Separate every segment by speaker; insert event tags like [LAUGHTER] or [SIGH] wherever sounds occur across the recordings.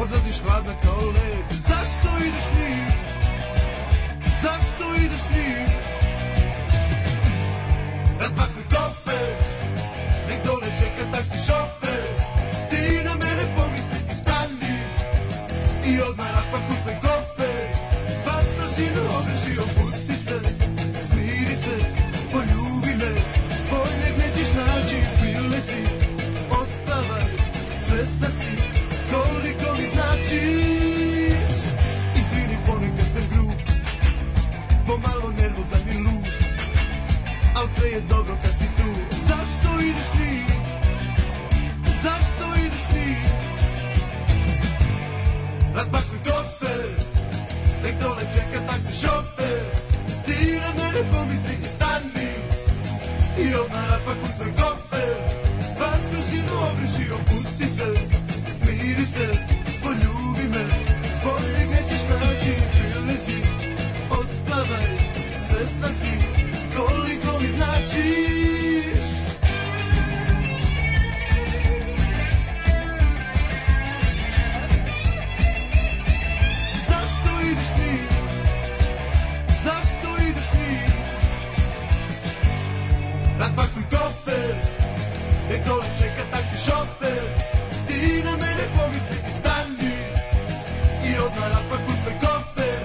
Speaker 1: odlaziš hladna kao led Zašto ideš s njim? Zašto ideš s njim? Razpakuj kofe Nek dole čeka taksi šofer Ti na mene pomisli i stani I odmah razpakuj svoj kofer Vatra žinu ogreši, opusti se Smiri se, poljubi me Boljeg nećeš naći u prilici Odstavaj, svesna si Koliko mi značiš Izvini, ponekad sam grub Pomalo nervozan i lud Al sve je dobro kad si tu Zašto ideš ti? Zašto ideš ti? Razbakuj kofer Nek dole čeka taksi šofer Ti na mene pomisli i stani I odmah razbakuj svoj kofer Vatrošinu obriši, opusti se Smiri se, poljubi me Boljeg nećeš naći u prilici Odpavaj, svesna si Koliko mi značiš Zašto ideš ti? Zašto ideš ti? Razbakuj kofer Nek dole čeka taksi šofer Ti na mene pomisli i stani I odmah razbakuj svoj kofer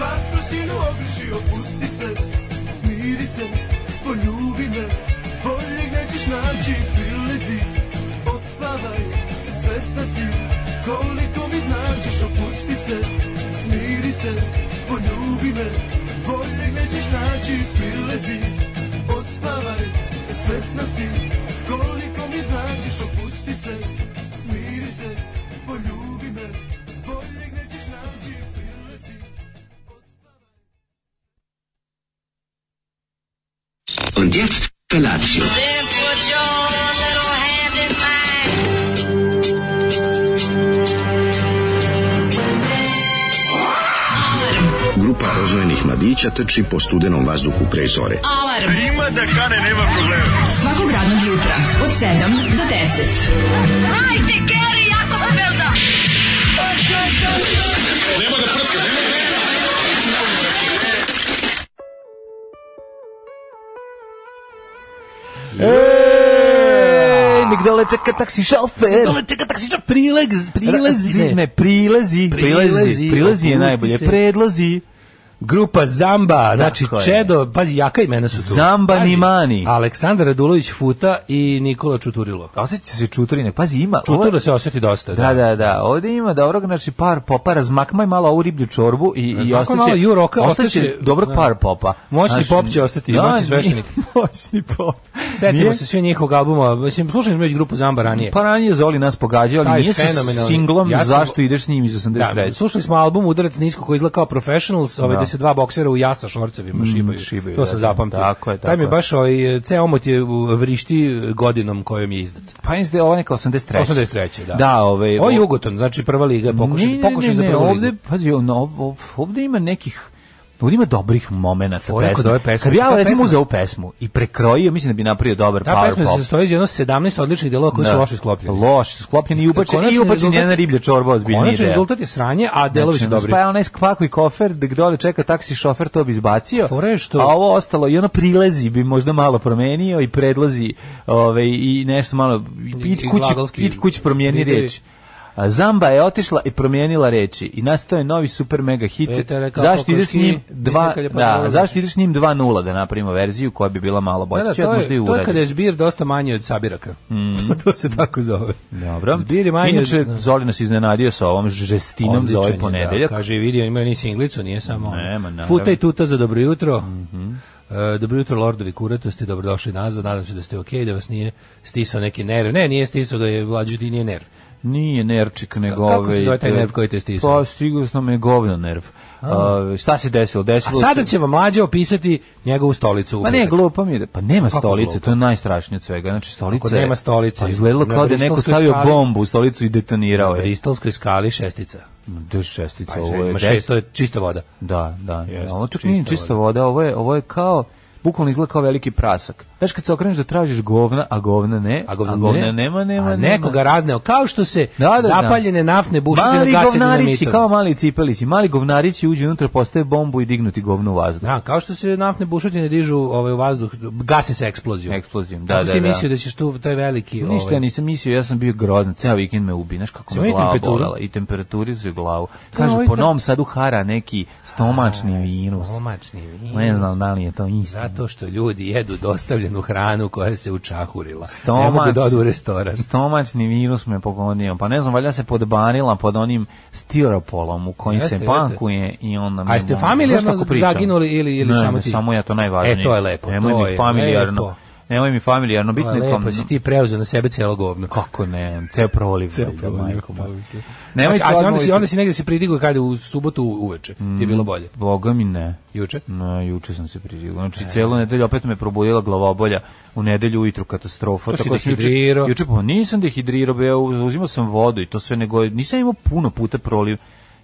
Speaker 1: Vas prašinu ogriši, opusti se Smiri se, poljubi me Boljeg nećeš naći, prilizi Odspavaj, svesna si Koliko mi značiš, opusti se Smiri se, poljubi me Boljeg nećeš naći, prilezi Odspavaj, svesna si Koliko mi značiš, opusti se Smiri se, poljubi me Boljeg nećeš naći, prilezi
Speaker 2: Und jetzt Felatio.
Speaker 3: Then put your little hand in mine.
Speaker 4: Grupa rozvojenih mladića teči po studenom vazduhu pre zore.
Speaker 5: Alarm. Ima da kane, nema problema. Svakog radnog jutra, od 7 do 10.
Speaker 3: Hajde, Geri, jako se velda.
Speaker 6: Ej, nek dole čeka taksi šofer.
Speaker 7: Dole čeka taksiča, prileg, prilezi.
Speaker 6: Ne, prilezi, prilezi,
Speaker 7: Prilezi,
Speaker 6: prilezi je
Speaker 7: opusti
Speaker 6: najbolje.
Speaker 7: se.
Speaker 6: Predlozi.
Speaker 7: Grupa Zamba, znači
Speaker 6: Tako je.
Speaker 7: Čedo, pazi, jaka imena su tu.
Speaker 6: Zamba
Speaker 7: Pazi,
Speaker 6: Nimani.
Speaker 7: Aleksandar Radulović Futa i Nikola Čuturilo.
Speaker 6: Osjeća se čuturine. Pazi, ima...
Speaker 7: Čuturilo se osjeti dosta.
Speaker 6: Da, da, da. Ovde ima dobrog, znači par popa, razmakmaj malo ovu riblju čorbu i, i
Speaker 7: Razmakmaj
Speaker 6: ostaće,
Speaker 7: malo juroka,
Speaker 6: ostaće
Speaker 7: ostaće-
Speaker 6: dobrog
Speaker 7: da.
Speaker 6: par popa. Znači, da,
Speaker 7: Moćni pop će ostati, moćni sveštenik.
Speaker 6: nije [LAUGHS] Moćni pop.
Speaker 7: Setimo
Speaker 6: Nije-
Speaker 7: se svi njihovog albuma, mislim, slušali smo već grupu Zamba ranije.
Speaker 6: Pa ranije Zoli nas pogađao, ali
Speaker 7: Taj
Speaker 6: nije sa
Speaker 7: fenomenalni.
Speaker 6: singlom
Speaker 7: Ja sam-
Speaker 6: Zašto ideš s njim iz 83.
Speaker 7: Da, slušali smo album Udarac nisko koji izgleda kao Professionals, ovaj
Speaker 6: Da.
Speaker 7: da. se dva boksera u jasa šorcevima šibaju.
Speaker 6: šibaju,
Speaker 7: to
Speaker 6: da,
Speaker 7: sam
Speaker 6: da.
Speaker 7: zapamtio.
Speaker 6: Tako je, tako
Speaker 7: Taj mi je
Speaker 6: je.
Speaker 7: baš ovaj ceo omot je u- vrišti godinom kojom je izdat.
Speaker 6: Pa mislim da je ovo neka 83.
Speaker 7: 83. da.
Speaker 6: Da, ovaj,
Speaker 7: Ovo je Jugoton, znači prva liga,
Speaker 6: Ne,
Speaker 7: pokušaj,
Speaker 6: ne,
Speaker 7: pokušaj da
Speaker 6: ne,
Speaker 7: za
Speaker 6: ne,
Speaker 7: prvu
Speaker 6: ovde,
Speaker 7: ligu.
Speaker 6: Pazi, ono, ov- ov- ovde ima nekih Ovdje ima dobrih momenata
Speaker 7: Fora kod ove pesme,
Speaker 6: Kad bi
Speaker 7: što
Speaker 6: ja
Speaker 7: ta
Speaker 6: recimo
Speaker 7: pesma-
Speaker 6: uzeo ovu pesmu i prekrojio, mislim da bi napravio dobar
Speaker 7: Ta
Speaker 6: power
Speaker 7: pesma
Speaker 6: pop.
Speaker 7: se sastoji iz jedno 17 odličnih delova koji
Speaker 6: Da.
Speaker 7: su loše sklopljeni. Da,
Speaker 6: Loše, sklopljeni i ubačen,
Speaker 7: Konačni
Speaker 6: i ubačen
Speaker 7: rezultat-
Speaker 6: jedna riblja čorba ozbiljni
Speaker 7: Konačni
Speaker 6: ideja.
Speaker 7: rezultat je sranje, a delovi su
Speaker 6: Znači,
Speaker 7: dobri.
Speaker 6: Pa je onaj skvaku i kofer, da dole čeka taksi šofer, to bi izbacio.
Speaker 7: Fora je što-
Speaker 6: A ovo ostalo, i ono prilezi bi možda malo promenio i predlazi ovaj, i nešto malo,
Speaker 7: I-
Speaker 6: i,
Speaker 7: i
Speaker 6: i kući,
Speaker 7: glagolski-
Speaker 6: i kući promijeni
Speaker 7: Videvi.
Speaker 6: reč. A Zamba je otišla i promijenila reči i nastao je novi super mega hit.
Speaker 7: Petere, kako
Speaker 6: Zašto ideš s njim
Speaker 7: kokoški,
Speaker 6: dva,
Speaker 7: kad je
Speaker 6: da,
Speaker 7: pozdravljaš.
Speaker 6: zašto ideš s njim 2.0 da napravimo verziju koja bi bila malo bolja. Znači,
Speaker 7: Da, da,
Speaker 6: Ću ja
Speaker 7: to,
Speaker 6: možda i
Speaker 7: je, to je
Speaker 6: uradim. Mhm.
Speaker 7: kada je zbir dosta manji od sabiraka. [LAUGHS] to se tako zove.
Speaker 6: Dobro.
Speaker 7: Zbir je manji
Speaker 6: Inače,
Speaker 7: od... da.
Speaker 6: Zoli nas iznenadio sa ovom žestinom za
Speaker 7: Odličan
Speaker 6: ovaj
Speaker 7: je,
Speaker 6: ponedeljak.
Speaker 7: Da, kaže, vidio, ima ni singlicu, nije samo...
Speaker 6: Nema, naravno. Mhm.
Speaker 7: Futa i tuta za dobro jutro. E, dobro jutro, lordovi kuratosti, dobrodošli nazad, nadam se da ste okej, da vas nije stisao neki nerv. Ne, nije stisao ga je mlađu ti nije nerv.
Speaker 6: Nije nerčik, nego...
Speaker 7: Kako se
Speaker 6: ovaj,
Speaker 7: zove taj
Speaker 6: to-
Speaker 7: nerv koji te stisao?
Speaker 6: Pa stigao s nama je govno nerv. A, šta se desilo?
Speaker 7: A
Speaker 6: Desilo
Speaker 7: sada
Speaker 6: se-
Speaker 7: će vam mlađe opisati njegovu stolicu. u
Speaker 6: Pa ne,
Speaker 7: petak.
Speaker 6: glupo mi je. da- Pa nema
Speaker 7: Kako
Speaker 6: stolice,
Speaker 7: glupo?
Speaker 6: to je najstrašnije od svega. Znači, stolica...
Speaker 7: Ako nema stolice,
Speaker 6: Pa izgledalo
Speaker 7: na
Speaker 6: kao da je neko
Speaker 7: Bristolskoj
Speaker 6: stavio
Speaker 7: skali-
Speaker 6: bombu u stolicu i detonirao je.
Speaker 7: Bristolskoj skali šestica.
Speaker 6: Da, šestica,
Speaker 7: Pa,
Speaker 6: ovo je...
Speaker 7: ima
Speaker 6: des-
Speaker 7: šest, to je čista voda.
Speaker 6: Da, da.
Speaker 7: Jeste,
Speaker 6: Ovo čak
Speaker 7: čista
Speaker 6: nije čista voda, ovo je, ovo je kao... bukvalno izgleda kao veliki prasak. Znaš kad se okreneš da tražiš govna, a govna ne,
Speaker 7: A govna, ne.
Speaker 6: nema, nema, nema.
Speaker 7: a nekoga razneo, kao što se
Speaker 6: Da, da, da.
Speaker 7: zapaljene naftne bušotine
Speaker 6: Mali
Speaker 7: gase
Speaker 6: govnarići,
Speaker 7: dinamitom.
Speaker 6: kao mali cipelići, mali govnarići uđu unutra, postave bombu i dignuti govnu u vazduh.
Speaker 7: Da, kao što se naftne bušotine dižu ovaj, u vazduh, gasi se eksplozijom.
Speaker 6: Eksplozijom, da,
Speaker 7: Kako si
Speaker 6: da,
Speaker 7: ti
Speaker 6: da.
Speaker 7: mislio da ćeš tu, taj veliki...
Speaker 6: Ništa ja
Speaker 7: ovaj,
Speaker 6: nisam mislio, ja sam bio grozan, ceo vikend me ubi, znaš kako
Speaker 7: Si
Speaker 6: me
Speaker 7: imao i
Speaker 6: glava
Speaker 7: temperaturu?
Speaker 6: bolela i temperaturizu glavu.
Speaker 7: je
Speaker 6: Kažu,
Speaker 7: ovaj
Speaker 6: po
Speaker 7: ta-
Speaker 6: Novom Sadu hara neki stomačni virus.
Speaker 7: Stomačni virus.
Speaker 6: Ne znam da li je to isto.
Speaker 7: Zato što ljudi jedu dostavljenu hranu koja se učahurila. Ne mogu
Speaker 6: Stomač-
Speaker 7: da odu u restoran.
Speaker 6: Stomačni virus me pogodio. Pa ne znam, valjda se podbanila pod onim stiropolom u kojim
Speaker 7: Jeste,
Speaker 6: se
Speaker 7: jeste.
Speaker 6: pankuje i onda mi...
Speaker 7: A jeste
Speaker 6: ono-
Speaker 7: familijarno
Speaker 6: Znaš kako pričam?
Speaker 7: zaginuli ili- ili
Speaker 6: ne,
Speaker 7: samo
Speaker 6: ne,
Speaker 7: ti?
Speaker 6: samo ja to najvažnije.
Speaker 7: E, to je lepo,
Speaker 6: Nemoj
Speaker 7: to
Speaker 6: mi
Speaker 7: je
Speaker 6: familijarno.
Speaker 7: lepo.
Speaker 6: Nemoj mi familijarno,
Speaker 7: Pa,
Speaker 6: bitno je
Speaker 7: lepo
Speaker 6: kom...
Speaker 7: si ti preuzeo na sebe cijelo govno.
Speaker 6: Kako ne, ceo proliv.
Speaker 7: Ceo
Speaker 6: valjda,
Speaker 7: proliv,
Speaker 6: majko moja.
Speaker 7: pomisli.
Speaker 6: Nemoj
Speaker 7: Znači, a
Speaker 6: to
Speaker 7: si onda si,
Speaker 6: odmah- Mm.
Speaker 7: onda si negde se pridigao kada u subotu uveče. Ti je bilo bolje.
Speaker 6: Boga mi ne.
Speaker 7: Juče?
Speaker 6: Na, juče sam se pridigao. Znači, cijelu nedelju opet me probudila glavobolja. U nedelju ujutru katastrofa.
Speaker 7: To Pa si
Speaker 6: da sam juče-
Speaker 7: dehidrirao.
Speaker 6: Juče pa nisam dehidrirao, be, uzimao sam vodu i to sve nego nisam imao puno puta proliv.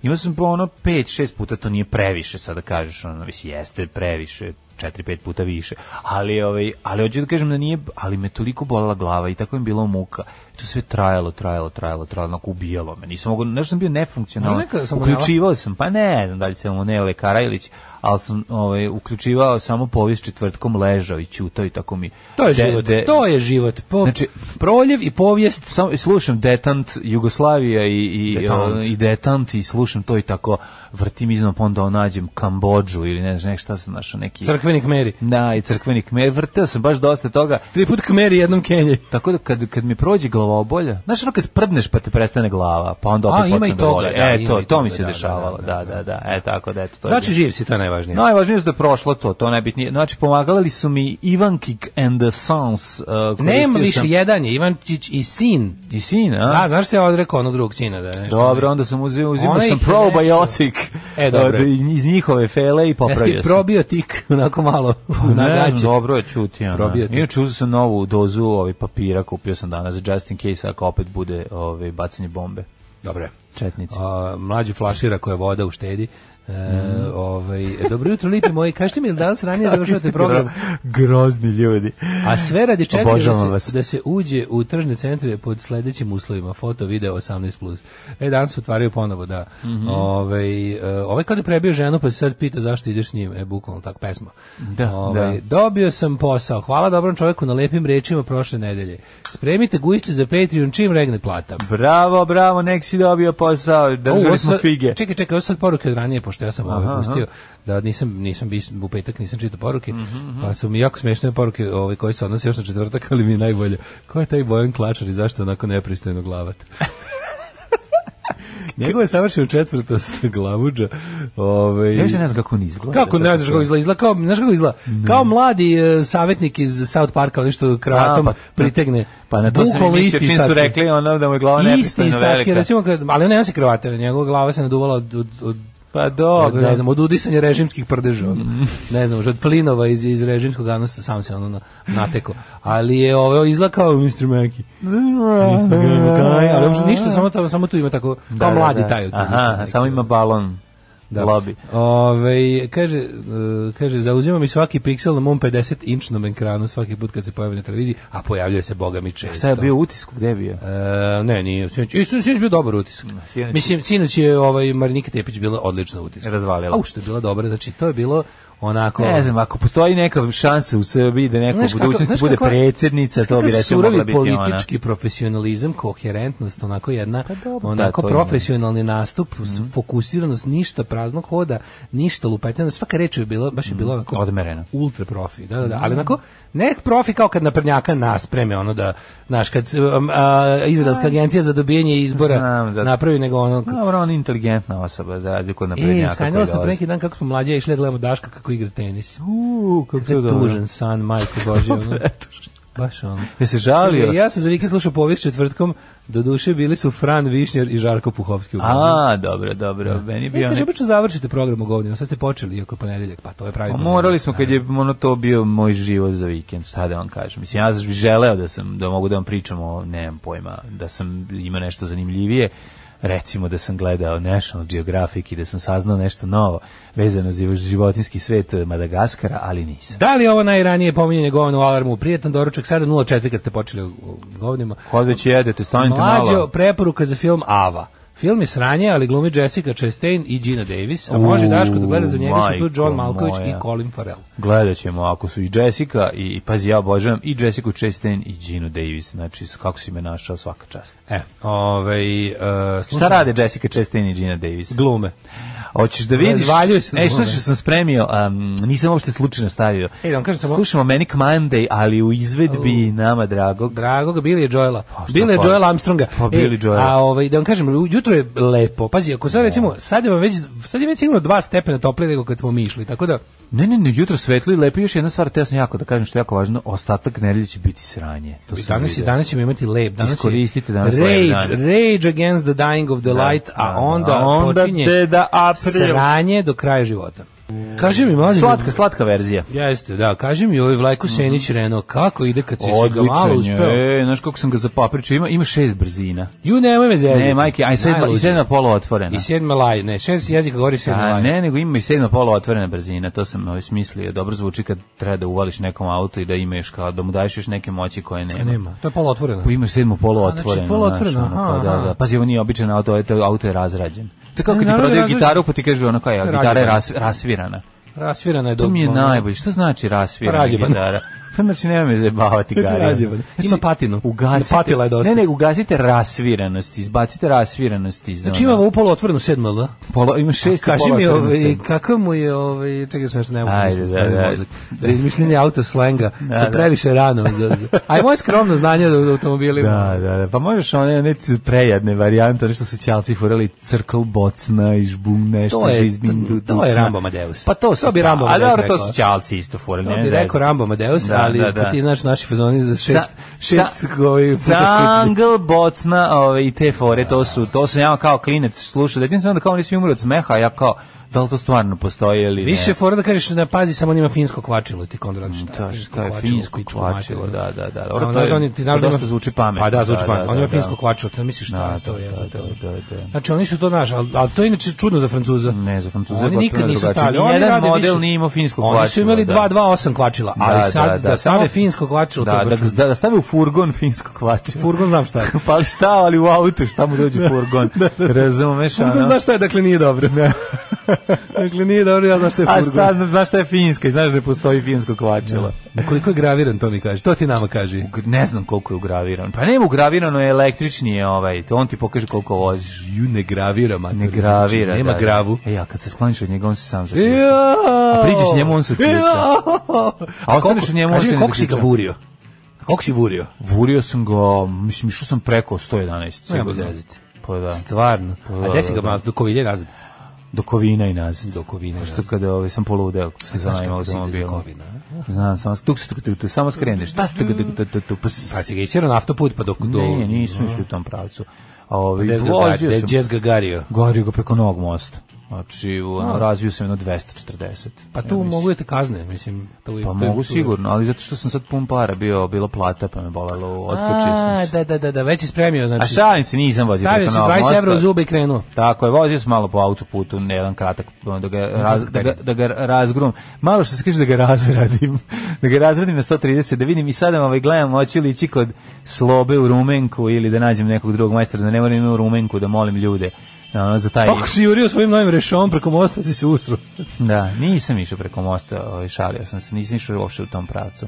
Speaker 6: Imao sam pa ono 5 6 puta, to nije previše sada kažeš, ono mislim jeste previše, 4 5 puta više. Ali ovaj ali hoću da kažem da nije, ali me toliko bolela glava i tako mi je bilo muka. I To sve trajalo, trajalo, trajalo, trajalo, onako ubijalo me. Nisam mogao, nešto sam bio nefunkcionalan.
Speaker 7: Možda neka salmonela?
Speaker 6: Uključivao sam, pa ne znam da li se mu ne Karajlić, ali sam ovaj, uključivao samo povijest četvrtkom ležao i ćutao i tako mi.
Speaker 7: To je
Speaker 6: de-
Speaker 7: život.
Speaker 6: de-
Speaker 7: To je život. Po,
Speaker 6: Znači-
Speaker 7: proljev i povijest
Speaker 6: samo slušam detant Jugoslavija i i
Speaker 7: Detant.
Speaker 6: e, i detant i slušam to i tako vrtim iznad pa onda nađem Kambodžu ili ne znam nek šta sam našao neki
Speaker 7: crkveni kmeri.
Speaker 6: da i crkveni kmer vrteo sam baš dosta toga
Speaker 7: Tri put kmeri jednom Kenji.
Speaker 6: tako da kad, kad mi prođe glavobolja, znaš ono kad prdneš pa te prestane glava, pa onda
Speaker 7: A,
Speaker 6: opet
Speaker 7: ima i
Speaker 6: počne da
Speaker 7: toga,
Speaker 6: boli.
Speaker 7: da,
Speaker 6: e,
Speaker 7: ima
Speaker 6: to,
Speaker 7: i
Speaker 6: to mi
Speaker 7: toga,
Speaker 6: se
Speaker 7: da,
Speaker 6: dešavalo,
Speaker 7: da,
Speaker 6: da
Speaker 7: da,
Speaker 6: da, da, e, tako da, eto, to je
Speaker 7: Znači
Speaker 6: bilo.
Speaker 7: živ si, to je najvažnije.
Speaker 6: Najvažnije je da je prošlo to, to najbitnije. Znači, pomagali su mi Ivankik and the Sons. Uh, koristio
Speaker 7: Nema više,
Speaker 6: sam-
Speaker 7: jedan je Ivančić i sin.
Speaker 6: I sin, a?
Speaker 7: Da, znaš se odrekao onog drugog sina da je nešto.
Speaker 6: Dobro, onda sam uzimao, uzimao
Speaker 7: Ona
Speaker 6: sam
Speaker 7: ih je nešto-
Speaker 6: probiotik
Speaker 7: E, dobro je.
Speaker 6: od- iz njihove fele i
Speaker 7: [LAUGHS] Jesi ti
Speaker 6: popravio sam.
Speaker 7: probio tik onako malo na
Speaker 6: Ne,
Speaker 7: gaće.
Speaker 6: dobro je čuti. Ana.
Speaker 7: Probio ti.
Speaker 6: Inače, uzeo sam novu dozu ovaj papira, kupio sam danas za just in case, ako opet bude ovaj, bacanje bombe.
Speaker 7: Dobro je.
Speaker 6: Četnici.
Speaker 7: A, mlađi flašira koja voda u štedi. E,
Speaker 6: Mhm.
Speaker 7: ovaj, dobro jutro, lipi moji. Kažete mi, jel danas ranije završavate program?
Speaker 6: Grozni ljudi.
Speaker 7: A sve radi čega da
Speaker 6: da? Obožavam
Speaker 7: se,
Speaker 6: vas.
Speaker 7: da se uđe u tržne centre pod sledećim uslovima, foto, video 18+. Plus. E, danas se otvaraju ponovo, da.
Speaker 6: Mhm.
Speaker 7: ovaj, e, ovaj kada je prebio ženu, pa se sad pita zašto ideš s njim, e, bukvalno tak pesma.
Speaker 6: Da,
Speaker 7: Ovaj, Dobio sam posao, hvala dobrom čovjeku na lepim rečima prošle nedelje. Spremite gujice za Patreon čim regne plata.
Speaker 6: Bravo, bravo, nek si dobio posao,
Speaker 7: Ovo
Speaker 6: držali Da, smo
Speaker 7: sad-
Speaker 6: fige.
Speaker 7: Čekaj, čekaj, ovo su sad poruke od ranije, pošto ja sam ovo
Speaker 6: Aha,
Speaker 7: pustio, da nisam, nisam bis, u petak nisam čitao poruke,
Speaker 6: Mhm,
Speaker 7: pa su mi jako smiješne poruke ove, koje se odnose još na četvrtak, ali mi je najbolje. Ko je taj Bojan Klačar i zašto je onako nepristojno glavat?
Speaker 6: [LAUGHS]
Speaker 7: Njegov je savršen četvrtost glavuđa. Ove,
Speaker 6: Ja više ne znam kako on izgleda.
Speaker 7: Kako ne znaš kako izgleda? Izgleda kao, znaš kako izgleda? Kao mladi e, savjetnik iz South Parka, oni što kravatom
Speaker 6: A, pa-
Speaker 7: pritegne.
Speaker 6: Pa na to sam
Speaker 7: Bukvalno
Speaker 6: i mislio,
Speaker 7: isti
Speaker 6: čim su
Speaker 7: stački.
Speaker 6: rekli, ono da mu je glava
Speaker 7: Isti
Speaker 6: nepristano
Speaker 7: stački,
Speaker 6: velika.
Speaker 7: recimo, kad, ali on ne nosi kravate, njegova glava se naduvala od, od, od
Speaker 6: Pa Mm.
Speaker 7: od,
Speaker 6: dobro.
Speaker 7: ne znam, od udisanja režimskih prdeža. ono. ne znam, od plinova iz, iz režimskog anusa sam se ono na, nateko. Ali je ovo izlakao Mr. Mackey.
Speaker 6: [LAUGHS]
Speaker 7: Kaj, ali uopšte ništa, samo, tamo, samo tu ima tako, kao
Speaker 6: Da, da,
Speaker 7: mladi
Speaker 6: da.
Speaker 7: taj. od-
Speaker 6: Aha,
Speaker 7: neki.
Speaker 6: samo ima balon. Da. Lobby.
Speaker 7: Ove, kaže, e, kaže, zauzima mi svaki piksel na mom 50-inčnom ekranu svaki put kad se pojavi na televiziji, a pojavljuje se, boga mi, često.
Speaker 6: Šta je bio utisk? Gde je bio?
Speaker 7: E, ne, nije. Sinoć, i sinoć je bio dobar utisak.
Speaker 6: Sinoć-
Speaker 7: Mislim, sinoć je ovaj, Marinika Tepić bila odlična utisak.
Speaker 6: Razvalila.
Speaker 7: A ušto je bila dobra, znači to je bilo onako...
Speaker 6: Ne znam, ako postoji neka šansa u Srbiji da neko u budućnosti bude predsjednica, to bi recimo mogla biti ona.
Speaker 7: politički profesionalizam, koherentnost, onako jedna,
Speaker 6: dobro,
Speaker 7: onako
Speaker 6: da, to Mhm. ima.
Speaker 7: profesionalni nastup, s- fokusiranost, ništa praznog hoda, ništa lupetanja, svaka reč je bila, baš je bila onako...
Speaker 6: Mhm. Odmerena. Mhm.
Speaker 7: Ultra profi, da, da, da, ali onako, ne profi kao kad naprnjaka nas preme, ono da, znaš, kad um, a, izrazka agencija za dobijanje izbora
Speaker 6: Znam, da.
Speaker 7: napravi, nego ono...
Speaker 6: Dobro, on je inteligentna osoba, za razliku od
Speaker 7: E,
Speaker 6: naprednjaka.
Speaker 7: sanjala
Speaker 6: koji
Speaker 7: sam pre
Speaker 6: dolazi.
Speaker 7: neki dan kako smo mlađe išli da gledamo Daška kako igra tenis.
Speaker 6: Uuu, kako je
Speaker 7: Kako
Speaker 6: dobro.
Speaker 7: tužan san, majko
Speaker 6: [LAUGHS]
Speaker 7: Božje. ono. Baš ono.
Speaker 6: Je se
Speaker 7: Kaže,
Speaker 6: žalio?
Speaker 7: ja sam za vikend slušao povijest četvrtkom, do duše bili su Fran Višnjar i Žarko Puhovski. u programu.
Speaker 6: A, dobro, dobro. Meni je
Speaker 7: E,
Speaker 6: bio
Speaker 7: kaže,
Speaker 6: ne...
Speaker 7: obično završite program u govnima, sad ste počeli, iako je ponedeljak, pa to je pravi.
Speaker 6: Pa
Speaker 7: problem.
Speaker 6: morali smo kad je ono to bio moj život za vikend, šta da vam kažem. Mislim, ja bih želeo da sam, da mogu da vam pričam o, nemam pojma, da sam imao nešto zanimljivije, recimo da sam gledao National Geographic i da sam saznao nešto novo vezano za životinski svet Madagaskara, ali nisam.
Speaker 7: Da li je ovo najranije pominjanje govna u alarmu? Prijetan doručak, 7.04 kad ste počeli o o govnima.
Speaker 6: Kad već jedete, stanite
Speaker 7: Mlađo,
Speaker 6: malo.
Speaker 7: preporuka za film Ava. Film je sranje, ali glumi Jessica Chastain i Gina Davis, a može
Speaker 6: U,
Speaker 7: Daško da gleda za njega su tu
Speaker 6: majko
Speaker 7: John Malković
Speaker 6: moja.
Speaker 7: i Colin Farrell.
Speaker 6: Gledat ćemo, ako su i Jessica, i, i pazi, ja obožavam i Jessica Chastain i Ginu Davis, znači s- kako si me našao svaka čast.
Speaker 7: E, ovaj, uh,
Speaker 6: Šta rade Jessica Chastain i Gina Davis?
Speaker 7: Glume.
Speaker 6: Hoćeš da vidiš?
Speaker 7: Razvaljuju se
Speaker 6: E, što
Speaker 7: glume.
Speaker 6: što sam spremio, um, nisam uopšte slučajno stavio.
Speaker 7: E, da vam kažem samo-
Speaker 6: Slušamo Manic Monday, ali u izvedbi nama dragog.
Speaker 7: Dragoga Billy je Joela.
Speaker 6: šta
Speaker 7: Billy je
Speaker 6: pa?
Speaker 7: Joela Armstronga.
Speaker 6: Pa, Billy Joela. Da.
Speaker 7: A ovaj da vam kažem, lu- jutro je lepo. Pazi, ako sad recimo, sad je vam već sad je već sigurno 2 stepena toplije nego kad smo mi išli. Tako da
Speaker 6: Ne, ne, ne, jutro svetlo i lepo. Još jedna stvar, teo sam jako da kažem što je jako važno, ostatak nedelje će biti sranje. To sam
Speaker 7: danas je
Speaker 6: vidio.
Speaker 7: danas ćemo imati lep, danas je
Speaker 6: Iskoristite danas lep
Speaker 7: Rage,
Speaker 6: dan.
Speaker 7: Rage Against the Dying of the Light, a
Speaker 6: da,
Speaker 7: onda,
Speaker 6: a onda
Speaker 7: počinje
Speaker 6: Deda April.
Speaker 7: sranje do kraja života. Kaži mi, mlađe,
Speaker 6: Slatka, slatka verzija.
Speaker 7: Jeste, da, kaži mi ovaj Vlajko Senić Reno, kako ide kad si se ga malo
Speaker 6: Odličan
Speaker 7: uspeo?
Speaker 6: je. E, znaš kako sam ga zapapričao, ima, ima šest brzina.
Speaker 7: Ju, nemoj me zezati.
Speaker 6: Ne, majke, aj sedma, i
Speaker 7: Najluđe.
Speaker 6: sedma polo otvorena.
Speaker 7: I sedma laj, ne, šest jezika govori sedma
Speaker 6: A
Speaker 7: laj.
Speaker 6: Pa ne, nego ima i sedma polo otvorena brzina, to sam ovaj smislio. Dobro zvuči kad treba da uvališ nekom auto i da imaš kao, da mu daješ još neke moći koje E, nema.
Speaker 7: Pa Nema, to je pola otvoreno.
Speaker 6: Pa imaš sedmo polo
Speaker 7: A, znači,
Speaker 6: otvoreno.
Speaker 7: poluotvoreno,
Speaker 6: znaš, ono,
Speaker 7: aha,
Speaker 6: kao,
Speaker 7: aha.
Speaker 6: da, da. Pazi, ovo nije običan auto, ovo je to- auto je razrađen. To je kao
Speaker 7: Ne,
Speaker 6: kad ti
Speaker 7: naravno,
Speaker 6: prodaju
Speaker 7: razrađen.
Speaker 6: gitara, pa ti kažu ono kao, ja, gitara je
Speaker 7: Razjebana.
Speaker 6: ras, rasvirana.
Speaker 7: Rasvirana je
Speaker 6: To
Speaker 7: do-
Speaker 6: mi je
Speaker 7: ono-
Speaker 6: najbolje. Šta znači rasvirana
Speaker 7: Razjebana. [LAUGHS]
Speaker 6: gitara? Pa znači nema me zajebavati
Speaker 7: Znači,
Speaker 6: Gari.
Speaker 7: razjebana. Ima patinu.
Speaker 6: Ugasite,
Speaker 7: Patila je dosta.
Speaker 6: Ne, ne, ugasite rasviranost, izbacite rasviranost iz
Speaker 7: Znači
Speaker 6: ono-
Speaker 7: imamo upola otvorenu sedma L.
Speaker 6: polo, ima šest
Speaker 7: da? Kaži
Speaker 6: polo
Speaker 7: mi,
Speaker 6: otvoreno
Speaker 7: ovaj,
Speaker 6: sedmo.
Speaker 7: kakav mu je, ovaj, čekaj, sam nešto ne mogu
Speaker 6: Ajde,
Speaker 7: misliti,
Speaker 6: da,
Speaker 7: stavim
Speaker 6: da.
Speaker 7: mozak. Za izmišljenje autoslenga da, sa
Speaker 6: da.
Speaker 7: previše rano. Za, za. A i moje skromno znanje o automobilima.
Speaker 6: Da, da, da. Pa možeš one one c- prejadne varijante, ono što su ćalci furali crkl bocna i žbum nešto
Speaker 7: To je-
Speaker 6: žizmin
Speaker 7: to- to
Speaker 6: ducna.
Speaker 7: je Rambo Amadeus.
Speaker 6: Pa to, su
Speaker 7: To bi
Speaker 6: ćal-
Speaker 7: Rambo
Speaker 6: A dobro,
Speaker 7: Amadeus
Speaker 6: to
Speaker 7: rekao.
Speaker 6: su ćalci isto furali.
Speaker 7: To
Speaker 6: nema
Speaker 7: bi
Speaker 6: veze.
Speaker 7: rekao Rambo Amadeus,
Speaker 6: Da,
Speaker 7: ali
Speaker 6: da, da.
Speaker 7: pa ti znaš naši fazoni za šest,
Speaker 6: Sa-
Speaker 7: šest
Speaker 6: sa-
Speaker 7: koji puta skuplji.
Speaker 6: Cangl, bocna ove, i te fore, to su, to sam ja kao klinec slušao. Detin sam onda da kao oni svi umru od smeha, a ja kao, da li to stvarno postoji ili ne?
Speaker 7: Više je fora da kažeš da pazi samo on ima finsko kvačilo ti Konrad šta.
Speaker 6: Da,
Speaker 7: je
Speaker 6: šta je finsko
Speaker 7: pičku
Speaker 6: kvačilo,
Speaker 7: materinu.
Speaker 6: da, da, da. Dobro,
Speaker 7: Samo
Speaker 6: to
Speaker 7: znaš
Speaker 6: je-
Speaker 7: da on je- ti znaš
Speaker 6: to
Speaker 7: da ima-
Speaker 6: dosta zvuči pametno.
Speaker 7: Pa da, zvuči
Speaker 6: Da,
Speaker 7: pametno.
Speaker 6: da,
Speaker 7: On ima
Speaker 6: da,
Speaker 7: finsko
Speaker 6: da.
Speaker 7: kvačilo, ti ne misliš šta
Speaker 6: Da,
Speaker 7: je to
Speaker 6: da,
Speaker 7: je.
Speaker 6: da, da, da, da.
Speaker 7: Znači oni su to naš, ali, ali to je inače čudno za Francuza.
Speaker 6: Ne, za Francuza je
Speaker 7: Oni
Speaker 6: potpuno
Speaker 7: nikad nisu
Speaker 6: drugačije.
Speaker 7: stali.
Speaker 6: Ni
Speaker 7: Oni
Speaker 6: jedan
Speaker 7: rade
Speaker 6: model
Speaker 7: više-
Speaker 6: nije imao finsko
Speaker 7: Oni su
Speaker 6: kvačilo,
Speaker 7: imali
Speaker 6: da.
Speaker 7: 228 kvačila, ali sad
Speaker 6: samo-
Speaker 7: da stave finsko kvačilo, to
Speaker 6: da,
Speaker 7: je
Speaker 6: da,
Speaker 7: baš čudno.
Speaker 6: da, da stave u furgon [LAUGHS] finsko kvačilo.
Speaker 7: [LAUGHS] Furgon znam
Speaker 6: [LAUGHS]
Speaker 7: šta je.
Speaker 6: pa šta, ali u autu, šta mu
Speaker 7: Da.
Speaker 6: dođe
Speaker 7: [LAUGHS]
Speaker 6: furgon? Razumeš,
Speaker 7: Furgon
Speaker 6: ono?
Speaker 7: znaš šta je, dakle nije dobro. [LAUGHS] dakle nije dobro, ja znam šta je
Speaker 6: Da. A
Speaker 7: furgon.
Speaker 6: šta, znam, znaš šta je finska i znaš da postoji finsko kvačilo.
Speaker 7: Na Koliko je graviran, to mi kaže. To ti nama kaže.
Speaker 6: G- Ne znam koliko je ugraviran. Pa nema ugravirano je električni je ovaj, to on ti pokaže koliko voziš.
Speaker 7: Ju ne gravira, mater. znači,
Speaker 6: Ne gravira.
Speaker 7: Nema
Speaker 6: da, da.
Speaker 7: gravu.
Speaker 6: E, ja, kad se skloniš od njega, on se sam zaključa.
Speaker 7: A
Speaker 6: A priđeš njemu, on se
Speaker 7: [LAUGHS]
Speaker 6: otključa. A ostaneš u njemu, on se ne
Speaker 7: Koliko si ga
Speaker 6: zaključa.
Speaker 7: vurio? Koliko si vurio?
Speaker 6: Vurio sam ga, mislim, išao sam preko 111.
Speaker 7: Nema
Speaker 6: sigurno.
Speaker 7: zezati.
Speaker 6: Pa da.
Speaker 7: Stvarno. A gde si
Speaker 6: da,
Speaker 7: ga
Speaker 6: da.
Speaker 7: malo? Do kovilje nazad?
Speaker 6: Do kovina i nazad.
Speaker 7: Do kovine
Speaker 6: Što
Speaker 7: nazad.
Speaker 6: kada ovaj, sam poludeo, se
Speaker 7: Znaš
Speaker 6: zanajim
Speaker 7: kako si ide za
Speaker 6: automobilom.
Speaker 7: kovina? a?
Speaker 6: Znam, samo tuk se tuk tuk tuk, samo skreneš. Ta se tuk tuk tuk tuk tuk, ps.
Speaker 7: Pa si ga isirao na autoput, pa dok do...
Speaker 6: Ne, nisam išli u tom pravcu. A Ovaj,
Speaker 7: Gde si ga
Speaker 6: vozio
Speaker 7: gario?
Speaker 6: sam.
Speaker 7: Gde si ga gario?
Speaker 6: Gorio ga preko novog mosta. Znači, ono, razvio sam jedno 240.
Speaker 7: Pa
Speaker 6: Ja
Speaker 7: tu
Speaker 6: mislim.
Speaker 7: mogu da te kazne, mislim. To je,
Speaker 6: Pa
Speaker 7: to je-
Speaker 6: mogu
Speaker 7: to je-
Speaker 6: sigurno, ali zato što sam sad pun para bio, bila plata, pa me bolelo, otkočio
Speaker 7: A,
Speaker 6: sam se.
Speaker 7: da, da, da, da, već je spremio,
Speaker 6: A
Speaker 7: znači.
Speaker 6: šalim se, nisam vozio
Speaker 7: Stavio
Speaker 6: preko
Speaker 7: si
Speaker 6: novog mosta.
Speaker 7: 20 evra u zube i krenuo.
Speaker 6: Tako je, vozio sam malo po autoputu, na jedan kratak, ono, da ga, raz, da ga, da ga razgrum. Malo što se kaže da ga razradim. da ga razradim na 130, da vidim i sada ovaj, gledam, hoću li ići kod slobe u Rumenku ili da nađem nekog drugog majstora, da ne moram imati u Rumenku, da molim ljude. Ono, za taj...
Speaker 7: Kako si jurio svojim novim rešom preko mosta si se usro.
Speaker 6: Da, nisam išao preko mosta, ovaj, šalio sam se, nisam išao uopšte u tom pravcu.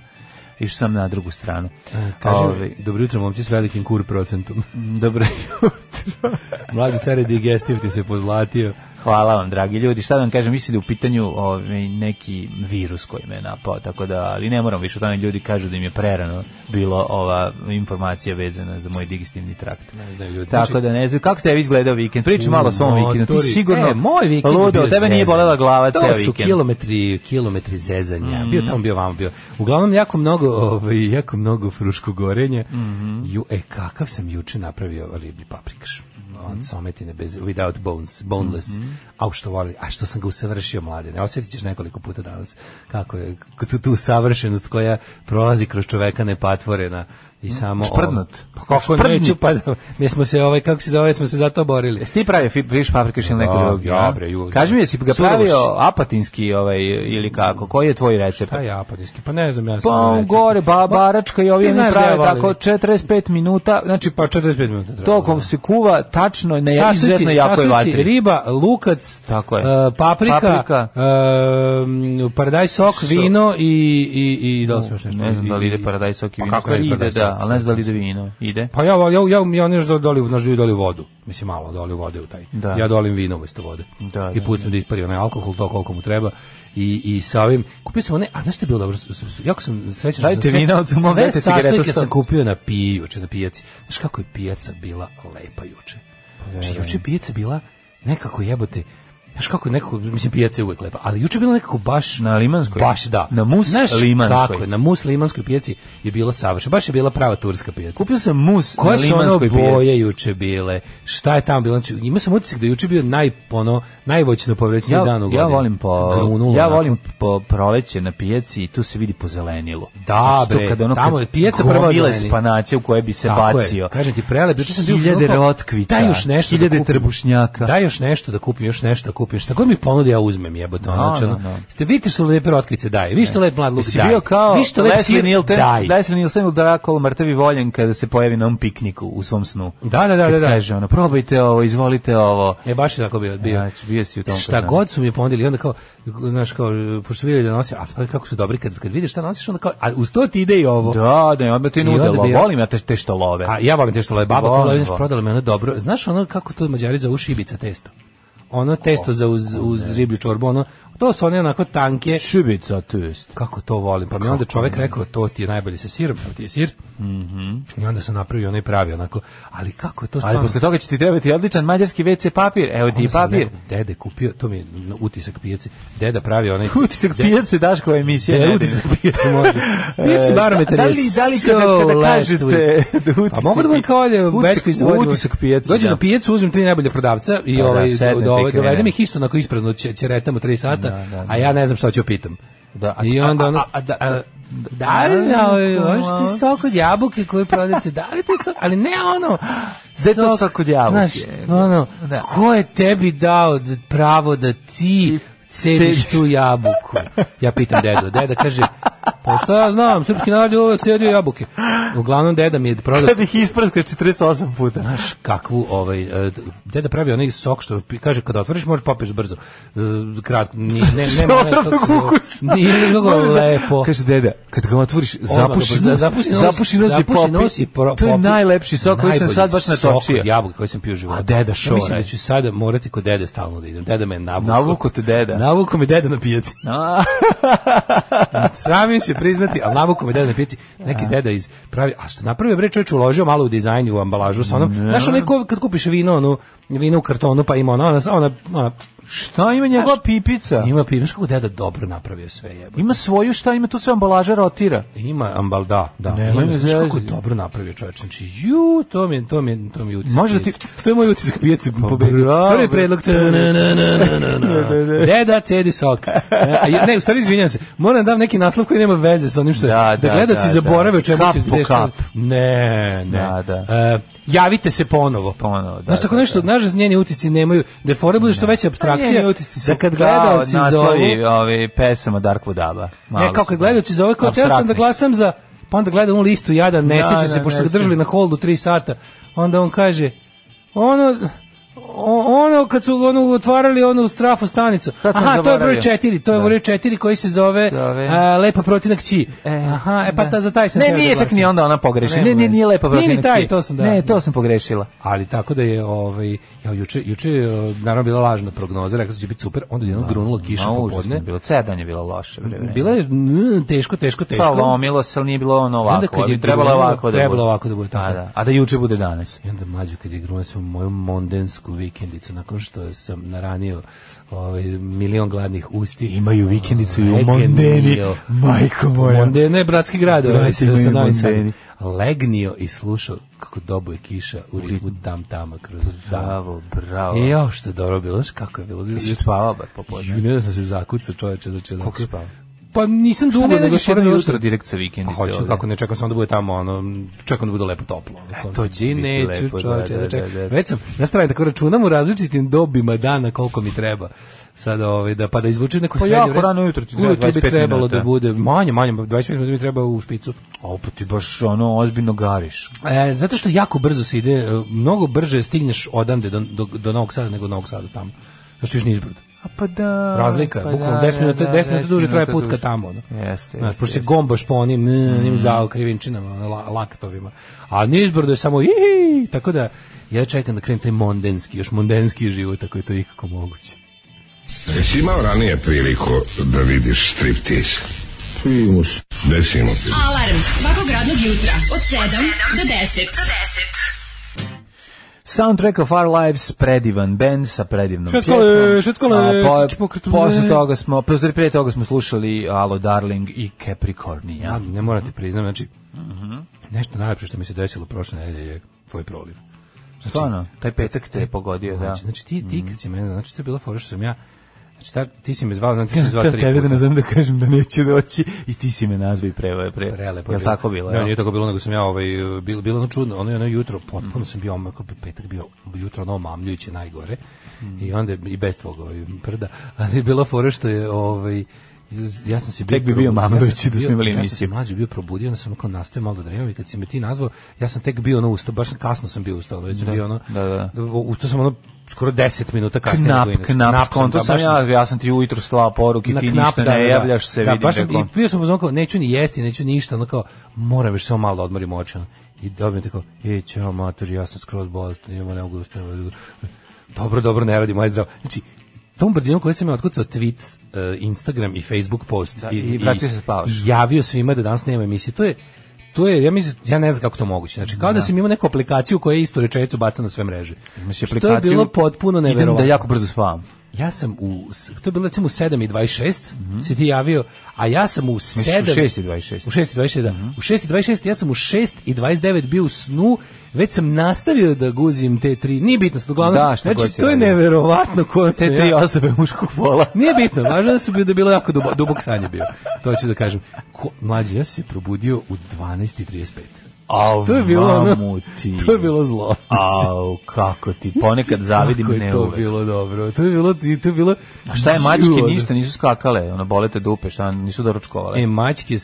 Speaker 6: Išao sam na drugu stranu. Ovaj,
Speaker 7: Kaže, E, dobro jutro momci s velikim kur procentom. [LAUGHS]
Speaker 6: dobro jutro.
Speaker 7: Mlađi car je digestiv ti se pozlatio.
Speaker 6: Hvala vam, dragi ljudi. Šta da vam kažem, mislim da je u pitanju ovaj, neki virus koji me je napao, tako da, ali ne moram više o tome, ljudi kažu da im je prerano bilo ova informacija vezana za moj digestivni trakt.
Speaker 7: Ne znaju ljudi.
Speaker 6: Tako da ne znam, kako ste vi izgledao vikend? Pričaj malo o svom
Speaker 7: Znači- Motori.
Speaker 6: vikendu. Ti si sigurno
Speaker 7: e, moj vikend je
Speaker 6: ludo,
Speaker 7: bio
Speaker 6: tebe nije
Speaker 7: zezanje.
Speaker 6: bolela glava
Speaker 7: to
Speaker 6: ceo
Speaker 7: su
Speaker 6: vikend. Mhm.
Speaker 7: kilometri, kilometri zezanja. Bio tamo, bio vamo, bio. Uglavnom, jako mnogo, ovaj,
Speaker 6: Mhm.
Speaker 7: jako mnogo fruško gorenje. Ju, e, kakav sam juče napravio riblji paprikaš.
Speaker 6: Mhm.
Speaker 7: od sometine bez without bones, boneless. Au što voli, a što sam ga usavršio mladine. Osjetit ćeš nekoliko puta danas kako je k- tu, tu savršenost koja prolazi kroz čoveka nepatvorena i samo
Speaker 6: Mhm. Šprdnut.
Speaker 7: Pa kako
Speaker 6: Šprdnit.
Speaker 7: neću pa mi smo se ovaj kako se zove smo se zato borili.
Speaker 6: Jesi ti pravio fi- viš paprikaš ili neko
Speaker 7: Ja,
Speaker 6: drugi?
Speaker 7: Da, ja,
Speaker 6: a?
Speaker 7: bre, ju-
Speaker 6: Kaži mi, jesi ga
Speaker 7: Surovo
Speaker 6: pravio
Speaker 7: si.
Speaker 6: apatinski ovaj, ili kako? Koji je tvoj recept?
Speaker 7: Pa ja, pa niski, pa ne znam ja. stvarno
Speaker 6: Pa
Speaker 7: neću.
Speaker 6: gore, ba,
Speaker 7: Ma,
Speaker 6: baračka i ovi
Speaker 7: ti
Speaker 6: mi
Speaker 7: znaš da ja
Speaker 6: prave
Speaker 7: volim.
Speaker 6: tako 45 minuta, znači
Speaker 7: Pa 45 minuta treba.
Speaker 6: tokom se kuva tačno na ja-
Speaker 7: Sastojci-
Speaker 6: izuzetno jakoj
Speaker 7: sastojci,
Speaker 6: vatri.
Speaker 7: riba, lukac,
Speaker 6: Tako je.
Speaker 7: e, paprika,
Speaker 6: Paprika.
Speaker 7: e, paradaj sok, vino i, i, i da li sam još nešto?
Speaker 6: Ne znam da li
Speaker 7: I-
Speaker 6: ide paradaj sok i
Speaker 7: Pa
Speaker 6: vino.
Speaker 7: kako ne
Speaker 6: Stvari
Speaker 7: ide
Speaker 6: ide,
Speaker 7: paradajz
Speaker 6: da,
Speaker 7: sok?
Speaker 6: ali ne znam da li ide vino. Ide.
Speaker 7: Pa ja, ja, ja, ja nešto doli, znaš, da doli vodu. Mislim, malo doli vode u taj.
Speaker 6: Da.
Speaker 7: Ja dolim vino umjesto vode.
Speaker 6: Da,
Speaker 7: I
Speaker 6: da,
Speaker 7: pustim da, ispari onaj alkohol, to koliko mu treba. I, i sa ovim, kupio sam one, a znaš što je bilo dobro, S- s- jako sam srećan što sam
Speaker 6: Dajte
Speaker 7: sve-
Speaker 6: vina, od- mogu dajte
Speaker 7: sve
Speaker 6: cigaretu
Speaker 7: sastojke
Speaker 6: sto.
Speaker 7: sam kupio na piju, juče na pijaci. Znaš kako je pijaca bila lepa juče?
Speaker 6: Pa
Speaker 7: Znači, juče je pijaca bila nekako jebote, Znaš kako je nekako, mislim pijaca je uvek lepa, ali juče je bilo nekako baš...
Speaker 6: Na Limanskoj?
Speaker 7: Baš da.
Speaker 6: Na Mus
Speaker 7: Znaš
Speaker 6: Limanskoj.
Speaker 7: Kako je, na Mus Limanskoj pijaci je bilo savršeno. Baš je bila prava turska pijaca.
Speaker 6: Kupio sam mus na
Speaker 7: Koje su ono
Speaker 6: limanskoj
Speaker 7: boje
Speaker 6: pijaci.
Speaker 7: juče bile? Šta je tamo bilo? Znači, imao sam utisak da je juče bio naj, ono, najvoćno povrećeniji dan u
Speaker 6: Ja,
Speaker 7: godini.
Speaker 6: ja volim po
Speaker 7: Grunulo
Speaker 6: ja
Speaker 7: onako.
Speaker 6: volim po proleće na pijaci i tu se vidi po zelenilo.
Speaker 7: Da,
Speaker 6: to
Speaker 7: bre,
Speaker 6: kada ono
Speaker 7: tamo je pijaca prva
Speaker 6: gomile
Speaker 7: zeleni.
Speaker 6: spanaće u koje bi se
Speaker 7: Tako je.
Speaker 6: bacio.
Speaker 7: Kažem ti, prelep, juče sam bio... u
Speaker 6: hiljade
Speaker 7: fazonu kao,
Speaker 6: rotkvica,
Speaker 7: Daj još nešto
Speaker 6: hiljade
Speaker 7: da kupim.
Speaker 6: trbušnjaka.
Speaker 7: Daj još nešto da kupim, još nešto da kupim. Šta god mi ponudi, ja uzmem jebote. ono,
Speaker 6: Da,
Speaker 7: znači, ono,
Speaker 6: da, da.
Speaker 7: Ste vidite što lepe rotkvice daje. Vi što lep mlad luk
Speaker 6: Jesi
Speaker 7: daje.
Speaker 6: bio kao
Speaker 7: Vi što lep
Speaker 6: Leslie
Speaker 7: sir
Speaker 6: Nielsen,
Speaker 7: daje.
Speaker 6: Leslie Nielsen ili Drakol, mrtavi voljen kada se pojavi na ovom pikniku u svom snu.
Speaker 7: Da, da, da, da,
Speaker 6: Kad
Speaker 7: da.
Speaker 6: kaže ono, probajte ovo, izvolite ovo.
Speaker 7: E baš je tako bio, bio.
Speaker 6: Znači, bio si u tom
Speaker 7: šta
Speaker 6: programu.
Speaker 7: god su mi ponudili, i onda kao, znaš, kao, pošto su vidjeli da nosim, a pa kako su dobri, kad, kad vidiš šta nosiš, onda kao, a uz to ti ide i ovo.
Speaker 6: Da, da, odmah ti
Speaker 7: I
Speaker 6: nudelo.
Speaker 7: onda bi ja-
Speaker 6: Volim ja te, te što love.
Speaker 7: A ja volim te što love baba,
Speaker 6: Volim,
Speaker 7: volim,
Speaker 6: volim.
Speaker 7: prodala me ono dobro. Znaš ono kako to mađari za ušibica testo? Ono testo za uz, uz riblju čorbu, ono, to su one onako tanke,
Speaker 6: šibica test.
Speaker 7: kako to volim. Pa mi je onda čovek rekao, to ti je najbolje sa sirom, to ti je sir. I onda sam napravio onaj pravi, onako, ali kako je to
Speaker 6: Mhm. Ali
Speaker 7: stvarno...
Speaker 6: posle toga će ti trebati odličan mađarski WC papir. Evo ti i
Speaker 7: Onda sam
Speaker 6: papir.
Speaker 7: nekog Dede kupio, to mi je utisak pijace, deda pravi [LAUGHS] onaj...
Speaker 6: Utisak
Speaker 7: de-
Speaker 6: pijace Daškova emisija.
Speaker 7: Da,
Speaker 6: nedeljne.
Speaker 7: utisak [LAUGHS] pijace može. Pijaci
Speaker 6: E,
Speaker 7: barometar
Speaker 6: da
Speaker 7: je
Speaker 6: li- da li kada-
Speaker 7: so
Speaker 6: kada
Speaker 7: last
Speaker 6: kažete
Speaker 7: week.
Speaker 6: da utisak
Speaker 7: A mogu da budem kao olje,
Speaker 6: pijace-
Speaker 7: Bečko iz Vojvodine.
Speaker 6: utisak pijace,
Speaker 7: Dođem
Speaker 6: da.
Speaker 7: na pijacu, uzmem tri najbolje prodavca i
Speaker 6: Pa da,
Speaker 7: ovaj,
Speaker 6: sednete
Speaker 7: do- ovaj,
Speaker 6: i krene.
Speaker 7: dovedem ih isto onako isprazno će, ćeretam u tri sata, a ja ne znam šta ću pitam.
Speaker 6: Da, a-
Speaker 7: I
Speaker 6: a-
Speaker 7: onda
Speaker 6: a-
Speaker 7: ono...
Speaker 6: a- a- da-
Speaker 7: a- Da
Speaker 6: da-
Speaker 7: li da, ovaj,
Speaker 6: da-
Speaker 7: možete sok od jabuke koju prodajete, da li te sok, ali ne ono,
Speaker 6: Gde je to sok od jabuke?
Speaker 7: Znaš, ono,
Speaker 6: Da.
Speaker 7: ko je tebi dao d- pravo da ti cediš
Speaker 6: cediš.
Speaker 7: tu jabuku? Ja pitam dedu. Deda kaže, pa šta ja znam, srpski narod je uvek cedio jabuke. Uglavnom, deda mi je prodao
Speaker 6: Kad Da, ih isprska 48 puta.
Speaker 7: znaš kakvu ovaj e, deda pravi onaj sok što pi- kaže kada otvoriš možeš popiješ brzo. E, Krat ni ne nema onaj,
Speaker 6: Otrasnog
Speaker 7: kako se zove,
Speaker 6: ukusa.
Speaker 7: Nije nego
Speaker 6: Možeš da-
Speaker 7: lepo.
Speaker 6: Kaže deda, kad ga otvoriš, zapuši
Speaker 7: Odmah ga-
Speaker 6: nos,
Speaker 7: zapuši nos,
Speaker 6: zapuši nos i
Speaker 7: zapuši
Speaker 6: popi.
Speaker 7: nos i pro-
Speaker 6: to je
Speaker 7: popi.
Speaker 6: najlepši sok koji sam
Speaker 7: Najbolji
Speaker 6: sad baš
Speaker 7: Sok
Speaker 6: natočio.
Speaker 7: od jabuka koji sam pio u životu.
Speaker 6: A deda
Speaker 7: Ja
Speaker 6: šoraj.
Speaker 7: mislim da ću sada morati kod dede stalno da idem. Deda me navuko.
Speaker 6: Navuko te deda.
Speaker 7: Navuko me deda na pijaci.
Speaker 6: Da. [LAUGHS] A,
Speaker 7: Sramim se priznati, ali navuko me deda na pijaci. Neki deda iz pravi, a što napravio bre čovjek uložio malo u dizajn i u ambalažu sa onom. Znaš onaj ko, kad kupiš vino, ono, vino u kartonu pa ima ona, ona, ona, ona
Speaker 6: šta ima njegova pipica?
Speaker 7: ima pije, znaš kako deda dobro napravio sve jebo.
Speaker 6: Ima svoju šta, ima tu sve ambalaža rotira.
Speaker 7: Ima ambal da, da.
Speaker 6: Nemoj
Speaker 7: Ima,
Speaker 6: me
Speaker 7: znaš kako je
Speaker 6: zezati.
Speaker 7: dobro napravio čovjek. Znači, ju, to mi je, to mi je, to mi je utisak.
Speaker 6: Možda
Speaker 7: pijace.
Speaker 6: da
Speaker 7: Pa
Speaker 6: ti-
Speaker 7: to je moj utisak pijace pobedio.
Speaker 6: bravo,
Speaker 7: Prvi
Speaker 6: bre.
Speaker 7: predlog. ta- na- na- na- na- na- na-
Speaker 6: [LAUGHS]
Speaker 7: na. Deda cedi sok. E, a je- Ne, u stvari izvinjam se. Moram da dam neki naslov koji nema veze sa onim što je.
Speaker 6: Da,
Speaker 7: Da,
Speaker 6: da,
Speaker 7: gledaoci
Speaker 6: da,
Speaker 7: zaborave
Speaker 6: da.
Speaker 7: o čemu
Speaker 6: Kap
Speaker 7: se
Speaker 6: po
Speaker 7: gde šta-
Speaker 6: kap.
Speaker 7: Ne, ne.
Speaker 6: Da, da.
Speaker 7: E, javite se ponovo.
Speaker 6: Ponovo, da,
Speaker 7: Znaš tako
Speaker 6: da, Pa
Speaker 7: nešto, znaš da njeni utisci nemaju, da je fora bude što veća abstrakcija,
Speaker 6: Njeni utisci su
Speaker 7: da kad
Speaker 6: kao
Speaker 7: gledaoci zovu,
Speaker 6: Naslovi ove pesama Darkwood Daba.
Speaker 7: ne, kao kad gledaoci zove, kao teo sam da glasam za, pa onda gleda onu listu jada, ne
Speaker 6: Da,
Speaker 7: sjeća
Speaker 6: da,
Speaker 7: se, pošto
Speaker 6: ne
Speaker 7: ga
Speaker 6: sjeća.
Speaker 7: držali na holdu tri sata, onda on kaže, ono, o- ono kad su ono otvarali onu strafu stanicu.
Speaker 6: Sad sam
Speaker 7: Aha, to je broj
Speaker 6: zaboravio. Da.
Speaker 7: 4, to je broj 4 koji se zove
Speaker 6: Zove.
Speaker 7: a, Lepa protinak Ći.
Speaker 6: E,
Speaker 7: Aha, e pa
Speaker 6: da.
Speaker 7: ta, za taj sam
Speaker 6: Ne,
Speaker 7: teo da
Speaker 6: nije čak
Speaker 7: glasam.
Speaker 6: ni onda ona pogrešila.
Speaker 7: Nema
Speaker 6: Ne, ne,
Speaker 7: veze.
Speaker 6: nije lepa
Speaker 7: Nije ni
Speaker 6: protivnik.
Speaker 7: taj, to sam da.
Speaker 6: Ne, to sam pogrešila.
Speaker 7: Ali tako da je ovaj ja juče juče je e, naravno bila lažna prognoza, rekla sam da će biti super, onda je jedno grunulo kiša
Speaker 6: Ma, užasno
Speaker 7: popodne.
Speaker 6: je bilo. Cedanje je bilo loše. bre, vreme.
Speaker 7: Bila je mm, teško, teško, teško.
Speaker 6: Pa lomilo se, ali nije bilo ono
Speaker 7: onda
Speaker 6: ovako.
Speaker 7: kad je
Speaker 6: ali trebalo je
Speaker 7: bilo,
Speaker 6: ovako da
Speaker 7: trebalo
Speaker 6: bude.
Speaker 7: ovako da bude tako.
Speaker 6: A da, a da juče bude danas.
Speaker 7: I onda mlađu kad je grunao sam moju mondensku vikendicu nakon što sam naranio ovaj milion gladnih usti.
Speaker 6: Imaju vikendicu i u
Speaker 7: Legnio.
Speaker 6: Mondeni. Majko moja.
Speaker 7: Mondeni, ne, bratski grad, ovaj,
Speaker 6: Brati
Speaker 7: sa,
Speaker 6: moji
Speaker 7: sa Novim Sadom.
Speaker 6: Mondeni.
Speaker 7: Legnio i slušao kako dobuje kiša u ritmu tam tama kroz dan.
Speaker 6: Bravo, bravo.
Speaker 7: Da. I jo, što je dobro bilo, znaš kako je bilo.
Speaker 6: Da. Jesi spavao bar popodne?
Speaker 7: Ju, ne da sam se zakucao čoveče, znači onako-
Speaker 6: Koliko si spavao?
Speaker 7: Pa nisam
Speaker 6: Šta
Speaker 7: dugo,
Speaker 6: ne
Speaker 7: nego
Speaker 6: radiš
Speaker 7: skoro
Speaker 6: jedno
Speaker 7: jutro.
Speaker 6: jutro direkt sa
Speaker 7: A
Speaker 6: vikendice?
Speaker 7: hoću,
Speaker 6: ovde?
Speaker 7: kako ne, čekam samo da bude tamo, ono, čekam da bude lepo toplo. Ono,
Speaker 6: E, to će
Speaker 7: Di
Speaker 6: biti
Speaker 7: neću,
Speaker 6: lepo, da,
Speaker 7: čoveče,
Speaker 6: da,
Speaker 7: da čekam.
Speaker 6: da, da.
Speaker 7: Već sam, na strani, tako računam u različitim dobima dana koliko mi treba. Sad ovaj da pa da izvučem neko
Speaker 6: Pa
Speaker 7: srednje
Speaker 6: jako
Speaker 7: vreme.
Speaker 6: rano ujutro ti treba
Speaker 7: Ujutro bi
Speaker 6: 25
Speaker 7: trebalo
Speaker 6: minuta.
Speaker 7: da bude manje, manje, 20 minuta mi treba u špicu.
Speaker 6: A pa ti baš ono ozbiljno gariš.
Speaker 7: E, zato što jako brzo se ide, e, mnogo brže stigneš odande do, do, do Novog Sada nego od Novog Sada tamo. Zašto još Nižbrdo.
Speaker 6: A pa da.
Speaker 7: Razlika,
Speaker 6: pa
Speaker 7: je, bukvalno 10 minuta, 10 minuta duže traje put ka tamo. ono.
Speaker 6: Jeste,
Speaker 7: Znaš,
Speaker 6: jeste,
Speaker 7: pošto se
Speaker 6: jeste. Mhm.
Speaker 7: gombaš po onim, mm, onim zaokrivinčinama, ono, la, laktovima. A Nizbrdo je samo, ihi, tako da ja čekam da krenem taj mondenski, još mondenski život, ako je to ikako moguće.
Speaker 8: Jesi imao ranije priliku da vidiš striptiz?
Speaker 4: Primus.
Speaker 8: Desimo ti.
Speaker 5: Alarm svakog radnog jutra od 7 do 10.
Speaker 6: Soundtrack of Our Lives, predivan band sa predivnom
Speaker 7: Šetkole,
Speaker 6: pjesmom.
Speaker 7: šetkole,
Speaker 6: A
Speaker 7: srpski pokret.
Speaker 6: posle toga smo, posle prije toga smo slušali Alo Darling i Capricornia.
Speaker 7: Ja, ne morate priznam, znači,
Speaker 6: Mhm.
Speaker 7: nešto najlepše što mi se desilo prošle nedelje je tvoj proliv.
Speaker 6: Stvarno, taj petak te je pogodio, da.
Speaker 7: Znači, znači ti, ti kad si mene, znači to je bila fora što sam ja, znači ta, ti si me zvao, znači
Speaker 6: [LAUGHS]
Speaker 7: ti si me zvao
Speaker 6: Da,
Speaker 7: tri
Speaker 6: tebe da
Speaker 7: puta.
Speaker 6: nazovem da kažem da neću doći i ti si me nazvao i preveo pre.
Speaker 7: Prelepo.
Speaker 6: Jel
Speaker 7: bilo.
Speaker 6: tako bilo?
Speaker 7: pa Ne,
Speaker 6: jel?
Speaker 7: nije tako bilo, nego sam ja ovaj bilo bilo ono čudno, ono ono jutro potpuno sam bio omako petak bio jutro ono mamljujuće najgore.
Speaker 6: Mm.
Speaker 7: I onda je i bez tvog ovaj prda, [LAUGHS] ali je bila fora što je ovaj ja sam se bio
Speaker 6: Tek bi bio
Speaker 7: probudio,
Speaker 6: mamljujući
Speaker 7: ja sam se
Speaker 6: da smo imali
Speaker 7: bio-
Speaker 6: emisiju.
Speaker 7: Ja sam se mlađe bio probudio, onda sam kao nastavio malo da dremam i kad si me ti nazvao, ja sam tek bio ono ustao, baš sam kasno sam bio ustao, već sam bio ono.
Speaker 6: da, da.
Speaker 7: Ustao sam ono skoro 10 minuta kasnije
Speaker 6: Knap,
Speaker 7: nego inače.
Speaker 6: knap, skonto
Speaker 7: da,
Speaker 6: sam
Speaker 7: baš
Speaker 6: ja, ja sam ti ujutro slao poruke, ti ništa ne javljaš se,
Speaker 7: da,
Speaker 6: vidim.
Speaker 7: baš sam,
Speaker 6: rekao.
Speaker 7: i bio sam u fazonu kao, neću ni jesti, neću ništa, ono kao, moram još samo malo da odmorim oči. ono. I dobijem tako, e, ćao mater, ja sam skroz bolestan, nema, ne mogu ustaviti. Dobro, dobro, ne radim, aj zdravo. Znači, tom brzinom koju sam ja otkucao tweet, e, Instagram i Facebook post
Speaker 6: Da, i vratio se spavaš.
Speaker 7: i javio svima da danas nema emisije. To je to je ja mislim ja ne znam kako to moguće. Znači kao da, sam imao neku aplikaciju koja je istu rečenicu baca na sve mreže.
Speaker 6: Imaš
Speaker 7: Što je
Speaker 6: aplikaciju,
Speaker 7: bilo potpuno neverovatno.
Speaker 6: Idem da jako brzo spavam.
Speaker 7: Ja sam u, s- to je bilo recimo u 7 i 26, si ti javio, a ja sam u 7...
Speaker 6: Mhm. u Mhm. 6 i 26.
Speaker 7: U 6 i 26, da. U 6 i 26, ja sam u 6 i 29 bio u snu, već sam nastavio da guzim te tri, nije bitno, sad uglavnom,
Speaker 6: Da, šta god
Speaker 7: znači
Speaker 6: si
Speaker 7: to je
Speaker 6: radio.
Speaker 7: neverovatno kojom
Speaker 6: Te
Speaker 7: sam
Speaker 6: tri
Speaker 7: ja...
Speaker 6: osobe muškog pola.
Speaker 7: Nije bitno, važno da su bi da je bilo jako dubo, dubok sanje bio. To ću da kažem. Ko, mlađi, ja sam se probudio u 12.35.
Speaker 6: [LAUGHS] Au,
Speaker 7: To je bilo ono,
Speaker 6: mamu [LAUGHS] ti.
Speaker 7: [LAUGHS] to je bilo zlo.
Speaker 6: Au, kako ti, ponekad zavidim
Speaker 7: Kako je
Speaker 6: ne
Speaker 7: to
Speaker 6: uvek.
Speaker 7: bilo dobro. To je bilo, to je bilo...
Speaker 6: A šta je mačke,
Speaker 7: Život.
Speaker 6: ništa, nisu skakale, ono, bolete dupe, šta, nisu doručkovale.
Speaker 7: E, mačke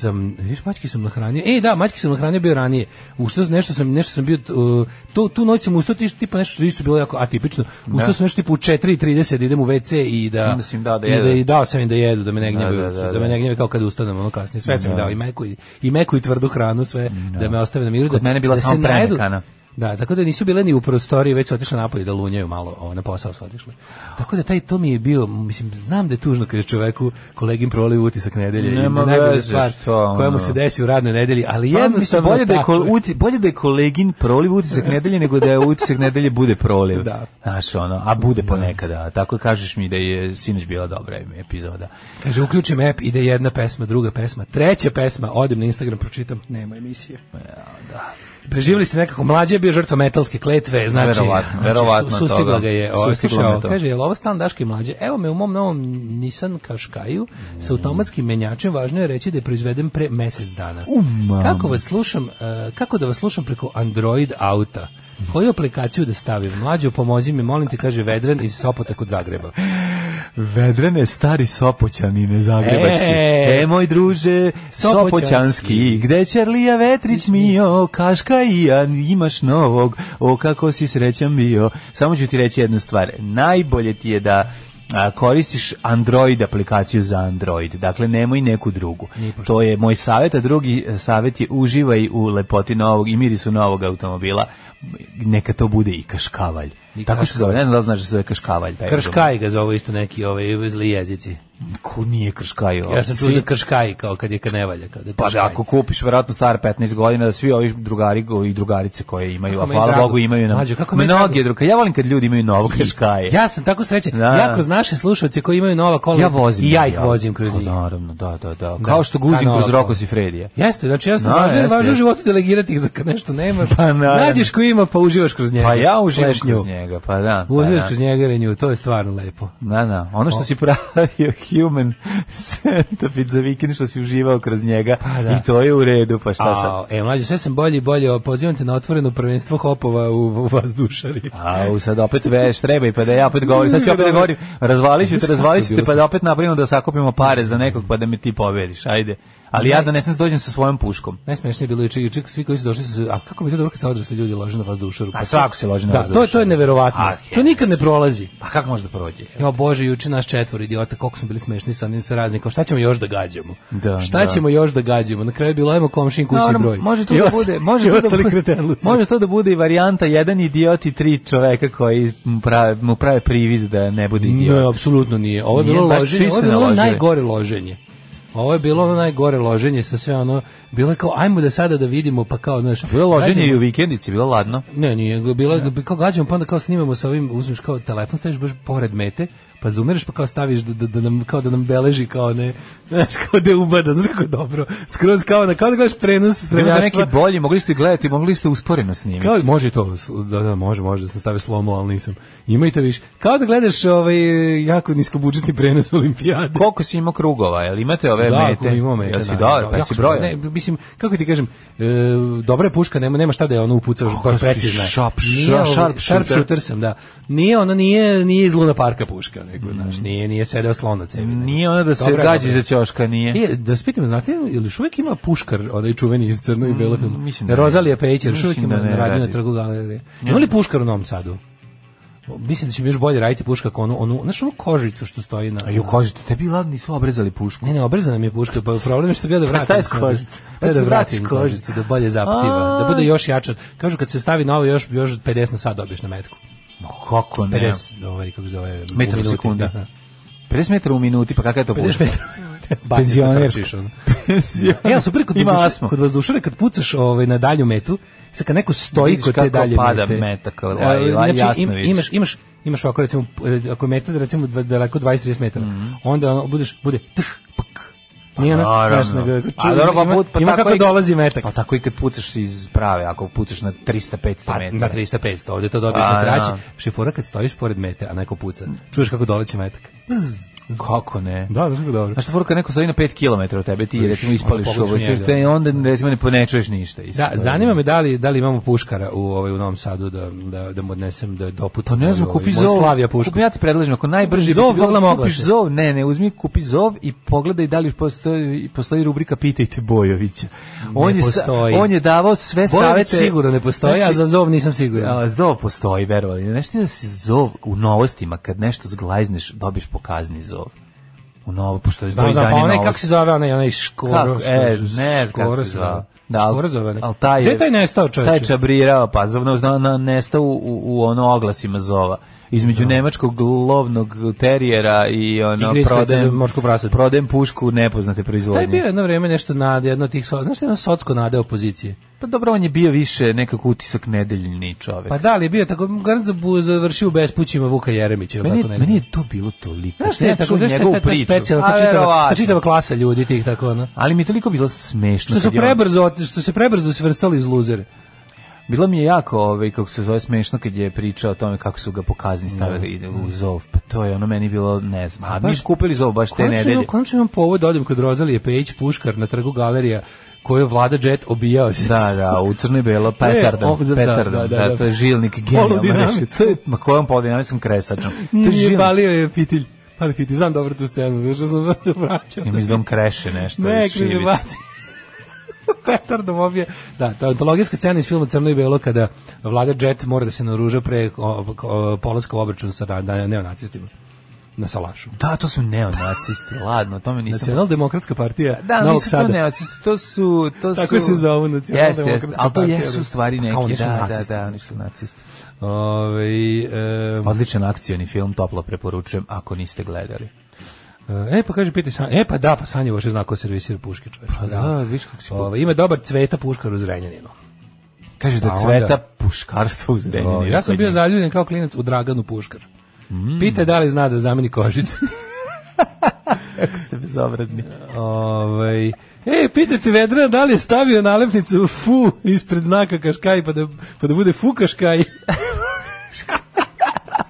Speaker 7: sam, viš, mačke sam nahranio. E, da, mačke sam nahranio bio ranije. U što nešto sam, nešto sam bio, uh, to, tu noć sam ustao tiš, tipa nešto što je isto bilo jako atipično. Ustao sam nešto tipa u 4.30 da idem u WC i da...
Speaker 6: Onda si im dao da
Speaker 7: i
Speaker 6: jedu.
Speaker 7: i dao sam im da jedu, da me ne
Speaker 6: Da,
Speaker 7: gnjave,
Speaker 6: da,
Speaker 7: da,
Speaker 6: da, da.
Speaker 7: me ne gnjave kao kad ustanem, ono kasnije. Sve sam im
Speaker 6: Da.
Speaker 7: dao, i meku i, i meku i tvrdu hranu, sve, da me ostave na miru.
Speaker 6: Kod
Speaker 7: da,
Speaker 6: mene je bila
Speaker 7: da se
Speaker 6: samo
Speaker 7: najedu.
Speaker 6: premekana.
Speaker 7: Da, tako da nisu bile ni u prostoriji, već su otišle napolje da lunjaju malo, o, na posao su otišle. Tako da taj to mi je bio, mislim, znam da je tužno kad je čoveku kolegin proliv utisak nedelje,
Speaker 6: Nema
Speaker 7: i najbolja
Speaker 6: veze,
Speaker 7: stvar
Speaker 6: što
Speaker 7: koja
Speaker 6: ono.
Speaker 7: mu se desi u radnoj nedelji, ali
Speaker 6: Pa, mislim,
Speaker 7: jednostavno
Speaker 6: bolje da je
Speaker 7: tako
Speaker 6: kol, uti, bolje da je kolegin proliv utisak
Speaker 7: [LAUGHS]
Speaker 6: nedelje nego da je utisak nedelje bude proliv.
Speaker 7: Da.
Speaker 6: Znaš, ono, a bude ponekada. a Tako kažeš mi da je sinoć bila dobra epizoda.
Speaker 7: Kaže, uključim app, ide jedna pesma, druga pesma, treća pesma, odem na Instagram, pročitam, nema emisije. Ja, da. Preživjeli ste nekako, mlađe je bio žrtva metalske kletve, znači,
Speaker 6: Verovatno,
Speaker 7: znači,
Speaker 6: verovatno
Speaker 7: su- sustigla
Speaker 6: toga.
Speaker 7: ga je, ovaj,
Speaker 6: Sustiglo
Speaker 7: slušao,
Speaker 6: me to.
Speaker 7: kaže, jel ovo stan Daške mlađe? Evo me u mom novom Nissan Qashqaiu sa automatskim menjačem, važno je reći da je proizveden pre mesec dana.
Speaker 6: mam.
Speaker 7: Kako vas slušam, e, kako da vas slušam preko Android auta? Koju aplikaciju da stavim? Mlađo, pomozi mi, molim te, kaže Vedran iz Sopota kod Zagreba.
Speaker 6: Vedrene stari sopoćanine zagrebački. E,
Speaker 7: E.
Speaker 6: moj druže, sopoćanski,
Speaker 7: Sopoćanski.
Speaker 6: gde Čerlija Vetrić mio, Kaška i ja, imaš novog, o kako si srećan bio. Samo ću ti reći jednu stvar, najbolje ti je da a, koristiš Android aplikaciju za Android, dakle nemoj neku drugu. To je moj savjet, a drugi e, savjet je uživaj u lepoti novog i mirisu novog automobila, neka to bude i kaškavalj. Tako se zove, ne znam da li znaš da se zove Krškavalj. Taj
Speaker 7: Krškaj ga zove isto neki ovaj zli jezici.
Speaker 6: Ko nije Krškaj? ovo?
Speaker 7: Ja sam čuo
Speaker 6: Svi-
Speaker 7: za krškaj kao kad je kanevalja. Kada je
Speaker 6: Da. Pa da,
Speaker 7: krškaj.
Speaker 6: ako kupiš verovatno star 15 godina da svi ovi drugari go- i drugarice koje imaju,
Speaker 7: Kako
Speaker 6: a
Speaker 7: mi je
Speaker 6: hvala
Speaker 7: drago.
Speaker 6: Bogu imaju nam
Speaker 7: Mlađo, kako mi je
Speaker 6: mnoge
Speaker 7: drago.
Speaker 6: druge. Ja volim kad ljudi imaju novog Krškaje.
Speaker 7: Ja sam tako srećan.
Speaker 6: Da.
Speaker 7: Ja kroz naše slušalce koji imaju nova kola.
Speaker 6: Ja vozim.
Speaker 7: I ja
Speaker 6: na
Speaker 7: ih
Speaker 6: dijal.
Speaker 7: vozim kroz
Speaker 6: Pa
Speaker 7: njih.
Speaker 6: Naravno, da, da, da.
Speaker 7: Da,
Speaker 6: Kao što
Speaker 7: ta
Speaker 6: guzim
Speaker 7: nova
Speaker 6: kroz
Speaker 7: kola.
Speaker 6: Roko Sifredija.
Speaker 7: Jeste, znači jasno,
Speaker 6: Da,
Speaker 7: važno, je-
Speaker 6: jeste,
Speaker 7: važno je u
Speaker 6: jeste.
Speaker 7: životu delegirati ih za kad nešto nemaš.
Speaker 6: Pa, naravno.
Speaker 7: Nađeš ko ima, pa uživaš kroz njega.
Speaker 6: Pa ja uživam
Speaker 7: Slash
Speaker 6: kroz
Speaker 7: nju.
Speaker 6: njega, pa da. Pa
Speaker 7: Uživaš
Speaker 6: da.
Speaker 7: kroz njega ili nju, to je stvarno lepo.
Speaker 6: Da, da. Ono što si pravio human [LAUGHS] centipede za vikend, što si uživao kroz njega,
Speaker 7: Pa da.
Speaker 6: i to je u redu, pa šta sad?
Speaker 7: A, e, mlađe, sve sam bolje i bolje, pozivam te na otvoreno prvenstvo hopova u, u vazdušari.
Speaker 6: Au, sad opet veš, treba i pa da ja opet govorim, sad ću opet da govorim, razvalit ću te, razvalit ću te, pa da opet napravimo da sakupimo pare za nekog, pa da mi ti pobediš, ajde. Ali ja da ne sam dođem sa svojom puškom.
Speaker 7: Najsmešnije je bilo i čik, čik, svi koji su došli su, a kako mi je to dobro kad se odrasli ljudi lože na vazdušaru.
Speaker 6: A Pa svako se loži na
Speaker 7: Da, to je, to je
Speaker 6: vazdušaru.
Speaker 7: neverovatno.
Speaker 6: Ah,
Speaker 7: to nikad ne prolazi.
Speaker 6: Pa kako može da prođe?
Speaker 7: Ja bože, juče nas četvor idiota, koliko smo bili smešni sa onim sa raznikom. Šta ćemo još da gađamo?
Speaker 6: Da,
Speaker 7: šta
Speaker 6: da.
Speaker 7: ćemo još da gađamo? Na kraju je bilo ajmo komšin kući
Speaker 6: Dobro,
Speaker 7: broj.
Speaker 6: Može to
Speaker 7: I
Speaker 6: da
Speaker 7: osta-
Speaker 6: bude,
Speaker 7: [LAUGHS] i
Speaker 6: može to da
Speaker 7: ostali
Speaker 6: bude,
Speaker 7: kretenluci.
Speaker 6: može to da bude i varijanta jedan idiot i tri čoveka koji mu prave, mu prave privid da ne bude idiot.
Speaker 7: Ne, apsolutno nije. Ovo je
Speaker 6: Nije,
Speaker 7: bilo
Speaker 6: baš svi
Speaker 7: loženje, ovo je
Speaker 6: se
Speaker 7: bilo ono
Speaker 6: naložili.
Speaker 7: najgore loženje. Ovo je bilo ono najgore loženje sa sve ono, bilo je kao, ajmo da sada da vidimo, pa kao, znaš...
Speaker 6: Bilo loženje
Speaker 7: gađamo-
Speaker 6: i u vikendici, bilo ladno.
Speaker 7: Ne, nije, bilo
Speaker 6: Da.
Speaker 7: je, kao gađamo, pa onda kao snimamo sa ovim, uzmeš kao telefon, staviš baš pored mete, pa zoomireš, pa kao staviš da, da, da nam, kao da nam beleži, kao ne, [LAUGHS] znaš, kao da je ubada, znaš kako je dobro, skroz kao, na, kao da gledaš prenos
Speaker 6: Da
Speaker 7: streljaštva.
Speaker 6: je neki bolji, mogli ste gledati, mogli ste usporeno snimiti.
Speaker 7: Kao, može i to, s- da, da, može, može da sam stavio slomo, ali nisam. Ima i to više. Kao da gledaš ovaj, jako niskobudžetni prenos [LAUGHS] olimpijade.
Speaker 6: Koliko si imao krugova, jel imate ove
Speaker 7: da,
Speaker 6: mete?
Speaker 7: ako imao mete,
Speaker 6: Jel si
Speaker 7: da,
Speaker 6: dobar,
Speaker 7: da,
Speaker 6: pa
Speaker 7: jako
Speaker 6: jesi
Speaker 7: sam-
Speaker 6: brojao?
Speaker 7: Ne, mislim, kako ti kažem, e, dobra je puška, nema, nema šta da je ono upucaš, baš
Speaker 6: si
Speaker 7: precizna je.
Speaker 6: sharp-
Speaker 7: Nije
Speaker 6: sharp-
Speaker 7: ovo-
Speaker 6: sharp
Speaker 7: sharp
Speaker 6: shooter.
Speaker 7: shooter sam, da. Nije ono, nije, nije iz Luna Parka puška, neko, znaš, nije, nije sedeo slon na cevi. nego-
Speaker 6: Mm. Nije ono da se
Speaker 7: Dobra je,
Speaker 6: gađi
Speaker 7: dobra
Speaker 6: za
Speaker 7: je.
Speaker 6: ćoška, nije.
Speaker 7: E, da vas pitam, znate, je li još uvijek ima puškar, onaj čuveni iz crno i belo filma?
Speaker 6: mislim da ne.
Speaker 7: Rozalija Pejića, još uvijek
Speaker 6: Mislim
Speaker 7: ima
Speaker 6: da ne
Speaker 7: na radio na
Speaker 6: radi.
Speaker 7: trgu galerije. Ima li puškar u Novom Sadu? Mislim da će mi još bolje raditi puška kao onu, onu, znaš, onu kožicu što stoji na...
Speaker 6: A ju kažete, tebi ladni su obrezali pušku.
Speaker 7: Ne, ne, obrezana mi je puška, pa problem je što bi ja da
Speaker 6: [LAUGHS]
Speaker 7: vratim.
Speaker 6: šta je s
Speaker 7: sada.
Speaker 6: kožicom?
Speaker 7: Treba
Speaker 6: Hoćeš
Speaker 7: da
Speaker 6: da vratiš
Speaker 7: vratim
Speaker 6: kožicu?
Speaker 7: kožicu, da bolje zaptiva,
Speaker 6: A.
Speaker 7: da bude još jača. Kažu kad se stavi novo, još, još 50 na sat dobiješ na metku.
Speaker 6: Ma Kako ne?
Speaker 7: 50, ovaj, kako se zove, u
Speaker 6: Metara u
Speaker 7: minuti,
Speaker 6: sekundi.
Speaker 7: da, da.
Speaker 6: 50 metara u minuti, pa kakva je to
Speaker 7: 50
Speaker 6: puška?
Speaker 7: metara. Baciš,
Speaker 6: Penzionersko.
Speaker 7: trčiš, ono.
Speaker 6: Pa [LAUGHS]
Speaker 7: E,
Speaker 6: da,
Speaker 7: Ja super kod
Speaker 6: Ima
Speaker 7: vazdušara,
Speaker 6: asmo.
Speaker 7: kod vazdušara kad pucaš ovaj na dalju metu, sad kad neko stoji
Speaker 6: Vidiš
Speaker 7: kod te
Speaker 6: kako
Speaker 7: dalje
Speaker 6: pada
Speaker 7: mete.
Speaker 6: meta, kao,
Speaker 7: E,
Speaker 6: aj, aj, jasno
Speaker 7: im-
Speaker 6: vidiš.
Speaker 7: imaš imaš imaš ovako recimo e, ako je meta da recimo dva- daleko 20 30 metara.
Speaker 6: Mhm.
Speaker 7: Onda ono, budeš bude tš pk. Nije ono,
Speaker 6: Pa Naravno.
Speaker 7: znaš, nego,
Speaker 6: A dobro, pa
Speaker 7: ima-
Speaker 6: put, pa
Speaker 7: ima
Speaker 6: tako
Speaker 7: kako
Speaker 6: i-
Speaker 7: dolazi metak.
Speaker 6: Pa tako i kad pucaš iz prave, ako pucaš na 300-500
Speaker 7: Pa,
Speaker 6: metara.
Speaker 7: na 300 500, ovde to dobiješ
Speaker 6: Pa,
Speaker 7: na kraći.
Speaker 6: da.
Speaker 7: Šifora kad stojiš pored mete, a neko puca. Čuješ kako doleće metak.
Speaker 6: Kako ne?
Speaker 7: Da, znaš kako dobro.
Speaker 6: Znaš što furka neko stoji na 5 km od tebe, ti recimo ispališ
Speaker 7: ono,
Speaker 6: ovo,
Speaker 7: pogledaš
Speaker 6: ćeš
Speaker 7: njega.
Speaker 6: te onda recimo ne, po- ne čuješ ništa.
Speaker 7: Da, zanima me da li, da li imamo puškara u ovaj u Novom Sadu da da da mu odnesem da doputim.
Speaker 6: Pa ne znam,
Speaker 7: ovaj,
Speaker 6: kupi
Speaker 7: moj
Speaker 6: zov.
Speaker 7: Slavija pušku.
Speaker 6: Kupi, ja ti predlažem, ako najbrži...
Speaker 7: Zov,
Speaker 6: bi ti bilo,
Speaker 7: pogledam
Speaker 6: Kupiš
Speaker 7: oglase.
Speaker 6: zov, ne, ne, uzmi, kupi zov i pogledaj da li postoji, postoji rubrika Pitajte Bojovića. On je, sa-
Speaker 7: postoji.
Speaker 6: on je davao sve
Speaker 7: Bojović
Speaker 6: savete... Znači- Da,
Speaker 7: sigurno ne postoji, a za zov nisam siguran.
Speaker 6: A, zov postoji, verovali. Znaš ti da si zov u novostima, kad nešto zglajzneš, dobiš pokazni zov. U novo, pošto je
Speaker 7: Znam,
Speaker 6: izdanje
Speaker 7: znam, pa onaj kako
Speaker 6: novosti.
Speaker 7: se zove, onaj, onaj škoro.
Speaker 6: Kako? E,
Speaker 7: škoro-
Speaker 6: ne znam kako
Speaker 7: škoro
Speaker 6: se zove.
Speaker 7: Da,
Speaker 6: al-
Speaker 7: škoro zove. onaj.
Speaker 6: al taj je,
Speaker 7: Gde je taj nestao čovječe?
Speaker 6: Taj je čabrirao, pa zovno, zna, na, nestao u, u, u ono oglasima zova. Između
Speaker 7: Da.
Speaker 6: nemačkog lovnog terijera i ono
Speaker 7: Igrice za
Speaker 6: prodajem,
Speaker 7: morsku prasad.
Speaker 6: prodajem pušku nepoznate proizvodnje.
Speaker 7: Taj je bio jedno vreme nešto nade, jedno od tih, so- znaš, jedno socko nade opozicije.
Speaker 6: Pa dobro, on je bio više nekako utisak nedeljni čovek.
Speaker 7: Pa da, ali je bio tako, garant za, bu- završio u bespućima Vuka Jeremića. ili
Speaker 6: meni,
Speaker 7: tako nešto.
Speaker 6: meni je Znači, to bilo toliko.
Speaker 7: Znaš šta je
Speaker 6: Ja
Speaker 7: tako,
Speaker 6: čujem
Speaker 7: znaš šta
Speaker 6: njegovu
Speaker 7: je ta
Speaker 6: priču.
Speaker 7: specijalna,
Speaker 6: A,
Speaker 7: ta čitava, ta
Speaker 6: verovatno.
Speaker 7: čitava klasa ljudi tih tako, ono.
Speaker 6: Ali mi je toliko bilo smešno.
Speaker 7: Što su
Speaker 6: kad je on-
Speaker 7: prebrzo, ot- što se prebrzo svrstali iz luzere.
Speaker 6: Bilo mi je jako, ovaj, kako se zove, smešno kad je pričao o tome kako su ga po
Speaker 7: Da.
Speaker 6: kazni stavili u zov. Pa to je ono meni bilo, ne znam. A mi
Speaker 7: baš-
Speaker 6: smo kupili zov baš te
Speaker 7: Konačno
Speaker 6: nedelje.
Speaker 7: imam, konačno imam povod da odem kod Rozalije Pejić Puškar na trgu galerija koju je Vlada Jet obijao. se.
Speaker 6: Da, da, u crno i belo,
Speaker 7: E,
Speaker 6: petardan,
Speaker 7: o, da,
Speaker 6: petardan, da,
Speaker 7: da, da, da.
Speaker 6: to je žilnik genijalno
Speaker 7: Poludinamičan.
Speaker 6: rešio. To je, ma kojom poludinamičnom kresačom? To je
Speaker 7: Nije
Speaker 6: žilnik.
Speaker 7: balio je fitilj. Pali fitilj, znam dobro tu scenu, više sam vraćao.
Speaker 6: Ja mislim da on kreše nešto.
Speaker 7: Ne,
Speaker 6: iz
Speaker 7: križe
Speaker 6: šibice.
Speaker 7: baci. [LAUGHS] Petardom obje. Da, to je antologijska scena iz filma Crno i Belo kada vlada Jet mora da se naruža pre o, o, polaska u obračun sa ra- na- neonacistima na Salašu.
Speaker 6: Da, to su neonacisti, ladno, o tome
Speaker 7: Znači,
Speaker 6: nisam...
Speaker 7: Nacionaldemokratska partija
Speaker 6: Da, ali
Speaker 7: Novog
Speaker 6: nisu to
Speaker 7: Sada.
Speaker 6: neonacisti, to su... To
Speaker 7: Tako
Speaker 6: su,
Speaker 7: se zovu nacionaldemokratska
Speaker 6: Jeste, jeste, ali to
Speaker 7: partija,
Speaker 6: jesu
Speaker 7: da.
Speaker 6: stvari
Speaker 7: Kao,
Speaker 6: neki,
Speaker 7: oni su
Speaker 6: da, da,
Speaker 7: nacisti.
Speaker 6: da, oni su nacisti.
Speaker 7: Ovaj, em,
Speaker 6: Odličan akcioni film, toplo preporučujem ako niste gledali.
Speaker 7: E, pa kaže, piti Sanja. E, pa da, pa Sanja Voše zna ko servisira puške, čoveče. Pa
Speaker 6: da, vidiš kako si-
Speaker 7: Ove, ima dobar cveta puškar uz Renjaninu.
Speaker 6: Kaže
Speaker 7: A
Speaker 6: da
Speaker 7: onda-
Speaker 6: cveta puškarstvo uz
Speaker 7: O,
Speaker 6: Renjaninu.
Speaker 7: ja sam bio zaljubljen kao klinac u Draganu Puškar.
Speaker 6: Mm.
Speaker 7: Pita je da li zna da zameni kožice. [LAUGHS]
Speaker 6: Ste bezobradni.
Speaker 7: Ovaj, e, pitajte Vedra da li je stavio nalepnicu fu ispred znaka Kaškaj pa da, pa da bude fu
Speaker 6: [LAUGHS]
Speaker 7: Kaškaj.
Speaker 6: [LAUGHS]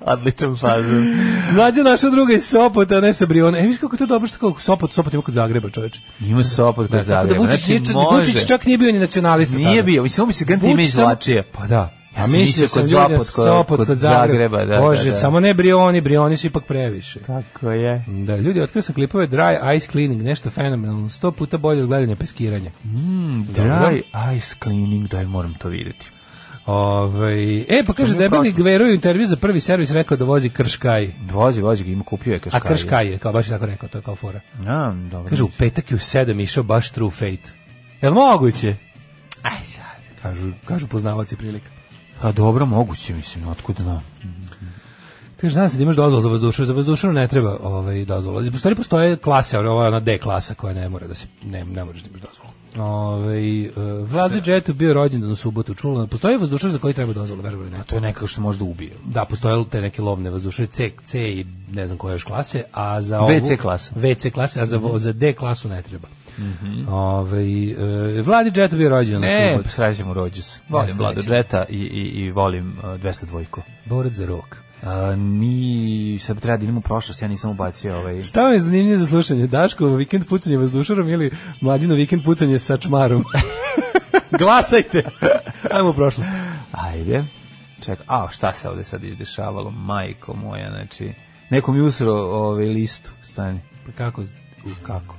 Speaker 6: Odličan fazon.
Speaker 7: Mlađa naša druga iz Sopota, a ne sa Briona. E, viš kako je to dobro što kao Sopot, Sopot ima kod Zagreba, čoveče.
Speaker 6: Ima Sopot kod
Speaker 7: Tako da
Speaker 6: Zagreba.
Speaker 7: Vučić,
Speaker 6: Znači,
Speaker 7: nije-
Speaker 6: može.
Speaker 7: Vučić čak nije bio ni nacionalista.
Speaker 6: Nije
Speaker 7: tada.
Speaker 6: bio, mislim, on mi se gledam
Speaker 7: Vuč
Speaker 6: time
Speaker 7: sam-
Speaker 6: izvlačio.
Speaker 7: Pa da.
Speaker 6: Ja sam mislio kod
Speaker 7: ljudi na
Speaker 6: Sopot, kod- kod Zagreba, da,
Speaker 7: Bože,
Speaker 6: da, da.
Speaker 7: samo ne Brioni, Brioni su ipak previše.
Speaker 6: Tako je.
Speaker 7: Da, ljudi, otkrio sam klipove Dry Ice Cleaning, nešto fenomenalno, sto puta bolje od gledanja peskiranja.
Speaker 6: Dry ice cleaning, daj moram to vidjeti.
Speaker 7: Ovaj, e, pa kaže,
Speaker 6: mi je
Speaker 7: debeli
Speaker 6: prošlo.
Speaker 7: Gvero je u intervju za prvi servis rekao da vozi Krškaj.
Speaker 6: Vozi, vozi ga, ima kupio je
Speaker 7: A
Speaker 6: kaškaje.
Speaker 7: Krškaj je, Da kao baš je tako rekao, to je kao fora.
Speaker 6: Ja, dobro.
Speaker 7: Kaže, u petak je u sedam išao baš True Fate. Jel moguće? Aj, sad. Kažu, kažu poznavaci prilika.
Speaker 6: A pa dobro, moguće, mislim, otkud znam.
Speaker 7: Kaže, nadam se da imaš dozvolu za vazdušaru, za vazdušaru ne treba ovaj, dozvola. U stvari postoje klase, ona, ona D klasa koja ne mora da se, ne, ne moraš da imaš dozvolu. Ovaj uh, Vlade Jetu bio rođendan u subotu, čula, postoji vazdušar za koji treba dozvola, verujem ili ne.
Speaker 6: To je nekako što možda ubije.
Speaker 7: Da, postoje te neke lovne vazdušare C, C i ne znam koje još klase, a za ovu...
Speaker 6: VC klasa.
Speaker 7: VC klase, a za, za D klasu ne treba. Ovaj, e, Vladi Jetu bio rođendan u
Speaker 6: Mhm. Ne,
Speaker 7: subotu.
Speaker 6: srećem u Rođus. Volim
Speaker 7: Ne,
Speaker 6: Vlado
Speaker 7: srećem.
Speaker 6: Džeta i, i, i volim uh, 202-ku.
Speaker 7: Borac za rok.
Speaker 6: A, mi sad treba da idemo u prošlost, ja nisam ubacio ovaj...
Speaker 7: Šta vam je zanimljivo za slušanje? Daško, vikend pucanje vazdušarom ili mlađino vikend pucanje sa [LAUGHS] čmarom? Glasajte! Ajmo u prošlost.
Speaker 6: Ajde. Čekaj, a šta se ovde sad izdešavalo, majko moja, znači... Neko mi usro ovaj, listu, stani.
Speaker 7: Pa kako? U, kako?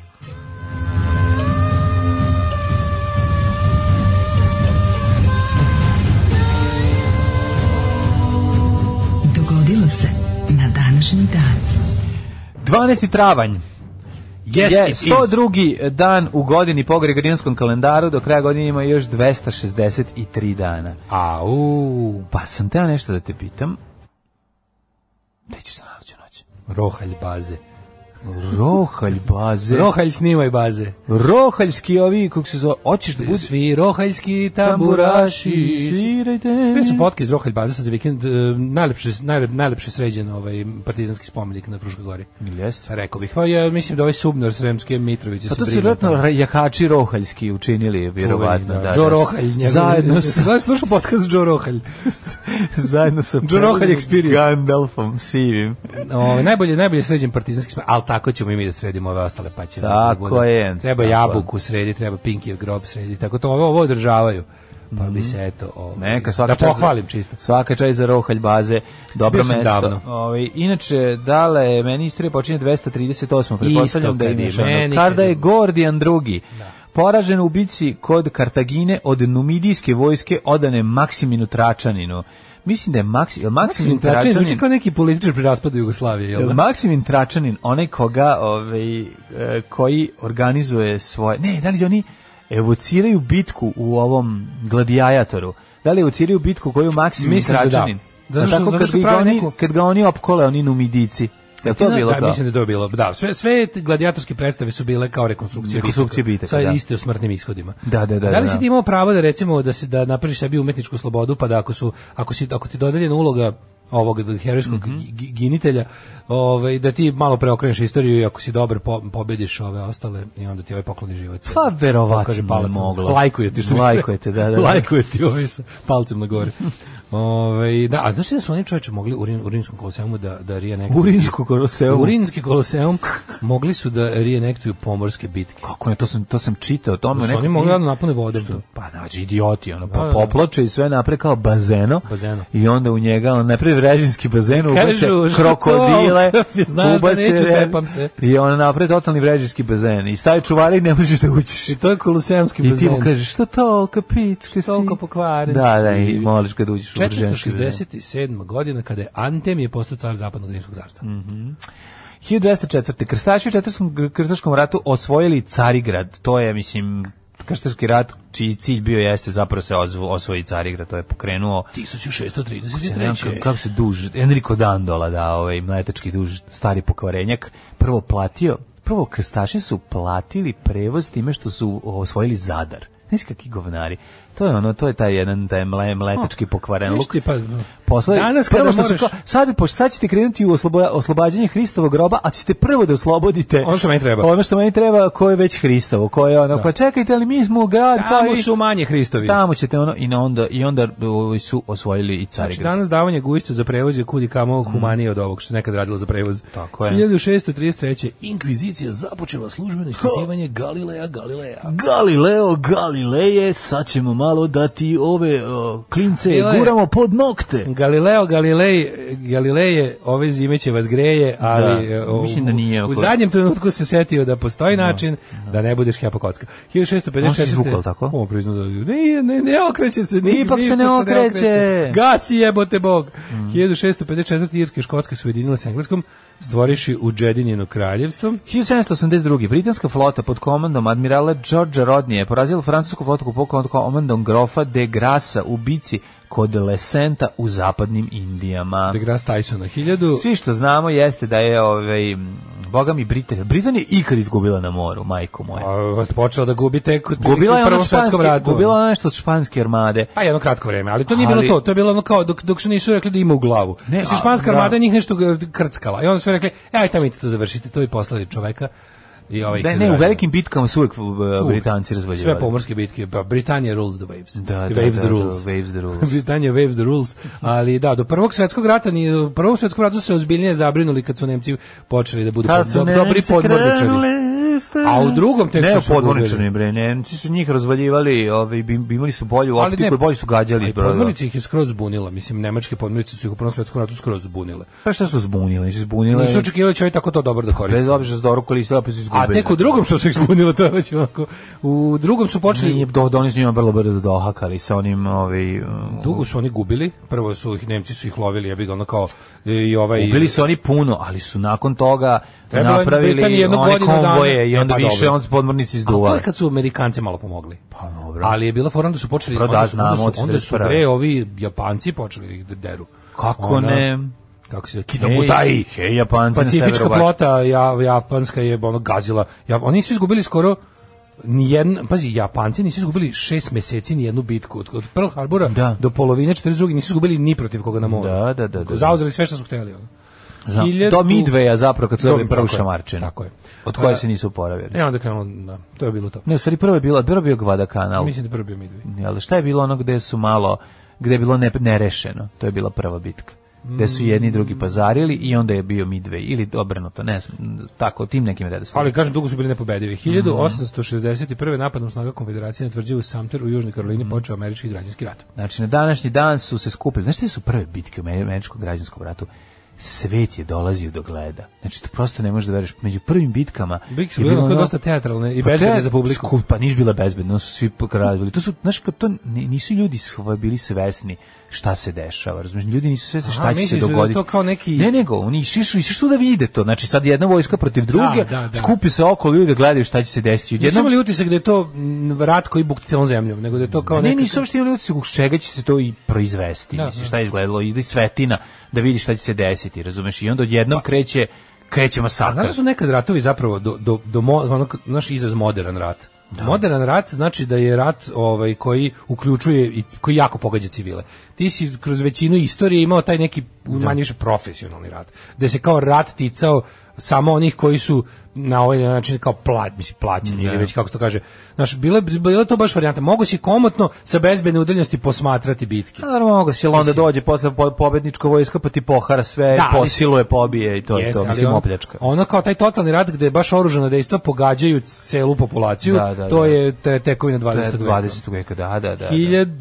Speaker 5: Dogodilo se na današnji dan.
Speaker 6: 12. travanj.
Speaker 7: Yes,
Speaker 6: je
Speaker 7: it is.
Speaker 6: 102. dan u godini po Gregorijanskom kalendaru, do kraja godine ima još 263 dana.
Speaker 7: Au,
Speaker 6: Pa sam teo nešto da te pitam. Gde ćeš za najluđu noć?
Speaker 7: rohalj baze.
Speaker 6: Rohalj baze.
Speaker 7: Rohalj snimaj baze.
Speaker 6: Rohaljski ovi, kako se zove, hoćeš da budu
Speaker 7: Svi rohaljski
Speaker 6: tamburaši,
Speaker 7: tamburaši.
Speaker 6: svirajte. Pa
Speaker 7: Sve su fotke iz Rohalj baze sad za vikend. e, Najlepše, najlep, najlepše sređen ovaj partizanski spomenik na Fruškoj gori.
Speaker 6: Jeste.
Speaker 7: Rekao bih, pa ja mislim da ovaj Subnor Sremske Mitrovice
Speaker 6: Pa
Speaker 7: se
Speaker 6: to su
Speaker 7: brine
Speaker 6: vjerojatno
Speaker 7: tamo.
Speaker 6: ra- jahači rohaljski učinili, vjerovatno. Da,
Speaker 7: Čuveni,
Speaker 6: da,
Speaker 7: Joe Rohalj. njegov- [LAUGHS]
Speaker 6: Zajedno sa,
Speaker 7: Znaš, slušao podcast Joe Rohalj.
Speaker 6: [LAUGHS] zajedno sa
Speaker 7: Joe Rohalj Experience.
Speaker 6: Gandalfom, sivim.
Speaker 7: O, Ovaj, najbolje, najbolje sređen partizanski spa, ali tako ćemo i mi da sredimo ove ostale pa će da
Speaker 6: Tako
Speaker 7: bude.
Speaker 6: je,
Speaker 7: Treba
Speaker 6: tako
Speaker 7: jabuku sredi, treba Pinkijev grob sredi, tako to ovo, ovo održavaju. Pa bi se eto, ovaj,
Speaker 6: Mhm. Neka, svaka
Speaker 7: da
Speaker 6: čast za-
Speaker 7: pohvalim čisto.
Speaker 6: Svaka čaj za rohalj baze, dobro
Speaker 7: Bio sam
Speaker 6: mesto.
Speaker 7: davno.
Speaker 6: Ovaj inače dale meni istorija počinje 238. Pretpostavljam da
Speaker 7: kad
Speaker 6: im
Speaker 7: je
Speaker 6: je ono.
Speaker 7: meni, kad
Speaker 6: Kada
Speaker 7: je- Da.
Speaker 6: je Gordijan drugi. Poražen u bici kod Kartagine od numidijske vojske odane Maksiminu Tračaninu. Mislim da je Maksi, jel Maksimin
Speaker 7: Mislim, tačnije, zvuči
Speaker 6: Tračanin.
Speaker 7: znači, kao neki političar pri raspadu Jugoslavije, jel
Speaker 6: Jel
Speaker 7: da?
Speaker 6: Maksimin Tračanin, onaj koga, ovaj, e, koji organizuje svoje... Ne, da li oni evociraju bitku u ovom gladijajatoru? Da li evociraju bitku koju Maksimin
Speaker 7: Mislim da da.
Speaker 6: Tračanin?
Speaker 7: Zato što-
Speaker 6: A tako
Speaker 7: zato
Speaker 6: kad
Speaker 7: što
Speaker 6: bi ga
Speaker 7: prave
Speaker 6: oni,
Speaker 7: neku-
Speaker 6: Kad ga oni opkole, oni numidici. Je to
Speaker 7: Da,
Speaker 6: bilo
Speaker 7: da,
Speaker 6: kao?
Speaker 7: mislim da je to bilo. Da, sve sve gladijatorske predstave su bile kao rekonstrukcije
Speaker 6: Rekonstrukcije bitaka,
Speaker 7: sa
Speaker 6: da.
Speaker 7: isto smrtnim ishodima.
Speaker 6: Da, da, da,
Speaker 7: Da li
Speaker 6: da,
Speaker 7: si
Speaker 6: da.
Speaker 7: ti imao pravo da recimo da se da napraviš sebi umetničku slobodu pa da ako su ako si ako ti je dodeljena uloga ovog herojskog
Speaker 6: Mhm.
Speaker 7: gi- gi- ginitelja, ovaj da ti malo preokreneš istoriju i ako si dobar po, pobediš ove ostale i onda ti ovaj pokloni život.
Speaker 6: Pa, verovatno
Speaker 7: Kaže
Speaker 6: je
Speaker 7: palac na-
Speaker 6: moglo.
Speaker 7: Lajkuje ti što bi se-
Speaker 6: Lajkuje te, da, da, da.
Speaker 7: Lajkuje ti ovaj sa palcem na
Speaker 6: [LAUGHS]
Speaker 7: gore. Ovaj da, a znaš li da su oni čoveče mogli u, Rim- u rimskom koloseumu da da rije neke
Speaker 6: U Rimsku Koloseumu.
Speaker 7: Urinski koloseum mogli su da reenektuju pomorske bitke.
Speaker 6: Kako ne, to sam, to sam čitao. o Tome, u
Speaker 7: Da su
Speaker 6: nekom-
Speaker 7: oni mogli da napune vodom. to.
Speaker 6: Pa znači idioti ono,
Speaker 7: Da,
Speaker 6: pa
Speaker 7: da.
Speaker 6: poplače i sve napre kao bazeno.
Speaker 7: Bazeno.
Speaker 6: I onda u njega on napre vrežinski bazen ubace
Speaker 7: Kažu, što [LAUGHS]
Speaker 6: krokodile,
Speaker 7: to? Znaš da
Speaker 6: ubace
Speaker 7: neću,
Speaker 6: re-
Speaker 7: tepam se.
Speaker 6: I on napre totalni vrežinski bazen i staje čuvari i ne možeš da uđeš.
Speaker 7: I to je koloseumski
Speaker 6: I ti mu
Speaker 7: bazen.
Speaker 6: kažeš što tolka pička si.
Speaker 7: Toliko pokvaren
Speaker 6: Da, da,
Speaker 7: si.
Speaker 6: i moliš ga da uđeš u vrežinski bazen.
Speaker 7: 467. godina kada je Antem je postao car zapadnog rimskog carstva.
Speaker 6: Mm. 1204. Krstači u Četvrtskom krstaškom ratu osvojili Carigrad. To je, mislim, krštarski rat, čiji cilj bio jeste zapravo se ozvo, osvoji Carigrad, to je pokrenuo
Speaker 7: Pa 1633.
Speaker 6: kako se duž, Enrico Dandola, da, ovaj mletački duž, stari pokvarenjak, prvo platio, prvo krstaši su platili prevoz time što su osvojili Zadar. Nisi kakvi govnari. To je ono, to je taj jedan taj mle, mletački pokvaren
Speaker 7: Viš
Speaker 6: luk.
Speaker 7: ti, pa,
Speaker 6: Posle,
Speaker 7: danas
Speaker 6: prvo
Speaker 7: kada
Speaker 6: što su
Speaker 7: moraš...
Speaker 6: kao, sad, pošto sad ćete krenuti u oslobo, oslobađanje Hristovog groba, a ćete prvo da oslobodite
Speaker 7: Ono što meni treba. Da.
Speaker 6: Ono što meni treba, ko je već Hristovo, ko je ono, pa čekajte, ali mi smo u grad,
Speaker 7: Tamo
Speaker 6: i-
Speaker 7: su manje Hristovi.
Speaker 6: tamo ćete ono, i na onda, i onda ovaj, su osvojili i Carigrad.
Speaker 7: Znači, danas davanje gujišća za prevoz je kudi kamo humanije od ovog što se nekad radilo za prevoz.
Speaker 6: Mm. Tako je.
Speaker 7: 1633. Inkvizicija započela službeno ispitivanje Galileja Galileja.
Speaker 6: Galileo Galileje, sad ćemo malo da ti ove o, klince
Speaker 7: Galileo.
Speaker 6: guramo pod nokte.
Speaker 7: Galileo Galilej Galileje ove zime će vas greje, ali
Speaker 6: Da,
Speaker 7: e, o,
Speaker 6: mislim da nije
Speaker 7: u
Speaker 6: oko-
Speaker 7: zadnjem trenutku se setio da postoji način da ne budeš hepakotska. 1654.
Speaker 6: On se izvukao, jel tako?
Speaker 7: On priznao da ne, ne, ne okreće se. ni-
Speaker 6: Ipak se
Speaker 7: ništa
Speaker 6: ne okreće. Mhm.
Speaker 7: Gasi jebote bog. 1654. Irske i Škotske su ujedinile s Engleskom, stvoriši Ujedinjeno kraljevstvo.
Speaker 6: 1782. Britanska flota pod komandom admirala Georgea Rodnije je porazila francusku flotu pod komandom grofa de Grasa u bici kod Lesenta u zapadnim Indijama.
Speaker 7: De Grasse Tysona 1000.
Speaker 6: Da. Svi što znamo jeste da je, ovaj, m, boga mi, Britanija, Britanija ikad izgubila na moru, majko moja.
Speaker 7: A, počela da gubi tek u
Speaker 6: Gubila je ono
Speaker 7: u Prvom svetskom
Speaker 6: španske,
Speaker 7: ratu.
Speaker 6: gubila je ono nešto od španske armade.
Speaker 7: Pa jedno kratko vreme, ali to nije
Speaker 6: Ali-
Speaker 7: bilo to, to je bilo ono kao dok, dok su nisu rekli da ima u glavu.
Speaker 6: Ne,
Speaker 7: Ne,
Speaker 6: a,
Speaker 7: španska
Speaker 6: da.
Speaker 7: armada njih nešto gr- krckala i onda su rekli, aj tamo idite to završite, to i poslali čoveka. I ovaj
Speaker 6: Da,
Speaker 7: ih
Speaker 6: ne, u
Speaker 7: izražava.
Speaker 6: velikim bitkama su uvijek uh,
Speaker 7: Uvek.
Speaker 6: Britanci razvaljivali.
Speaker 7: Sve pomorske bitke, pa Britanija rules the waves.
Speaker 6: Da, da,
Speaker 7: waves
Speaker 6: da,
Speaker 7: the
Speaker 6: da,
Speaker 7: rules.
Speaker 6: waves
Speaker 7: [LAUGHS]
Speaker 6: the rules.
Speaker 7: Britanija waves the rules. Ali da, do prvog svetskog rata, ni u prvom svetskom ratu su se ozbiljnije zabrinuli kad su Nemci počeli da budu pod, do, dobri podmorničari. A u drugom tek
Speaker 6: ne
Speaker 7: su se
Speaker 6: podmorničari bre,
Speaker 7: ugubili.
Speaker 6: Nemci su njih razvaljivali, ovaj bi, bi imali su bolju optiku i bolje su gađali da.
Speaker 7: ali
Speaker 6: bro.
Speaker 7: podmornice ih je skroz zbunila. Mislim, nemačke podmornice su ih u prvom svetskom ratu skroz zbunile.
Speaker 6: Pa šta su zbunili? Nisu zbunili.
Speaker 7: Nisu očekivali da će ovaj tako to dobro da koristi.
Speaker 6: bez obzira što dorukali se opet su
Speaker 7: A
Speaker 6: izgubili.
Speaker 7: tek u drugom što su ih zbunilo, to je već onako. U drugom su počeli...
Speaker 6: Nije, do, do, oni su njima vrlo brzo dohakali sa onim ovaj, um,
Speaker 7: Dugo su oni gubili, prvo su ih Nemci su ih lovili, ja bih ono kao e, i ovaj
Speaker 6: Ubili su oni puno, ali su nakon toga
Speaker 7: Trebalo je Britaniji
Speaker 6: napravili
Speaker 7: jednu
Speaker 6: one
Speaker 7: godinu dana.
Speaker 6: konvoje i
Speaker 7: E,
Speaker 6: onda
Speaker 7: pa
Speaker 6: više
Speaker 7: dobro.
Speaker 6: on podmornici
Speaker 7: A to
Speaker 6: izduvali.
Speaker 7: je kad su Amerikanci malo pomogli.
Speaker 6: Pa dobro.
Speaker 7: Ali je bila fora onda su počeli
Speaker 6: Dobro, da,
Speaker 7: onda su, onda
Speaker 6: znamo,
Speaker 7: su,
Speaker 6: od
Speaker 7: onda su
Speaker 6: 41..
Speaker 7: bre ovi Japanci počeli ih da deru.
Speaker 6: Kako ne?
Speaker 7: Kako se
Speaker 6: Hej,
Speaker 7: Kidobutai.
Speaker 6: hej, Japanci na
Speaker 7: Pacifička
Speaker 6: severu baš.
Speaker 7: flota ja, japanska je ono gazila. Ja, oni su izgubili skoro ni jedan, pazi, Japanci nisu izgubili šest meseci ni jednu bitku od, od Pearl Harbora
Speaker 6: Da.
Speaker 7: do polovine 42. nisu izgubili ni protiv koga na moru.
Speaker 6: Da, da, da, da.
Speaker 7: Zauzeli sve što su hteli. ono.
Speaker 6: Znam,
Speaker 7: Hiljadu-
Speaker 6: Do Midveja zapravo kad su
Speaker 7: Do-
Speaker 6: dobili prvu
Speaker 7: tako je,
Speaker 6: šamarčinu.
Speaker 7: Tako je. Da.
Speaker 6: Od koje
Speaker 7: A,
Speaker 6: se nisu oporavili.
Speaker 7: E, onda je krenulo, da, to je bilo to.
Speaker 6: Ne, u stvari prvo je bilo, prvo je bio Gvadakanal.
Speaker 7: Mislim da je prvi bio Midway.
Speaker 6: Jel, šta je bilo ono gde su malo, gde je bilo ne, nerešeno? To je bila prva bitka. Gde su jedni i
Speaker 7: Mm.
Speaker 6: drugi pazarili i onda je bio Midway. Ili obrnuto, ne znam, tako, tim nekim redoslijedom.
Speaker 7: Ali kažem, dugo su bili nepobedivi.
Speaker 6: Mhm.
Speaker 7: 1861. napadom snaga konfederacije na tvrđavu Sumter u Južnoj Karolini počeo američki građanski rat.
Speaker 6: Znači, na današnji dan su se skupili. Znaš, te su prve bitke u američkom građanskom ratu? svet je dolazio do gleda. Znači, to prosto ne možeš da veriš. Među prvim bitkama...
Speaker 7: Big su
Speaker 6: je
Speaker 7: bile
Speaker 6: bilo
Speaker 7: onako
Speaker 6: ono-
Speaker 7: dosta teatralne i
Speaker 6: Pa
Speaker 7: bezbedne
Speaker 6: te-
Speaker 7: za publiku.
Speaker 6: skup- Pa niš bila bezbedna, ono su svi pokradili. To su, znaš, kao to ni- nisu ljudi sva bili svesni šta se dešava, razumiješ? Ljudi nisu svesni
Speaker 7: Aha,
Speaker 6: šta će se
Speaker 7: misliš da je
Speaker 6: dogoditi.
Speaker 7: to kao neki-
Speaker 6: Ne, nego, oni išli su, išli su da vide to. Znači, sad jedna vojska protiv druge,
Speaker 7: da, da.
Speaker 6: skupi se oko ljudi da gledaju šta će se desiti.
Speaker 7: Nisu
Speaker 6: Odjednom-
Speaker 7: imali utisak da je to mm, rat koji bukti celom zemljom, nego da je to kao
Speaker 6: ne,
Speaker 7: neka...
Speaker 6: nisu uopšte imali utisak s čega će se to i proizvesti.
Speaker 7: Da,
Speaker 6: Mislim,
Speaker 7: da.
Speaker 6: šta je izgledalo, ide svetina da vidi šta će se desiti, razumeš? I onda odjednom kreće, kreće masakr.
Speaker 7: Pa- A znaš da su nekad ratovi zapravo do, do, do mo- ono, k- naš izraz modern rat? Modern rat znači da je rat ovaj koji uključuje i koji jako pogađa civile. Ti si kroz većinu istorije imao taj neki manje više profesionalni rat, gde se kao rat ticao samo onih koji su na ovaj način kao plać, mislim, plaćeni ili već kako se to kaže. Znaš, bilo, je- bilo je to baš varijanta. Mogu si komotno sa bezbedne udaljenosti posmatrati bitke.
Speaker 6: A Pa Naravno, mogu si, ali onda dođe posle po- pobednička vojska, pa ti pohara sve,
Speaker 7: Da, ali-
Speaker 6: posiluje, pobije i to je
Speaker 7: Jeste,
Speaker 6: to,
Speaker 7: ali
Speaker 6: mislim,
Speaker 7: ono-
Speaker 6: opljačka.
Speaker 7: Ono kao taj totalni rat gde baš oružana dejstva pogađaju celu populaciju,
Speaker 6: Da, da,
Speaker 7: to
Speaker 6: da.
Speaker 7: je te, tekovina
Speaker 6: To je
Speaker 7: 20. veka.
Speaker 6: 20. veka, da, da, Mhm. da. da.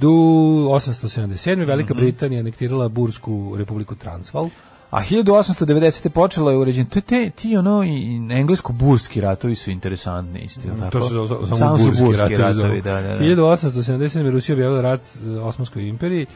Speaker 7: 1877. Velika Britanija anektirala Bursku republiku Transvaal.
Speaker 6: A 1890. počelo je uređen, to je te, ti ono, i- i englesko-burski ratovi su interesantni, isti, jel tako?
Speaker 7: To su za- za-
Speaker 6: Samo
Speaker 7: samo
Speaker 6: su
Speaker 7: burski ratovi.
Speaker 6: da, da, da.
Speaker 7: 1877. Rusija objavila rat e, Osmanskoj imperiji.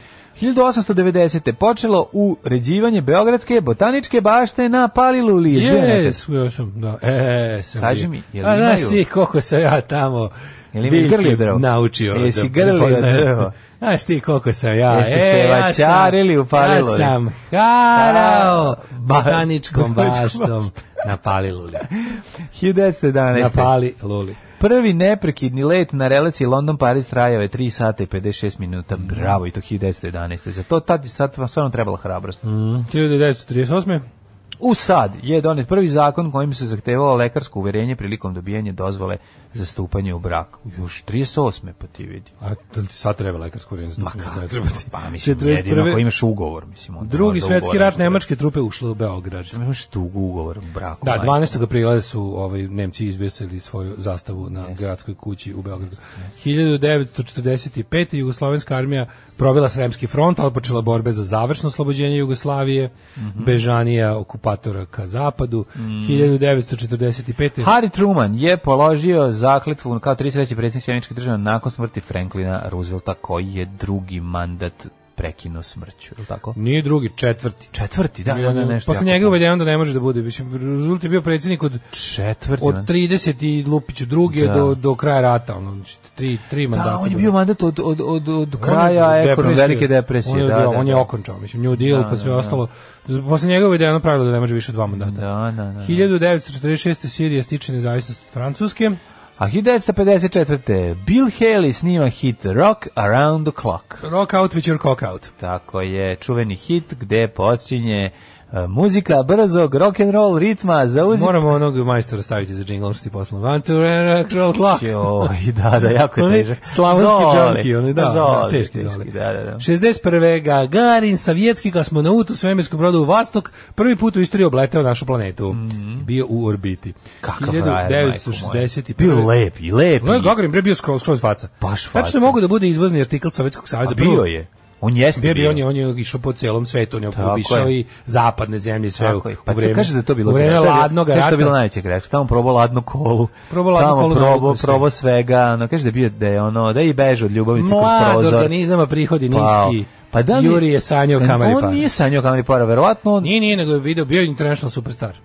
Speaker 6: 1890. počelo uređivanje Beogradske botaničke bašte na Paliluli. Yes.
Speaker 7: Yes, ja sam, da. E, sam
Speaker 6: Kaži
Speaker 7: bio.
Speaker 6: mi, jel
Speaker 7: A
Speaker 6: imaju?
Speaker 7: znaš ti koliko sam ja tamo
Speaker 6: Jel imaš
Speaker 7: biljke
Speaker 6: grlio drvo?
Speaker 7: Naučio.
Speaker 6: Jesi grlio
Speaker 7: prepoznaje.
Speaker 6: drvo?
Speaker 7: [LAUGHS] Znaš ti koliko sam ja.
Speaker 6: Jeste se vaćarili, upalilo
Speaker 7: Ja
Speaker 6: li?
Speaker 7: sam harao
Speaker 6: Ba-
Speaker 7: botaničkom
Speaker 6: botaničkom
Speaker 7: baštom na pali
Speaker 6: [LAUGHS]
Speaker 7: luli.
Speaker 6: 1911.
Speaker 7: Na pali luli.
Speaker 6: Prvi neprekidni let na relaciji London-Paris trajao je 3 sata i 56 minuta. Bravo, i to 1911. Za to tad, sad vam stvarno trebala hrabrost.
Speaker 7: Mm. 1938.
Speaker 6: U sad je donet prvi zakon kojim se zahtevalo lekarsko uverenje prilikom dobijanja dozvole za stupanje u brak. Još 38. pa ti vidi.
Speaker 7: A to ti sad treba lekarsko urenje.
Speaker 6: Ma
Speaker 7: Ne
Speaker 6: kako?
Speaker 7: treba ti.
Speaker 6: Pa mislim,
Speaker 7: 41..
Speaker 6: jedino ako imaš ugovor. Mislim, onda
Speaker 7: Drugi
Speaker 6: možda
Speaker 7: svetski
Speaker 6: ugovor-
Speaker 7: rat nemačke trupe ušle u Beograd.
Speaker 6: Imaš tu ugovor u braku.
Speaker 7: Da,
Speaker 6: majko.
Speaker 7: 12. aprila su ovaj Nemci izbesili svoju zastavu na gradskoj kući u Beogradu. 1945. jugoslovenska armija provela Sremski front, otpočela borbe za završno oslobođenje Jugoslavije,
Speaker 6: Mhm.
Speaker 7: bežanija okupatora ka zapadu. 1945.
Speaker 6: Harry Truman je položio zakletvu kao 33. predsjednik Sjeničke države nakon smrti Franklina Roosevelta koji je drugi mandat prekinuo smrću, je li tako?
Speaker 7: nije drugi, četvrti.
Speaker 6: Četvrti, da,
Speaker 7: Ja,
Speaker 6: onda je nešto.
Speaker 7: Posle
Speaker 6: jako
Speaker 7: njega je
Speaker 6: dobro.
Speaker 7: uvedeno da ne može da bude. Mislim, Rezult je bio predsjednik od
Speaker 6: četvrti.
Speaker 7: od
Speaker 6: mandat.
Speaker 7: 30 i Lupiću druge
Speaker 6: Da.
Speaker 7: do, do kraja rata, ono, znači, tri, tri mandata.
Speaker 6: Da, on je
Speaker 7: do-
Speaker 6: bio mandat od, od, od, od
Speaker 7: On je
Speaker 6: kraja
Speaker 7: bio
Speaker 6: ekonom,
Speaker 7: depresije.
Speaker 6: velike depresije.
Speaker 7: On je,
Speaker 6: da,
Speaker 7: bio-
Speaker 6: da,
Speaker 7: on je
Speaker 6: da.
Speaker 7: okončao, mislim, New Deal, pa sve ostalo. Posle njega je uvedeno pravilo da ne može više od dva mandata.
Speaker 6: Da, da, da.
Speaker 7: 1946. Sirija stiče nezavisnost od Francuske.
Speaker 6: A 1954. Bill Haley snima hit Rock Around the Clock.
Speaker 7: Rock out with your cock out.
Speaker 6: Tako je, čuveni hit gde počinje e, muzika brzog rock'n'roll ritma za uzim.
Speaker 7: Moramo onog majstora staviti za jingle, ono što ti poslao. One, two, and rock, roll, clock.
Speaker 6: Joj, da, da, jako je
Speaker 7: Onaj
Speaker 6: težak.
Speaker 7: Slavonski
Speaker 6: Zoli.
Speaker 7: džanki, onaj, da,
Speaker 6: Zoli,
Speaker 7: teški,
Speaker 6: teški,
Speaker 7: zoli.
Speaker 6: da, da, da.
Speaker 7: 61. Gagarin, sovjetski kosmonaut u svemirskom brodu u Vastok, prvi put u istoriji obleteo našu planetu. Bio u orbiti.
Speaker 6: Mhm. Kakav frajer, majko moja.
Speaker 7: 1961.
Speaker 6: Bio lep i lep.
Speaker 7: Leo
Speaker 6: i-
Speaker 7: Gagarin bre bio skroz skroz faca.
Speaker 6: Baš
Speaker 7: Znači što
Speaker 6: faca.
Speaker 7: je mogao da bude izvozni artikl Sovjetskog saveza.
Speaker 6: A bio je. On jeste
Speaker 7: Bio
Speaker 6: bio.
Speaker 7: bi on je on je išao po celom svetu, on je
Speaker 6: Tako
Speaker 7: obišao
Speaker 6: je.
Speaker 7: i zapadne zemlje i sve u,
Speaker 6: Tako je. Pa
Speaker 7: u vreme.
Speaker 6: ti kaže da je to bilo
Speaker 7: u vreme
Speaker 6: greška.
Speaker 7: ladnog
Speaker 6: Kaže da je
Speaker 7: rata.
Speaker 6: to bilo najveće greška. Tamo probao ladno kolu.
Speaker 7: Probao ladno
Speaker 6: Tamo
Speaker 7: kolu,
Speaker 6: probao,
Speaker 7: navikao se.
Speaker 6: probao svega. Ono, kaže da je bio da je ono, da je i beže od ljubavnice kroz
Speaker 7: Mlad
Speaker 6: prozor.
Speaker 7: organizama prihodi
Speaker 6: Pao.
Speaker 7: niski.
Speaker 6: Pa da li-
Speaker 7: Juri je sanjao
Speaker 6: Sen-
Speaker 7: kamari
Speaker 6: On
Speaker 7: para.
Speaker 6: nije sanjao kamari para, verovatno on
Speaker 7: Nije, nije, nego je video, bio je international superstar.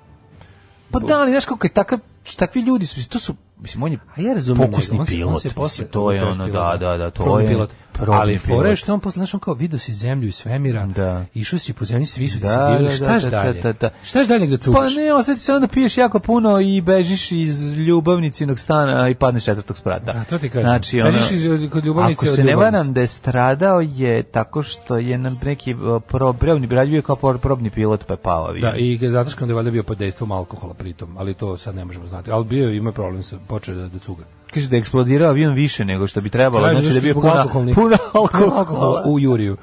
Speaker 6: Pa da, ali znaš kako je takav, takvi ljudi su, to su, mislim, on je
Speaker 7: A ja razumem.
Speaker 6: pokusni
Speaker 7: njega, on se-
Speaker 6: pilot,
Speaker 7: on se
Speaker 6: mislim,
Speaker 7: posle-
Speaker 6: to je
Speaker 7: on
Speaker 6: ono, da,
Speaker 7: pilot,
Speaker 6: da, da, to
Speaker 7: probni
Speaker 6: je
Speaker 7: pilot.
Speaker 6: probni
Speaker 7: Ali fore
Speaker 6: pilot.
Speaker 7: što je on posle, znaš, on kao video si zemlju i svemira,
Speaker 6: Da.
Speaker 7: išao si po zemlji, svi su ti
Speaker 6: Da,
Speaker 7: se divili,
Speaker 6: da,
Speaker 7: štaš
Speaker 6: da, da,
Speaker 7: dalje?
Speaker 6: da, da.
Speaker 7: Štaš dalje nego da
Speaker 6: Pa
Speaker 7: cukaš?
Speaker 6: ne, osjeti se onda piješ jako puno i bežiš iz ljubavnicinog stana i padneš četvrtog sprata.
Speaker 7: A, Da, to ti kažem.
Speaker 6: Znači, ono,
Speaker 7: Bežiš iz- kod ljubavnice
Speaker 6: Ako
Speaker 7: od
Speaker 6: se ne
Speaker 7: ljubavnice.
Speaker 6: varam da je stradao je tako što je nam neki uh, pro, probni brađ bio kao por- probni pilot pa je pao avion.
Speaker 7: Da, i zato što je valjda bio pod dejstvom alkohola pritom, ali to sad ne možemo znati. Ali bio je, ima problem sa počeo je da, da cuga.
Speaker 6: Kaže da je eksplodirao avion više nego što bi trebalo,
Speaker 7: Kaže
Speaker 6: znači da je
Speaker 7: što
Speaker 6: bio
Speaker 7: zbog
Speaker 6: puna,
Speaker 7: alkoholnih-
Speaker 6: puna
Speaker 7: Puno alkohola
Speaker 6: alkohola.
Speaker 7: u Juriju.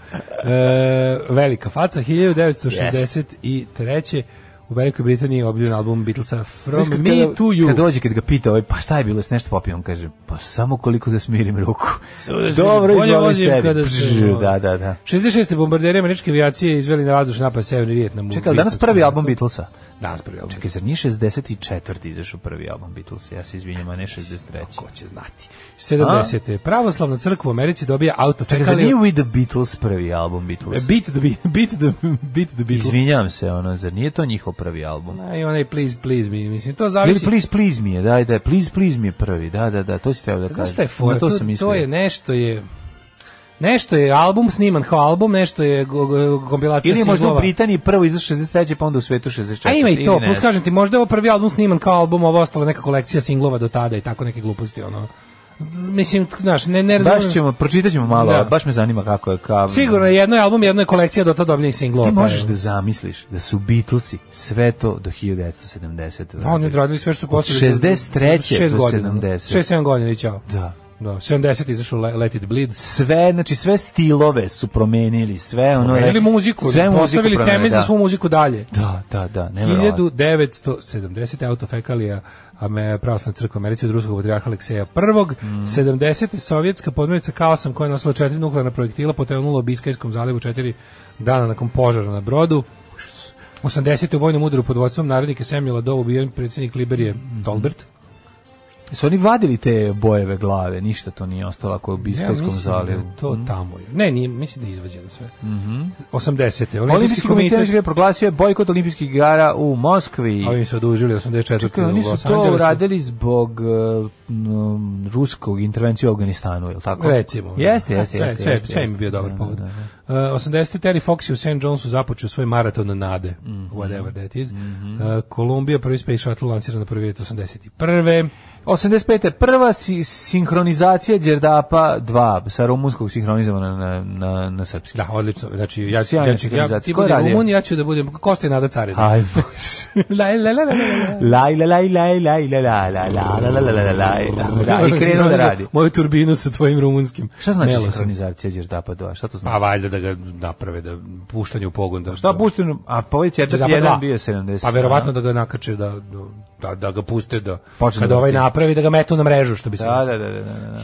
Speaker 7: E, velika faca, 1963. U Velikoj Britaniji je obiljen album Beatlesa From
Speaker 6: Znaš kad
Speaker 7: Me
Speaker 6: kada-
Speaker 7: to You.
Speaker 6: Kad dođe, kad ga pita, ovaj, pa šta je bilo, jesi nešto popio, on kaže, pa samo koliko da smirim ruku.
Speaker 7: Samo da smirim-
Speaker 6: Dobro,
Speaker 7: bolje
Speaker 6: izvoli
Speaker 7: vozim
Speaker 6: sebi.
Speaker 7: kada se-
Speaker 6: Pš, da, da, da.
Speaker 7: 66. bombarderi američke avijacije izveli na vazdušni napad Severni Vijetnam. u
Speaker 6: Čekaj, ali danas
Speaker 7: Beatlesu.
Speaker 6: prvi album Beatlesa.
Speaker 7: Danas prvi album.
Speaker 6: Čekaj, zar nije 64. izašao prvi album Beatlesa? Ja se izvinjam, a ne 63.
Speaker 7: Ko će znati. 70. Pravoslavna crkva u Americi dobija auto.
Speaker 6: Čekaj, zar
Speaker 7: Čekali-
Speaker 6: nije We the Beatles prvi album Beatlesa?
Speaker 7: Beat the, Be- beat the, beat the Beatles.
Speaker 6: Izvinjam se, ono, zar nije to njihov prvi album?
Speaker 7: A I onaj please, please me, mislim, to
Speaker 6: Ili
Speaker 7: zavisi...
Speaker 6: Please Please mi je, da, da, Please Please mi je prvi, da, da, da, to si trebao da kažem.
Speaker 7: Znaš šta je fora?
Speaker 6: Na
Speaker 7: To,
Speaker 6: to,
Speaker 7: to,
Speaker 6: sam mislio.
Speaker 7: je nešto je... Nešto je album sniman kao album, nešto je go- go- kompilacija
Speaker 6: Ili je možda u
Speaker 7: singlova.
Speaker 6: Britaniji prvo izašao 63. pa onda u svetu 64.
Speaker 7: A ima i to,
Speaker 6: ili ne
Speaker 7: plus
Speaker 6: znam.
Speaker 7: kažem ti, možda je ovo prvi album sniman kao album, ovo ostalo je neka kolekcija singlova do tada i tako neke gluposti, ono. Z- Mislim, t- znaš, ne, ne razumijem.
Speaker 6: Baš ćemo, pročitat ćemo malo,
Speaker 7: Da.
Speaker 6: baš me zanima kako je kao...
Speaker 7: Sigurno, jedno je album, jedno je kolekcija do tada dobljenih singlova.
Speaker 6: Ti
Speaker 7: pa
Speaker 6: možeš
Speaker 7: je-
Speaker 6: da zamisliš da su Beatlesi sve to do 1970.
Speaker 7: Da, oni odradili sve što su posle.
Speaker 6: Od 63.
Speaker 7: Šest
Speaker 6: do
Speaker 7: godina.
Speaker 6: 70.
Speaker 7: 6-7 godina i ćao.
Speaker 6: Da.
Speaker 7: Da, 70 izašao Le- Let It Bleed.
Speaker 6: Sve, znači sve stilove su promenili, sve ono...
Speaker 7: Promenili muziku,
Speaker 6: sve muziku
Speaker 7: postavili
Speaker 6: promenili,
Speaker 7: temelj za
Speaker 6: da.
Speaker 7: svu muziku dalje.
Speaker 6: Da, da, da, nevjerovatno.
Speaker 7: 1970. autofekalija Ame, pravoslavna crkva Americe od ruskog patrijarha Alekseja I.
Speaker 6: Mm.
Speaker 7: 70. sovjetska podmornica Kaosam koja je nosila četiri nuklearna projektila potonula u Biskajskom zalivu četiri dana nakon požara na brodu. 80. u vojnom udaru pod vodstvom narodnike Samuela Doe ubijen predsjednik Liberije Tolbert.
Speaker 6: Su oni vadili te bojeve glave, ništa to nije ostalo ako je u Biskajskom
Speaker 7: mislim da
Speaker 6: zalivu. Mm.
Speaker 7: je to tamo je. Ne, nije, mislim da je izvađeno sve. Mhm. 80.
Speaker 6: Olimpijski komitet da je proglasio je bojkot olimpijskih igara u Moskvi.
Speaker 7: A Ovi su odužili 84.
Speaker 6: Čekaj, oni su to uradili zbog uh, m, ruskog intervencije u Afganistanu, je li tako?
Speaker 7: Recimo.
Speaker 6: Jeste,
Speaker 7: da.
Speaker 6: jeste,
Speaker 7: sve,
Speaker 6: jeste.
Speaker 7: sve,
Speaker 6: jeste,
Speaker 7: sve im je
Speaker 6: jeste.
Speaker 7: bio dobar
Speaker 6: Da,
Speaker 7: povod.
Speaker 6: da, da.
Speaker 7: Uh, 80. Terry Fox je u St. Johnsu započeo svoj maraton nade,
Speaker 6: Mhm.
Speaker 7: whatever that is. Uh, Kolumbija, prvi Space Shuttle lanciran na prvi let 81.
Speaker 6: 85. prva si, sinhronizacija Đerdapa 2 sa rumunskog sinhronizovana na, na, na srpski.
Speaker 7: Da, odlično. Znači, ja,
Speaker 6: Sjajna
Speaker 7: ja, ću- ja, ti
Speaker 6: organizacija. Ko je
Speaker 7: budem
Speaker 6: radio?
Speaker 7: Rumun, ja ću da budem Kosta i Nada Carina.
Speaker 6: Aj,
Speaker 7: [LAUGHS] la, la, la, la, la.
Speaker 6: laj, laj, laj, laj, laj, laj, laj, laj, laj, laj, laj, laj, laj,
Speaker 7: Pa Ja
Speaker 6: da, i krenuo da
Speaker 7: sam sinhronizao
Speaker 6: radi.
Speaker 7: Moju turbinu sa tvojim rumunskim.
Speaker 6: Šta znači
Speaker 7: melosom.
Speaker 6: sinhronizacija Đerdapa 2? Šta to
Speaker 7: Pa
Speaker 6: znači?
Speaker 7: valjda da ga naprave, da puštanje u pogon. Da,
Speaker 6: Šta pušteno, a pa ovaj Đerdap
Speaker 7: Đerdapa
Speaker 6: 1
Speaker 7: dva.
Speaker 6: bio 70.
Speaker 7: Pa verovatno da ga nakače, da, da, da ga puste, da,
Speaker 6: Počne
Speaker 7: kad
Speaker 6: da
Speaker 7: ovaj
Speaker 6: leti.
Speaker 7: napravi, da ga metu na mrežu, što bi se...
Speaker 6: Da, da, da, da, da. da.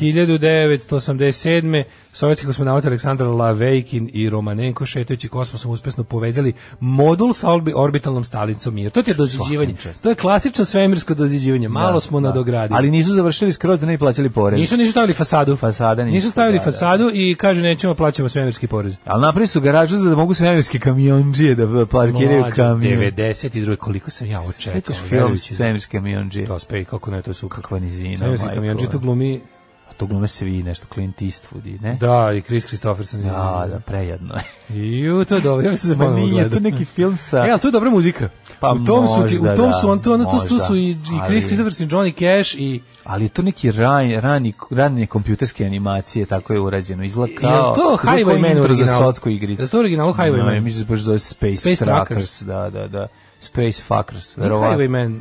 Speaker 7: 1987. sovjetski kosmonaut Aleksandar Lavejkin i Romanenko šetajući kosmosom uspešno povezali modul sa orbi- orbitalnom stalicom Mir. To ti je doziđivanje. To je klasično svemirsko doziđivanje. Malo smo
Speaker 6: Da.
Speaker 7: nadogradili.
Speaker 6: Ali nisu završili skroz da ne bi plaćali porez.
Speaker 7: Nisu nisu stavili fasadu.
Speaker 6: Fasada nisu,
Speaker 7: nisu. stavili
Speaker 6: da, da.
Speaker 7: fasadu i kaže nećemo plaćamo svemirski porez.
Speaker 6: Ali napravili su garažu za da mogu svemirski kamionđije da parkiraju
Speaker 7: Mlađe,
Speaker 6: kamion.
Speaker 7: 92. koliko sam ja očekao.
Speaker 6: Sećaš film
Speaker 7: verujući da-
Speaker 6: svemirski kamionđije?
Speaker 7: Dospe, kako ne, to je super.
Speaker 6: Kakva nizina,
Speaker 7: Svemirski
Speaker 6: majko.
Speaker 7: kamionđi tu glumi,
Speaker 6: A to glume svi nešto, Clint Eastwood i ne?
Speaker 7: da, i Chris Christopherson.
Speaker 6: Da, da, prejadno je.
Speaker 7: Ju, to je dobro, ja sam se
Speaker 6: Ma
Speaker 7: ponovno
Speaker 6: nije,
Speaker 7: gledao.
Speaker 6: to neki film sa...
Speaker 7: [LAUGHS] E, ali tu je dobra muzika.
Speaker 6: Pa
Speaker 7: u tom su, ti-
Speaker 6: možda
Speaker 7: u tom su,
Speaker 6: da,
Speaker 7: on, to, ono, tu, tu
Speaker 6: možda,
Speaker 7: su i, i Chris
Speaker 6: ali-
Speaker 7: Christopherson, Johnny Cash i...
Speaker 6: Ali je to neki rani, rani, ranije kompjuterske animacije, tako je urađeno. Izgleda kao...
Speaker 7: Jel to
Speaker 6: izgleda kao
Speaker 7: Highwayman
Speaker 6: intro za
Speaker 7: original?
Speaker 6: sotsku igricu.
Speaker 7: Jel to original Highwayman?
Speaker 6: Ne, mislim da se baš zove Space,
Speaker 7: Space
Speaker 6: Trackers.
Speaker 7: Trackers.
Speaker 6: Da, da, da. Space Fuckers, verovatno.
Speaker 7: Highwayman.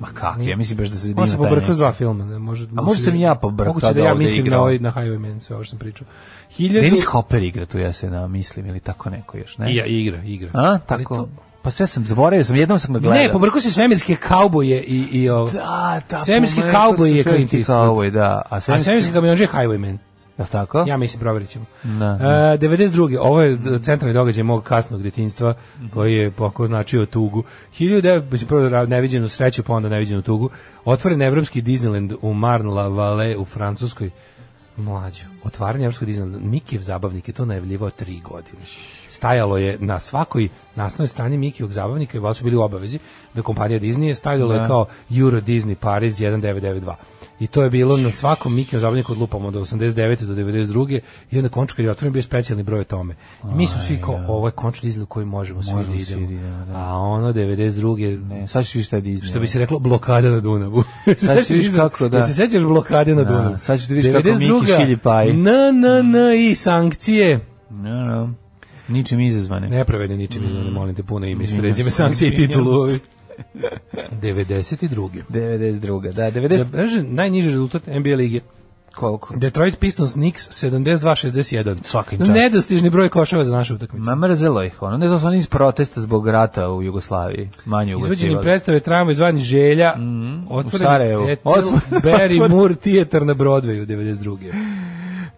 Speaker 6: Ma kak, ja mislim baš da se
Speaker 7: On
Speaker 6: dima
Speaker 7: se
Speaker 6: taj
Speaker 7: pobrkao
Speaker 6: neki.
Speaker 7: s dva filma. Ne, može,
Speaker 6: A možda sam i ja pobrkao
Speaker 7: Moguće da
Speaker 6: da
Speaker 7: ja
Speaker 6: ovde
Speaker 7: mislim
Speaker 6: igrao.
Speaker 7: na, ovaj, na Highwayman, sve ovo što sam pričao. Hiljadu...
Speaker 6: Dennis Hopper igra tu, ja se namislim, ili tako neko još, ne?
Speaker 7: I Ja, igra, igra.
Speaker 6: A,
Speaker 7: Ali
Speaker 6: tako...
Speaker 7: to-
Speaker 6: Pa sve sam zaboravio, sam jednom sam ga gledao.
Speaker 7: Ne, pa pobrkao se svemirske kauboje i, i ovo.
Speaker 6: Da, tako.
Speaker 7: Svemirski
Speaker 6: ma,
Speaker 7: kauboj
Speaker 6: to su
Speaker 7: je
Speaker 6: svemirski
Speaker 7: Clint Eastwood.
Speaker 6: kauboj, da. A
Speaker 7: A
Speaker 6: svemirski,
Speaker 7: svemirski kamionđe je Highwayman.
Speaker 6: je li tako?
Speaker 7: Ja mislim, provjerit ćemo.
Speaker 6: Da.
Speaker 7: E, 92. Ovo je centralni događaj mog kasnog djetinjstva,
Speaker 6: Mhm.
Speaker 7: koji je poko značio tugu. 1900, mislim, prvo ra- neviđenu sreću, pa onda neviđenu tugu. Otvoren evropski Disneyland u Marne-la-Vallée u Francuskoj. Mlađo, otvaranje evropskog Disneylanda. Mikijev zabavnik je to najavljivao tri godine. Stajalo je na svakoj nasnoj strani Mikijevog zabavnika, i vas su bili u obavezi, da kompanija Disney je
Speaker 6: Da.
Speaker 7: stavljala je kao Euro Disney Paris 1992. I to je bilo na svakom Mikijev zabavniku od lupama od 89. do 92. I onda končno kad je otvoren bio je specijalni broj o tome. I mi smo svi kao, ovo je končno Disney u koji možemo svi da idemo. A ono 92.
Speaker 6: Ne, E, sad ćeš vidjeti šta je Disney.
Speaker 7: Što bi se reklo blokada na Dunavu. Se
Speaker 6: Sad ćeš
Speaker 7: sećaš
Speaker 6: vidjeti
Speaker 7: iza-
Speaker 6: kako, da.
Speaker 7: jel Se sećaš blokade na
Speaker 6: Da,
Speaker 7: Dunavu.
Speaker 6: sad ćeš vidjeti kako Miki
Speaker 7: 92.
Speaker 6: šilji paje.
Speaker 7: Na na na i sankcije.
Speaker 6: No, no. Ničim izazvane.
Speaker 7: Ne prevede ničim, mm. molim te puno ime,
Speaker 6: Izvinjam
Speaker 7: prezime
Speaker 6: se.
Speaker 7: sankcije i
Speaker 6: Izvinjam
Speaker 7: titulu.
Speaker 6: se.
Speaker 7: 92.
Speaker 6: 92. Da, 90...
Speaker 7: Zabeležen najniži rezultat NBA lige.
Speaker 6: Koliko?
Speaker 7: Detroit Pistons Knicks 72-61.
Speaker 6: Svaka im čast.
Speaker 7: Nedostižni broj koševa za našu utakmicu.
Speaker 6: Ma mrzelo ih ono. Ne znam, oni iz protesta zbog rata u Jugoslaviji. Manje
Speaker 7: Izvođenje
Speaker 6: ugocivali.
Speaker 7: predstave Trama izvan Želja otvoren
Speaker 6: Mhm. u Sarajevu.
Speaker 7: Ethel
Speaker 6: Otvoren-
Speaker 7: Barry
Speaker 6: otvoren-
Speaker 7: Moore Theater na Broadwayu 92.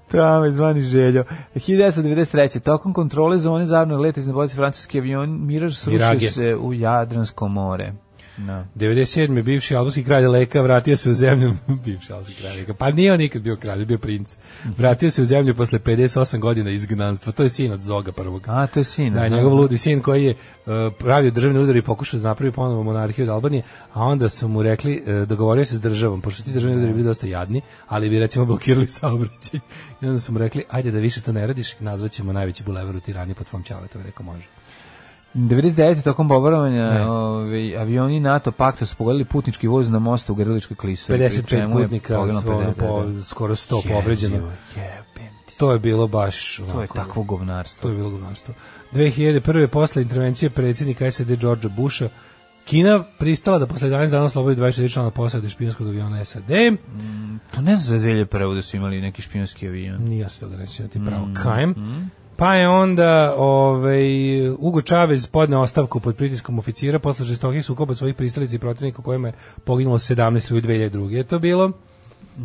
Speaker 6: Trama izvani željo. 1993. Tokom kontrole zone zavrnog leta iz nebojce francuski avion Miraž srušio
Speaker 7: Mirage.
Speaker 6: se u Jadransko more. No.
Speaker 7: 97. bivši albanski kralj Leka vratio se u zemlju, [LAUGHS] bivši albanski kralj Leka, pa nije on nikad bio kralj, bio princ. Vratio se u zemlju posle 58 godina izgnanstva, to je sin od Zoga prvog.
Speaker 6: A, to je sin.
Speaker 7: Da, njegov ludi sin koji je e, pravio državni udar i pokušao da napravi ponovo monarhiju od Albanije, a onda su mu rekli, e, dogovorio se s državom, pošto ti državni
Speaker 6: Da.
Speaker 7: udari bili dosta jadni, ali bi recimo blokirali saobraćaj. I onda su mu rekli, ajde da više to ne radiš, nazvaćemo najveći bulevar u Tirani po tvom čaletu, je rekao može.
Speaker 6: 99. tokom bombardovanja
Speaker 7: Ne.
Speaker 6: ovaj, avioni NATO pakta su pogodili putnički voz na mostu u Grdeličkoj klisi.
Speaker 7: 55 putnika, ono,
Speaker 6: da.
Speaker 7: po, skoro 100 povređeno. To je bilo baš...
Speaker 6: To je
Speaker 7: onako,
Speaker 6: takvo govnarstvo.
Speaker 7: To je bilo govnarstvo. 2001. posle intervencije predsjednika SED Georgea Busha, Kina pristala da posle 11 dana slobodi 24 člana posade špijonskog aviona SAD.
Speaker 6: To ne znam za 2001. da su imali neki špijunski avion.
Speaker 7: Nije se toga neće ti pravo kajem. Pa je onda ovaj, Ugo Čavez podne ostavku pod pritiskom oficira posle žestokih sukoba svojih pristalica i protivnika u kojima je poginulo 17 ljudi 2002. je to bilo.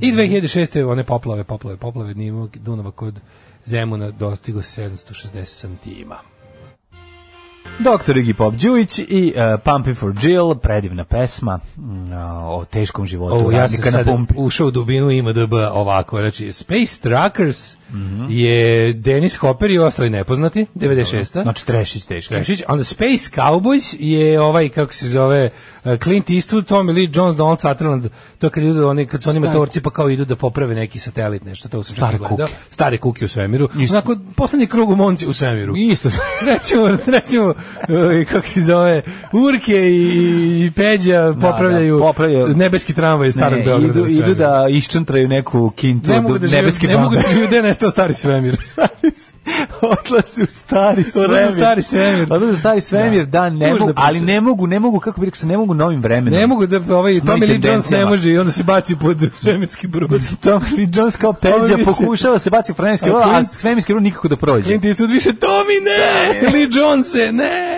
Speaker 7: I 2006. one poplave, poplave, poplave nivo Dunava kod Zemuna dostigo 760 santima.
Speaker 6: Doktor Iggy Pop Đujić i uh, Pumping for Jill, predivna pesma mm, o teškom životu
Speaker 7: O, ja sam
Speaker 6: radnika na
Speaker 7: sad
Speaker 6: pumpi.
Speaker 7: ušao u dubinu IMDB ovako, znači Space Truckers
Speaker 6: Mhm.
Speaker 7: je Dennis Hopper i ostali nepoznati, 96.
Speaker 6: Znači Trešić teški.
Speaker 7: da? Trešić, onda Space Cowboys je ovaj, kako se zove, eh, Clint Eastwood, Tommy Lee Jones, Donald Sutherland, to kad, idu oni, kad su oni matorci pa kao idu da poprave neki satelit, nešto, to sam
Speaker 6: Stare
Speaker 7: čak gledao.
Speaker 6: kuke.
Speaker 7: Stare kuke u svemiru. Onako, poslednji krug u Monci u svemiru. [LAUGHS]
Speaker 6: Isto.
Speaker 7: Rećemo, rećemo, eh, kako se zove, Urke i i Peđa popravljaju,
Speaker 6: da, popravljaju.
Speaker 7: nebeski tramvaj iz starog
Speaker 6: Ne,
Speaker 7: Beograda.
Speaker 6: idu,
Speaker 7: u
Speaker 6: idu
Speaker 7: svemiru.
Speaker 6: da iščantraju neku kintu
Speaker 7: ne
Speaker 6: od
Speaker 7: mogu da žive,
Speaker 6: nebeske
Speaker 7: ne mogu da
Speaker 6: bande.
Speaker 7: žive, gde je nestao stari svemir.
Speaker 6: odlaze u stari svemir.
Speaker 7: Odlaze u stari svemir.
Speaker 6: Odlaze u stari svemir, da, ne
Speaker 7: Tužna
Speaker 6: mogu, ali
Speaker 7: priča.
Speaker 6: ne mogu, ne mogu, kako bih rekao, se ne mogu novim vremenom.
Speaker 7: Ne mogu da ovaj Tommy Lee Jones ne
Speaker 6: tendencijama.
Speaker 7: može i onda se baci pod svemirski brod.
Speaker 6: Tommy Lee Jones kao peđa
Speaker 7: više-
Speaker 6: pokušava da se baci u fremirski
Speaker 7: A
Speaker 6: rod, a
Speaker 7: Clint-
Speaker 6: svemirski rod nikako da prođe.
Speaker 7: Clint Eastwood više Tommy ne, Lee Jones ne.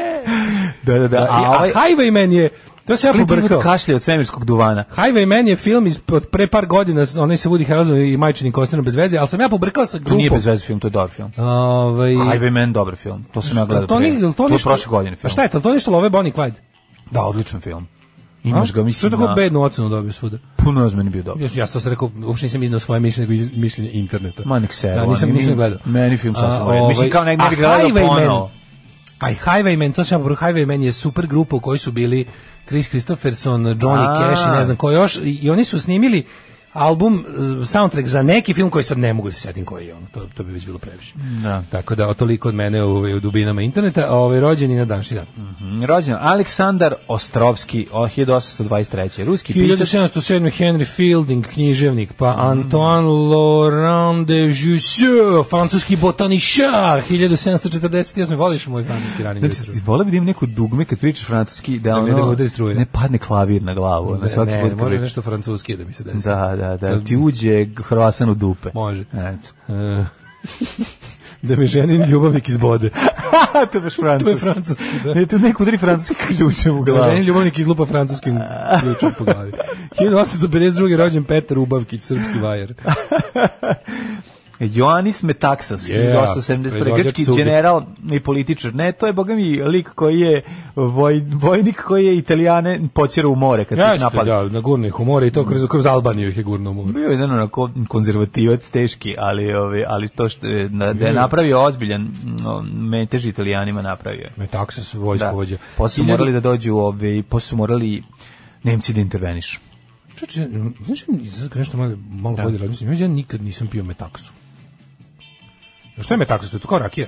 Speaker 6: Da, da, da. A ovaj
Speaker 7: A Highwayman je to se ja
Speaker 6: Clint Eastwood
Speaker 7: pobrkao.
Speaker 6: kašlje od svemirskog duvana.
Speaker 7: Highwayman je film iz od pre par godina, s- onaj sa Woody Harrelsonom i Majčinim Kostinom bez veze, ali sam ja pobrkao sa
Speaker 6: To
Speaker 7: grupom.
Speaker 6: nije bez veze film, to je dobar film.
Speaker 7: Ovaj
Speaker 6: Highwayman, dobar film. To sam ja gledao.
Speaker 7: to
Speaker 6: pre.
Speaker 7: nije, jel
Speaker 6: to
Speaker 7: to
Speaker 6: je
Speaker 7: ništa-
Speaker 6: prošle godine film.
Speaker 7: A šta je to? Jel To ništa love Bonnie i Clyde.
Speaker 6: Da, odličan film.
Speaker 7: A?
Speaker 6: Imaš ga, mislim,
Speaker 7: Što je tako
Speaker 6: na,
Speaker 7: bednu ocenu dobio svuda?
Speaker 6: puno ozmeni bio dobar.
Speaker 7: Ja, ja to sam rekao, uopšte nisam iznao svoje mišljenje, nego iz- mišljenje interneta.
Speaker 6: Ma nek se,
Speaker 7: Da,
Speaker 6: ono,
Speaker 7: nisam,
Speaker 6: ni-
Speaker 7: nisam gledao.
Speaker 6: meni film sasvim
Speaker 7: A,
Speaker 6: u redu. Mislim,
Speaker 7: ovaj,
Speaker 6: kao ne- ne bih
Speaker 7: a
Speaker 6: gledao
Speaker 7: Highwayman-
Speaker 6: ponovo.
Speaker 7: A i Highwayman, to sam ja pobrkao, Highwayman je super grupa u kojoj su bili Chris Christopherson, Johnny
Speaker 6: A.
Speaker 7: Cash i ne znam ko još, i, i oni su snimili album, eh, soundtrack za neki film koji sad ne mogu da se setim koji je ono, to, to bi već bilo previše.
Speaker 6: Da.
Speaker 7: Tako da, o, toliko od mene ovaj, u dubinama interneta, a ovaj rođeni na danšnji dan.
Speaker 6: Mm, Rođen Aleksandar Ostrovski, o, 1823. Ruski pisac.
Speaker 7: 1707. Henry Fielding, književnik, pa Antoine Laurent de Jussieu, francuski botanišar, 1748. Voliš moj francuski ranim
Speaker 6: Znači,
Speaker 7: jutro?
Speaker 6: vole bi da imam neku dugme kad pričaš francuski, da
Speaker 7: mi- da
Speaker 6: ono,
Speaker 7: me udari struja.
Speaker 6: ne padne klavir na glavu. na da svaki
Speaker 7: Ne,
Speaker 6: put kad
Speaker 7: može
Speaker 6: pričaš.
Speaker 7: nešto francuski da mi se desi.
Speaker 6: Da, da, da, ti uđe Hrvasan u dupe.
Speaker 7: Može.
Speaker 6: Eto. [LAUGHS]
Speaker 7: E, da mi ženin ljubavnik izbode.
Speaker 6: to je baš francuski.
Speaker 7: To je francuski,
Speaker 6: [LAUGHS]
Speaker 7: da.
Speaker 6: Ne, tu neko udari francuski ključem u
Speaker 7: Da.
Speaker 6: glavu.
Speaker 7: Ženin ljubavnik izlupa francuskim ključom po
Speaker 6: [LAUGHS]
Speaker 7: glavi. 1852. rođen Petar Ubavkić, srpski
Speaker 6: [LAUGHS]
Speaker 7: vajer.
Speaker 6: Joannis Metaxas,
Speaker 7: Yeah,
Speaker 6: 1871.
Speaker 7: proizvođač
Speaker 6: Grčki
Speaker 7: cugi.
Speaker 6: general i političar. Ne, to je, boga mi, lik koji je voj, vojnik koji je Italijane počerao u more kad su ih
Speaker 7: Jeste,
Speaker 6: napali.
Speaker 7: da, na gurne humore i to kroz, kroz Albaniju ih je gurno u more.
Speaker 6: Bio je jedan onako konzervativac teški, ali, ovi, ali to što je, da, da je napravio ozbiljan, no, metež italijanima napravio je.
Speaker 7: Metaxas,
Speaker 6: Da.
Speaker 7: vojskovođa.
Speaker 6: Posle su
Speaker 7: Hiljadu-
Speaker 6: morali da dođu, ovi, posle su morali Nemci da intervenišu.
Speaker 7: Čoče, znaš li, sad kad nešto malo, malo
Speaker 6: Da.
Speaker 7: bolje razmislim, ja da nikad nisam pio metaksu. A Šta je metaksu? To je kao rakija.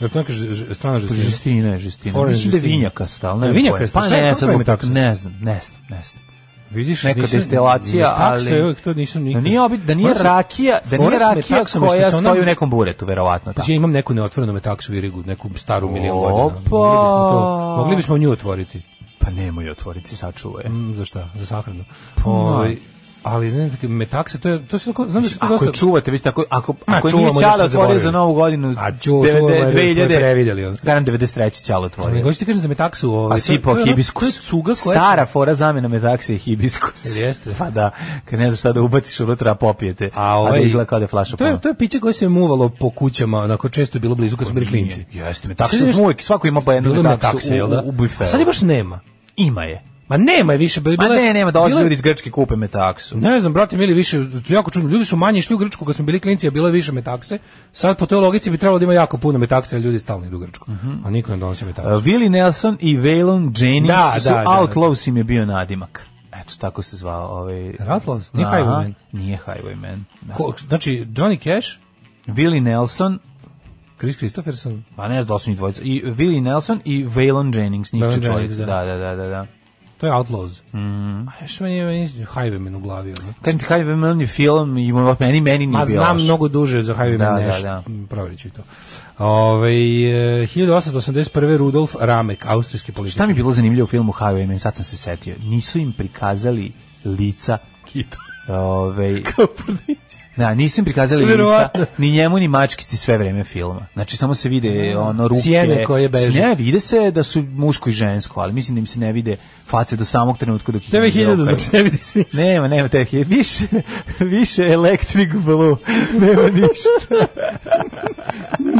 Speaker 7: Jel to neka ž- ž- strana žestina?
Speaker 6: Pa Žestina, žestina.
Speaker 7: Orange
Speaker 6: Mislim da je
Speaker 7: žestina.
Speaker 6: vinjakasta, ali ne
Speaker 7: Je
Speaker 6: znam
Speaker 7: vinjakasta?
Speaker 6: koja je.
Speaker 7: Šta
Speaker 6: Pa
Speaker 7: je-
Speaker 6: ne,
Speaker 7: kako
Speaker 6: sad,
Speaker 7: je
Speaker 6: lupa-
Speaker 7: metaksa?
Speaker 6: ne znam, ne znam, ne znam.
Speaker 7: Vidiš,
Speaker 6: neka
Speaker 7: nisam-
Speaker 6: destilacija,
Speaker 7: metaksa
Speaker 6: ali-
Speaker 7: je uvek, to nisam
Speaker 6: Da
Speaker 7: nikad.
Speaker 6: nije, obi, da nije
Speaker 7: Moram se-
Speaker 6: rakija, da nije
Speaker 7: moram se
Speaker 6: rakija
Speaker 7: metaksom, što
Speaker 6: koja
Speaker 7: se ona-
Speaker 6: stoji u nekom buretu, verovatno.
Speaker 7: Pa
Speaker 6: Da.
Speaker 7: Ja imam neku neotvorenu metaksu virigu, neku staru milion
Speaker 6: Opa!
Speaker 7: godina. Mogli bismo to- Mogli bismo nju otvoriti.
Speaker 6: Pa nemoj otvoriti, sačuvaj. je.
Speaker 7: Mm, za šta? Za sahranu.
Speaker 6: Pa-
Speaker 7: Ovaj, ali ne, metakse, to je, to se tako, znam da se to
Speaker 6: Ako je
Speaker 7: dosta...
Speaker 6: čuvate, vi ste, ako, ako,
Speaker 7: Ma,
Speaker 6: ako je nije
Speaker 7: čuvamo, da smo
Speaker 6: Ćala otvorio
Speaker 7: zaboravili.
Speaker 6: za novu godinu,
Speaker 7: A, ču- čuvamo, jer smo je previdjeli, ono.
Speaker 6: Garan 93. Ćala
Speaker 7: Ne,
Speaker 6: otvorio.
Speaker 7: hoću ti kažem za metaksu. Ovaj,
Speaker 6: A
Speaker 7: to je-
Speaker 6: sipao
Speaker 7: to je ono- To je
Speaker 6: hibiskus.
Speaker 7: cuga koja se-
Speaker 6: Stara fora zamena metakse i hibiskus.
Speaker 7: Jel jeste?
Speaker 6: [LAUGHS] Pa da, kad ne znaš šta da ubaciš unutra, a popijete.
Speaker 7: A
Speaker 6: a
Speaker 7: ovaj
Speaker 6: da izgleda kao da je flaša
Speaker 7: To je
Speaker 6: puna.
Speaker 7: to je piće koje se muvalo po kućama, onako često je bilo blizu kad smo bili klinci.
Speaker 6: Jeste,
Speaker 7: Sad je
Speaker 6: metakse
Speaker 7: nešto-
Speaker 6: smo uvijek, svako ima pa jednu
Speaker 7: Bilo je
Speaker 6: metaksu
Speaker 7: takse, jel da?
Speaker 6: u, u bufeu.
Speaker 7: A sad je baš nema.
Speaker 6: Ima je.
Speaker 7: Ma nema je više. Bila,
Speaker 6: Ma
Speaker 7: bila je-
Speaker 6: ne, nema, dolaze
Speaker 7: bila je-
Speaker 6: ljudi iz Grčke kupe metaksu.
Speaker 7: Ne znam, brate, mili više, jako čudno, ljudi su manje išli u Grčku kad smo bili klinci, a bilo je više metakse. Sad po toj logici bi trebalo da ima jako puno metakse, a ljudi stalno idu u Grčku.
Speaker 6: Mhm.
Speaker 7: A niko ne donosi metakse.
Speaker 6: Uh, Willie Nelson i Waylon Jennings
Speaker 7: Da,
Speaker 6: su
Speaker 7: da, da, da.
Speaker 6: Outlaws im je bio nadimak. Eto, tako se zvao ovaj...
Speaker 7: Outlaws? Nije
Speaker 6: Aha,
Speaker 7: Highwayman?
Speaker 6: Nije Highwayman. Da.
Speaker 7: Ko- znači, Johnny Cash,
Speaker 6: Willie Nelson,
Speaker 7: Chris Christopherson,
Speaker 6: pa ne znam da li su njih dvojica, i Willie Nelson i Waylon Jennings, njih
Speaker 7: Waylon
Speaker 6: četvorica.
Speaker 7: Jennings,
Speaker 6: Da,
Speaker 7: da.
Speaker 6: da, da, da. da.
Speaker 7: to je Outlaws.
Speaker 6: Mhm.
Speaker 7: A još meni je meni Highwayman u glavi. Ono.
Speaker 6: Kažem ti, Highwayman je film i meni, meni nije
Speaker 7: Ma
Speaker 6: bio
Speaker 7: znam
Speaker 6: loš.
Speaker 7: mnogo duže za Highwayman
Speaker 6: Da, da,
Speaker 7: nešto.
Speaker 6: da.
Speaker 7: Mm, Provjerit ću i to. Ovaj, e, Ove, 1881. Rudolf Ramek, austrijski političar.
Speaker 6: Šta mi je bilo zanimljivo u filmu Highwayman, sad sam se setio, nisu im prikazali lica
Speaker 7: Kito. [LAUGHS]
Speaker 6: Ove, da, nisu im prikazali lica,
Speaker 7: Verovatno.
Speaker 6: ni njemu ni mačkici sve vreme filma. Znači, samo se vide ono ruke.
Speaker 7: Da, Sjene koje beže.
Speaker 6: Ne, vide se da su muško i žensko, ali mislim da im se ne vide face do samog trenutka dok ih
Speaker 7: Tebe
Speaker 6: ne
Speaker 7: je hiljadu,
Speaker 6: zaokreću.
Speaker 7: znači ne vidi se [LAUGHS] ništa.
Speaker 6: Nema, nema teh. je Više, više Electric Blue. Nema ništa.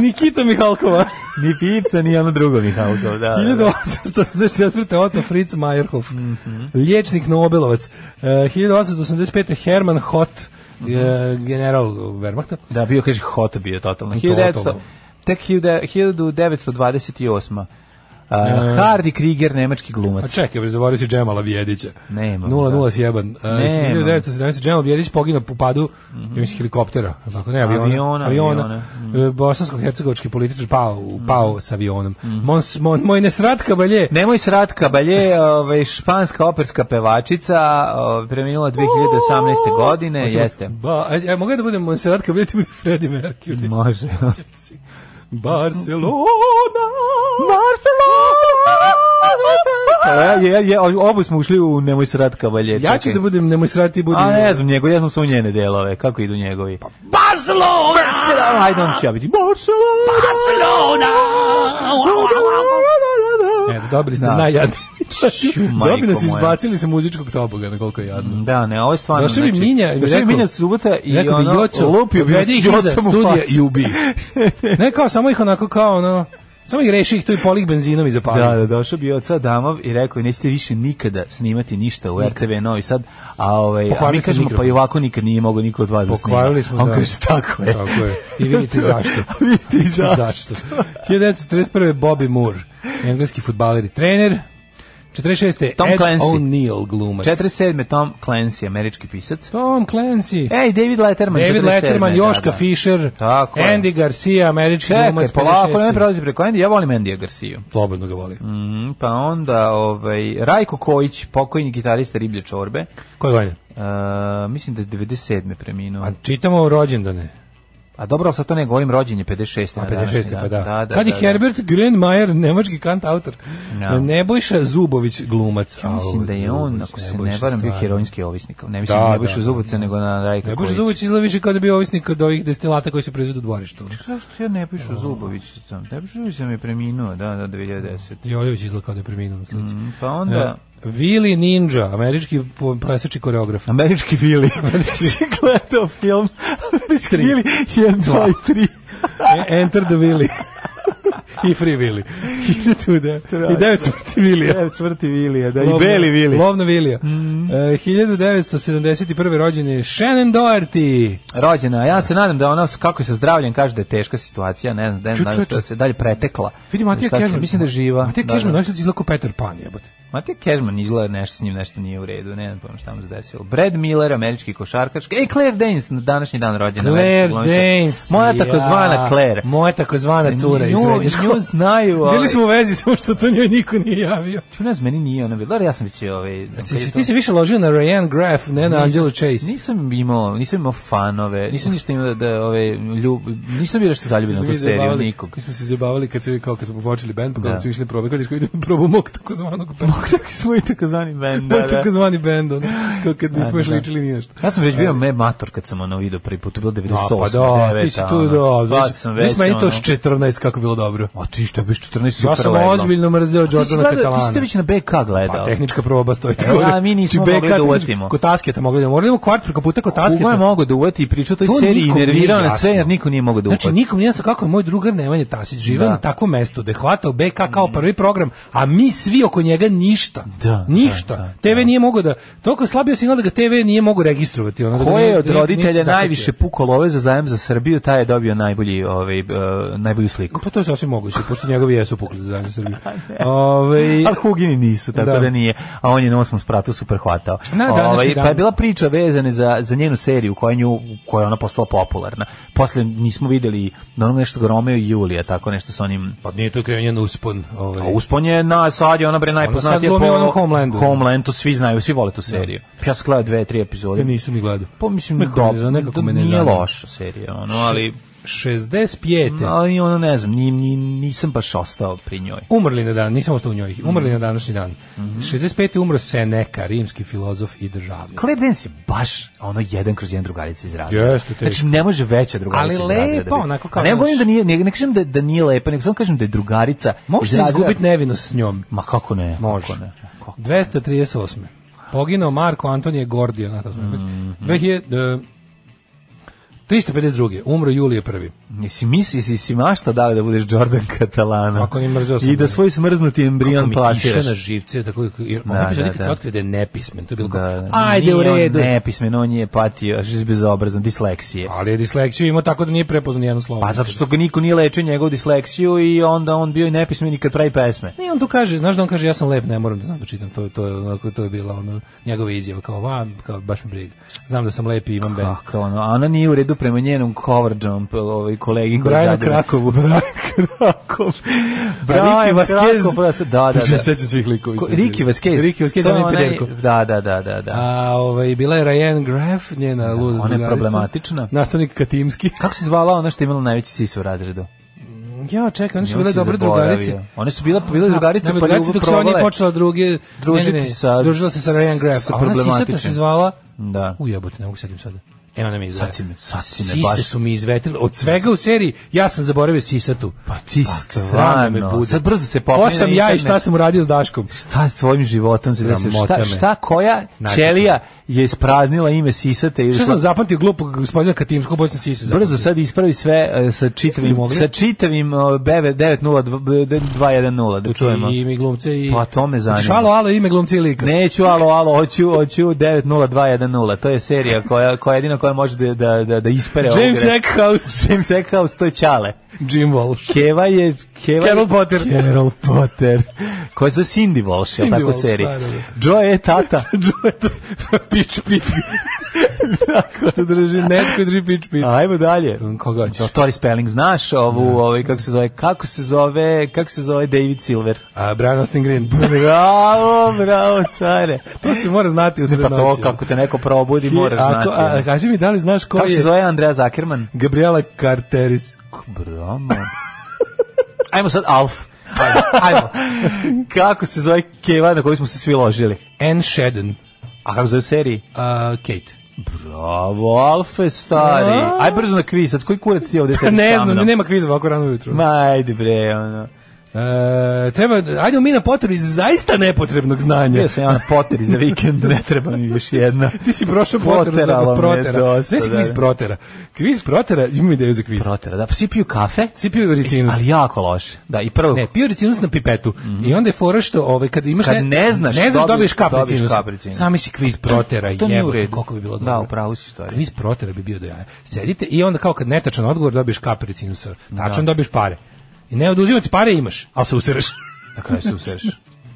Speaker 7: Nikita Mihalkova.
Speaker 6: Ni Fifta, ni ono drugo Mihalkov, da. da, da.
Speaker 7: 1884. Otto Fritz Meyerhoff, mm
Speaker 6: Mhm.
Speaker 7: liječnik Nobelovac. E, 1885. Herman Hott, e, general Wehrmachta.
Speaker 6: Da, bio, kaže, hot bio totalno.
Speaker 7: Totalno.
Speaker 6: 1900, tek 1928. Uh,
Speaker 7: E.
Speaker 6: Hardy Krieger, nemački
Speaker 7: A
Speaker 6: glumac.
Speaker 7: čekaj, bre, zaboravio si Džemala Bjedića.
Speaker 6: Nemam,
Speaker 7: 0-0
Speaker 6: da.
Speaker 7: sjeban. E,
Speaker 6: Nemam.
Speaker 7: 1917. Džemal Bjedić poginuo po padu mm -hmm. helikoptera. je li Tako, ne, aviona.
Speaker 6: Mhm. Aviona,
Speaker 7: aviona.
Speaker 6: aviona. mhm.
Speaker 7: E, Bosansko-hercegovički političar pao, pao s avionom.
Speaker 6: Mhm.
Speaker 7: Mons, mon, moj nesratka balje.
Speaker 6: Nemoj srat kabalje, ovaj, španska operska pevačica, ovaj, preminula 2018. godine,
Speaker 7: Hoćemo-
Speaker 6: jeste.
Speaker 7: Ba, a, a mogu ja da budem Monserrat kad budete budi Freddie Mercury.
Speaker 6: Može.
Speaker 7: Barcelona. [LAUGHS]
Speaker 6: Barcelona! E, je, je, je, obu smo ušli u Nemoj srat kabalje.
Speaker 7: Ja ću
Speaker 6: čekaj.
Speaker 7: da budem nemoj srati budi.
Speaker 6: A ne znam njegov, ja znam samo njene delove, kako idu njegovi. Pa, Barcelona! Barcelona! Hajde, on će ja biti Barcelona! Barcelona!
Speaker 7: E, dobili ste
Speaker 6: Da.
Speaker 7: najjadniji. [LAUGHS]
Speaker 6: Ću, majko
Speaker 7: Zobili nas
Speaker 6: moja.
Speaker 7: izbacili sa muzičkog toboga, na koliko je jadno.
Speaker 6: Da, ne, ovo je stvarno...
Speaker 7: Došao bi
Speaker 6: znači,
Speaker 7: Minja i bi
Speaker 6: došao bi
Speaker 7: rekao-
Speaker 6: Minja subota i
Speaker 7: Rekao bi
Speaker 6: ono,
Speaker 7: Joco,
Speaker 6: lupio bi nas
Speaker 7: odvedi ih iza
Speaker 6: Jocom u
Speaker 7: studija
Speaker 6: facu.
Speaker 7: [LAUGHS] i ubi. ne kao, samo ih onako kao ono, samo ih reši ih tu i polih benzinom i zapali.
Speaker 6: Da, da, došao bi oca Damov i rekao nećete više nikada snimati ništa u RTV Novi Sad, a, ovaj, a
Speaker 7: Pokvarili
Speaker 6: mi
Speaker 7: ste
Speaker 6: kažemo
Speaker 7: mikrofon.
Speaker 6: pa i ovako nikad nije mogao niko od vas da snima.
Speaker 7: Pokvarili smo,
Speaker 6: On
Speaker 7: da.
Speaker 6: kaže tako je.
Speaker 7: Tako je. I
Speaker 6: [LAUGHS]
Speaker 7: vidite zašto.
Speaker 6: Vidite i zašto.
Speaker 7: zašto. 1931. Bobby Moore, engleski futbaler i trener. 46.
Speaker 6: Tom
Speaker 7: Ed
Speaker 6: Clancy.
Speaker 7: O'Neill glumac.
Speaker 6: 47. Tom Clancy, američki pisac.
Speaker 7: Tom Clancy.
Speaker 6: Ej, David Letterman.
Speaker 7: David
Speaker 6: 47.,
Speaker 7: Letterman, Joška
Speaker 6: da, da.
Speaker 7: Fischer,
Speaker 6: Tako je.
Speaker 7: Andy Garcia, američki
Speaker 6: Čekaj,
Speaker 7: glumac.
Speaker 6: polako,
Speaker 7: 56..
Speaker 6: ne prelazi preko Andy, ja volim Andy Garciju.
Speaker 7: Slobodno ga volim.
Speaker 6: Mm, pa onda, ovaj, Rajko Kojić, pokojni gitarista Riblje Čorbe,
Speaker 7: Koje godine?
Speaker 6: e, mislim da je 97. preminuo.
Speaker 7: A Pa čitamo rođendane.
Speaker 6: A dobro, ali sad to ne govorim, rođen je 56.
Speaker 7: A
Speaker 6: na današnji
Speaker 7: 56. pa da.
Speaker 6: dan. da, da
Speaker 7: Kad je
Speaker 6: da, da.
Speaker 7: Herbert Grönemeyer, nemački kant autor.
Speaker 6: No.
Speaker 7: Nebojša Zubović, glumac.
Speaker 6: Ja mislim
Speaker 7: Au,
Speaker 6: da je on,
Speaker 7: Zubović,
Speaker 6: ako se
Speaker 7: Nebojša,
Speaker 6: ne varam, da. bio
Speaker 7: stvarno.
Speaker 6: heroinski ovisnik. Ne mislim
Speaker 7: Da,
Speaker 6: da,
Speaker 7: da,
Speaker 6: ne biš
Speaker 7: da.
Speaker 6: Zubovice, nego na Rajka
Speaker 7: Nebojša
Speaker 6: Kojić.
Speaker 7: Zubović izgleda više kao da je bio ovisnik od ovih destilata koji se proizvode u dvorištu.
Speaker 6: Zašto ja ne pišu Zubović? sam? Ne pišu Zubović sam je preminuo, da, da, 2010.
Speaker 7: Jojović izgleda kao da je preminuo na slici.
Speaker 6: Mm, Pa
Speaker 7: E,
Speaker 6: onda...
Speaker 7: Vili Ninja, američki po- plesači koreograf. E,
Speaker 6: Američki
Speaker 7: [LAUGHS]
Speaker 6: Vili. Si gledao film Američki Vili 1, 2 i 3.
Speaker 7: E- Enter the Vili. [LAUGHS] I Free [LAUGHS] Vili. I tu da. I devet smrti Vilija.
Speaker 6: [LAUGHS] Evo cvrti Vilija, da, i
Speaker 7: Lovna-
Speaker 6: Beli Vili.
Speaker 7: Lovna Vilija.
Speaker 6: Mm.
Speaker 7: E, 1971. rođen je Shannon Doherty.
Speaker 6: Rođena, ja se nadam da ona, s- kako je sa zdravljem, kaže da je teška situacija, ne znam, da je
Speaker 7: Ču, ču, ču.
Speaker 6: da se dalje pretekla.
Speaker 7: Vidi Matija
Speaker 6: Šta se-
Speaker 7: Kežman.
Speaker 6: Mislim da je živa.
Speaker 7: Matija
Speaker 6: Da,
Speaker 7: Kežman,
Speaker 6: da.
Speaker 7: znači da izlako Peter Pan jebote.
Speaker 6: Matija Kežman izgleda nešto s njim nešto nije u redu, ne znam pojma šta mu se desilo. Brad Miller, američki košarkaš. Ej, Claire Danes, na današnji dan rođena.
Speaker 7: Claire
Speaker 6: američka glumica.
Speaker 7: Danes.
Speaker 6: Moja takozvana Claire.
Speaker 7: Moja takozvana cura iz
Speaker 6: Nju-
Speaker 7: srednje škole.
Speaker 6: Nju znaju. ovaj,
Speaker 7: [LAUGHS] Bili smo u vezi, samo što to njoj niko nije javio.
Speaker 6: Ne znam, meni nije ona bila. Dobro, Ja sam već ovaj...
Speaker 7: Ti, Znači, si, ti si više ložio na Ryan Graff, ne na Angelu Chase.
Speaker 6: Nisam imao, nisam imao fanove, nisam ništa imao da, da ove, ljub, nisam bio nešto zaljubljen u tu seriju, nikog.
Speaker 7: [LAUGHS] Mi smo se zabavali kad, se, kao kad smo počeli band, pa
Speaker 6: Da.
Speaker 7: kada smo išli na probe, kad išli [LAUGHS] idemo probu mog takozvanog
Speaker 6: [LAUGHS]
Speaker 7: benda.
Speaker 6: Tako smo i takozvani band, [LAUGHS]
Speaker 7: Moj takozvani bend, ono, kao kad nismo još
Speaker 6: da.
Speaker 7: ličili ni nešto.
Speaker 6: Ja sam već bio me mator kad sam ono video prvi put, to je bilo 98.
Speaker 7: pa da, ti
Speaker 6: 9,
Speaker 7: si tu,
Speaker 6: ono.
Speaker 7: da,
Speaker 6: Pa
Speaker 7: ti si-
Speaker 6: sam
Speaker 7: ti
Speaker 6: već,
Speaker 7: si meni to
Speaker 6: ono-
Speaker 7: s 14 kako je bilo dobro.
Speaker 6: A ti što biš 14
Speaker 7: Ja sam
Speaker 6: super leglo.
Speaker 7: ozbiljno mrzeo
Speaker 6: Ti si
Speaker 7: Jordana
Speaker 6: gledao-
Speaker 7: Catalana.
Speaker 6: Ti ste već na BK gledao.
Speaker 7: Pa tehnička proba stoji
Speaker 6: E, a mi nismo
Speaker 7: Či
Speaker 6: mogli
Speaker 7: BK
Speaker 6: da
Speaker 7: tehnička-
Speaker 6: uvatimo.
Speaker 7: Kod tasketa mogli da moramo kvart preko puta kod tasketa.
Speaker 6: Kugo je mogao da uvati i pričao o toj
Speaker 7: To
Speaker 6: seriji i
Speaker 7: nikom nije
Speaker 6: nervirao na
Speaker 7: jasno.
Speaker 6: sve jer niko nije mogao da
Speaker 7: Znači
Speaker 6: uhvati.
Speaker 7: nikom nije jasno kako je moj drugar Nemanja Tasić živeo
Speaker 6: Da. Mm.
Speaker 7: na takvom mestu da je hvatao BK kao prvi program, a mi svi oko njega ništa.
Speaker 6: Da,
Speaker 7: ništa.
Speaker 6: da, da,
Speaker 7: TV nije mogao da toliko je slabio signal da ga TV nije mogao registrovati. Ono, da ga
Speaker 6: Ko je
Speaker 7: nije-
Speaker 6: od
Speaker 7: da ga nije
Speaker 6: roditelja
Speaker 7: se zahvatio.
Speaker 6: najviše pukao love za zajem za Srbiju, taj je dobio najbolji, ovaj, e, najbolju sliku.
Speaker 7: Pa to je sasvim moguće, pošto njegovi jesu pukli za zadnju
Speaker 6: [LAUGHS]
Speaker 7: Srbiju. Ovaj, Ove,
Speaker 6: Da, Ali Hugini nisu, tako da,
Speaker 7: Da.
Speaker 6: nije. A on je na osmom spratu super hvatao.
Speaker 7: Na današnji
Speaker 6: Ovaj,
Speaker 7: dan.
Speaker 6: pa je bila priča vezane za, za njenu seriju koja, nju, koja je ona postala popularna. Posle nismo videli na onom nešto Romeo i Julija, tako nešto sa onim...
Speaker 7: Pa nije to krenje na uspon. Ovaj.
Speaker 6: A uspon je na sad je ona bre najpoznatija
Speaker 7: glumi u onom Homelandu. Da.
Speaker 6: Homelandu, svi znaju, svi vole tu seriju. Ja sam gledao dve, tri epizode.
Speaker 7: Ja nisam ni gledao.
Speaker 6: Pa mislim,
Speaker 7: Nekako
Speaker 6: dobro, da
Speaker 7: me za- nekako me ne
Speaker 6: nije
Speaker 7: zanima.
Speaker 6: loša serija, ono, ali...
Speaker 7: 65.
Speaker 6: Ali ono, ne znam, ni, ni, nisam baš ostao pri njoj.
Speaker 7: Umrli na dan, nisam ostao u njoj, umrli na današnji dan.
Speaker 6: Mhm.
Speaker 7: 65. umro Seneca, rimski filozof i državnik.
Speaker 6: Claire Dance je baš ono jedan kroz jedan drugarica iz razreda.
Speaker 7: Jeste, teško.
Speaker 6: Znači, ne može veća drugarica
Speaker 7: Ali
Speaker 6: iz
Speaker 7: lepa,
Speaker 6: razreda. biti.
Speaker 7: onako kao
Speaker 6: A Ne
Speaker 7: naš-
Speaker 6: govorim da nije, ne, ne kažem da, da nije lepa, nego samo kažem da je drugarica
Speaker 7: Može se izgubiti nevinost s njom.
Speaker 6: Ma kako ne?
Speaker 7: Može.
Speaker 6: Kako ne? Kako?
Speaker 7: 238.
Speaker 6: Mhm.
Speaker 7: Poginuo Marko Antonije Gordio, na to smo mm 2000, e, 352. Umro Julije prvi.
Speaker 6: Jesi misli, si, si mašta dali da budeš Jordan Catalana?
Speaker 7: Kako ne mrzeo sam
Speaker 6: I da
Speaker 7: ga.
Speaker 6: svoj smrznuti
Speaker 7: Kako
Speaker 6: embrion
Speaker 7: mi piše
Speaker 6: plasiraš.
Speaker 7: na živce, tako, jer on
Speaker 6: Da,
Speaker 7: je piše
Speaker 6: da,
Speaker 7: nekad
Speaker 6: da.
Speaker 7: se otkrio da je nepismen. To je bilo kao,
Speaker 6: Da,
Speaker 7: ajde
Speaker 6: nije
Speaker 7: u redu.
Speaker 6: On nepismen, on je patio, až je bezobrazan, disleksije.
Speaker 7: Ali je disleksiju imao tako da nije prepoznan jedno slovo.
Speaker 6: Pa zato što ga niko nije lečio njegovu disleksiju i onda on bio i nepismen i kad pravi pesme.
Speaker 7: Ne, on to kaže, znaš da on kaže ja sam lep, ne moram da znam da čitam, to je to je onako to je bila ono njegova izjava kao vam, kao baš mi briga. Znam da sam lep i imam bend.
Speaker 6: Kako ono, a ona nije u redu prema njenom cover jump ovaj kolegi koji
Speaker 7: Brianu
Speaker 6: zadira. [LAUGHS]
Speaker 7: Krakovu.
Speaker 6: Brian Krakov.
Speaker 7: Pa
Speaker 6: Brian Vaskez. Da, da,
Speaker 7: [LAUGHS]
Speaker 6: da.
Speaker 7: svih likova.
Speaker 6: Ko- Ricky Vaskez.
Speaker 7: Riki Vaskez,
Speaker 6: To
Speaker 7: on je
Speaker 6: onaj-
Speaker 7: pederko.
Speaker 6: Da, da, da, da, da.
Speaker 7: A, ovaj, bila je Ryan Graff, njena luda
Speaker 6: ona je
Speaker 7: drugarica.
Speaker 6: problematična.
Speaker 7: Nastavnik Katimski.
Speaker 6: Kako se zvala ona što je imala najveći sis u razredu?
Speaker 7: Ja, čekaj, one su
Speaker 6: Nju
Speaker 7: bile
Speaker 6: si
Speaker 7: dobre
Speaker 6: zaboravio.
Speaker 7: drugarice.
Speaker 6: One su bile bile
Speaker 7: Da,
Speaker 6: drugarice
Speaker 7: nego
Speaker 6: pa
Speaker 7: drugarice
Speaker 6: ljubav
Speaker 7: dok se ona nije
Speaker 6: probale.
Speaker 7: počela druge
Speaker 6: družiti
Speaker 7: ne, ne, ne,
Speaker 6: sa-
Speaker 7: družila se sa Ryan Graff.
Speaker 6: sa
Speaker 7: A ona Sisata se
Speaker 6: problematičnim.
Speaker 7: zvala
Speaker 6: Da.
Speaker 7: U jebote, ne mogu setim sada. Evo nam je izvetila.
Speaker 6: Sad si me- sad si me
Speaker 7: Sise
Speaker 6: baš-
Speaker 7: su mi izvetile. Od svega u seriji, ja sam zaboravio Sisatu.
Speaker 6: Pa ti
Speaker 7: sram da me
Speaker 6: stvarno.
Speaker 7: bude.
Speaker 6: Sad brzo se popne.
Speaker 7: Ko
Speaker 6: na
Speaker 7: sam ja i
Speaker 6: internet.
Speaker 7: šta sam uradio s Daškom?
Speaker 6: Šta s tvojim životom se desilo?
Speaker 7: Sramota
Speaker 6: Šta,
Speaker 7: me.
Speaker 6: šta koja
Speaker 7: Znači,
Speaker 6: ćelija je ispraznila ime sisate? i
Speaker 7: Šta
Speaker 6: ušla-
Speaker 7: sam zapamtio glupog gospodina Katimskog, bolje sam Sise zapamtio.
Speaker 6: Brzo sad ispravi sve e, sa čitavim,
Speaker 7: mogli?
Speaker 6: sa čitavim e, beve- 90210 da čujemo.
Speaker 7: I ime glumce i...
Speaker 6: Pa to me zanima.
Speaker 7: Hoćeš Alo, alo, ime glumce i lika.
Speaker 6: Neću, alo, alo, hoću, hoću 90210. To je serija koja, koja je jedina koja može da, da, da, da ispere ovu
Speaker 7: James
Speaker 6: grešku.
Speaker 7: Eckhouse, [LAUGHS]
Speaker 6: James Eckhouse, to je Ćale.
Speaker 7: Jim Walsh.
Speaker 6: Keva je... Keva
Speaker 7: Carol Potter.
Speaker 6: Carol Potter. Koja se Cindy Walsh, je
Speaker 7: Cindy
Speaker 6: li tako
Speaker 7: Walsh,
Speaker 6: serija.
Speaker 7: da, E. da,
Speaker 6: Joe je
Speaker 7: [LAUGHS]
Speaker 6: tata.
Speaker 7: Pitch pit.
Speaker 6: Tako da drži.
Speaker 7: Netko drži pitch pit.
Speaker 6: Ajmo dalje.
Speaker 7: Koga ćeš?
Speaker 6: No, Tori Spelling, znaš
Speaker 7: Da.
Speaker 6: ovu, ovaj, kako se zove, kako se zove, kako se zove David Silver.
Speaker 7: A, Brian Austin Green.
Speaker 6: Bravo, bravo, care.
Speaker 7: [LAUGHS] To se mora znati u
Speaker 6: Pa
Speaker 7: srednoći.
Speaker 6: to, kako te neko probudi, moraš znati.
Speaker 7: Ako, a,
Speaker 6: ja.
Speaker 7: kaži mi, da li znaš ko
Speaker 6: Kako se
Speaker 7: je
Speaker 6: zove Andreja Zakerman?
Speaker 7: Gabriela Carteris?
Speaker 6: Bravo. Ajmo sad Alf.
Speaker 7: Pa,
Speaker 6: Ajmo, ajmo. [LAUGHS] kako se zove Keva na koju smo se svi ložili?
Speaker 7: Anne Shedden.
Speaker 6: A kako se zove u seriji?
Speaker 7: A, Kate.
Speaker 6: Bravo, Alfe, stari.
Speaker 7: A?
Speaker 6: Aj brzo na kviz, sad koji kurac ti ovde
Speaker 7: [LAUGHS]
Speaker 6: sediš
Speaker 7: ne
Speaker 6: sa
Speaker 7: znam,
Speaker 6: mnom?
Speaker 7: nema kviza ovako rano ujutru.
Speaker 6: Ma, ajde bre, ono.
Speaker 7: E, treba, ajde mi na potrebu iz zaista nepotrebnog znanja.
Speaker 6: Ja sam ja na poteri za vikend, ne treba mi još jedna.
Speaker 7: [LAUGHS] Ti si prošao potera
Speaker 6: Poteralo
Speaker 7: za
Speaker 6: me je
Speaker 7: protera.
Speaker 6: dosta,
Speaker 7: Sve si kviz
Speaker 6: da, da.
Speaker 7: protera. Kviz protera, imam ideju za kviz.
Speaker 6: Protera, da, svi piju kafe,
Speaker 7: Svi piju ricinus.
Speaker 6: ali jako loše. Da, i prvo,
Speaker 7: Ne, pio ricinus na pipetu. I onda je fora što ovaj, kad imaš...
Speaker 6: Mhm. Kad ne znaš,
Speaker 7: ne znaš da
Speaker 6: dobiješ-
Speaker 7: dobiješ kap
Speaker 6: dobiješ
Speaker 7: ricinus.
Speaker 6: kap ricinus.
Speaker 7: Sami si kviz protera,
Speaker 6: to nije u
Speaker 7: jebote,
Speaker 6: redu.
Speaker 7: koliko bi bilo dobro.
Speaker 6: Da, u pravu si stvari.
Speaker 7: Kviz protera bi bio da ja. Sedite i onda kao kad netačan odgovor dobiješ kap ricinusa.
Speaker 6: Da.
Speaker 7: Tačan dobiješ pare. I ne oduzimati pare imaš, ali se
Speaker 6: [LAUGHS]
Speaker 7: usereš.
Speaker 6: na kraju se usereš.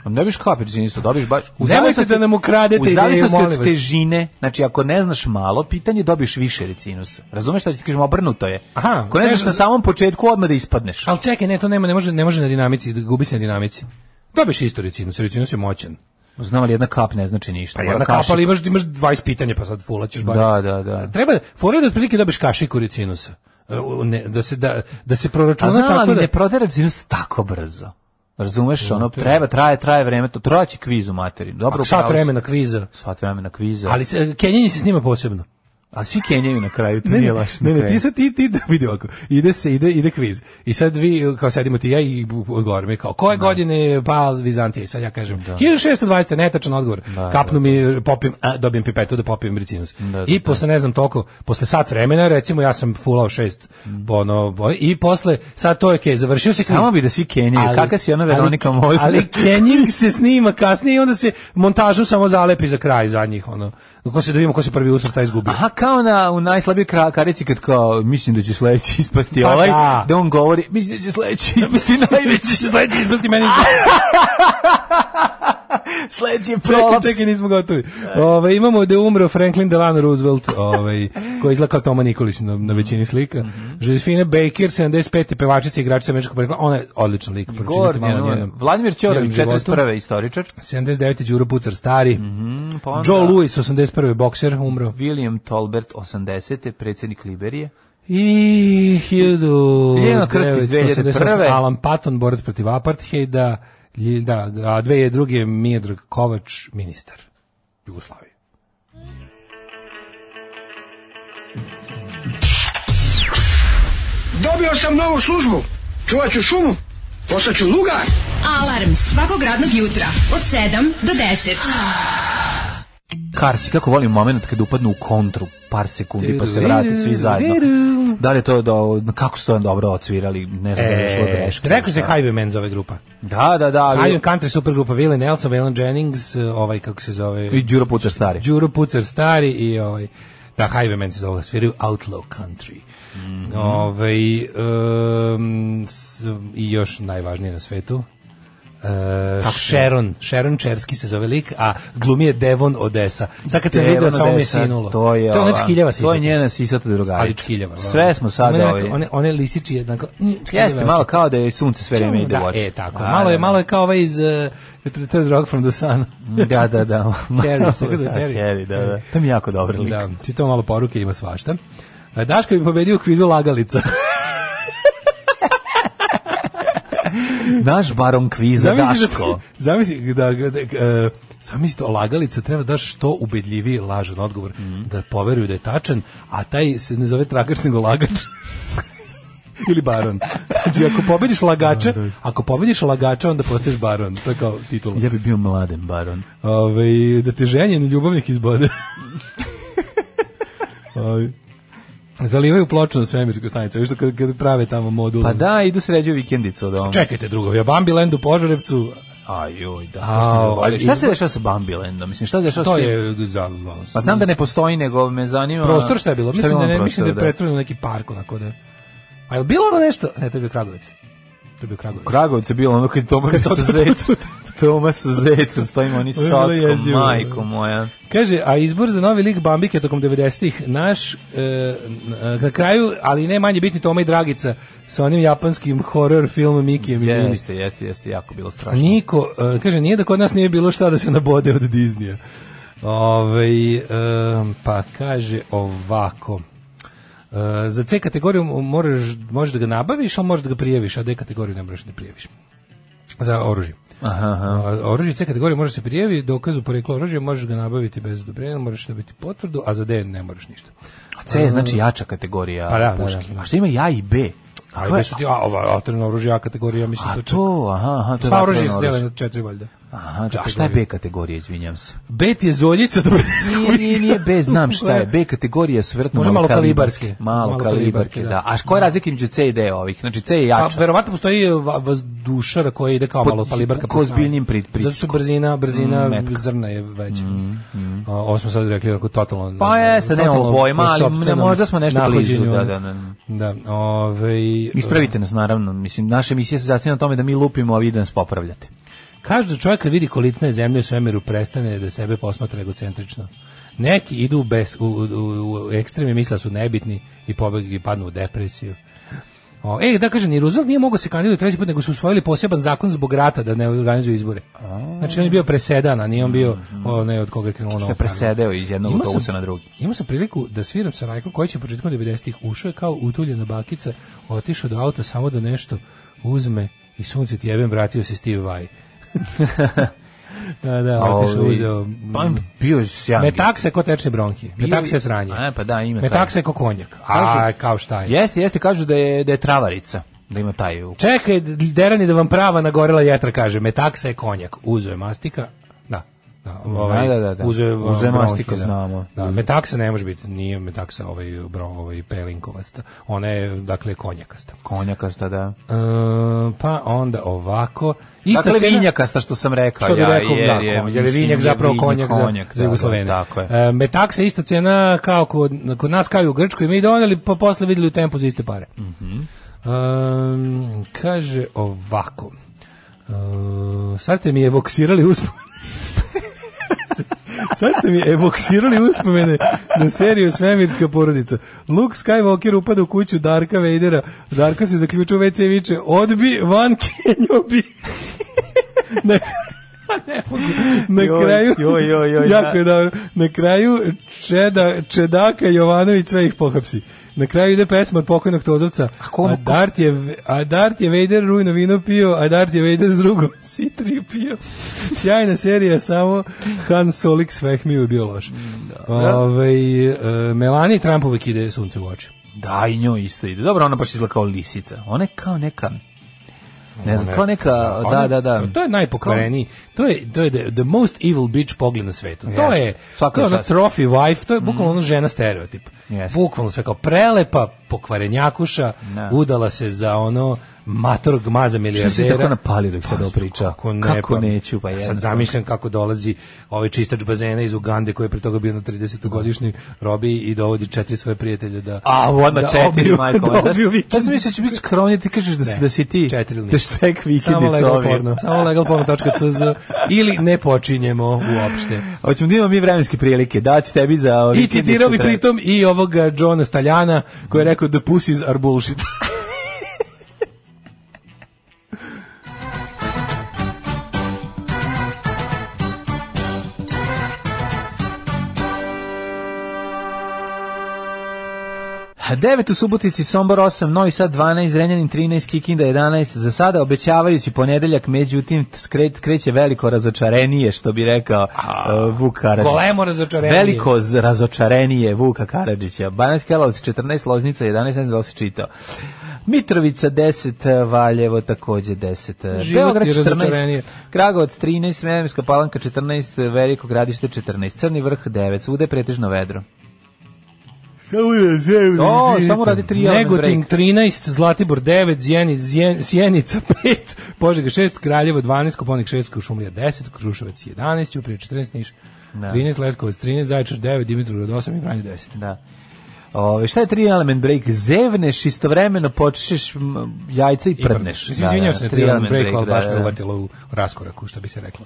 Speaker 6: A [LAUGHS] ne biš kapir, nisu, dobiš baš... u
Speaker 7: Nemojte
Speaker 6: zavisnosti-
Speaker 7: da nam ukradete
Speaker 6: u
Speaker 7: ideju,
Speaker 6: zavisnosti
Speaker 7: molim vas.
Speaker 6: od težine, znači ako ne znaš malo, pitanje dobiješ više ricinusa. Razumeš što ti kažem, obrnuto je.
Speaker 7: Aha,
Speaker 6: ako ne znaš
Speaker 7: teže-
Speaker 6: na samom početku, odmah da ispadneš.
Speaker 7: Ali čekaj, ne, to nema, ne može, ne može na dinamici, da gubi se na dinamici. Dobiješ isto ricinus, ricinus je moćan.
Speaker 6: Znam li, jedna kap ne znači ništa.
Speaker 7: Pa
Speaker 6: mora
Speaker 7: jedna
Speaker 6: kašik.
Speaker 7: kapa, ali imaš, imaš 20 pitanja, pa sad fulaćeš bar.
Speaker 6: Da, da, da.
Speaker 7: Treba, fora je da otprilike dobiješ kašiku ricinusa. E, u- Ne, da se da, da se
Speaker 6: A
Speaker 7: proračuna
Speaker 6: znam,
Speaker 7: tako
Speaker 6: ali
Speaker 7: da
Speaker 6: ne prodere ricinus tako brzo. Razumeš, ono, treba, traje, traje vreme, to traće kviz u materinu. Dobro,
Speaker 7: Ako sat
Speaker 6: upravo si.
Speaker 7: vremena kviza.
Speaker 6: Sat vremena kviza.
Speaker 7: Ali se Kenjanje se snima posebno.
Speaker 6: A svi kenjaju na kraju, to nije laš.
Speaker 7: ne, ne, ti sad ti, ti vidi ovako. Ide se, ide, ide kviz. I sad vi, kao sedimo ti i ja i odgovorim. I kao, koje
Speaker 6: Da.
Speaker 7: godine je pal Vizantije? I Sad ja kažem, 1620, netačan odgovor.
Speaker 6: Da,
Speaker 7: Kapnu mi, popim, a, dobijem pipetu da popijem ricinus.
Speaker 6: da.
Speaker 7: I posle, ne znam toliko, posle sat vremena, recimo, ja sam fulao šest, ono, bo- i posle, sad to je okej, završio se kviz.
Speaker 6: Mm. Samo bi da svi kenjaju.
Speaker 7: Ali-
Speaker 6: Kaka si ona
Speaker 7: ali-
Speaker 6: Veronika Mozart?
Speaker 7: Ali
Speaker 6: [LAUGHS]
Speaker 7: Kenjing se snima kasnije i onda se montažu samo zalepi za kraj za njih. Ono. Ko se da vidimo ko se prvi usrta izgubio.
Speaker 6: Aha, kao na, u najslabijoj kra- karici kad kao, mislim da će sledeći ispasti
Speaker 7: Pa
Speaker 6: ovaj,
Speaker 7: da.
Speaker 6: da. on govori, mislim da će sledeći ispasti [LAUGHS] najveći,
Speaker 7: Sledeći ispasti meni.
Speaker 6: sledeći je
Speaker 7: Čekaj,
Speaker 6: prolaps.
Speaker 7: čekaj, nismo gotovi. Ove, imamo da je umro Franklin Delano Roosevelt, ovaj, koji izgleda kao Toma Nikolić na, na većini slika.
Speaker 6: Mhm.
Speaker 7: Josefina Baker, 75. pevačica i igračica američkog porekla. Ona je odličan lik.
Speaker 6: Gornje,
Speaker 7: pročitajte malo o
Speaker 6: ono je.
Speaker 7: njenom-
Speaker 6: Vladimir
Speaker 7: njenom
Speaker 6: Ćorović,
Speaker 7: životu.
Speaker 6: 41. istoričar.
Speaker 7: 79. Đuro Pucar, stari.
Speaker 6: Pa onda
Speaker 7: Joe Louis, 81. bokser, umro.
Speaker 6: William Tolbert, 80. predsjednik Liberije.
Speaker 7: I
Speaker 6: Ljiljana Krstić,
Speaker 7: 1988,
Speaker 6: 2001.
Speaker 7: Alan Patton, borac protiv apartheida. Lji- Da, a 2002. je Miodrag Kovač, ministar Jugoslavije.
Speaker 2: Dobio sam novu službu. Čuvat ću šumu. Postaću lugar.
Speaker 5: Alarm svakog radnog jutra od 7 do 10.
Speaker 6: Karsi, kako volim moment kad upadnu u kontru par sekundi pa se vrate svi zajedno. Da li je to do, kako su to dobro odsvirali, ne znam da li je išlo
Speaker 7: E,
Speaker 6: greška.
Speaker 7: rekao se
Speaker 6: šta.
Speaker 7: Highwaymen za ove grupa.
Speaker 6: Da, da, da. ali-
Speaker 7: Highway Country supergrupa Willie Nelson, Waylon Jennings, eh, ovaj kako se zove...
Speaker 6: I Đuro Putar stari.
Speaker 7: Đuro Pucar stari i ovaj da Highwaymen se zove sviraju Outlaw Country.
Speaker 6: Mhm.
Speaker 7: Ovaj em, s- i još najvažnije na svetu. E, Sharon, Sharon Čerski se zove lik, a glumi je Devon Odessa. Sad kad sam
Speaker 6: Devon
Speaker 7: video samo mi je
Speaker 6: Odessa,
Speaker 7: sinulo.
Speaker 6: To je,
Speaker 7: to je ona
Speaker 6: ova-
Speaker 7: čkiljava sisata.
Speaker 6: To je njena sisata drugarica.
Speaker 7: ali čkiljava. ono.
Speaker 6: Sve smo
Speaker 7: Ima
Speaker 6: sada
Speaker 7: neka-
Speaker 6: ovi.
Speaker 7: One, one lisiči jednako. mm, čkiljava
Speaker 6: Jeste, malo kao da je sunce sve vrijeme ide u
Speaker 7: da,
Speaker 6: oči.
Speaker 7: e, tako.
Speaker 6: Da,
Speaker 7: malo je,
Speaker 6: da,
Speaker 7: malo je kao ovaj iz uh, Third Rock from the Sun.
Speaker 6: Da, da,
Speaker 7: [LAUGHS]
Speaker 6: da.
Speaker 7: Harry,
Speaker 6: Malo-
Speaker 7: tako zove
Speaker 6: da,
Speaker 7: Harry.
Speaker 6: Harry, da, da. To mi je jako dobro lik.
Speaker 7: Da, čitao malo poruke, ima svašta. E, Daško bi pobedio u kvizu lagalica.
Speaker 6: Naš baron
Speaker 7: [LAUGHS]
Speaker 6: kviza
Speaker 7: Zamisli da-
Speaker 6: Daško.
Speaker 7: Zamisli da, da, da e, zamisli to, lagalica treba da što ubedljiviji lažan odgovor,
Speaker 6: Mhm.
Speaker 7: da poveruju da je tačan, a taj se ne zove tragač nego lagač. [LAUGHS] ili baron. Znači, ako pobediš lagača,
Speaker 6: Da,
Speaker 7: ako pobediš lagača, onda postaješ baron. To je kao titula.
Speaker 6: Ja bi bio mladen baron.
Speaker 7: Ove, da te ženjen ljubavnik izbode. Ove. Zalivaju ploču na svemirsku stanicu, viš kad, kad prave tamo modul.
Speaker 6: Pa da, idu sređuju vikendicu od ovom.
Speaker 7: Čekajte drugovi, a Bambiland u Požarevcu,
Speaker 6: Ajoj, da.
Speaker 7: A,
Speaker 6: to smo zaboravili.
Speaker 7: ovaj,
Speaker 6: šta se dešava sa Bambilandom? Mislim, šta se dešava
Speaker 7: to
Speaker 6: s tim?
Speaker 7: je za,
Speaker 6: Pa znam da ne postoji, nego me zanima...
Speaker 7: prostor šta je bilo? Mislim
Speaker 6: bilo
Speaker 7: da ne,
Speaker 6: na
Speaker 7: mislim da je
Speaker 6: prostoru,
Speaker 7: pretvoreno u neki park onako da. A je bilo ono nešto? Ne, to je bio Kragovic. To je bio Kragovic.
Speaker 6: U Kragovicu je bilo ono kad Toma
Speaker 7: Kad
Speaker 6: sa
Speaker 7: to- to-
Speaker 6: zecom. Toma sa zecom, stojimo oni
Speaker 7: To je bilo
Speaker 6: sackom,
Speaker 7: jezivo.
Speaker 6: majko moja.
Speaker 7: Kaže, a izbor za novi lik Bambike tokom 90-ih, naš e, n- na kraju, ali ne manje bitni Toma i Dragica sa onim japanskim horror filmom Mikijem i Mini.
Speaker 6: Jeste, jeste, jeste, jako bilo strašno.
Speaker 7: Niko, e, kaže, nije da kod nas nije bilo šta da se nabode od Disneya. Ovaj, e, pa kaže ovako. E, za C kategoriju moraš, možeš da ga nabaviš, ali možeš da ga prijaviš, a D kategoriju ne možeš da prijaviš. Za oružje.
Speaker 6: Aha, aha.
Speaker 7: A, Oružje C kategorije može se prijavi, dokazu porekla oružja, možeš ga nabaviti bez odobrenja, moraš dobiti potvrdu, a za D ne moraš ništa.
Speaker 6: A C je znači jača kategorija
Speaker 7: Pa da, da, da.
Speaker 6: puški. A šta ima ja i B?
Speaker 7: A,
Speaker 6: Kako je-
Speaker 7: gde su ti, a, ova, vatreno oružje, A kategorija, mislim,
Speaker 6: A
Speaker 7: to, to
Speaker 6: to, aha, aha, to je
Speaker 7: Sva
Speaker 6: vatreno
Speaker 7: oružje se dele
Speaker 6: oružje.
Speaker 7: na četiri valjda.
Speaker 6: Aha, a šta je B kategorija, izvinjam [LAUGHS] se.
Speaker 7: Bet je zoljica da do
Speaker 6: Nije, nije, nije B, znam šta [LAUGHS] je. B kategorija su vjerojatno
Speaker 7: Možda
Speaker 6: malo
Speaker 7: malokalibarske.
Speaker 6: kalibarske. Malo
Speaker 7: Malokalibarke,
Speaker 6: kalibarke,
Speaker 7: da.
Speaker 6: da. A koja je razlika između C i D ovih? Znači C je
Speaker 7: Pa
Speaker 6: jača.
Speaker 7: verovatno postoji va- vazdušara koja ide kao
Speaker 6: Pod-
Speaker 7: malo palibarka.
Speaker 6: ko ozbiljnijim pri-
Speaker 7: Zato što brzina, brzina
Speaker 6: Mm, metka. Mm,
Speaker 7: zrna je veća. A, ovo smo sad rekli ako totalno...
Speaker 6: Pa jeste, nemamo
Speaker 7: totalno
Speaker 6: pojma,
Speaker 7: po
Speaker 6: ali
Speaker 7: sopstvenom
Speaker 6: ne, možda smo nešto blizu,
Speaker 7: nahođenju.
Speaker 6: da, da, da.
Speaker 7: Da, ovaj,
Speaker 6: Ispravite nas, naravno. Mislim, naša emisija se zasnije na tome da mi lupimo, a vi da nas popravljate.
Speaker 7: Kažu da čovjek kad vidi kolicna je zemlje u svemiru prestane da sebe posmatra egocentrično. Neki idu u, bes, u, u, u- u ekstreme, misle da su nebitni i pobeg i padnu u depresiju. O, e, da kaže, ni Roosevelt nije mogao se kandidati treći put, nego su usvojili poseban zakon zbog rata da ne organizuju izbore. Znači, on je bio presedan, a nije on bio onaj od koga je krenulo
Speaker 6: Što je presedeo iz jednog
Speaker 7: Da Imao sam-
Speaker 6: autobusa na drugi.
Speaker 7: Imao sam priliku da sviram sa Rajkom koji će početkom 90-ih ušao je kao utuljena bakica, otišao do auta samo da nešto uzme i sunce ti jebem vratio se Steve Vai. [LAUGHS] da, da, otišao
Speaker 6: Ovi-
Speaker 7: uzeo.
Speaker 6: Pa bio je sjajan.
Speaker 7: Metakse je ko tečne bronhije. Metakse je sranje.
Speaker 6: E, pa da, ima taj.
Speaker 7: Metakse je ko konjak. A,
Speaker 6: Kažu-
Speaker 7: kao šta je.
Speaker 6: Jeste, jeste, kažu da je, da je travarica. Da ima taj u-
Speaker 7: Čekaj, derani da vam prava nagorela jetra, kaže. Metakse je konjak. Uzo je mastika. Da. Da, ovaj,
Speaker 6: Da, da, da, da.
Speaker 7: Uzo je,
Speaker 6: Uzo je
Speaker 7: bronhi,
Speaker 6: mastika,
Speaker 7: da.
Speaker 6: znamo.
Speaker 7: Da, metaksa ne može biti, nije metaksa ovaj, bro, ovaj pelinkovasta. Ona je, dakle, konjakasta.
Speaker 6: konjakasta, da.
Speaker 7: E, pa onda ovako. Ista
Speaker 6: Dakle,
Speaker 7: cena-
Speaker 6: vinjakasta što sam rekao.
Speaker 7: što bi
Speaker 6: ja,
Speaker 7: rekao, da, konjak, jer je
Speaker 6: mislim,
Speaker 7: vinjak zapravo
Speaker 6: vinji
Speaker 7: konjak, za, za
Speaker 6: da,
Speaker 7: Jugoslovene.
Speaker 6: Da, tako je.
Speaker 7: E, metaksa je ista cena kao kod, kod nas, kao i u Grčkoj, mi doneli, pa posle videli u tempu za iste pare.
Speaker 6: Mhm.
Speaker 7: Em, kaže ovako, E, sad ste mi evoksirali uspomene. Sad ste mi evoksirali uspomene na seriju Svemirska porodica. Luke Skywalker upada u kuću Darka Vadera. Darka se zaključuje u WC i viče, odbi, van kenjobi. [LAUGHS] Na, [LAUGHS] ne mogu. na
Speaker 6: Joj,
Speaker 7: kraju,
Speaker 6: joj, joj, joj,
Speaker 7: jako
Speaker 6: da.
Speaker 7: je dobro. Na kraju Čeda, Čedaka Jovanović sve ih pohapsi. Na kraju ide pesma od pokojnog Tozovca. A,
Speaker 6: kom-
Speaker 7: Dart je, a Dart je Vader rujno vino pio, a Dart je Vader s drugom [LAUGHS] C3 pio. Sjajna serija, samo Han Solix Fehmiju je bio loš. Ovaj, e, Melani Trump uvijek ide sunce u oči.
Speaker 6: Da, i njoj isto ide. Dobro, ona baš izgleda kao lisica. Ona je kao neka... Ne znam,
Speaker 7: Ona-
Speaker 6: kao neka, da,
Speaker 7: ona-
Speaker 6: da, da.
Speaker 7: To je najpokvareniji. To je to je the, the most evil bitch pogled na svetu. To
Speaker 6: Jeste.
Speaker 7: je
Speaker 6: Svaka
Speaker 7: to je ona
Speaker 6: čast. Mhm.
Speaker 7: trophy wife, to je bukvalno ona žena stereotip.
Speaker 6: Jeste.
Speaker 7: Bukvalno sve kao prelepa pokvarenjakuša,
Speaker 6: Da.
Speaker 7: udala se za ono mator gmaza
Speaker 6: Što
Speaker 7: milijardera.
Speaker 6: si tako napalio dok se
Speaker 7: Pa,
Speaker 6: sad priča?
Speaker 7: Kako, ne,
Speaker 6: Kako
Speaker 7: pa,
Speaker 6: neću, pa
Speaker 7: a Sad
Speaker 6: jednostavno.
Speaker 7: zamišljam kako dolazi ovaj čistač bazena iz Ugande koji je pre toga bio na 30-godišnjoj robi i dovodi četiri svoje prijatelje da...
Speaker 6: A, odmah
Speaker 7: da
Speaker 6: četiri,
Speaker 7: obiju-
Speaker 6: majko. moja,
Speaker 7: [LAUGHS] Da
Speaker 6: znaš?
Speaker 7: obiju vikend.
Speaker 6: Ja sam mislio da će biti skronje, ti kažeš da, si,
Speaker 7: Ne,
Speaker 6: da si ti.
Speaker 7: četiri ili
Speaker 6: Da
Speaker 7: ništa.
Speaker 6: štek vikendica
Speaker 7: Samo legal
Speaker 6: ovih.
Speaker 7: porno, samo legalporno.cz ili ne počinjemo uopšte.
Speaker 6: Hoćemo da imamo mi vremenske prilike. Da, ću tebi za...
Speaker 7: I
Speaker 6: vikendicu
Speaker 7: citirao bi
Speaker 6: treba-
Speaker 7: pritom i ovog eh, Johna Staljana koji je rekao the pussies are bullshit.
Speaker 6: A 9 u Subotici, Sombor 8, Novi Sad 12, Zrenjanin 13, Kikinda 11. Za sada obećavajući ponedeljak, međutim skret, kreće veliko razočarenije, što bi rekao uh, Vuk Karadžić.
Speaker 7: Golemo razočarenje.
Speaker 6: Veliko z- razočarenije Vuka Karadžića. Bananski Karlovac 14, Loznica 11, ne znam da li si čitao. Mitrovica 10, Valjevo takođe 10,
Speaker 7: Život
Speaker 6: Beograd
Speaker 7: je
Speaker 6: 14,
Speaker 7: razočarenje.
Speaker 6: Kragovac 13, Smerenska palanka 14, Veliko gradište 14, Crni vrh 9, svude je pretežno vedro. O, samo radi tri element
Speaker 7: Negotin
Speaker 6: break.
Speaker 7: 13, Zlatibor 9, Zjeni, Zjen, Sjenica 5, Požega 6, Kraljevo 12, Koponik 6, Kušumlija 10, Kruševac 11, Ćuprije 14, Niš
Speaker 6: Da.
Speaker 7: 13, Leskovac 13, Zaječar 9, Dimitrovgrad 8 i Vranje 10.
Speaker 6: Da. Ove, šta je tri element break? Zevneš, istovremeno počešeš m, jajca i
Speaker 7: Ipak,
Speaker 6: prdneš.
Speaker 7: Mislim, izvinjam se na tri element break, ali baš
Speaker 6: da,
Speaker 7: me
Speaker 6: da.
Speaker 7: uvatilo u raskoraku, što bi se reklo.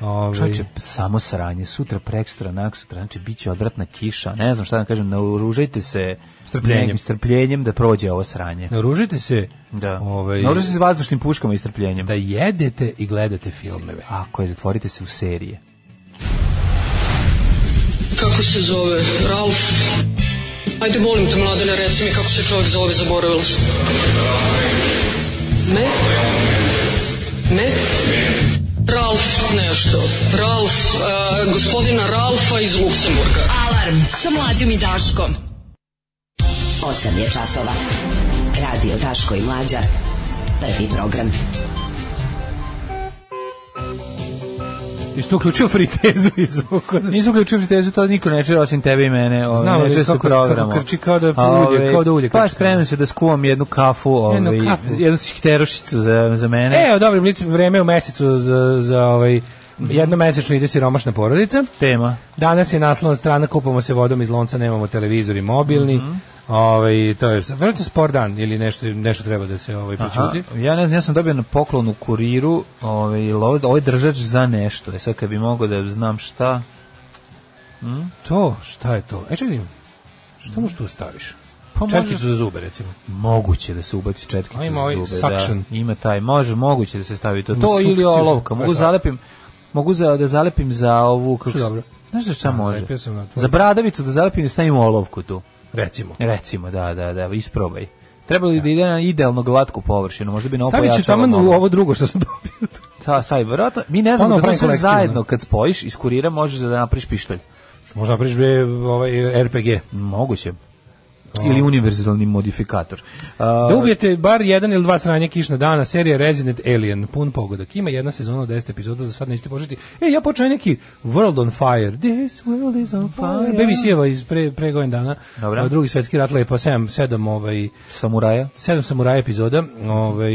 Speaker 7: Ovaj, Ove,
Speaker 6: Čovječe, samo saranje, sutra, prekstra, naksutra, znači, bit će odvratna kiša, ne znam šta da kažem, naoružajte se
Speaker 7: Strpljenjem.
Speaker 6: nekim strpljenjem da prođe ovo sranje.
Speaker 7: Naoružite se,
Speaker 6: Da.
Speaker 7: ovaj,
Speaker 6: Naoružajte se vazdušnim puškama i strpljenjem.
Speaker 7: da jedete i gledate filmeve.
Speaker 6: Ako je, zatvorite se u serije.
Speaker 9: Kako se zove? Ralf? Ajde, molim te, mladene, reci mi kako se čovjek zove, zaboravila sam. Me? Me? Ralf nešto. Ralf, e, gospodina Ralfa iz Luksemburga.
Speaker 5: Alarm sa mlađom i Daškom. 8 je časova. Radio Daško i Mlađa. Prvi program.
Speaker 7: Jesi to uključio fritezu iz
Speaker 6: [LAUGHS]
Speaker 7: oko?
Speaker 6: Nisam uključio fritezu, to niko ne čuje osim tebe i mene. Ove,
Speaker 7: Znam,
Speaker 6: ne
Speaker 7: ali
Speaker 6: čuje se u
Speaker 7: kako-
Speaker 6: programu.
Speaker 7: kako krči, kao da ulje,
Speaker 6: A, ove,
Speaker 7: kao da ulje
Speaker 6: Pa
Speaker 7: krči.
Speaker 6: spremam se da skuvam jednu kafu, ove,
Speaker 7: Jednu
Speaker 6: jednu,
Speaker 7: kafu.
Speaker 6: shterošicu za, za mene.
Speaker 7: E, o dobrim licima vreme u mesecu za, za ovaj, jednomesečno ide siromašna porodica.
Speaker 6: Tema.
Speaker 7: Danas je naslovna strana, kupamo se vodom iz lonca, nemamo televizor i mobilni.
Speaker 6: Mhm.
Speaker 7: ovaj, to je, vjerojatno spor dan ili nešto, nešto treba da se ovaj, pričuti.
Speaker 6: Aha, ja ne znam, ja sam dobio na poklon u kuriru ovaj, ovo, ovo je držač za nešto. E sad kad bi mogao da znam šta...
Speaker 7: To, šta je to? E, čekaj, što možeš tu da staviš?
Speaker 6: Pa
Speaker 7: Četkicu za zube, recimo.
Speaker 6: Moguće da se ubaci četkica
Speaker 7: Ima
Speaker 6: za
Speaker 7: ovaj
Speaker 6: zube.
Speaker 7: suction.
Speaker 6: Da, ima taj, može, moguće da se stavi to.
Speaker 7: Ima
Speaker 6: To ili
Speaker 7: sukciju.
Speaker 6: olovka. Mogu
Speaker 7: Baš da.
Speaker 6: zalepim, mogu za, da zalepim za ovu... Kako,
Speaker 7: Što
Speaker 6: se-
Speaker 7: dobro.
Speaker 6: Znaš za šta može?
Speaker 7: lepio sam na tvoj-
Speaker 6: Za bradavicu da zalepim i stavim olovku tu.
Speaker 7: Recimo.
Speaker 6: Recimo, da, da, da, isprobaj. Treba li da ide na idealno glatku površinu? Možda bi na ovo
Speaker 7: Stavit ću
Speaker 6: pojačalo
Speaker 7: tamo
Speaker 6: malo.
Speaker 7: u ovo drugo što sam dobio.
Speaker 6: Ta, stavi, verovatno. Mi ne znamo da
Speaker 7: Ponovo
Speaker 6: to
Speaker 7: pravim
Speaker 6: sve
Speaker 7: kolekciju,
Speaker 6: zajedno
Speaker 7: da.
Speaker 6: kad spojiš, iz kurira možeš da napraviš pištolj.
Speaker 7: Možda napraviš bre, ovaj RPG.
Speaker 6: Moguće. Ili univerzalni modifikator. A,
Speaker 7: Da ubijete bar jedan ili dva sranja kišna dana, serija Resident Alien, pun pogodak. Ima jedna sezona od 10 epizoda, za sad nećete početi. E, ja počeo neki World on Fire. This world is on fire. BBC-eva iz pre, pre godin dana.
Speaker 6: Dobro.
Speaker 7: A, Drugi svetski rat lepo, 7, 7 ovaj,
Speaker 6: samuraja.
Speaker 7: sedam samuraja epizoda, ovaj,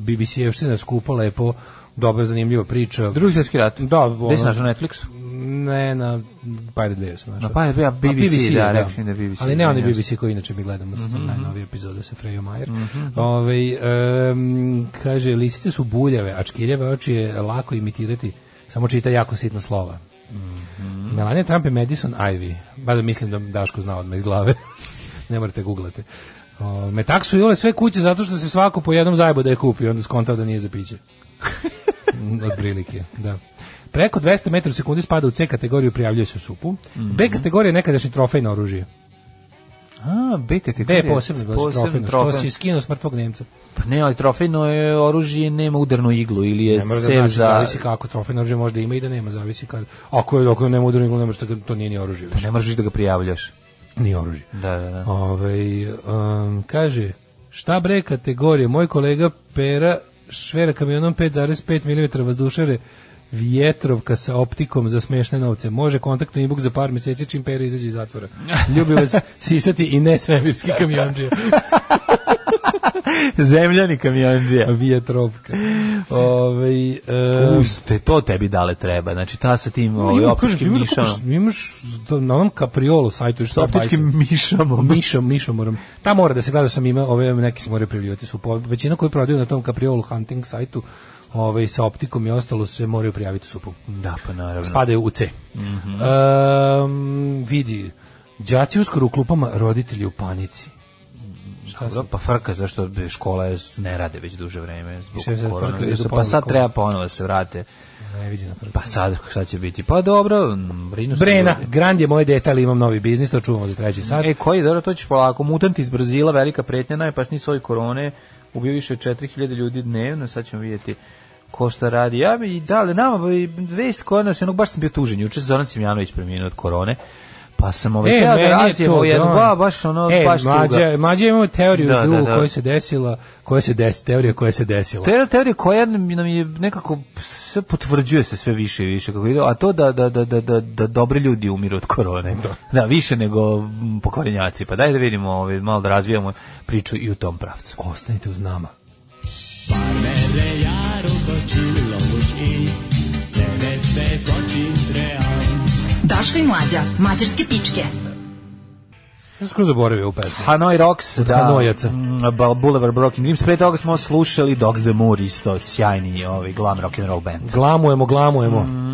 Speaker 7: BBC-evština skupa lepo, dobra, zanimljiva priča.
Speaker 6: Drugi svjetski rat.
Speaker 7: Da,
Speaker 6: Gde si
Speaker 7: ono-
Speaker 6: našao na Netflixu?
Speaker 7: Ne, na Pirate Bay sam našao.
Speaker 6: Na Pirate Bayu, a
Speaker 7: A
Speaker 6: BBC,
Speaker 7: BBC,
Speaker 6: da, rekli mi da Mhm, BBC,
Speaker 7: Ali ne onaj
Speaker 6: izvinjavam
Speaker 7: BBC koji inače mi gledamo, mm -hmm. najnovije epizode sa Frejo Majer.
Speaker 6: mhm.
Speaker 7: Ovaj, em, kaže, lisice su buljave, a čkiljeve oči je lako imitirati, samo čita jako sitna slova.
Speaker 6: Mhm.
Speaker 7: Melania Trump je Madison Ivy. Bada mislim da Daško zna odmah iz glave. [LAUGHS] ne morate googlati. O, metak su jule sve kuće zato što se svako po jednom zajebo da je kupio, onda skontao da nije za piće. Mm, Otprilike, da. Preko 200 metara u sekundi spada u C kategoriju, prijavljuje se u supu. B kategorija je nekadašnji trofejno oružje.
Speaker 6: A, B
Speaker 7: B
Speaker 6: kategorija.
Speaker 7: je posebno, znači, trofejno, što si skinuo s mrtvog Nemca.
Speaker 6: Pa ne, ali trofejno je oružje, nema udarnu iglu ili je
Speaker 7: Ne mora da
Speaker 6: cev
Speaker 7: znači,
Speaker 6: za...
Speaker 7: zavisi kako trofejno oružje možda ima i da nema, zavisi kad. Ako je dok nema udarnu iglu, ne može, to- to nije ni oružje. više.
Speaker 6: Ne moraš više da ga prijavljaš.
Speaker 7: Nije oružje.
Speaker 6: Da, da, da.
Speaker 7: Ovaj, um, kaže, šta bre kategorije, moj kolega Pera švera kamionom 5,5 mm vazdušare vjetrovka sa optikom za smešne novce. Može kontaktni e-book za par mjeseci čim Pero izađe iz
Speaker 6: [LAUGHS]
Speaker 7: zatvora. Ljubi vas sisati i ne svemirski kamionđe.
Speaker 6: da. [LAUGHS] Zemljani kamionđija.
Speaker 7: Vjetrovka. Ove, e,
Speaker 6: Uste, Um, to tebi dale treba. Znači, ta sa tim ovaj,
Speaker 7: ima, kažem ti,
Speaker 6: optičkim
Speaker 7: imaš,
Speaker 6: mišama.
Speaker 7: kako- imaš to na onom kapriolu sajtu što
Speaker 6: Sa optičkim mišama.
Speaker 7: Mišom, mišom moram. Ta mora da se gleda sam ima, ove neki se moraju prijavljivati su. po- Većina koji prodaju na tom Capriolu hunting sajtu, ove sa optikom i ostalo se moraju prijaviti su. po-
Speaker 6: Da, pa naravno.
Speaker 7: Spadaju u C.
Speaker 6: Mhm.
Speaker 7: Ehm, vidi, đaci uskoro u klupama, roditelji u panici. Šta
Speaker 6: Dobro,
Speaker 7: sam-
Speaker 6: pa frka zašto bi škole ne rade već duže vreme
Speaker 7: Mislim,
Speaker 6: zbog
Speaker 7: sad
Speaker 6: korona.
Speaker 7: frka, idu
Speaker 6: Pa
Speaker 7: ponovo
Speaker 6: sad
Speaker 7: škole.
Speaker 6: treba ponovo da se vrate.
Speaker 7: Ne vidi na prvi.
Speaker 6: Pa sad šta će biti? Pa dobro, m, brinu se.
Speaker 7: Brena,
Speaker 6: ljudi.
Speaker 7: Grand je moje dete, ali imam novi biznis, to čuvamo za treći sat.
Speaker 6: E, koji, dobro, to ćeš polako. Mutant iz Brazila, velika pretnja, najopasniji soj korone, ubio više od 4000 ljudi dnevno, sad ćemo vidjeti ko šta radi. Ja bi, da, ali nama, bi vest koja nas, jednog, baš sam bio tužen, juče Zoran Simjanović preminuo od korone, pa sam
Speaker 7: E,
Speaker 6: ovaj, teo da razjemo jednu,
Speaker 7: da.
Speaker 6: ba, baš ono,
Speaker 7: e,
Speaker 6: baš tuga.
Speaker 7: mlađa, mlađa imamo teoriju
Speaker 6: Da, da,
Speaker 7: drugu
Speaker 6: da.
Speaker 7: koja se desila, koja se desi, teorija koja se desila.
Speaker 6: To je jedna teorija koja mi- nam je nekako sve potvrđuje se sve više i više kako ide, a to da, da, da, da, da, da dobri ljudi umiru od korone. Da, više nego mm, pokvarenjaci. Pa daj da vidimo, ovaj, malo da razvijamo priču i u tom pravcu.
Speaker 7: Ostanite uz nama.
Speaker 5: Daško i Mlađa, mađarske pičke.
Speaker 7: Ja sam skoro zaboravio u pesmu.
Speaker 6: Hanoi Rocks, da.
Speaker 7: Hanoijaca.
Speaker 6: Mm, Bal- Boulevard Broken Dreams. Pre toga smo slušali Dogs the Moor, isto sjajni ovaj, glam rock and roll band.
Speaker 7: Glamujemo, glamujemo.
Speaker 6: Mm,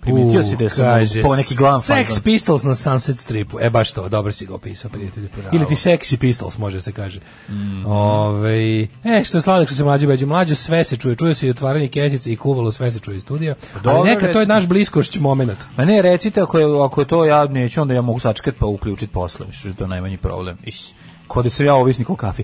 Speaker 6: Primetio
Speaker 7: U,
Speaker 6: si da sam
Speaker 7: kaže,
Speaker 6: po neki glam
Speaker 7: Sex
Speaker 6: fazon.
Speaker 7: Pistols na Sunset Stripu. E, baš to, dobro si ga opisao, prijatelju. Ili ti Sexy Pistols, može se kaže.
Speaker 6: Mm.
Speaker 7: Ovaj, e, što je sladak što se mlađe beđe mlađe, sve se čuje. Čuje se i otvaranje kesice i kuvalo, sve se čuje iz studija.
Speaker 6: Pa dobro,
Speaker 7: Ali neka, to je
Speaker 6: recimo.
Speaker 7: naš bliskošć moment.
Speaker 6: Ma ne, recite, ako je, ako je to ja neću, onda ja mogu sačekati pa uključiti posle. Mislim da je to najmanji problem. Is. Ko da sam ja ovisnik o kafi.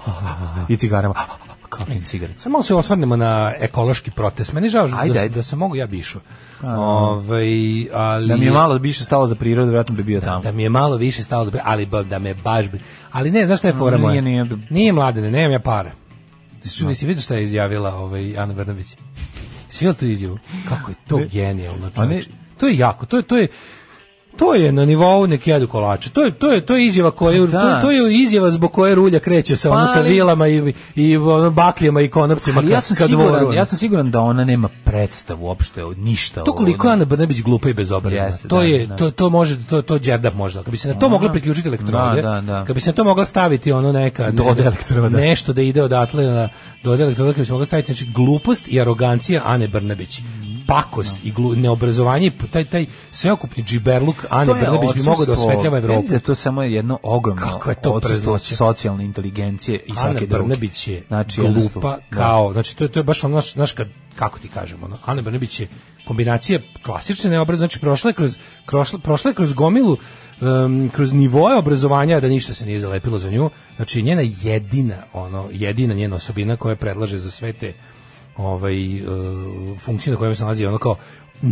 Speaker 6: [LAUGHS] I cigarama. [LAUGHS] Kafi i cigarica.
Speaker 7: Samo malo se osvrnemo na ekološki protest. Meni je žao
Speaker 6: Ajde,
Speaker 7: da,
Speaker 6: ajde. Pa,
Speaker 7: da se mogu ja bi išao. Ovaj, ali
Speaker 6: Da mi je malo više stalo za prirodu, vjerojatno bi bio tamo.
Speaker 7: da mi je malo više stalo do pri- ali ba- da me baš bi. Ali ne, znaš šta je fora
Speaker 6: Nije,
Speaker 7: moja?
Speaker 6: nije.
Speaker 7: Nije mladene, nemam ja para. Znači, no. si vidio šta je izjavila ovaj Ana Brnabić? Si vidio tu izjavu? Kako je to genijalno,
Speaker 6: a ne-
Speaker 7: čoveče. To je jako, to je, to je, to je na nivou neki jedu kolače. To je to je to je izjava koja
Speaker 6: Da.
Speaker 7: to, to je izjava zbog koje rulja kreće sa
Speaker 6: Pa,
Speaker 7: ono sa
Speaker 6: ali-
Speaker 7: vilama i i ono, bakljama i konopcima
Speaker 6: Ali
Speaker 7: ka,
Speaker 6: ja sam,
Speaker 7: ka dvoru.
Speaker 6: siguran, ja sam siguran da ona nema predstavu uopšte od ništa.
Speaker 7: To koliko je
Speaker 6: ono.
Speaker 7: Ana Brnabić glupa i bezobrazna.
Speaker 6: Jeste,
Speaker 7: to
Speaker 6: da,
Speaker 7: je
Speaker 6: da.
Speaker 7: to to može to to đerdap možda. Kad bi se na to moglo priključiti elektrode,
Speaker 6: Da, da, da.
Speaker 7: kad bi se na to mogla staviti ono neka
Speaker 6: Do od elektroda.
Speaker 7: nešto da ide odatle na do od elektroda, kad bi se mogla staviti znači glupost i arogancija Ane Brnabić. Pakost i glu, neobrazovanje i taj taj sveokupni džiberluk Ane
Speaker 6: To je
Speaker 7: Brnabić bi mogao da
Speaker 6: odsustvo-
Speaker 7: osvetljava
Speaker 6: Ja
Speaker 7: Evropu.
Speaker 6: mislim da je to samo jedno ogromno
Speaker 7: Kako je to
Speaker 6: odsustvo
Speaker 7: preznoće?
Speaker 6: socijalne inteligencije i
Speaker 7: Ana
Speaker 6: svake druge.
Speaker 7: Brnabić je
Speaker 6: Znači, jednostavno,
Speaker 7: glupa
Speaker 6: da.
Speaker 7: kao, znači to je, to je baš ono, naš, naš kad, kako ti kažemo, ono, Ana Brnabić je kombinacija klasične neobrazne, znači prošla je kroz, prošla, prošla je kroz gomilu, em, kroz nivoje obrazovanja, a da ništa se nije zalepilo za nju, znači njena jedina, ono, jedina njena osobina koja predlaže za sve te ovaj, e, funkcije na kojima se nalazi je ono kao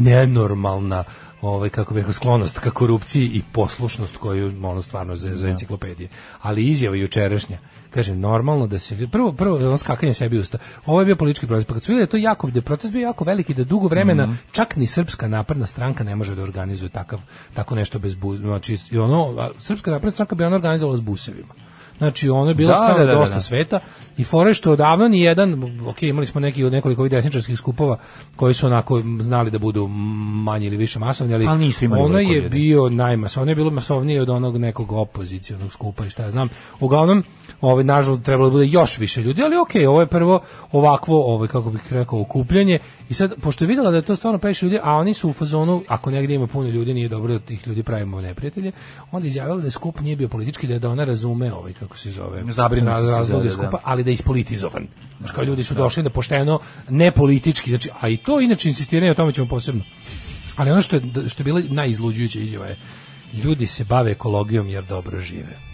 Speaker 7: nenormalna ovaj kako bih rekao sklonost ka korupciji i poslušnost koju ono stvarno za,
Speaker 6: Da.
Speaker 7: za enciklopedije. Ali izjava jučerašnja kaže normalno da se prvo prvo on skakanje sebi u usta. Ovo je bio politički protest, pa kad su videli da je to jako da je protest bio jako veliki da dugo
Speaker 6: Mhm.
Speaker 7: vremena čak ni srpska napredna stranka ne može da organizuje takav tako nešto bez bu, znači i ono a srpska napredna stranka bi ona organizovala s busevima. Znači ono je bilo
Speaker 6: Da,
Speaker 7: stvarno
Speaker 6: da, da, da,
Speaker 7: dosta
Speaker 6: da.
Speaker 7: sveta i fore što odavno ni jedan ok imali smo neki od nekoliko ovih desničarskih skupova koji su onako znali da budu manji ili više masovni ali,
Speaker 6: Ali nisu imali
Speaker 7: ono
Speaker 6: veliko
Speaker 7: je
Speaker 6: ljudi.
Speaker 7: bio najmasovnije ono je bilo masovnije od onog nekog opozicionog skupa i šta ja znam uglavnom ovaj nažalost trebalo je da bude još više ljudi ali ok ovo je prvo ovakvo ovaj kako bih rekao okupljanje i sad pošto je videla da je to stvarno previše ljudi a oni su u fazonu ako negdje ima puno ljudi nije dobro da tih ljudi pravimo neprijatelje onda je izjavila da skup nije bio politički da je da ona razume ovaj kako se zove
Speaker 6: Zabrinuti
Speaker 7: Raz-
Speaker 6: su za-
Speaker 7: razloge
Speaker 6: da, da.
Speaker 7: skupa, ali da je ispolitizovan. Znači, kao ljudi su došli da pošteno, ne politički, znači, a i to inače insistiranje, o tome ćemo posebno. Ali ono što je, što je bila najizluđujuća izjava je, ljudi se bave ekologijom jer dobro žive.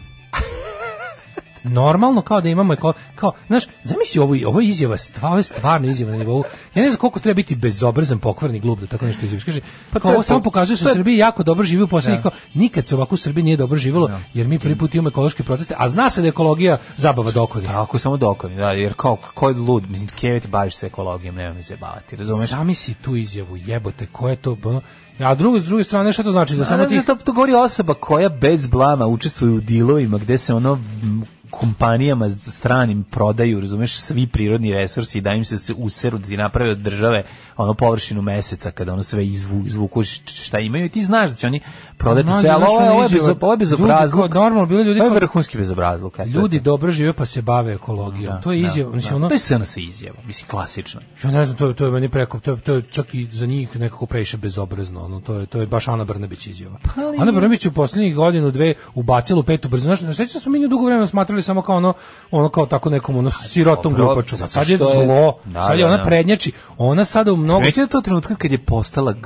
Speaker 7: normalno kao da imamo eko, kao, znaš, zamisli ovo, ovo je izjava, stva, ovo je stvarno izjava na nivou. Ja ne znam koliko treba biti bezobrazan, pokvarni glup da tako nešto izjaviš. Kaže, pa
Speaker 6: to je
Speaker 7: ovo
Speaker 6: po-
Speaker 7: samo pokazuje da
Speaker 6: to
Speaker 7: se
Speaker 6: je-
Speaker 7: u Srbiji jako dobro živi u poslednjih,
Speaker 6: Da.
Speaker 7: kao, nikad se ovako u Srbiji nije dobro živelo, jer mi prvi put imamo ekološke proteste, a zna se da je ekologija zabava dokoli.
Speaker 6: Tako, samo dokonim, da, jer kao, ko je lud, mislim, kevet baviš se ekologijom, nema mi se bavati, razumeš?
Speaker 7: Sami si tu izjavu, jebote, ko je to? ono? A drugo, s druge strane, šta to znači? Da samo
Speaker 6: Samo
Speaker 7: ti...
Speaker 6: to, to govori osoba koja bez blama učestvuje u dilovima gde se ono m, kompanijama s- stranim prodaju, razumeš, svi prirodni resursi i da im se se useru da ti naprave od države ono površinu meseca kada ono sve izvu, izvuku š- šta imaju i ti znaš da će oni prodati
Speaker 7: Mlađe,
Speaker 6: sve, ali
Speaker 7: znaš,
Speaker 6: ovo je,
Speaker 7: ono
Speaker 6: ovo je,
Speaker 7: izjava,
Speaker 6: bezo- ovo je
Speaker 7: ljudi
Speaker 6: bezobrazluk.
Speaker 7: kao- normalno, bilo ljudi
Speaker 6: Ovo je
Speaker 7: kao-
Speaker 6: vrhunski bezobrazluk. eto,
Speaker 7: Ljudi
Speaker 6: eto.
Speaker 7: dobro žive pa se bave ekologijom. to je izjava,
Speaker 6: da,
Speaker 7: mislim,
Speaker 6: da.
Speaker 7: ono,
Speaker 6: To je SNS izjava, mislim, klasično.
Speaker 7: Ja ne znam, to je to je meni preko, to je, to je čak i za njih nekako previše bezobrazno, ono to je to je baš Ana Brnabić izjava.
Speaker 6: Pa,
Speaker 7: Ana Brnabić je u poslednjih godinu dve ubacila u petu brzinu. Znači, sećam se mi nju dugo vremena smatrali samo kao ono ono kao tako nekom ono sirotom
Speaker 6: Pa, dobro,
Speaker 7: glupaču.
Speaker 6: zato
Speaker 7: Sad je
Speaker 6: što je-
Speaker 7: zlo.
Speaker 6: Da,
Speaker 7: sad je
Speaker 6: da,
Speaker 7: ona
Speaker 6: da.
Speaker 7: prednjači. Ona sada u mnogo
Speaker 6: Vidite da to trenutka kad je postala g-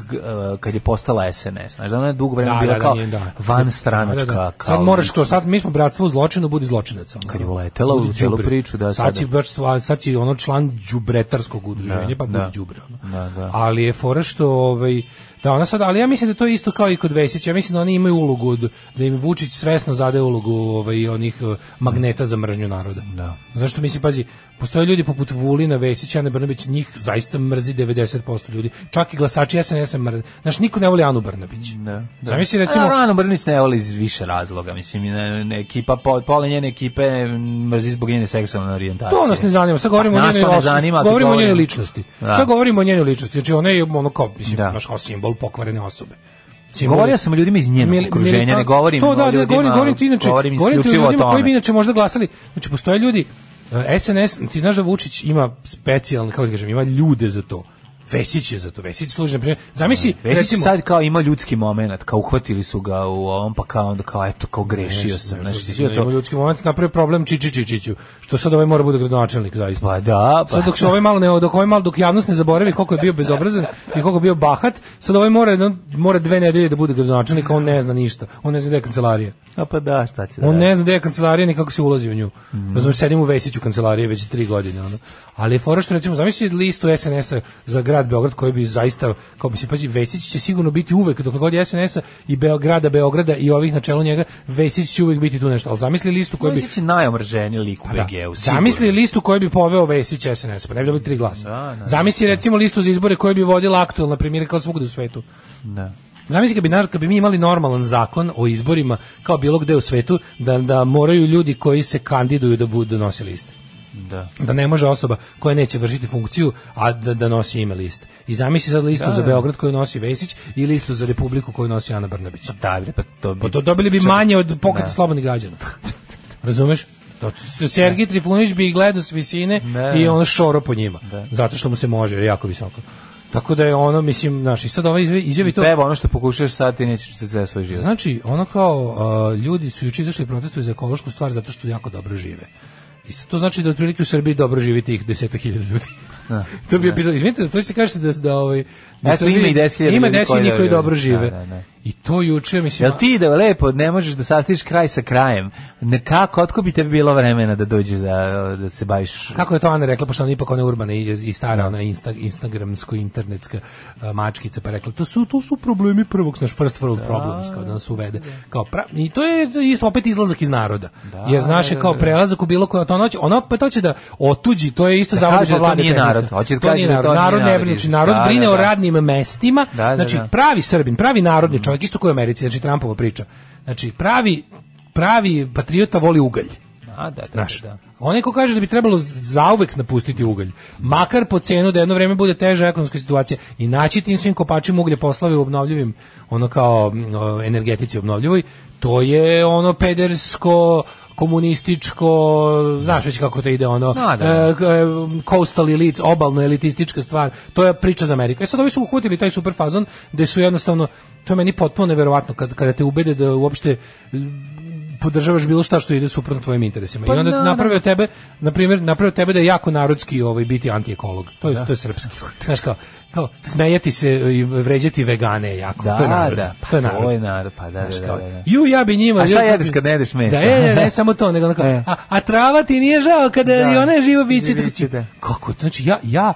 Speaker 6: uh, kad je postala SNS, znači da ona je dugo vremena
Speaker 7: Da,
Speaker 6: bila
Speaker 7: da, da,
Speaker 6: kao
Speaker 7: nije, da.
Speaker 6: van stranačka
Speaker 7: Da, da, da.
Speaker 6: kao.
Speaker 7: Sad moraš kao
Speaker 6: ličnost.
Speaker 7: sad mi smo bratstvo u zločinu, da budi zločinac. ono.
Speaker 6: Kad je uletela u
Speaker 7: Budi
Speaker 6: celu
Speaker 7: đubre.
Speaker 6: priču, da,
Speaker 7: sad
Speaker 6: sada.
Speaker 7: si baš sva- sad si ono član đubretarskog udruženja,
Speaker 6: Da,
Speaker 7: pa budi
Speaker 6: da.
Speaker 7: đubre, ono.
Speaker 6: Da, da.
Speaker 7: Ali je fora što ovaj da ona sad, ali ja mislim da to je isto kao i kod Vesića, ja mislim da oni imaju ulogu od- da im Vučić svesno zade ulogu ovaj onih eh, magneta za mržnju naroda.
Speaker 6: Da.
Speaker 7: Zašto mislim pazi, postoje ljudi poput Vulina, Vesića, Ane Brnabić, njih zaista mrzi 90% ljudi. Čak i glasači SNS-a mrze. Znaš, niko ne voli Anu Brnabić.
Speaker 6: Da, da.
Speaker 7: Zamisli
Speaker 6: A,
Speaker 7: recimo
Speaker 6: naravno, Ana Brnić ne voli iz više razloga, mislim, ne, ne, ekipa, po- pola njene ekipe m, mrzi zbog njene seksualne orijentacije.
Speaker 7: To nas ne zanima, sad govorimo
Speaker 6: Pa,
Speaker 7: o
Speaker 6: nas
Speaker 7: njenoj,
Speaker 6: to ne
Speaker 7: os-
Speaker 6: zanima, ali
Speaker 7: govorimo o
Speaker 6: govorim-
Speaker 7: njenoj ličnosti.
Speaker 6: Da.
Speaker 7: Sad govorimo o njenoj ličnosti, znači ona je ono kao, mislim,
Speaker 6: Da.
Speaker 7: baš kao simbol pokvarene osobe. Simbol-
Speaker 6: Govorio sam o ljudima iz njenog
Speaker 7: Mili-
Speaker 6: okruženja,
Speaker 7: milita-
Speaker 6: ne govorim
Speaker 7: to, da,
Speaker 6: o
Speaker 7: ne,
Speaker 6: ljudima,
Speaker 7: govorim, govorim ti inače,
Speaker 6: govorim
Speaker 7: govorim ti o
Speaker 6: isključivo o
Speaker 7: ljudima koji bi
Speaker 6: tome.
Speaker 7: inače možda glasali, znači postoje ljudi, e, SNS, ti znaš da Vučić ima specijalne, kako ti kažem, ima ljude za to. Vesić je za to, Vesić služi, na primjer, zamisli,
Speaker 6: Vesić
Speaker 7: recimo,
Speaker 6: sad kao ima ljudski moment, kao uhvatili su ga u ovom, pa kao onda kao, eto, kao grešio sam,
Speaker 7: Znaš,
Speaker 6: znaš, ti
Speaker 7: imamo
Speaker 6: to...
Speaker 7: ljudski moment napravio problem Čiči Čičiću, što sad ovaj mora bude gradonačelnik, zaista.
Speaker 6: Pa da, pa...
Speaker 7: Sad dok se ovaj malo ne dok ovaj malo dok javnost ne zaboravi koliko je bio bezobrazan i koliko je bio bahat, sad ovaj mora jedno- mora dve nedelje da bude gradonačelnik, a on ne zna ništa. On ne zna gde je kancelarija.
Speaker 6: A pa da, šta će da...
Speaker 7: On
Speaker 6: radi?
Speaker 7: ne zna gde je kancelarija ni kako se ulazi u nju. Razumeš, sedim u Vesiću kancelarije već tri godine ono. Ali je fora što recimo zamisli listu SNS-a za grad Beograd koji bi zaista kao bi se pazi Vesić će sigurno biti uvek dok god je SNS-a i Beograda Beograda i ovih na čelu njega Vesić će uvek biti tu nešto. Al zamisli listu koju bi
Speaker 6: Vesić je najomrženiji lik u
Speaker 7: da.
Speaker 6: BG-u. sigurno.
Speaker 7: Zamisli listu koju bi poveo Vesić SNS, pa ne bi dobili tri glasa.
Speaker 6: Da, da,
Speaker 7: Zamisli recimo listu za izbore koju bi vodila aktuelna premijerka kao svugde u svetu.
Speaker 6: Da.
Speaker 7: Zamisli kad bi, naš, kad bi mi imali normalan zakon o izborima kao bilo gde u svetu, da, da moraju ljudi koji se kandiduju da budu nosi liste.
Speaker 6: Da.
Speaker 7: Da ne može osoba koja neće vršiti funkciju, a da, da nosi ime liste. I zamisli sad
Speaker 6: Da,
Speaker 7: listu za Beograd koju nosi Vesić i listu za Republiku koju nosi Ana Brnabić.
Speaker 6: Da, bre, pa to bi...
Speaker 7: Pa to dobili bi
Speaker 6: Čak-
Speaker 7: manje od pokreta
Speaker 6: Da.
Speaker 7: slobodnih
Speaker 6: [LAUGHS]
Speaker 7: građana. Razumeš? To, s- Sergij Trifunić bi ih gledao s visine
Speaker 6: Da.
Speaker 7: i on šoro po njima.
Speaker 6: Da.
Speaker 7: Zato što mu se može, jer je jako visoko. Tako da je ono, mislim, znaš, i sad ova izjavi, izjavi to...
Speaker 6: Peva Pa ono što pokušaš sad, ti nećeš se sve svoj život.
Speaker 7: Znači, ono kao, a, ljudi su juče izašli i protestuju za ekološku stvar zato što jako dobro žive. I sad to znači da otprilike u Srbiji dobro živi tih deseta hiljada ljudi. [LAUGHS] to bi je pitanje. Izvinite, to će kažete da, da, ovaj, da u
Speaker 6: Da, Eto, ima
Speaker 7: Srbiji
Speaker 6: i 10.000
Speaker 7: Ima
Speaker 6: ljudi
Speaker 7: 10 ljudi
Speaker 6: koji
Speaker 7: koji
Speaker 6: dobro-
Speaker 7: dobro žive.
Speaker 6: Da, da, da.
Speaker 7: I to juče, mislim...
Speaker 6: Jel ti da lepo ne možeš da sastiš kraj sa krajem? Ne kako, otko bi tebi bilo vremena da dođeš da, da se baviš?
Speaker 7: Kako je to Ana rekla, pošto ona je ipak ona urbana i, i stara, ona insta, instagramsko-internetska a, mačkica, pa je rekla, to su, to su problemi prvog, znaš, first world problems, kao da nas uvede. Kao pra, I to je isto opet izlazak iz naroda.
Speaker 6: Da,
Speaker 7: Jer znaš, je kao prelazak u bilo koja, to ona hoće, ona opet hoće da otuđi, to je isto
Speaker 6: Da
Speaker 7: zavod
Speaker 6: kaže da to
Speaker 7: vlade
Speaker 6: nije
Speaker 7: tehnika.
Speaker 6: narod, hoće da
Speaker 7: To
Speaker 6: kaže
Speaker 7: nije
Speaker 6: da to
Speaker 7: narod,
Speaker 6: nije
Speaker 7: narod ne
Speaker 6: narod,
Speaker 7: brine, znači
Speaker 6: iz-
Speaker 7: narod
Speaker 6: da, da,
Speaker 7: brine o
Speaker 6: da.
Speaker 7: radnim mestima,
Speaker 6: Da, Mm. da,
Speaker 7: znači
Speaker 6: da.
Speaker 7: pravi Srbin, pravi narodni čovjek, isto koji u Americi, znači Trumpova priča. Znači pravi, pravi patriota voli ugalj.
Speaker 6: A, da, da,
Speaker 7: Znaš,
Speaker 6: da, da.
Speaker 7: onaj ko kaže da bi trebalo zauvek napustiti ugalj, makar po cenu da jedno vreme bude teža ekonomska situacija i naći tim svim kopačima uglje poslove u obnovljivim, ono kao mm, o, energetici obnovljivoj, to je ono pedersko komunističko, znaš već kako to ide ono,
Speaker 6: Da, da.
Speaker 7: e, k- e, coastal elites, obalno elitistička stvar, to je priča za Ameriku. E sad ovi su uhvatili taj super fazon gde su jednostavno, to je meni potpuno neverovatno kad, kada te ubede da uopšte podržavaš bilo šta što ide suprotno tvojim interesima.
Speaker 6: Pa
Speaker 7: I onda
Speaker 6: naravno.
Speaker 7: napravio
Speaker 6: Da.
Speaker 7: tebe, na primjer, napravio tebe da je jako narodski ovaj biti antiekolog. To je to je srpski. Znaš kao, kao smejati se i vređati vegane je jako.
Speaker 6: Da,
Speaker 7: to je narod.
Speaker 6: da,
Speaker 7: to je narod.
Speaker 6: To je narod, pa da, da,
Speaker 7: Znaš,
Speaker 6: da,
Speaker 7: kao,
Speaker 6: da, da.
Speaker 7: Ju, ja bi njima...
Speaker 6: A šta
Speaker 7: ju-
Speaker 6: jedeš kad ne jedeš mesa?
Speaker 7: Da, e, ne, ne, samo to, nego onako,
Speaker 6: E.
Speaker 7: a, a trava ti nije žao kada
Speaker 6: Da.
Speaker 7: i ona je živo biće.
Speaker 6: Živo
Speaker 7: tako
Speaker 6: biće,
Speaker 7: ti-
Speaker 6: da.
Speaker 7: Kako, znači, ja, ja,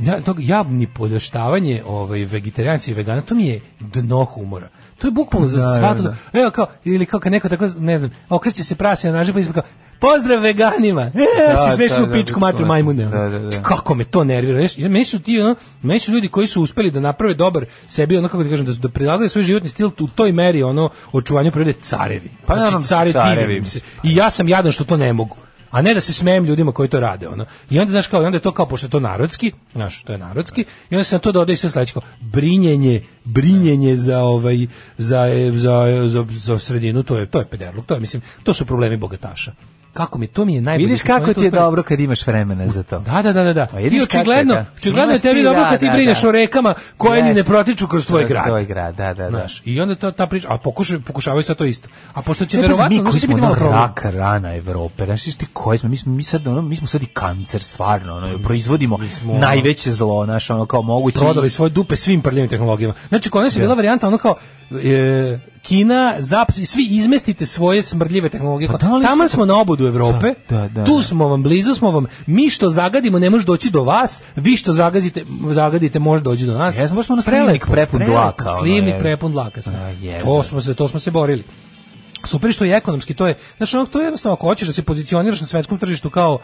Speaker 7: ja, tog, ja ni podoštavanje ovaj, vegetarijanci i vegana, to mi je dno humora. To je bukvalno za
Speaker 6: Da,
Speaker 7: svatko.
Speaker 6: da.
Speaker 7: Evo kao, ili kao kad neko tako, ne znam, okreće se prasija na pa ispod kao, pozdrav veganima! [LAUGHS] E,
Speaker 6: Da,
Speaker 7: si smeš
Speaker 6: da,
Speaker 7: u
Speaker 6: da,
Speaker 7: pičku
Speaker 6: da,
Speaker 7: matru
Speaker 6: da,
Speaker 7: majmune. ono.
Speaker 6: da, da, da.
Speaker 7: Kako me to nervira. Znaš, ja- Meni su ti, ono, meni su ljudi koji su uspeli da naprave dobar sebi, ono kako ti kažem, da su da prilagali svoj životni stil u toj meri, ono, očuvanju prirode carevi.
Speaker 6: Pa
Speaker 7: znači,
Speaker 6: naravno da su
Speaker 7: care,
Speaker 6: carevi.
Speaker 7: divim se. I ja sam jadan što to ne mogu. A ne da se smejem ljudima koji to rade, ono. I onda znaš kao, i onda je to kao pošto je to narodski, znaš, to je narodski, i onda se na to dodaje sve sledeće kao brinjenje, brinjenje za ovaj za za za, za sredinu, to je to je pederluk, to je mislim, to su problemi bogataša. Kako mi to mi je najbolje.
Speaker 6: Vidiš
Speaker 7: što su oni
Speaker 6: kako
Speaker 7: to
Speaker 6: ti je
Speaker 7: uspeli-
Speaker 6: dobro kad imaš vremena za to.
Speaker 7: Da, da, da, da, da.
Speaker 6: Pa vidiš
Speaker 7: Ti očigledno,
Speaker 6: kako je, da.
Speaker 7: očigledno je
Speaker 6: Imaš
Speaker 7: tebi
Speaker 6: ti,
Speaker 7: dobro
Speaker 6: da,
Speaker 7: kad ti
Speaker 6: da,
Speaker 7: brineš
Speaker 6: da.
Speaker 7: o rekama koje ni ne
Speaker 6: Jeste.
Speaker 7: protiču kroz tvoj grad.
Speaker 6: Tvoj grad, da, da, da.
Speaker 7: Znaš, i onda to ta priča, a pokušaj, pokušavaju sad to isto. A pošto će
Speaker 6: Ne, E, pazi,
Speaker 7: verovatno,
Speaker 6: mi koji
Speaker 7: znači
Speaker 6: smo ono
Speaker 7: biti malo problem.
Speaker 6: raka rana Evrope, znaš ti koji smo, mi smo, mi sad, ono, mi smo sad i kancer stvarno, ono, proizvodimo
Speaker 7: smo, ono,
Speaker 6: najveće zlo, znaš, ono, kao moguće.
Speaker 7: prodali svoje dupe svim prljavim tehnologijama. Znači, kod nas
Speaker 6: Da.
Speaker 7: je bila varijanta ono kao e, Kina, Zap, svi izmestite svoje smrdljive tehnologije.
Speaker 6: Pa da li
Speaker 7: Tamo
Speaker 6: su-
Speaker 7: smo na obodu Evrope,
Speaker 6: Da, da, da,
Speaker 7: tu
Speaker 6: da.
Speaker 7: smo vam, blizu smo vam, mi što zagadimo ne može doći do vas, vi što zagazite, zagadite može doći do nas.
Speaker 6: Jesmo, baš smo ono
Speaker 7: Prelepo,
Speaker 6: slivnik prepun
Speaker 7: prelepo,
Speaker 6: dlaka, ono,
Speaker 7: Slivnik
Speaker 6: je. Da,
Speaker 7: prepun dlaka. Smo.
Speaker 6: A, jezo.
Speaker 7: To, smo se, to smo se borili. Super što je ekonomski, to je, znači ono, to je jednostavno ako hoćeš da se pozicioniraš na svetskom tržištu kao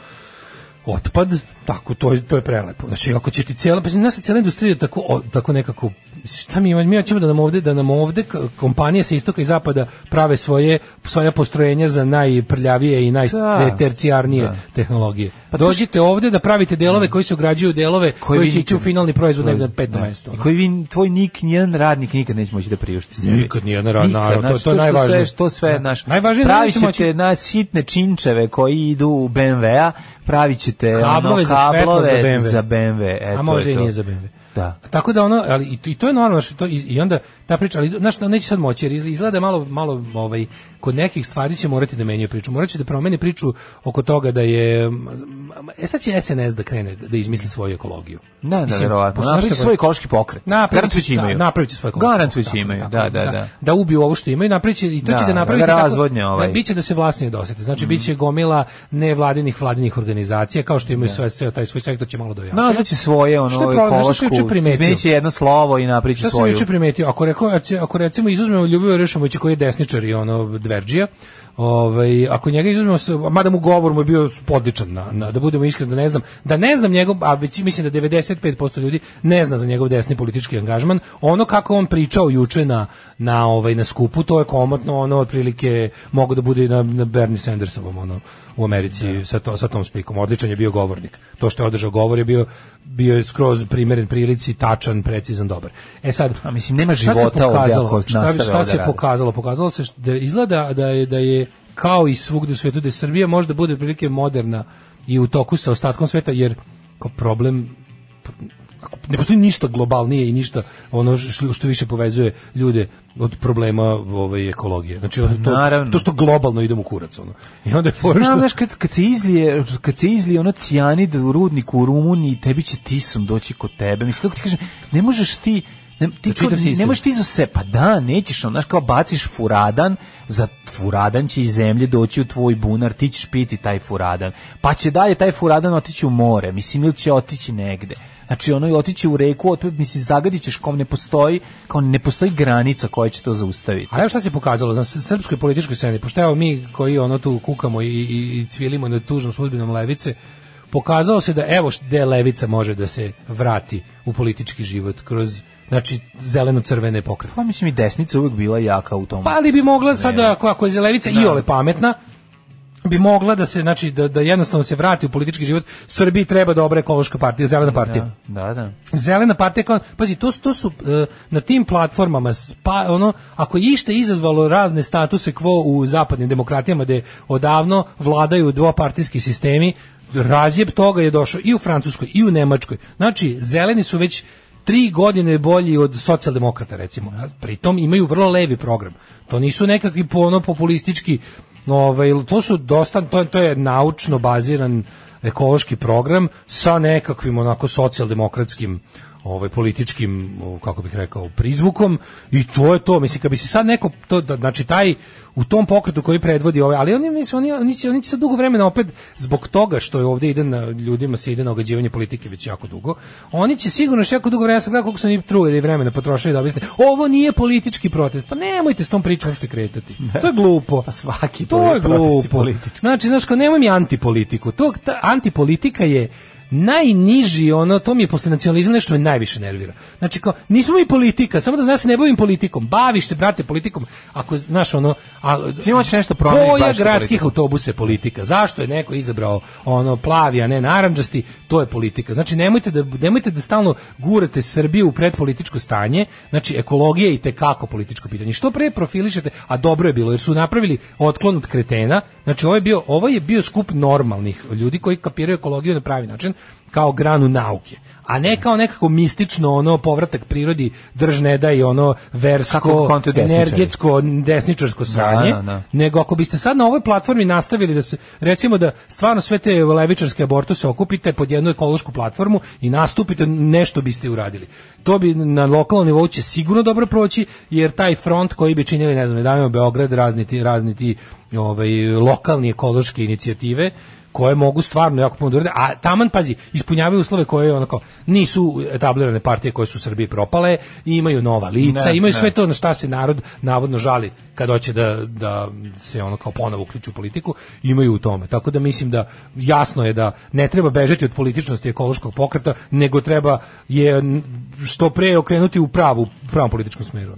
Speaker 7: otpad, tako to je to je prelepo. Znači ako će ti cijela pa znači cijela industrija je tako o, tako nekako mislim, šta mi imamo? mi hoćemo da nam ovde da nam ovde k- kompanije sa istoka i zapada prave svoje svoja postrojenja za najprljavije i najtercijarnije tehnologije. Pa dođite ovde da pravite delove koji se ugrađuju u delove koji,
Speaker 6: vi
Speaker 7: će ići u
Speaker 6: nikad-
Speaker 7: finalni proizvod negde na peto
Speaker 6: Da.
Speaker 7: mesto.
Speaker 6: I koji vi, tvoj nik, nijedan radnik nikad neće moći da priušti sebi.
Speaker 7: Nikad nijedan rad-
Speaker 6: Nikad,
Speaker 7: naravno, to-
Speaker 6: znaš,
Speaker 7: to je
Speaker 6: što
Speaker 7: najvažnije.
Speaker 6: Sve, to sve, znaš,
Speaker 7: Najvažnije je da
Speaker 6: pravit
Speaker 7: neće
Speaker 6: ćete
Speaker 7: moći-
Speaker 6: na sitne činčeve koji idu u BMW-a, pravit ćete
Speaker 7: Kablove
Speaker 6: ono,
Speaker 7: za svetlo
Speaker 6: kablove
Speaker 7: za BMW.
Speaker 6: za BMW. E,
Speaker 7: A
Speaker 6: to
Speaker 7: možda
Speaker 6: je
Speaker 7: i
Speaker 6: to.
Speaker 7: nije za BMW.
Speaker 6: Da.
Speaker 7: Tako da ono, ali i to, i to je normalno što to i, i onda ta priča, ali znaš, da neće sad moći jer izgl- izgleda malo malo ovaj kod nekih stvari će morati da menjaju priču. Moraće da promeni priču oko toga da je m, m, e sad će SNS da krene da izmisli svoju ekologiju.
Speaker 6: Da, da,
Speaker 7: Mislim,
Speaker 6: verovatno.
Speaker 7: pošto znaš
Speaker 6: Napravit će
Speaker 7: šta-
Speaker 6: svoj ekološki pokret.
Speaker 7: Napravit
Speaker 6: Garantujući
Speaker 7: će, da,
Speaker 6: imaju.
Speaker 7: napravit će svoj ekološki
Speaker 6: Garantujući
Speaker 7: pokret,
Speaker 6: imaju,
Speaker 7: tako,
Speaker 6: da,
Speaker 7: tako,
Speaker 6: da, da.
Speaker 7: Da ubiju ovo što imaju, napravit će i to
Speaker 6: Da,
Speaker 7: će
Speaker 6: da
Speaker 7: da
Speaker 6: ga
Speaker 7: napravi tako-
Speaker 6: razvodnje ovaj. Mm.
Speaker 7: Da, biće da se vlasnije dosete. Znači biće gomila nevladinih vladinih organizacija kao što
Speaker 6: Da.
Speaker 7: imaju sve sve taj svoj sektor će malo da ojača.
Speaker 6: Nazvaće svoje ono
Speaker 7: Što je problem? Znaš šta sam
Speaker 6: ekološku,
Speaker 7: juče primetio?
Speaker 6: izmenit će jedno slovo i napravit će
Speaker 7: Šta sam
Speaker 6: svoju.
Speaker 7: juče primetio? Ako, reko, ako recimo izuzmemo Ljubivo Rešovića koji je desničar i ono Dverđija, ovaj, ako njega izuzmemo, s- mada mu govor mu je bio odličan, na, na, da budemo iskreni, da ne znam, da ne znam njegov, a već, mislim da 95% ljudi ne zna za njegov desni politički angažman, ono kako on pričao juče na, na, ovaj, na skupu, to je komotno, ono, otprilike mogu da bude i na, na Bernie Sandersovom, ono, u Americi sa, to, sa tom spikom. Odličan je bio govornik. To što je održao govor je bio, bio je skroz primeren prilici, tačan, precizan, dobar. E sad,
Speaker 6: A mislim, nema
Speaker 7: Šta se
Speaker 6: života ovdje
Speaker 7: pokazalo?
Speaker 6: ako
Speaker 7: Šta bi-
Speaker 6: nastave
Speaker 7: Šta
Speaker 6: ovdje
Speaker 7: se
Speaker 6: raditi?
Speaker 7: pokazalo? Pokazalo se št- da izgleda da je, da je kao i svugde u svijetu, da je Srbija možda bude otprilike moderna i u toku sa ostatkom sveta, jer kao problem ako- ne postoji ništa globalnije i ništa ono što, što više povezuje ljude od problema ovaj ekologije. Znači od- to,
Speaker 6: Naravno.
Speaker 7: to što globalno idemo u kurac ono. I onda je fora
Speaker 6: Znam,
Speaker 7: Pa što-
Speaker 6: znaš, kad, kad se izlije, kad se izlije ono cijanid u rudniku u Rumuniji, tebi će tisom doći kod tebe. Mislim, kako ti kažem, ne možeš ti, ne, ti
Speaker 7: čitav
Speaker 6: kao- ne
Speaker 7: sistem.
Speaker 6: možeš ti za se, pa da, nećeš, ono, znaš, kao baciš furadan, za furadan će iz zemlje doći u tvoj bunar, ti ćeš piti taj furadan, pa će dalje taj furadan otići u more, mislim, ili će otići negde. Znači, ono, i otići u reku, otpud, mislim, zagadit ćeš, kao ne postoji, kao ne postoji granica koja će to zaustaviti.
Speaker 7: A evo šta se pokazalo na s- srpskoj političkoj sceni, pošto evo mi koji ono tu kukamo i, i, i cvilimo nad tužnom sudbinom levice, pokazalo se da evo št- gde levica može da se vrati u politički život kroz znači zeleno-crvene pokrete.
Speaker 6: Pa mislim i desnica uvek bila jaka u tom.
Speaker 7: Pa ali bi mogla sada, ako, ako je Zelevica i ole pametna, bi mogla da se, znači, da, da jednostavno se vrati u politički život. Srbiji treba dobra ekološka partija, zelena partija.
Speaker 6: Da, da.
Speaker 7: Zelena partija kao, pazi, to, su- to su e, na tim platformama, spa, ono, ako je išta izazvalo razne statuse quo u zapadnim demokratijama gde odavno vladaju dvopartijski sistemi, razjeb toga je došao i u Francuskoj i u Nemačkoj. Znači, zeleni su već tri godine bolji od socijaldemokrata, recimo. A Pritom imaju vrlo levi program. To nisu nekakvi po- ono populistički, ovaj, to su dosta, to, to je naučno baziran ekološki program sa nekakvim onako socijaldemokratskim ovaj političkim o, kako bih rekao prizvukom i to je to mislim kad bi se sad neko to da, znači taj u tom pokretu koji predvodi ovaj ali oni mislim oni oni će, oni će sad dugo vremena opet zbog toga što je ovdje ide na ljudima se ide na ogađivanje politike već jako dugo oni će sigurno još jako dugo vremena sad kako su oni trudili vremena potrošili da objasne ovo nije politički protest pa nemojte s tom pričom uopšte kretati to je glupo
Speaker 6: Pa svaki
Speaker 7: to je
Speaker 6: protest je
Speaker 7: glupo.
Speaker 6: politički.
Speaker 7: Znači, znaš, kao nemoj mi antipolitiku. To, ta, antipolitika je najniži, ono, to mi je posle nacionalizma nešto me najviše nervira. Znači, kao, nismo mi politika, samo da znaš, ja se ne bavim politikom. Baviš se, brate, politikom. Ako, znaš, ono... A,
Speaker 6: Ti hoćeš nešto promeniš,
Speaker 7: Boja
Speaker 6: baviš se
Speaker 7: gradskih
Speaker 6: politikom.
Speaker 7: autobusa je politika. Zašto je neko izabrao ono plavi, a ne narandžasti, to je politika. Znači, nemojte da, nemojte da stalno gurate Srbiju u predpolitičko stanje, znači, ekologija je i tekako političko pitanje. Što pre profilišete, a dobro je bilo, jer su napravili otklon od kretena, znači, ovo je bio, ovo je bio skup normalnih ljudi koji kapiraju ekologiju na pravi način, kao granu nauke a ne kao nekako mistično ono povratak prirodi drž ne da i ono
Speaker 6: Kako
Speaker 7: versko
Speaker 6: kontu desničari.
Speaker 7: energetsko desničarsko sranje
Speaker 6: da, da.
Speaker 7: nego ako biste sad na ovoj platformi nastavili da se recimo da stvarno sve te levičarske abortuse okupite pod jednu ekološku platformu i nastupite nešto biste uradili. To bi na lokalnom nivou će sigurno dobro proći jer taj front koji bi činili ne znam, davimo Beograd razni ti, razni ti ovaj lokalni ekološke inicijative koje mogu stvarno jako puno da urade, a taman, pazi, ispunjavaju uslove koje onako nisu etablirane partije koje su u Srbiji propale, i imaju nova lica,
Speaker 6: Ne,
Speaker 7: imaju
Speaker 6: ne.
Speaker 7: sve to na šta se narod navodno žali kad hoće da, da se ono kao ponovo uključi u politiku, imaju u tome. Tako da mislim da jasno je da ne treba bežati od političnosti ekološkog pokreta, nego treba je n- što pre okrenuti u pravu, u pravom političkom smeru.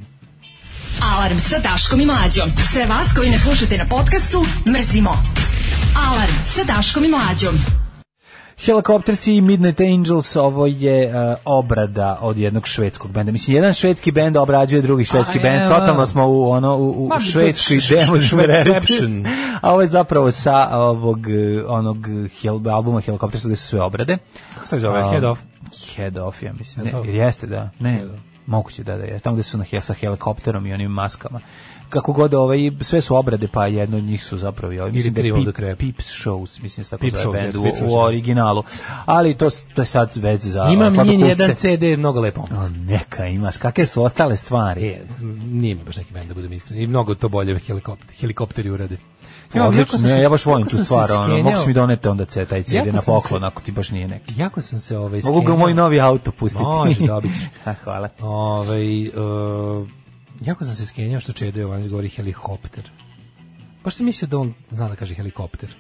Speaker 5: Alarm sa Daškom i Mlađom. Sve vas koji ne slušate na podcastu, mrzimo. Alarm sa Daškom i Mlađom.
Speaker 6: Helicopters i Midnight Angels, ovo je e, obrada od jednog švedskog benda. Mislim, jedan švedski bend obrađuje drugi švedski
Speaker 7: A,
Speaker 6: bend.
Speaker 7: evo.
Speaker 6: Totalno smo u, ono, u, u
Speaker 7: Ma, to je
Speaker 6: švedskoj
Speaker 7: š- š-
Speaker 6: demo
Speaker 7: švedception.
Speaker 6: A ovo je zapravo sa ovog, e, onog hel, albuma Helicopters gde su sve obrade.
Speaker 7: Kako se zove?
Speaker 6: A,
Speaker 7: Head off?
Speaker 6: Head off, ja mislim. Ne,
Speaker 7: Head off.
Speaker 6: jer jeste, da. Ne, moguće da, da je. Tamo gde su na, he- sa helikopterom i onim maskama. Kako god, ovaj, sve su obrade, pa jedno od njih su zapravo... i Ovaj, mislim da je
Speaker 7: Cream of
Speaker 6: Pip-
Speaker 7: the Crap.
Speaker 6: Pips Shows, mislim da se tako
Speaker 7: Pip
Speaker 6: zove
Speaker 7: Shows,
Speaker 6: bend
Speaker 7: jeste,
Speaker 6: u,
Speaker 7: Pip Shows,
Speaker 6: u
Speaker 7: da.
Speaker 6: originalu. Ali to, s- to je sad već za
Speaker 7: Imam njen
Speaker 6: sladokusce.
Speaker 7: jedan CD, mnogo lepo.
Speaker 6: A, neka imaš, kakve su ostale stvari?
Speaker 7: E, nije mi baš neki band da budem iskren. I mnogo to bolje helikopter, helikopteri urade. jako
Speaker 6: Odlično,
Speaker 7: sam
Speaker 6: ne,
Speaker 7: se-
Speaker 6: ja baš volim
Speaker 7: jako
Speaker 6: tu
Speaker 7: sam se
Speaker 6: stvar, ono,
Speaker 7: skenjao-
Speaker 6: mogu si mi donete onda ce- taj CD
Speaker 7: Jako
Speaker 6: na
Speaker 7: sam
Speaker 6: poklon,
Speaker 7: se-
Speaker 6: ako ti baš nije neki.
Speaker 7: Jako sam se ovaj
Speaker 6: Mogu ga u
Speaker 7: skenjao.
Speaker 6: moj novi auto pustiti.
Speaker 7: Može, dobit [LAUGHS] ćeš.
Speaker 6: Ha, Hvala.
Speaker 7: Ovaj, e, jako sam se skenjao što Čedo Jovanović govori helikopter. Baš sam mislio da on zna da kaže helikopter.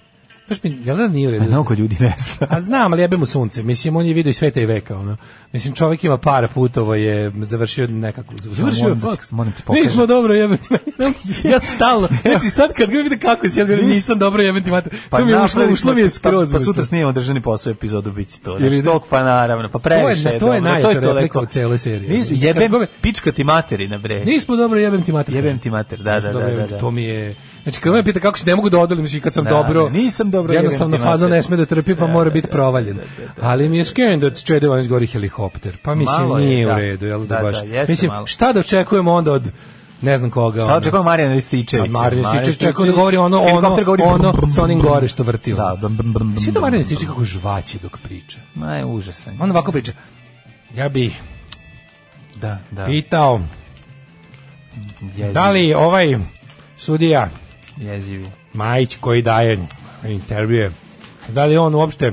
Speaker 7: Baš mi, jel da nije u redu?
Speaker 6: Mnogo ljudi ne zna.
Speaker 7: A znam, ali jebe mu sunce. Mislim, on je vidio i sveta i veka. Ono. Mislim, čovjek ima para putovo je završio nekako. Završio je
Speaker 6: moram da ti-
Speaker 7: faks.
Speaker 6: moram ti pokažem.
Speaker 7: Nismo dobro jebati Ja stalno.
Speaker 6: [LAUGHS]
Speaker 7: Znači, sad kad ga vidim kako će, ja govorim, nisam dobro jebati mater. to mi je
Speaker 6: napravili
Speaker 7: ušlo,
Speaker 6: Pa smo
Speaker 7: ušlo mi je
Speaker 6: to, pa-
Speaker 7: skroz.
Speaker 6: Pa, sutra
Speaker 7: možda.
Speaker 6: snimamo držani posao epizodu, bit će to. Znači,
Speaker 7: Ili-
Speaker 6: toliko, pa naravno, pa previše.
Speaker 7: To je- to je
Speaker 6: dobro,
Speaker 7: najjača
Speaker 6: toliko.
Speaker 7: replika u cijeloj seriji.
Speaker 6: Nismo-
Speaker 7: Znači, kad
Speaker 6: Jebem,
Speaker 7: gove-
Speaker 6: pička ti materina, bre.
Speaker 7: Nismo dobro jebem ti mater.
Speaker 6: Jebem ti mater, da, da, da,
Speaker 7: Dobro,
Speaker 6: da,
Speaker 7: evo,
Speaker 6: da.
Speaker 7: To mi je Znači, kad me pita kako se ne mogu da odolim, znači kad sam
Speaker 6: Da,
Speaker 7: dobro,
Speaker 6: da, nisam dobro,
Speaker 7: jednostavno
Speaker 6: jebem ti
Speaker 7: faza
Speaker 6: mater.
Speaker 7: ne sme da trpi, pa
Speaker 6: Da,
Speaker 7: mora
Speaker 6: da,
Speaker 7: biti
Speaker 6: da,
Speaker 7: provaljen. Ali mi je skenj da Čede Jovanović gori helikopter, pa mislim
Speaker 6: Malo je,
Speaker 7: nije
Speaker 6: da.
Speaker 7: u redu, jel da,
Speaker 6: Da,
Speaker 7: baš.
Speaker 6: da, jeste
Speaker 7: mislim,
Speaker 6: malo.
Speaker 7: šta da očekujemo onda od ne znam koga.
Speaker 6: Sad
Speaker 7: ono?
Speaker 6: očekujem Marijana Rističevića.
Speaker 7: Od Marijana Rističevića, čekao da govori ono, ono,
Speaker 6: Helikopter govori
Speaker 7: ono
Speaker 6: brum, brum,
Speaker 7: sa onim
Speaker 6: brum,
Speaker 7: gore što vrti, ono.
Speaker 6: Da, brum, brum, brum,
Speaker 7: Svi to
Speaker 6: brum,
Speaker 7: Marijan
Speaker 6: brum.
Speaker 7: Stičić kako žvaće dok priča.
Speaker 6: Ma je užasan.
Speaker 7: On ovako priča. Ja bi
Speaker 6: Da, da.
Speaker 7: pitao
Speaker 6: jeziv,
Speaker 7: da li ovaj sudija
Speaker 6: Jezivi.
Speaker 7: Majić koji daje intervjue, da li on uopšte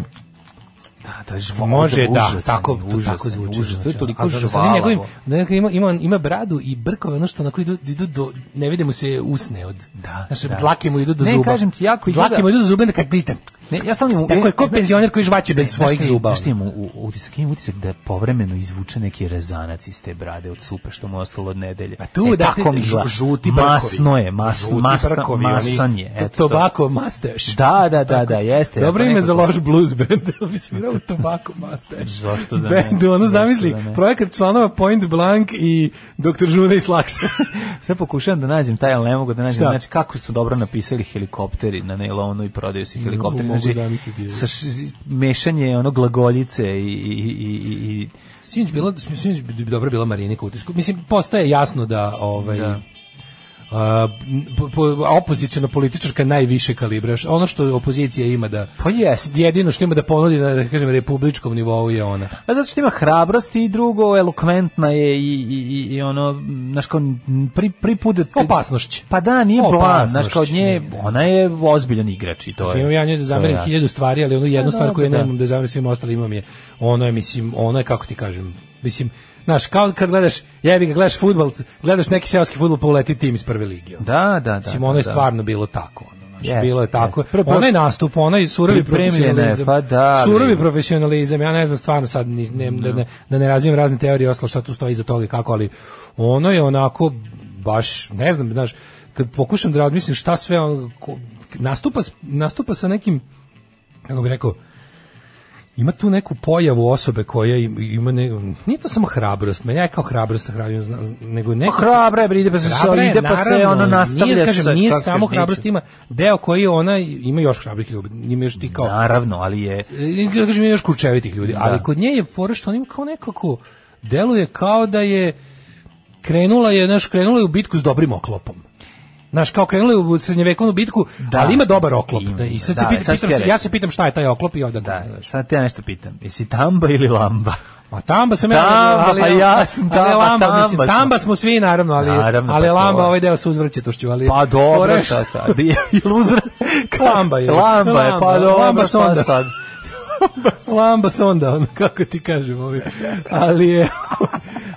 Speaker 6: Da, da, žvo,
Speaker 7: može da
Speaker 6: užasan,
Speaker 7: tako
Speaker 6: je,
Speaker 7: to
Speaker 6: užasan,
Speaker 7: tako zvuči
Speaker 6: Užasan, to je
Speaker 7: znači,
Speaker 6: toliko
Speaker 7: ali da se
Speaker 6: žvalavo.
Speaker 7: njegovim- da neka ima ima ima bradu i brkove ono što na koji idu, idu do ne vidimo se usne od
Speaker 6: Da,
Speaker 7: znači
Speaker 6: da.
Speaker 7: dlake mu idu do
Speaker 6: Ne,
Speaker 7: zuba
Speaker 6: kažem ti, jako izgleda-
Speaker 7: dlake mu idu do zuba da kad pitam
Speaker 6: Ne, ja stalno imam-
Speaker 7: tako je ko
Speaker 6: ne,
Speaker 7: penzioner koji žvaće bez
Speaker 6: Znaš
Speaker 7: svojih
Speaker 6: šta je-
Speaker 7: zuba
Speaker 6: Znaš šta imam u- u- utisak? Imam utisak da je povremeno izvuče neki rezanac iz te brade od supe što mu je ostalo od nedelje.
Speaker 7: A tu
Speaker 6: e,
Speaker 7: da
Speaker 6: tako mi izgleda.
Speaker 7: žuti brkovi.
Speaker 6: Masno je, mas,
Speaker 7: Žuti
Speaker 6: masna,
Speaker 7: brkovi, oni-
Speaker 6: masan je.
Speaker 7: to-
Speaker 6: Eto, to.
Speaker 7: tobacco mustache.
Speaker 6: Da, da, da, da, jeste.
Speaker 7: Dobro
Speaker 6: eto,
Speaker 7: ime
Speaker 6: nekako.
Speaker 7: za loš blues band, [LAUGHS] da bi svirao Tobacco Mustache.
Speaker 6: Zašto da ne?
Speaker 7: Bendu, ono
Speaker 6: Zašto
Speaker 7: zamisli,
Speaker 6: da ne?
Speaker 7: projekat članova Point Blank i Dr. Žuna i Slaksa.
Speaker 6: Sve pokušavam da nađem taj, ali ne mogu da nađem.
Speaker 7: Šta?
Speaker 6: Znači, kako su dobro napisali helikopteri na nailonu i prodaju se helikopteri.
Speaker 7: Mm, mogu
Speaker 6: znači,
Speaker 7: zamisliti, je.
Speaker 6: sa š- mešanje ono glagoljice i, i, i, i, i
Speaker 7: Sinoć bila sinoć bi dobro bila Marinika u utisku. Mislim postaje jasno da ovaj
Speaker 6: Da.
Speaker 7: a, po- po- opoziciona političarka najviše kalibra. Ono što opozicija ima da...
Speaker 6: Pa jeste.
Speaker 7: Jedino što ima da ponudi na, da kažem, republičkom nivou je ona.
Speaker 6: A zato što ima hrabrost i drugo, elokventna je i, i, i, i ono, znaš kao, m, pri, pri put da te-
Speaker 7: Opasnošć.
Speaker 6: Pa da, nije plan,
Speaker 7: Opasnošć,
Speaker 6: znaš kao od nje,
Speaker 7: nije, da.
Speaker 6: ona je ozbiljan igrač i to
Speaker 7: Znači,
Speaker 6: je.
Speaker 7: imam ja nju da zamerim
Speaker 6: to je
Speaker 7: hiljadu stvari, ali ono jednu
Speaker 6: Pa,
Speaker 7: stvar koju ja
Speaker 6: dobro, da.
Speaker 7: nemam da zamerim svim ostalim imam je, ono je, mislim, ono je, kako ti kažem, mislim, znaš, kao kad gledaš, jebi ga, gledaš futbol, gledaš neki seoski futbol, pa uleti tim iz prve lige. ono.
Speaker 6: Da, da, da.
Speaker 7: Mislim, ono je
Speaker 6: da.
Speaker 7: stvarno bilo tako. Ono, znaš,
Speaker 6: Jeste,
Speaker 7: bilo je tako.
Speaker 6: jeste. Pre- pre-
Speaker 7: Onaj nastup, onaj surovi
Speaker 6: Pripremljena je,
Speaker 7: profesionalizam.
Speaker 6: pa da, ali-
Speaker 7: Surovi profesionalizam, ja ne znam stvarno sad, ni, ne, da, ne, da ne razvijem razne teorije oslo šta tu stoji iza toga i kako, ali ono je onako baš, ne znam, znaš, kad pokušam da razmislim šta sve on, ko- nastupa, s- nastupa sa nekim, kako bih rekao, ima tu neku pojavu osobe koja im- ima ne, nije to samo hrabrost, meni ja kao hrabrost hrabrim, znam, nego
Speaker 6: Pa
Speaker 7: neko
Speaker 6: hrabra je, bre, ide pa se,
Speaker 7: Hrabra je,
Speaker 6: ide pa se,
Speaker 7: naravno,
Speaker 6: ona nastavlja
Speaker 7: nije, kažem,
Speaker 6: se,
Speaker 7: nije
Speaker 6: kako
Speaker 7: samo
Speaker 6: kažeš, neće.
Speaker 7: hrabrost, ima deo koji je ona, ima još hrabrih ljudi, ima još ti kao,
Speaker 6: Naravno, ali je...
Speaker 7: e, da kažem, ima još kurčevitih
Speaker 6: Da.
Speaker 7: ljudi, ali kod nje je fora što on ima kao nekako, deluje kao da je, krenula je, znaš, krenula je u bitku s dobrim oklopom. Znaš, kao krenula je u srednjevekovnu bitku,
Speaker 6: Da.
Speaker 7: ali ima dobar oklop.
Speaker 6: Ima,
Speaker 7: da, I sad
Speaker 6: da,
Speaker 7: se pita,
Speaker 6: sad ću
Speaker 7: pitam
Speaker 6: ti
Speaker 7: se-
Speaker 6: reći.
Speaker 7: ja se pitam šta je taj oklop i odakle.
Speaker 6: Da,
Speaker 7: znaš.
Speaker 6: sad te ja nešto pitam. Jesi tamba ili lamba?
Speaker 7: Ma tamba sam ja,
Speaker 6: Tamba,
Speaker 7: ali,
Speaker 6: pa jasno,
Speaker 7: ali
Speaker 6: tamba,
Speaker 7: lamba,
Speaker 6: tamba
Speaker 7: mislim,
Speaker 6: smo.
Speaker 7: tamba smo svi naravno, ali,
Speaker 6: Naravno,
Speaker 7: ali
Speaker 6: pa
Speaker 7: lamba
Speaker 6: to.
Speaker 7: ovaj deo sa uzvrćetošću, ali
Speaker 6: Pa dobro,
Speaker 7: fore
Speaker 6: šta
Speaker 7: što-
Speaker 6: sad? Je [LAUGHS] iluzor.
Speaker 7: Lamba je.
Speaker 6: Lamba je, pa
Speaker 7: Lamba,
Speaker 6: dobro,
Speaker 7: lamba
Speaker 6: šta
Speaker 7: sonda.
Speaker 6: sad?
Speaker 7: [LAUGHS] Lamba sonda, ono, kako ti kažem, ovaj. ali je,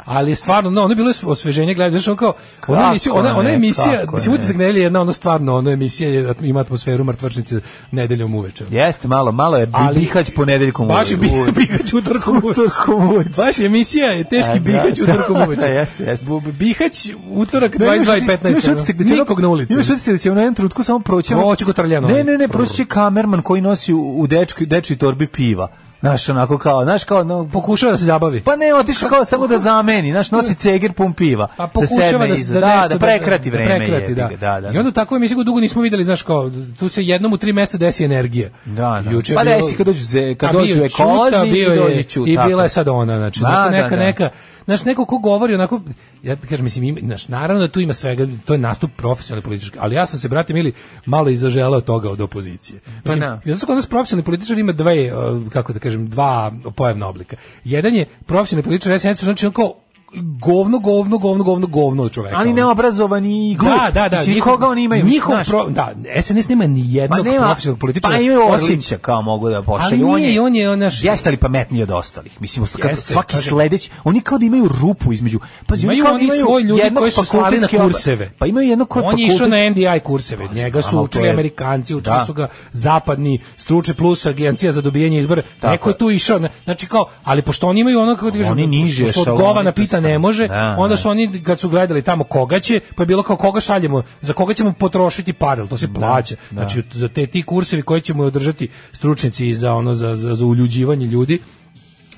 Speaker 7: ali je stvarno, no, ono je bilo osveženje, gledaj, znaš, ono kao, ona
Speaker 6: Kako
Speaker 7: emisija, ona, ona
Speaker 6: ne,
Speaker 7: emisija,
Speaker 6: kako
Speaker 7: mislim,
Speaker 6: ne.
Speaker 7: utisak nedelje je jedna, ono stvarno, ono emisija je, da ima atmosferu mrtvačnice nedeljom uveče.
Speaker 6: Jeste, malo, malo je
Speaker 7: Ali-
Speaker 6: bihać ponedeljkom
Speaker 7: Baš je bi-
Speaker 6: uvek.
Speaker 7: [LAUGHS] bihać utorkom uveče.
Speaker 6: Utorkom uveče.
Speaker 7: Baš emisija je teški
Speaker 6: E, da.
Speaker 7: bihać
Speaker 6: [LAUGHS]
Speaker 7: utorkom uveče.
Speaker 6: Jeste, jeste.
Speaker 7: Bu- bu- Bihać utorak
Speaker 6: Ne, imaš
Speaker 7: 22 i
Speaker 6: utisak- imaš
Speaker 7: 15.
Speaker 6: utisak da će-
Speaker 7: Nikog na ulici.
Speaker 6: Imaš utisak da će u jednom trenutku samo proći. ono-
Speaker 7: Proći kotrljano.
Speaker 6: Ne, ne, ne, proći će kamerman koji nosi u, u dečki, dečji torbi piva. Znaš, onako kao, znaš, kao, no, po-
Speaker 7: Pokušava da se zabavi.
Speaker 6: pa ne, otišao kao samo da zameni, znaš, nosi ceger pun piva.
Speaker 7: Pa pokušava
Speaker 6: sedne
Speaker 7: da,
Speaker 6: iza.
Speaker 7: da, nešto,
Speaker 6: da prekrati
Speaker 7: da
Speaker 6: vreme.
Speaker 7: prekrati,
Speaker 6: jebi
Speaker 7: da.
Speaker 6: ga, da, da.
Speaker 7: I onda tako mi sigurno dugo nismo videli, znaš kao, tu se jednom u tri meseca desi energija.
Speaker 6: Da, da.
Speaker 7: Juče je
Speaker 6: Pa
Speaker 7: bilo-
Speaker 6: desi kad dođu ze- kad
Speaker 7: A bio
Speaker 6: dođu
Speaker 7: je
Speaker 6: ekolozi
Speaker 7: Ćuta,
Speaker 6: i
Speaker 7: bio je-
Speaker 6: dođe Ćuta,
Speaker 7: I
Speaker 6: tako
Speaker 7: bila
Speaker 6: je.
Speaker 7: je sad ona, znači,
Speaker 6: Da,
Speaker 7: neka,
Speaker 6: da,
Speaker 7: neka,
Speaker 6: da.
Speaker 7: neka, znaš, neko ko govori onako, ja ti kažem, mislim, ima, znaš, naravno da tu ima svega, to je nastup profesionalni politički, ali ja sam se, brate, mili, malo i zaželeo toga od opozicije. Mislim,
Speaker 6: da.
Speaker 7: zato što kod nas profesionalni političar ima dve, uh, kako da kažem, dva pojavna oblika. Jedan je profesionalni političar, SNS, znači on kao govno, govno, govno, govno, govno od čoveka.
Speaker 6: Ali
Speaker 7: ono.
Speaker 6: neobrazovan i glup.
Speaker 7: Da, da, da.
Speaker 6: Mislim,
Speaker 7: njihov-
Speaker 6: koga oni imaju?
Speaker 7: Njihov
Speaker 6: znaš?
Speaker 7: pro, da, SNS nema ni jednog profesionalnog političara.
Speaker 6: Pa imaju
Speaker 7: osim-
Speaker 6: Orlića kao mogu da pošalju.
Speaker 7: Ali nije, on je naš-
Speaker 6: Jeste li pametniji od ostalih? Mislim, kad
Speaker 7: Jeste,
Speaker 6: svaki
Speaker 7: kažem.
Speaker 6: sledeći, oni kao da imaju rupu između. Pazi,
Speaker 7: Imaju
Speaker 6: kao da
Speaker 7: oni svoj ljudi
Speaker 6: jednog
Speaker 7: koji su slali na
Speaker 6: fakultetski oba-
Speaker 7: kurseve.
Speaker 6: Pa imaju jedno koje
Speaker 7: On je išao na NDI kurseve, njega su
Speaker 6: znam, ali to
Speaker 7: učili
Speaker 6: je-
Speaker 7: Amerikanci, učili
Speaker 6: Da.
Speaker 7: su ga zapadni struče plus agencija za dobijanje izbora.
Speaker 6: Tako
Speaker 7: Neko je tu išao, na- znači kao, ali pošto oni imaju ono kako ti kažem,
Speaker 6: Oni niže
Speaker 7: pošto od
Speaker 6: ešaloni,
Speaker 7: govana
Speaker 6: to
Speaker 7: pita
Speaker 6: su-
Speaker 7: ne može,
Speaker 6: Da,
Speaker 7: onda
Speaker 6: da.
Speaker 7: su oni kad su gledali tamo koga će, pa je bilo kao koga šaljemo, za koga ćemo potrošiti pare, jel to
Speaker 6: Da,
Speaker 7: se plaća. Znači za te ti kursevi koje ćemo održati stručnjaci za ono za za, za uljuđivanje ljudi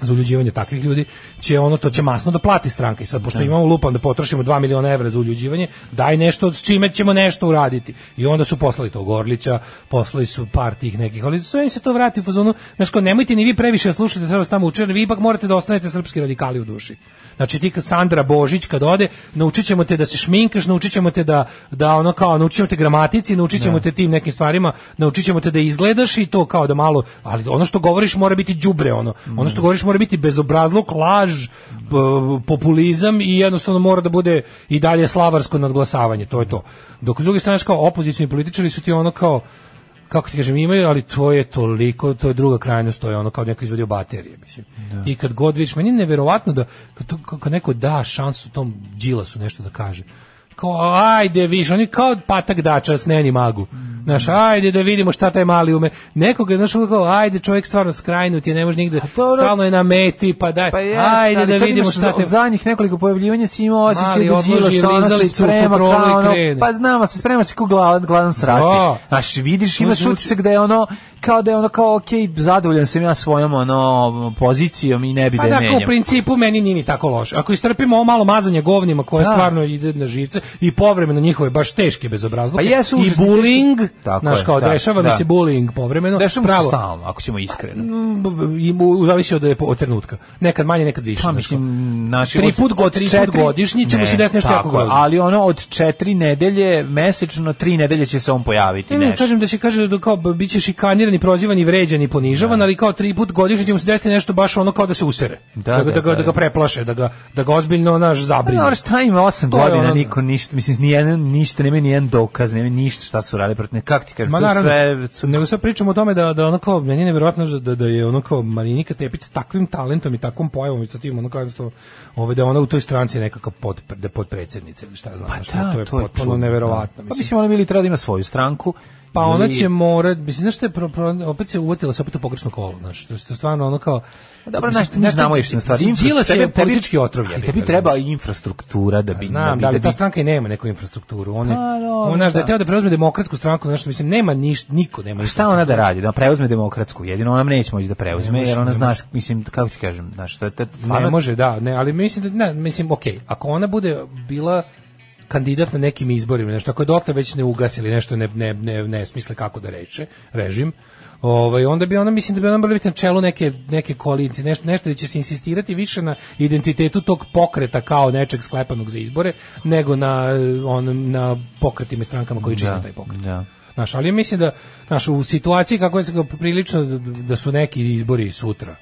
Speaker 7: za uljuđivanje takvih ljudi će ono to će masno da plati stranka i sad pošto imamo lupan da potrošimo 2 miliona evra za uljuđivanje daj nešto s čime ćemo nešto uraditi i onda su poslali tog Orlića poslali su par tih nekih ali sve im se to vrati u fazonu znaš kao nemojte ni vi previše da slušati sve vas tamo učili vi ipak morate da ostanete srpski radikali u duši znači ti kad Sandra Božić kad ode naučit ćemo te da se šminkaš naučit ćemo te da, da ono kao naučit ćemo te gramatici naučit ćemo te tim nekim stvarima naučit ćemo te da izgledaš i to kao da malo ali ono što govoriš mora biti đubre ono ono što govoriš mora biti bezobrazluk laž p- populizam i jednostavno mora da bude i dalje slavarsko nadglasavanje to je to dok s druge strane znaš, kao opozicioni političari su ti ono kao kako ti kažem, imaju, ali to je toliko, to je druga krajnost, to je ono kao neko izvodio baterije, mislim. I kad god vidiš, meni je neverovatno da kad, to- kad neko da šansu tom Đilasu nešto da kaže, kao ajde viš, oni kao patak dača s neni magu. Znaš, ajde da vidimo šta taj mali ume. Nekoga, znaš, ono kao, ajde, čovjek stvarno skrajnut je, ne može nigde,
Speaker 6: dobro.
Speaker 7: stalno je na meti, pa daj,
Speaker 6: Pa
Speaker 7: ajde da vidimo šta taj...
Speaker 6: te... Zadnjih nekoliko pojavljivanja si imao osjećaj
Speaker 7: Mali
Speaker 6: da
Speaker 7: odloži
Speaker 6: Đilas ono se
Speaker 7: lizalicu u
Speaker 6: sprema
Speaker 7: futrolu i
Speaker 6: kao ono,
Speaker 7: krene.
Speaker 6: pa znamo se sprema se kao glavan, glavan srati.
Speaker 7: Da.
Speaker 6: Znaš, vidiš, imaš
Speaker 7: zvuči-
Speaker 6: utisak da je ono, kao da je ono kao, ok, zadovoljan sam ja svojom ono, pozicijom i ne bi
Speaker 7: Pa
Speaker 6: da je
Speaker 7: da, kao
Speaker 6: menjam.
Speaker 7: u principu meni nije ni tako loše. Ako istrpimo ovo malo mazanje govnima koje
Speaker 6: Da.
Speaker 7: stvarno ide na živce i povremeno njihove baš teške bezobrazluke
Speaker 6: Pa jesu
Speaker 7: i
Speaker 6: užasne
Speaker 7: bullying,
Speaker 6: Tako
Speaker 7: Znaš,
Speaker 6: je,
Speaker 7: kao,
Speaker 6: da,
Speaker 7: dešava
Speaker 6: da.
Speaker 7: mi se bullying povremeno.
Speaker 6: Dešava mu se
Speaker 7: pravo. Mm,
Speaker 6: stalno, ako ćemo iskreno.
Speaker 7: b- b- i mu- zavisi od, od trenutka. Nekad manje, nekad više.
Speaker 6: Pa
Speaker 7: znaš,
Speaker 6: mislim, naši
Speaker 7: tri
Speaker 6: od-
Speaker 7: put, go,
Speaker 6: od
Speaker 7: tri put
Speaker 6: četiri-
Speaker 7: godišnji će mu
Speaker 6: Ne,
Speaker 7: se desiti nešto
Speaker 6: tako
Speaker 7: jako
Speaker 6: je,
Speaker 7: grozno.
Speaker 6: Ali ono od četiri nedelje, mesečno tri nedelje će se on pojaviti
Speaker 7: Ne, ne,
Speaker 6: nešto.
Speaker 7: kažem da će kaže da kao b- biće šikaniran i prozivan i vređan i ponižavan, ali kao tri put godišnje će mu se desiti nešto baš ono kao da se usere.
Speaker 6: Da,
Speaker 7: da, ga-
Speaker 6: da,
Speaker 7: da ga,
Speaker 6: da. Pa
Speaker 7: da ga preplaše, da ga, da ga ozbiljno naš zabrine.
Speaker 6: Ne, ono šta ima 8
Speaker 7: To je
Speaker 6: godina,
Speaker 7: ono-
Speaker 6: niko ništa, mislim, nijedan, ništa, nema nijedan dokaz, nema ništa šta su radili protiv ne, kako ti kažem,
Speaker 7: Ma
Speaker 6: to je
Speaker 7: naravno,
Speaker 6: sve... su-
Speaker 7: nego sad pričamo o tome da, da ono kao, meni je nevjerojatno znaš, da, da je ono kao Marinika Tepić s takvim talentom i takvom pojavom i sa tim ono kao jednostavno, ovaj, da je ona u toj stranci nekakva pod, da je podpredsednica ili šta znam, šta, to je potpuno
Speaker 6: čudno, Pa da.
Speaker 7: neverovatno.
Speaker 6: Pa mislim, ona bi ili treba da ima svoju stranku,
Speaker 7: Pa ona
Speaker 6: ili-
Speaker 7: će morat, mislim, znaš što je, pro, pro, opet se uvatila se opet u pogrešno kolo, znaš, to je to je stvarno ono kao...
Speaker 6: Pa Dobro, znaš, mi znamo još na stvari.
Speaker 7: Đila se je
Speaker 6: Tebi- tebi-
Speaker 7: politički otrov.
Speaker 6: ali
Speaker 7: jebi
Speaker 6: Tebi
Speaker 7: ga,
Speaker 6: treba
Speaker 7: znaš.
Speaker 6: infrastruktura da bi...
Speaker 7: Znam,
Speaker 6: bi-
Speaker 7: da li
Speaker 6: bi-
Speaker 7: ta stranka i nema neku infrastrukturu. On je,
Speaker 6: Pa, dobro,
Speaker 7: on, znaš, da je
Speaker 6: da.
Speaker 7: teo da preuzme demokratsku stranku, znaš, mislim, nema niš, niko nema
Speaker 6: Šta ona da radi? Da preuzme demokratsku. Jedino ona neće moći da preuzme,
Speaker 7: Ne može,
Speaker 6: jer ona
Speaker 7: ne
Speaker 6: zna,
Speaker 7: može.
Speaker 6: mislim, kako ti kažem, znaš, to je... to je
Speaker 7: Ne
Speaker 6: stvarno-
Speaker 7: može, da, ne, ali mislim da ne, mislim okej, ako ona bude bila kandidat na nekim izborima, nešto ako je dotle već ne ugasili nešto ne ne ne ne smisle kako da reče režim. Ovaj onda bi ona mislim da bi ona morala biti na čelu neke neke koalicije, nešto nešto da će se insistirati više na identitetu tog pokreta kao nečeg sklepanog za izbore nego na eh, on na pokretima i strankama koji čine
Speaker 6: Da,
Speaker 7: taj pokret.
Speaker 6: da.
Speaker 7: Znaš, ali mislim da znaš, u situaciji kako je se prilično da, da su neki izbori sutra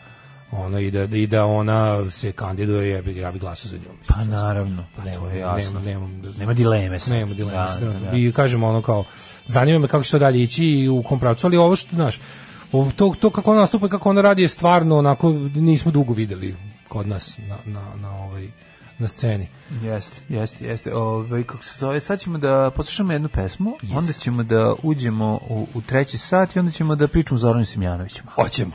Speaker 7: ono i da, i da ona se kandiduje ja bih ja bi glasao za nju mislim.
Speaker 6: Pa naravno, pa
Speaker 7: Nemam-
Speaker 6: to je
Speaker 7: nemam-
Speaker 6: jasno.
Speaker 7: nemam-
Speaker 6: Nema dileme sad.
Speaker 7: Nema dileme.
Speaker 6: Da, da, da.
Speaker 7: I kažemo ono kao zanima me kako će to dalje ići i u kom pravcu, ali ovo što znaš, ovo- to, to kako ona nastupa i kako ona radi je stvarno onako nismo dugo videli kod nas na, na, na ovaj na sceni.
Speaker 6: Jeste, jeste, jeste. Ove, kako se zove, sad ćemo da poslušamo jednu pesmu, onda ćemo da uđemo u, u treći sat i onda ćemo da pričamo Zoranu Simjanoviću. malo.
Speaker 7: Hoćemo.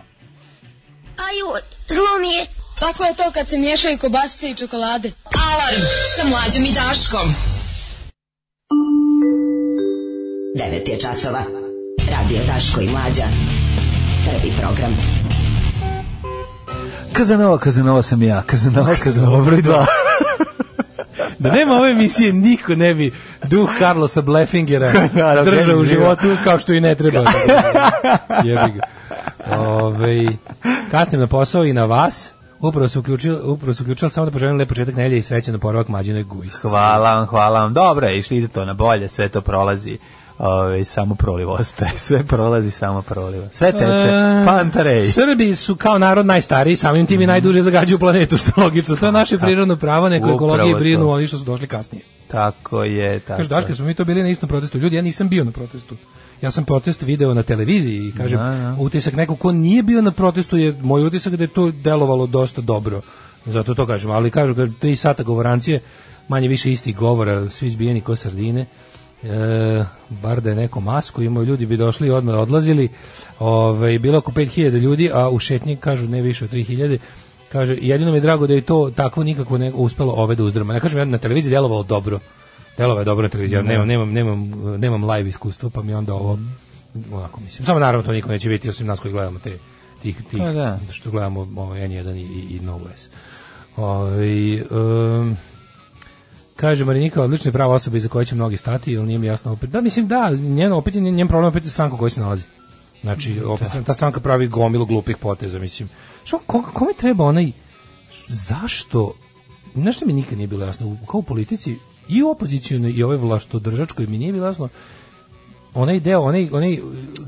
Speaker 3: Aju, zlo mi je.
Speaker 5: Tako je to kad se miješaju kobasice i čokolade. Alarm sa mlađom i Daškom. 9 je časova. Radio Daško i Mlađa. Prvi program.
Speaker 6: Kazanova, Kazanova sam ja, Kazanova, Kazanova, broj dva. [LAUGHS]
Speaker 7: Da nema ove emisije niko ne bi duh Carlosa
Speaker 6: [LAUGHS]
Speaker 7: Bleffingera
Speaker 6: Naravno, ne
Speaker 7: držao
Speaker 6: bi živeo.
Speaker 7: u životu kao što i
Speaker 6: [LAUGHS]
Speaker 7: ne treba. Jebi ga. Ovaj, kasnim na posao i na vas. Upravo se uključila, upravo se uključila samo da poželim lep početak nedelje i srećan oporavak mlađinoj gujsci.
Speaker 6: Hvala vam, hvala vam. Dobro je, išli ide to na bolje, sve to prolazi. Ove, samo proliv ostaje, [LAUGHS] sve prolazi, samo proliv. Sve teče,
Speaker 7: E,
Speaker 6: pantarej.
Speaker 7: Srbi su kao narod najstariji, samim
Speaker 6: Mhm.
Speaker 7: tim i najduže zagađuju planetu, što je logično. To je naše prirodno pravo, neko
Speaker 6: Upravo
Speaker 7: ekologije
Speaker 6: to.
Speaker 7: brinu oni što su došli kasnije.
Speaker 6: Tako je, tako
Speaker 7: Kaže, Daška,
Speaker 6: je.
Speaker 7: smo mi to bili na istom protestu. Ljudi, ja nisam bio na protestu. Ja sam protest video na televiziji i kažem, utisak nekog ko nije bio na protestu je moj utisak da je to delovalo dosta dobro. Zato to kažem, ali kažu, kažu tri sata govorancije, manje više istih govora, svi zbijeni ko sardine. E, bar da je neko masku imao ljudi bi došli i odmah odlazili Ove, bilo oko 5000 ljudi a u šetnji kažu ne više od 3000 kaže jedino mi je drago da je to takvo nikako ne uspelo ove da uzdrma ne kažem ja na televiziji delovalo dobro Delova je dobro na televiziji,
Speaker 6: Da.
Speaker 7: ali nemam, nemam, nemam, nemam live iskustvo, pa mi onda
Speaker 6: Mhm.
Speaker 7: ovo, onako mislim. Samo naravno to niko neće vidjeti, osim nas koji gledamo te, tih, tih,
Speaker 6: Pa da.
Speaker 7: što gledamo ovaj, N1 i, i, i Novu S. Ovaj, em, Kaže Marinika, odlična je prava osoba iza koje će mnogi stati, ili nije mi jasno opet. Da, mislim da, njen, opet je njen problem opet je stranka u kojoj se nalazi. Znači, opet ta stranka pravi gomilu glupih poteza, mislim. Što, ko- kome treba onaj, zašto, znaš što mi nikad nije bilo jasno, u- kao u politici, i u opozicijalnoj i ovoj vlastodržačkoj mi nije bilo jasno, onaj deo, onaj, onaj,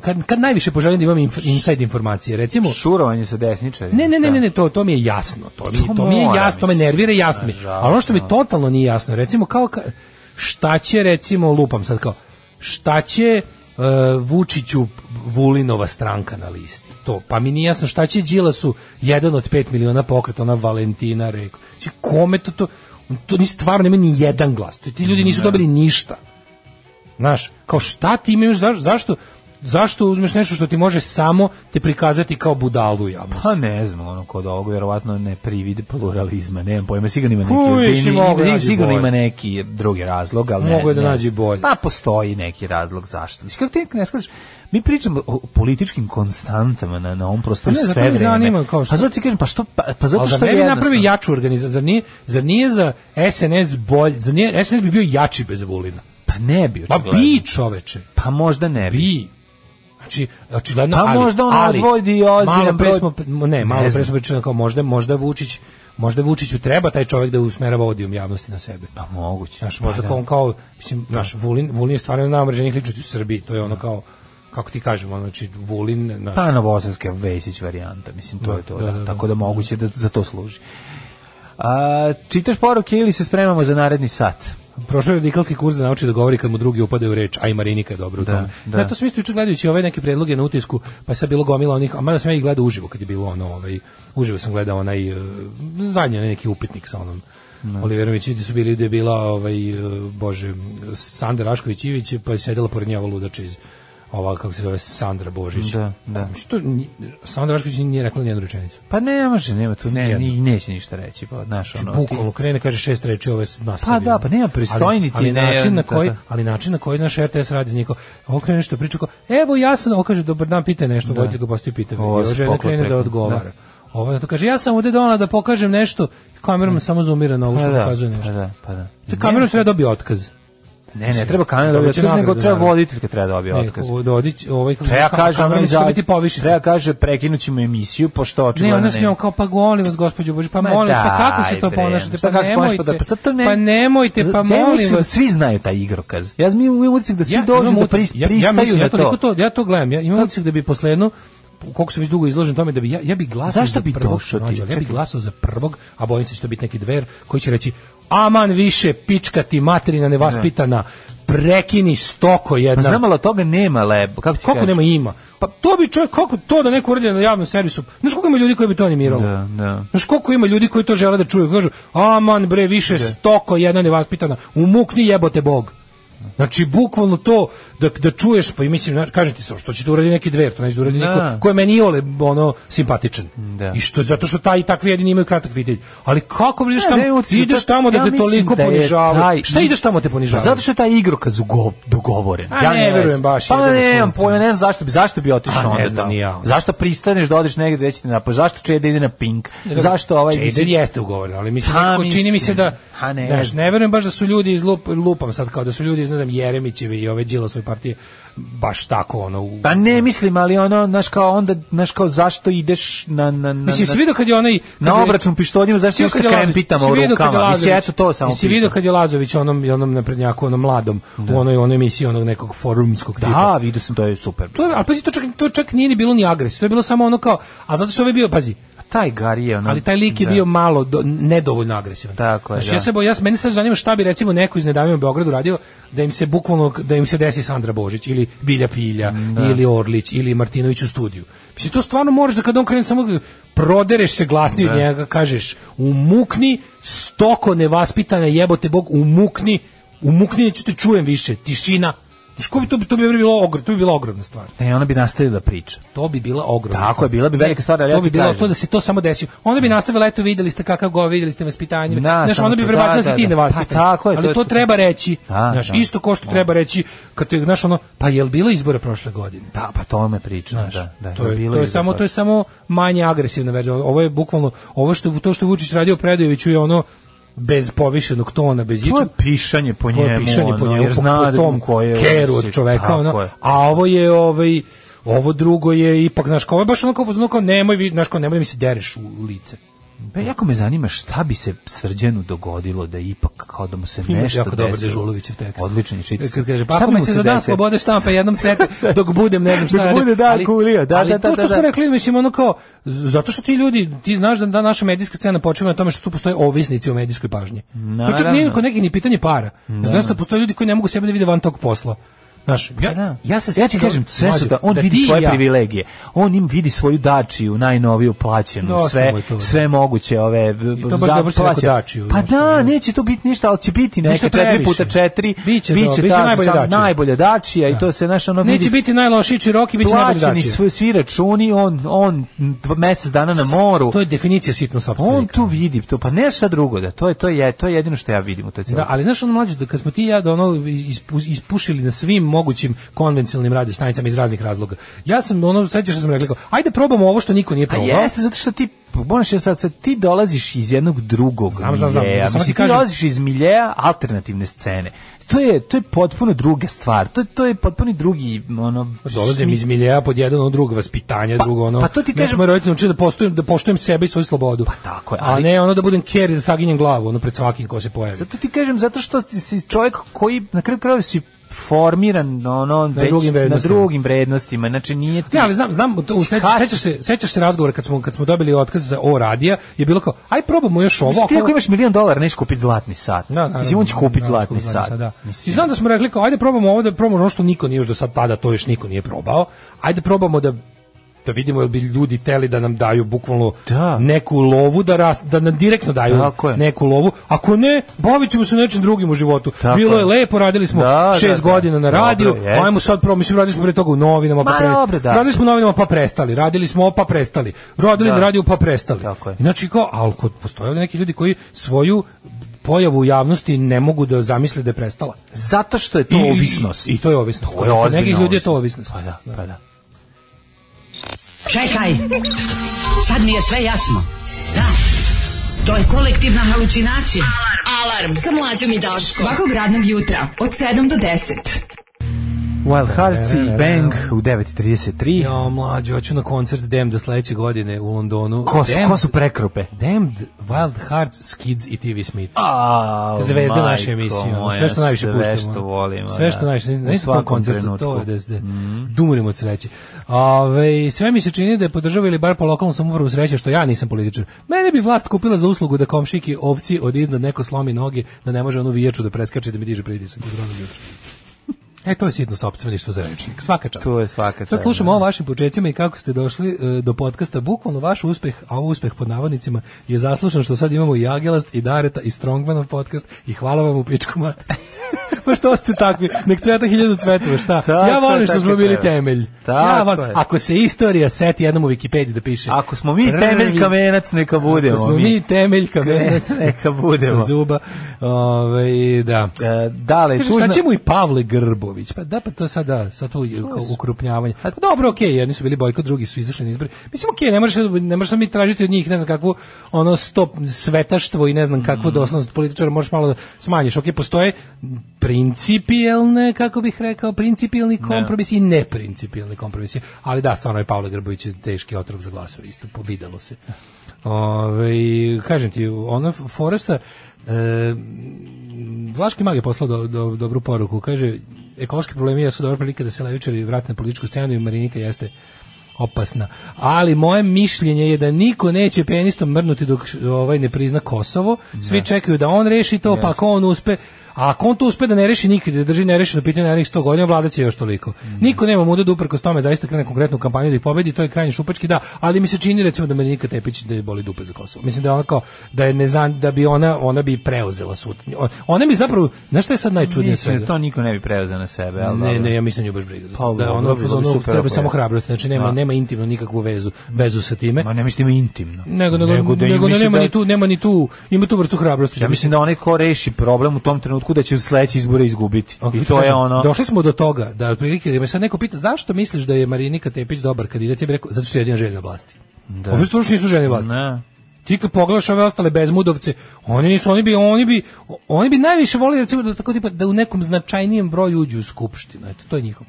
Speaker 7: kad, kad najviše poželim da imam inf- inside informacije, recimo,
Speaker 6: Šurovanje sa desničarima.
Speaker 7: ne, ne, ne,
Speaker 6: šta?
Speaker 7: ne, ne, to, to mi je jasno. To mi,
Speaker 6: To
Speaker 7: to mi je
Speaker 6: mora,
Speaker 7: jasno, to me
Speaker 6: mislim.
Speaker 7: nervira i jasno mi. je.
Speaker 6: Nažalost,
Speaker 7: Ali ono što mi totalno nije jasno, je, recimo kao ka- šta će recimo lupam sad kao šta će uh, Vučiću Vulinova stranka na listi. To, pa mi nije jasno šta će Đilasu jedan od 5 miliona pokreta ona Valentina rekao. Znači, kome to to to ni stvarno nema ni jedan glas. Ti ljudi nisu dobili ništa. Znaš, kao šta ti imaš, zaš- zašto, zašto uzmeš nešto što ti može samo te prikazati kao budalu javno?
Speaker 6: Pa ne znam, ono kod ovog vjerovatno ne privide pluralizma, nemam pojma, sigurno ima neki
Speaker 7: Uvijek
Speaker 6: ozbiljni-
Speaker 7: si mogao da nađi
Speaker 6: sigurno
Speaker 7: bolje.
Speaker 6: ima neki drugi razlog, ali ne.
Speaker 7: Mogao je da
Speaker 6: ne
Speaker 7: nađi
Speaker 6: znam.
Speaker 7: bolje.
Speaker 6: Pa postoji neki razlog zašto. Mislim, kako ti ne skažeš, mi pričamo o o političkim konstantama na, na ovom prostoru
Speaker 7: Pa ne, zato
Speaker 6: sve
Speaker 7: me
Speaker 6: vreme.
Speaker 7: zanima kao što-
Speaker 6: Pa zato ti kažem, pa, što, pa, pa zato
Speaker 7: Ali
Speaker 6: što
Speaker 7: zar ne bi
Speaker 6: jednostavno-
Speaker 7: napravio jaču organizaciju, zar nije, zar nije za SNS bolj, zar nije, SNS bi bio jači bez Vulina.
Speaker 6: Pa Pa ne bi,
Speaker 7: Pa
Speaker 6: očigledno.
Speaker 7: bi čoveče,
Speaker 6: Pa možda ne bi.
Speaker 7: bi. Znači, očigledno,
Speaker 6: Pa
Speaker 7: ali,
Speaker 6: možda on
Speaker 7: ali,
Speaker 6: odvodi ozbiljan
Speaker 7: malo pre
Speaker 6: broj-
Speaker 7: smo, ne, malo
Speaker 6: Ne
Speaker 7: pre
Speaker 6: znam.
Speaker 7: smo pričali kao možda, možda Vučić, možda Vučiću treba taj čovjek da usmerava odijum javnosti na sebe.
Speaker 6: Pa moguće.
Speaker 7: Znaš, možda
Speaker 6: Pa
Speaker 7: kao
Speaker 6: da.
Speaker 7: on kao, mislim, znaš, Vulin, Vulin je stvarno jedna od najomraženijih ličnosti u Srbiji, to je ono kao, kako ti kažem, ono, znači, Vulin, znaš,
Speaker 6: Pa novosadska Vesić varijanta, mislim, to
Speaker 7: Da,
Speaker 6: je to,
Speaker 7: da,
Speaker 6: da,
Speaker 7: da, da.
Speaker 6: tako da moguće da za to služi. A, čitaš poruke ili se spremamo za naredni sat?
Speaker 7: prošao je radikalski kurs da nauči da govori kad mu drugi upade u reč, a i Marinika je dobro u
Speaker 6: Da,
Speaker 7: tome.
Speaker 6: da.
Speaker 7: Na to sam isto juče gledajući ove neke predloge na utisku, pa je sad bilo gomila onih, a mada sam ja ih gledao uživo kad je bilo ono, ovaj, uživo sam gledao onaj, eh, zadnji onaj neki upitnik sa onom.
Speaker 6: Da.
Speaker 7: Oliverović, gde su bili, gde je bila, ovaj, eh, bože, Sandra Rašković Ivić, pa je sedela pored nje ova ludača iz ova, kako se zove, Sandra Božić.
Speaker 6: Da, da.
Speaker 7: Mislim, to ni- Sandra Rašković nije rekla nijednu rečenicu.
Speaker 6: Pa ne može, nema tu, ne,
Speaker 7: Nijedno.
Speaker 6: ni, neće ništa reći, pa, znaš, ono,
Speaker 7: Znači,
Speaker 6: ti-
Speaker 7: bukvalno krene kaže šest reči ove nastavljaju.
Speaker 6: Pa da, pa nema, pristojni ti
Speaker 7: ali, ali
Speaker 6: ne,
Speaker 7: način na
Speaker 6: da, da.
Speaker 7: koji, ali način na koji naš RTS radi za njiko. On krene nešto priča kao, evo ja sam, on kaže dobar dan, pitaj nešto, da. voditelj ga postoji pitanje.
Speaker 6: Ovo
Speaker 7: I
Speaker 6: se
Speaker 7: ova žena
Speaker 6: poklop
Speaker 7: krene da
Speaker 6: rekao,
Speaker 7: odgovara.
Speaker 6: da.
Speaker 7: Ovo na to kaže, ja sam ovde donela da pokažem nešto, kamerom samo zoomira na ovo što
Speaker 6: Mm. pa da,
Speaker 7: pokazuje
Speaker 6: pa
Speaker 7: nešto.
Speaker 6: da, pa da.
Speaker 7: Ta kamera treba dobije otkaz.
Speaker 6: Ne, ne, treba kamera da
Speaker 7: Dobit
Speaker 6: dobije
Speaker 7: će
Speaker 6: otkaz, nego
Speaker 7: nagradu,
Speaker 6: treba
Speaker 7: naravno.
Speaker 6: voditelj kad treba da dobije otkaz. Pa
Speaker 7: Neko, dodić, ovaj, kako,
Speaker 6: Treba kaže, ono
Speaker 7: kamerom će
Speaker 6: iza-
Speaker 7: biti povišica.
Speaker 6: da treba kaže, prekinut ćemo emisiju, pošto
Speaker 7: Ne,
Speaker 6: očigledno
Speaker 7: ona s njom kao, pa molim vas, gospođo Božić, pa molim vas, pa kako se
Speaker 6: daj,
Speaker 7: to
Speaker 6: bre,
Speaker 7: ponašate,
Speaker 6: šta
Speaker 7: pa
Speaker 6: kako se ponašate,
Speaker 7: nemojte,
Speaker 6: da- sad to ne-
Speaker 7: pa nemojte, pa
Speaker 6: Ja mislim
Speaker 7: molim
Speaker 6: da
Speaker 7: vas.
Speaker 6: Svi znaju taj igrokaz. Ja mi u utisak da svi dođu
Speaker 7: imam
Speaker 6: da
Speaker 7: utisak-
Speaker 6: pris-
Speaker 7: ja- ja
Speaker 6: pristaju
Speaker 7: mislim,
Speaker 6: na
Speaker 7: ja toliko
Speaker 6: to.
Speaker 7: to. Ja to gledam, ja imam utisak da bi posle jedno koliko sam već dugo izložen tome da bi ja, ja bi glasao
Speaker 6: Zašto
Speaker 7: za
Speaker 6: bi
Speaker 7: prvog
Speaker 6: došao ti?
Speaker 7: mlađo, ja bi
Speaker 6: Čekaj.
Speaker 7: glasao za prvog a bojim se da će to biti neki dver koji će reći aman više pička ti materina nevaspitana prekini
Speaker 6: Da.
Speaker 7: stoko
Speaker 6: Pa
Speaker 7: jedna
Speaker 6: znam, ali od toga nema lebo. Kako ti
Speaker 7: koliko
Speaker 6: kažem?
Speaker 7: Da. nema ima pa to bi čovjek kako to da neko uradi na javnom servisu znaš koliko ima ljudi koji bi to animiralo
Speaker 6: Da, da.
Speaker 7: Znaš koliko ima ljudi koji to žele da čuju, kažu, aman bre, više stoko jedna nevaspitana, umukni jebote Bog. Znači, bukvalno to da, da čuješ, pa i mislim, znaš, kažem ti se, što će da uradi neki dver, to neće da uradi
Speaker 6: Da.
Speaker 7: niko ko je meni ole, ono, simpatičan.
Speaker 6: Da.
Speaker 7: I što, zato što taj i takvi jedini imaju kratak videlj. Ali kako ideš
Speaker 6: Ne, ne,
Speaker 7: tamo,
Speaker 6: utisak
Speaker 7: ideš
Speaker 6: da-
Speaker 7: tamo da
Speaker 6: ja
Speaker 7: te
Speaker 6: mislim
Speaker 7: toliko
Speaker 6: da je taj
Speaker 7: ponižavaju? Šta ideš tamo da te
Speaker 6: Pa
Speaker 7: ponižavaju?
Speaker 6: Zato što je taj igrokaz ugo- dogovoren.
Speaker 7: A ne
Speaker 6: znam.
Speaker 7: verujem baš,
Speaker 6: Pa
Speaker 7: jebeno
Speaker 6: ne, nemam
Speaker 7: sunce.
Speaker 6: pojma, ne znam zašto bi, zašto bi otišao
Speaker 7: A ne
Speaker 6: onda
Speaker 7: znam
Speaker 6: tamo.
Speaker 7: ni ja.
Speaker 6: Zašto pristaneš da odeš negde gde će ti napad? Zašto će da ide na pink? Zašto ovaj...
Speaker 7: Čeder
Speaker 6: mislim-
Speaker 7: jeste ugovoren, ali mislim,
Speaker 6: Pa,
Speaker 7: nekako čini mi se
Speaker 6: mislim.
Speaker 7: da,
Speaker 6: Ha, ne
Speaker 7: znaš,
Speaker 6: znam.
Speaker 7: ne verujem baš da su ljudi iz lup, lupam sad, kao da su ljudi iz, ne znam, Jeremićeve i ove Đilasove partije baš tako, ono, u,
Speaker 6: Pa ne mislim, ali ono, znaš kao onda, znaš kao zašto ideš na... na, na
Speaker 7: Mislim, si
Speaker 6: na-
Speaker 7: vidio kad je onaj... kad
Speaker 6: Na
Speaker 7: je-
Speaker 6: obračun pištoljima, zašto
Speaker 7: Si vidio
Speaker 6: ja
Speaker 7: kad
Speaker 6: sa
Speaker 7: je Lazović-
Speaker 6: krempitama
Speaker 7: si
Speaker 6: u
Speaker 7: vidio kad je
Speaker 6: rukama? Mislim,
Speaker 7: Lazović-
Speaker 6: eto to samo
Speaker 7: Jesi vidio
Speaker 6: pitam.
Speaker 7: kad je Lazović onom, onom naprednjaku, onom mladom, u onoj, onoj emisiji onog nekog forumskog tipa?
Speaker 6: Da, vidio sam, to je super.
Speaker 7: To, je- ali pazi, to čak, to čak nije ni bilo ni agresivno, to je bilo samo ono kao, a zato što je ovaj bio, pazi,
Speaker 6: Taj Gari je ono...
Speaker 7: ali taj lik je
Speaker 6: da.
Speaker 7: bio malo do, nedovoljno agresivan.
Speaker 6: Tako je,
Speaker 7: Znaš,
Speaker 6: da.
Speaker 7: ja se boj, ja, meni sad zanima šta bi recimo neko iz Nedavima u Beogradu radio da im se bukvalno, da im se desi Sandra Božić ili Bilja Pilja
Speaker 6: Mm, da.
Speaker 7: ili Orlić ili Martinović u studiju. Mislim, to stvarno moraš da kad on krene samo prodereš se glasnije
Speaker 6: Da.
Speaker 7: od njega, kažeš umukni, stoko nevaspitane jebote Bog, umukni, umukni, neću te čujem više, tišina. Znaš, ko bi to, to bi bilo, ogr, to bi bila ogromna stvar.
Speaker 6: Ne, ona bi nastavila da priča.
Speaker 7: To bi bila ogromna.
Speaker 6: Tako
Speaker 7: stvar.
Speaker 6: je, bila bi
Speaker 7: Ne,
Speaker 6: velika stvar, ali ja
Speaker 7: to bi
Speaker 6: ti
Speaker 7: bilo
Speaker 6: kažem.
Speaker 7: to da se to samo desi. Onda bi nastavila eto videli ste kakav go, videli ste vaspitanje.
Speaker 6: Da,
Speaker 7: znaš,
Speaker 6: samo
Speaker 7: onda bi
Speaker 6: to,
Speaker 7: prebacila
Speaker 6: da,
Speaker 7: se
Speaker 6: da,
Speaker 7: ti
Speaker 6: da.
Speaker 7: ne
Speaker 6: Pa, tako je,
Speaker 7: ali
Speaker 6: to
Speaker 7: to,
Speaker 6: je-
Speaker 7: treba reći.
Speaker 6: Da,
Speaker 7: znaš,
Speaker 6: da.
Speaker 7: isto ko što treba reći kad te znaš ono, pa jel bilo izbora prošle godine?
Speaker 6: Da, pa to me priča.
Speaker 7: Znaš,
Speaker 6: da, da,
Speaker 7: to je,
Speaker 6: bilo
Speaker 7: to je
Speaker 6: za
Speaker 7: samo
Speaker 6: to.
Speaker 7: to je samo manje agresivna verzija. Ovo je bukvalno ovo što to što je Vučić radio Predojeviću je ono bez povišenog tona, bez
Speaker 6: pa- To je
Speaker 7: ičeg.
Speaker 6: pišanje po njemu,
Speaker 7: To je pišanje po
Speaker 6: ono,
Speaker 7: njemu,
Speaker 6: jer
Speaker 7: po,
Speaker 6: zna
Speaker 7: po
Speaker 6: da
Speaker 7: tom
Speaker 6: ko je
Speaker 7: keru od
Speaker 6: usi,
Speaker 7: čoveka,
Speaker 6: tako
Speaker 7: ono,
Speaker 6: je.
Speaker 7: a ovo je ovaj, ovo drugo je ipak, znaš, kao ovo je baš ono kao, ono kao nemoj, vi- znaš, kao nemoj da mi se dereš u lice.
Speaker 6: Pa jako me zanima šta bi se Srđanu dogodilo da ipak kao da mu se
Speaker 7: Imaš
Speaker 6: nešto
Speaker 7: jako dobar
Speaker 6: desilo.
Speaker 7: Dežulovićev tekst.
Speaker 6: Odličan je čitav.
Speaker 7: Kad kaže,
Speaker 6: Šta
Speaker 7: pa
Speaker 6: bi
Speaker 7: ako me
Speaker 6: mu
Speaker 7: se za dan
Speaker 6: desilo?
Speaker 7: slobode štampa jednom setu, dok budem ne znam šta
Speaker 6: Dok
Speaker 7: radim.
Speaker 6: bude, da,
Speaker 7: Ali-
Speaker 6: kulija, da,
Speaker 7: ali
Speaker 6: da, da,
Speaker 7: to što
Speaker 6: da,
Speaker 7: smo
Speaker 6: da.
Speaker 7: rekli, mislim, ono kao, z- zato što ti ljudi, ti znaš da, da naša medijska scena počeva na tome što tu postoje ovisnici o medijskoj pažnji. To čak nije
Speaker 6: Naravno. Da.
Speaker 7: kod nekih ni pitanje para. Jednostavno postoje ljudi koji ne mogu sebe da vide van tog posla. Znaš, ja, ja, se
Speaker 6: Pa da. ja ti
Speaker 7: sjećam-
Speaker 6: kažem, sve su da, on
Speaker 7: da ti
Speaker 6: vidi
Speaker 7: i
Speaker 6: svoje
Speaker 7: ja-
Speaker 6: privilegije. On im vidi svoju dačiju, najnoviju plaćenu,
Speaker 7: Dosta
Speaker 6: sve,
Speaker 7: mu je Da, to.
Speaker 6: sve moguće ove b-
Speaker 7: to baš
Speaker 6: za-
Speaker 7: dobro si rekao,
Speaker 6: plaćenu.
Speaker 7: dačiju,
Speaker 6: Pa
Speaker 7: znaš,
Speaker 6: da,
Speaker 7: ono.
Speaker 6: neće tu biti ništa, ali će biti neka
Speaker 7: Ništa
Speaker 6: 4 puta
Speaker 7: previše.
Speaker 6: 4.
Speaker 7: Biće dobro, biće
Speaker 6: ta
Speaker 7: najbolja
Speaker 6: sam-
Speaker 7: dačija.
Speaker 6: najbolja dačija i to se naš ono
Speaker 7: Neće
Speaker 6: vidi
Speaker 7: biti najlošiji Čiroki, bit će najbolji
Speaker 6: Pa plaćeni
Speaker 7: dači.
Speaker 6: svi, svi računi, on, on dva- mesec dana na moru.
Speaker 7: To je definicija sitno sopstvenika.
Speaker 6: On tu vidi, to pa ne šta drugo da to je to je to je jedino što ja vidim u toj celoj.
Speaker 7: Da, ali znaš ono mlađe, da kad smo ti i ja da ono ispu- da ispušili na svim mogućim konvencionalnim radiostanicama iz raznih razloga. Ja sam ono sećaš što sam rekao, ajde probamo ovo što niko nije
Speaker 6: A
Speaker 7: probao.
Speaker 6: jeste zato što ti moraš ja sad, sad ti dolaziš iz jednog drugog
Speaker 7: Znam, znam, znam,
Speaker 6: miljeja.
Speaker 7: nego samo
Speaker 6: Mislim,
Speaker 7: ti
Speaker 6: ti
Speaker 7: kažem-
Speaker 6: dolaziš iz miljeja alternativne scene. To je to je potpuno druga stvar. To je to je potpuno drugi ono
Speaker 7: Pa Dolazim iz miljeja pod jedan od drugo vaspitanje, drugo ono.
Speaker 6: pa to ti
Speaker 7: Mene su
Speaker 6: kažem-
Speaker 7: moji roditelji naučili da poštujem da poštujem sebe i svoju slobodu. Pa
Speaker 6: tako je,
Speaker 7: A
Speaker 6: ali-
Speaker 7: ne ono da budem ker i da saginjem glavu ono pred svakim ko se pojavi.
Speaker 6: Zato ti kažem zato što ti si čovjek koji na kraju krajeva si formiran ono na,
Speaker 7: drugim
Speaker 6: na
Speaker 7: vrednostima.
Speaker 6: drugim vrednostima. Znači nije ti
Speaker 7: Ne, ali znam, znam, to,
Speaker 6: Skac-
Speaker 7: sećaš, sećaš se, sećaš se razgovora kad smo, kad smo dobili otkaz za o radija, je bilo kao, aj probamo još ovo.
Speaker 6: Mislim, ti
Speaker 7: ako-
Speaker 6: ako imaš milion dolara, neš kupiti zlatni sat.
Speaker 7: Da, da,
Speaker 6: Mislim, on će
Speaker 7: da,
Speaker 6: kupiti
Speaker 7: da,
Speaker 6: zlatni
Speaker 7: kupiti
Speaker 6: sat.
Speaker 7: Da.
Speaker 6: Mislim,
Speaker 7: I znam da smo rekli kao ajde probamo ovo da probamo ono što niko nije još do sad tada to još niko nije probao. Ajde probamo da da vidimo jel bi ljudi teli da nam daju bukvalno
Speaker 6: Da.
Speaker 7: neku lovu da ras, da nam direktno daju
Speaker 6: Tako je.
Speaker 7: neku lovu. Ako ne, bavit ćemo se nečim drugim u životu.
Speaker 6: Tako
Speaker 7: Bilo je
Speaker 6: je.
Speaker 7: lepo, radili smo
Speaker 6: Da,
Speaker 7: šest
Speaker 6: da, da.
Speaker 7: godina na
Speaker 6: Dobro,
Speaker 7: radiju.
Speaker 6: jeste.
Speaker 7: ajmo sad probamo, mislim radili smo pre toga u novinama,
Speaker 6: Ma,
Speaker 7: pa pre-
Speaker 6: dobro, da.
Speaker 7: radili smo u novinama pa prestali, radili smo pa prestali. Radili
Speaker 6: Da.
Speaker 7: na radiju pa prestali.
Speaker 6: Tako je.
Speaker 7: Znači kao, ali kod postoje ovdje neki ljudi koji svoju pojavu u javnosti ne mogu da zamisle da je prestala.
Speaker 6: zato što je to
Speaker 7: I-
Speaker 6: ovisnost.
Speaker 7: I, i to je ovisnost.
Speaker 6: To je
Speaker 7: Kod
Speaker 6: ozbiljna
Speaker 7: nekih ljudi je to
Speaker 6: ovisnost.
Speaker 7: ovisnost.
Speaker 6: Pa da, pa da.
Speaker 5: Čekaj, sad mi je sve jasno. Da, to je kolektivna halucinacija.
Speaker 10: Alarm sa mlađom i Daškom. Svakog radnog jutra od 7 do 10.
Speaker 6: Wild Hearts i Bang u 9.33.
Speaker 7: Ja, mlađe, hoću na koncert Damned sledeće godine u Londonu.
Speaker 6: Ko su,
Speaker 7: Damned-
Speaker 6: ko su prekrupe?
Speaker 7: Damned, Wild Hearts, Skids i TV Smith.
Speaker 6: A,
Speaker 7: Zvezde naše emisije, ono, sve što najviše puštamo.
Speaker 6: Sve što volimo.
Speaker 7: Sve što
Speaker 6: da.
Speaker 7: najviše,
Speaker 6: U
Speaker 7: znači to
Speaker 6: svakom
Speaker 7: koncertu,
Speaker 6: trenutku. Mhm.
Speaker 7: to je da da dumurimo od sreće. Ove, sve mi se čini da je podržava ili bar po lokalnom samoupravu sreće što ja nisam političar. Mene bi vlast kupila za uslugu da komšiki ovci od iznad neko slomi noge, da ne može onu vijaču da preskače da mi diže pritisak iz ranog jutra. E, to je sitno sopstveništvo za rečnik. Svaka čast.
Speaker 6: To je svaka
Speaker 7: Sad
Speaker 6: čast,
Speaker 7: slušamo
Speaker 6: da.
Speaker 7: o vašim početcima i kako ste došli e, do podcasta. Bukvalno vaš uspeh, a ovo uspeh pod navodnicima, je zaslušan što sad imamo i Agelast, i Dareta, i Strongmanov podcast i hvala vam u pičku mat. [LAUGHS] pa što ste takvi? Nek cveta hiljadu cvetova, šta?
Speaker 6: Tako
Speaker 7: ja
Speaker 6: je,
Speaker 7: volim što
Speaker 6: tako
Speaker 7: smo
Speaker 6: je,
Speaker 7: bili
Speaker 6: tako je.
Speaker 7: temelj. ja
Speaker 6: Tako
Speaker 7: volim,
Speaker 6: je.
Speaker 7: ako se istorija seti jednom u Wikipediji da piše.
Speaker 6: Ako smo mi
Speaker 7: prvi-
Speaker 6: temelj kamenac, neka budemo
Speaker 7: Ako smo mi temelj kamenac.
Speaker 6: Neka budemo.
Speaker 7: Sa zuba. Ove, da.
Speaker 6: E, dale,
Speaker 7: Kaže,
Speaker 6: tužna...
Speaker 7: šta će mu i Pavle Grbović? Pa da, pa to sada, sad to je kao ukrupnjavanje. Pa dobro, okej, jedni su bili bojkot, drugi su izašli na izbore. Mislim, okej, ne možeš, ne možeš sad mi tražiti od njih, ne znam kakvo, ono, stop svetaštvo i ne znam kakvu doslovnost političara, možeš malo da smanjiš. Okej, postoje principijelne, kako bih rekao, principijelni kompromisi i neprincipijelni kompromisi. Ali da, stvarno je Pavle Grbović je teški otrov za glasove, isto, videlo se. Ove, kažem ti, ono, Foresta, e, Vlaški mag je poslao do, do- dobru poruku. Kaže, ekološki problemi jesu dobra prilika da se levičari vrate na političku scenu i Marinika jeste opasna. Ali moje mišljenje je da niko neće penistom mrnuti dok ovaj ne prizna Kosovo. Svi čekaju da on reši to, pa ako on uspe, a ako on to uspe da ne reši nikad, da drži nerešeno pitanje narednih 100 godina, vlada će još toliko.
Speaker 6: Mm.
Speaker 7: Niko nema muda da uprkos tome zaista krene konkretnu kampanju da ih pobedi, to je krajnje šupački, da, ali mi se čini recimo da Marinika Tepić da je boli dupe za Kosovo. Mislim da je ona kao, da je nezan, da bi ona, ona bi preuzela sud. Ona bi zapravo, znaš šta je sad najčudnije
Speaker 6: Mislim da
Speaker 7: svega?
Speaker 6: to niko ne bi preuzeo na sebe, ali
Speaker 7: Ne,
Speaker 6: dobro.
Speaker 7: ne, ja mislim da nju baš briga. za to.
Speaker 6: Pa,
Speaker 7: da, ono,
Speaker 6: dobro, bilo bi
Speaker 7: ono,
Speaker 6: super ako
Speaker 7: treba
Speaker 6: je.
Speaker 7: samo hrabrost, znači nema,
Speaker 6: Da.
Speaker 7: nema intimno nikakvu vezu, vezu sa time.
Speaker 6: Ma ne mislim da ima intimno.
Speaker 7: Nego, nego, nego,
Speaker 6: da im
Speaker 7: da
Speaker 6: misli
Speaker 7: nema
Speaker 6: da-
Speaker 7: ni tu, nema ni tu, ima tu vrstu hrabrosti.
Speaker 6: Ja mislim da onaj ko reši problem u tom trenutku da će u sledeći izbore izgubiti.
Speaker 7: Ako
Speaker 6: I
Speaker 7: ti
Speaker 6: to je
Speaker 7: Pa, kažem,
Speaker 6: ono...
Speaker 7: Došli smo do toga da otprilike da me sad neko pita zašto misliš da je Marinika Tepić dobar kandidat, ja bih rekao zato što je jedina željna vlasti. Da. Ovi stvarno nisu željni vlasti.
Speaker 6: Ne.
Speaker 7: Ti kad pogledaš ove ostale bezmudovce, oni nisu, oni bi, oni bi, oni bi najviše volili recimo da tako tipa da u nekom značajnijem broju uđu u skupštinu. Eto, to je njihov.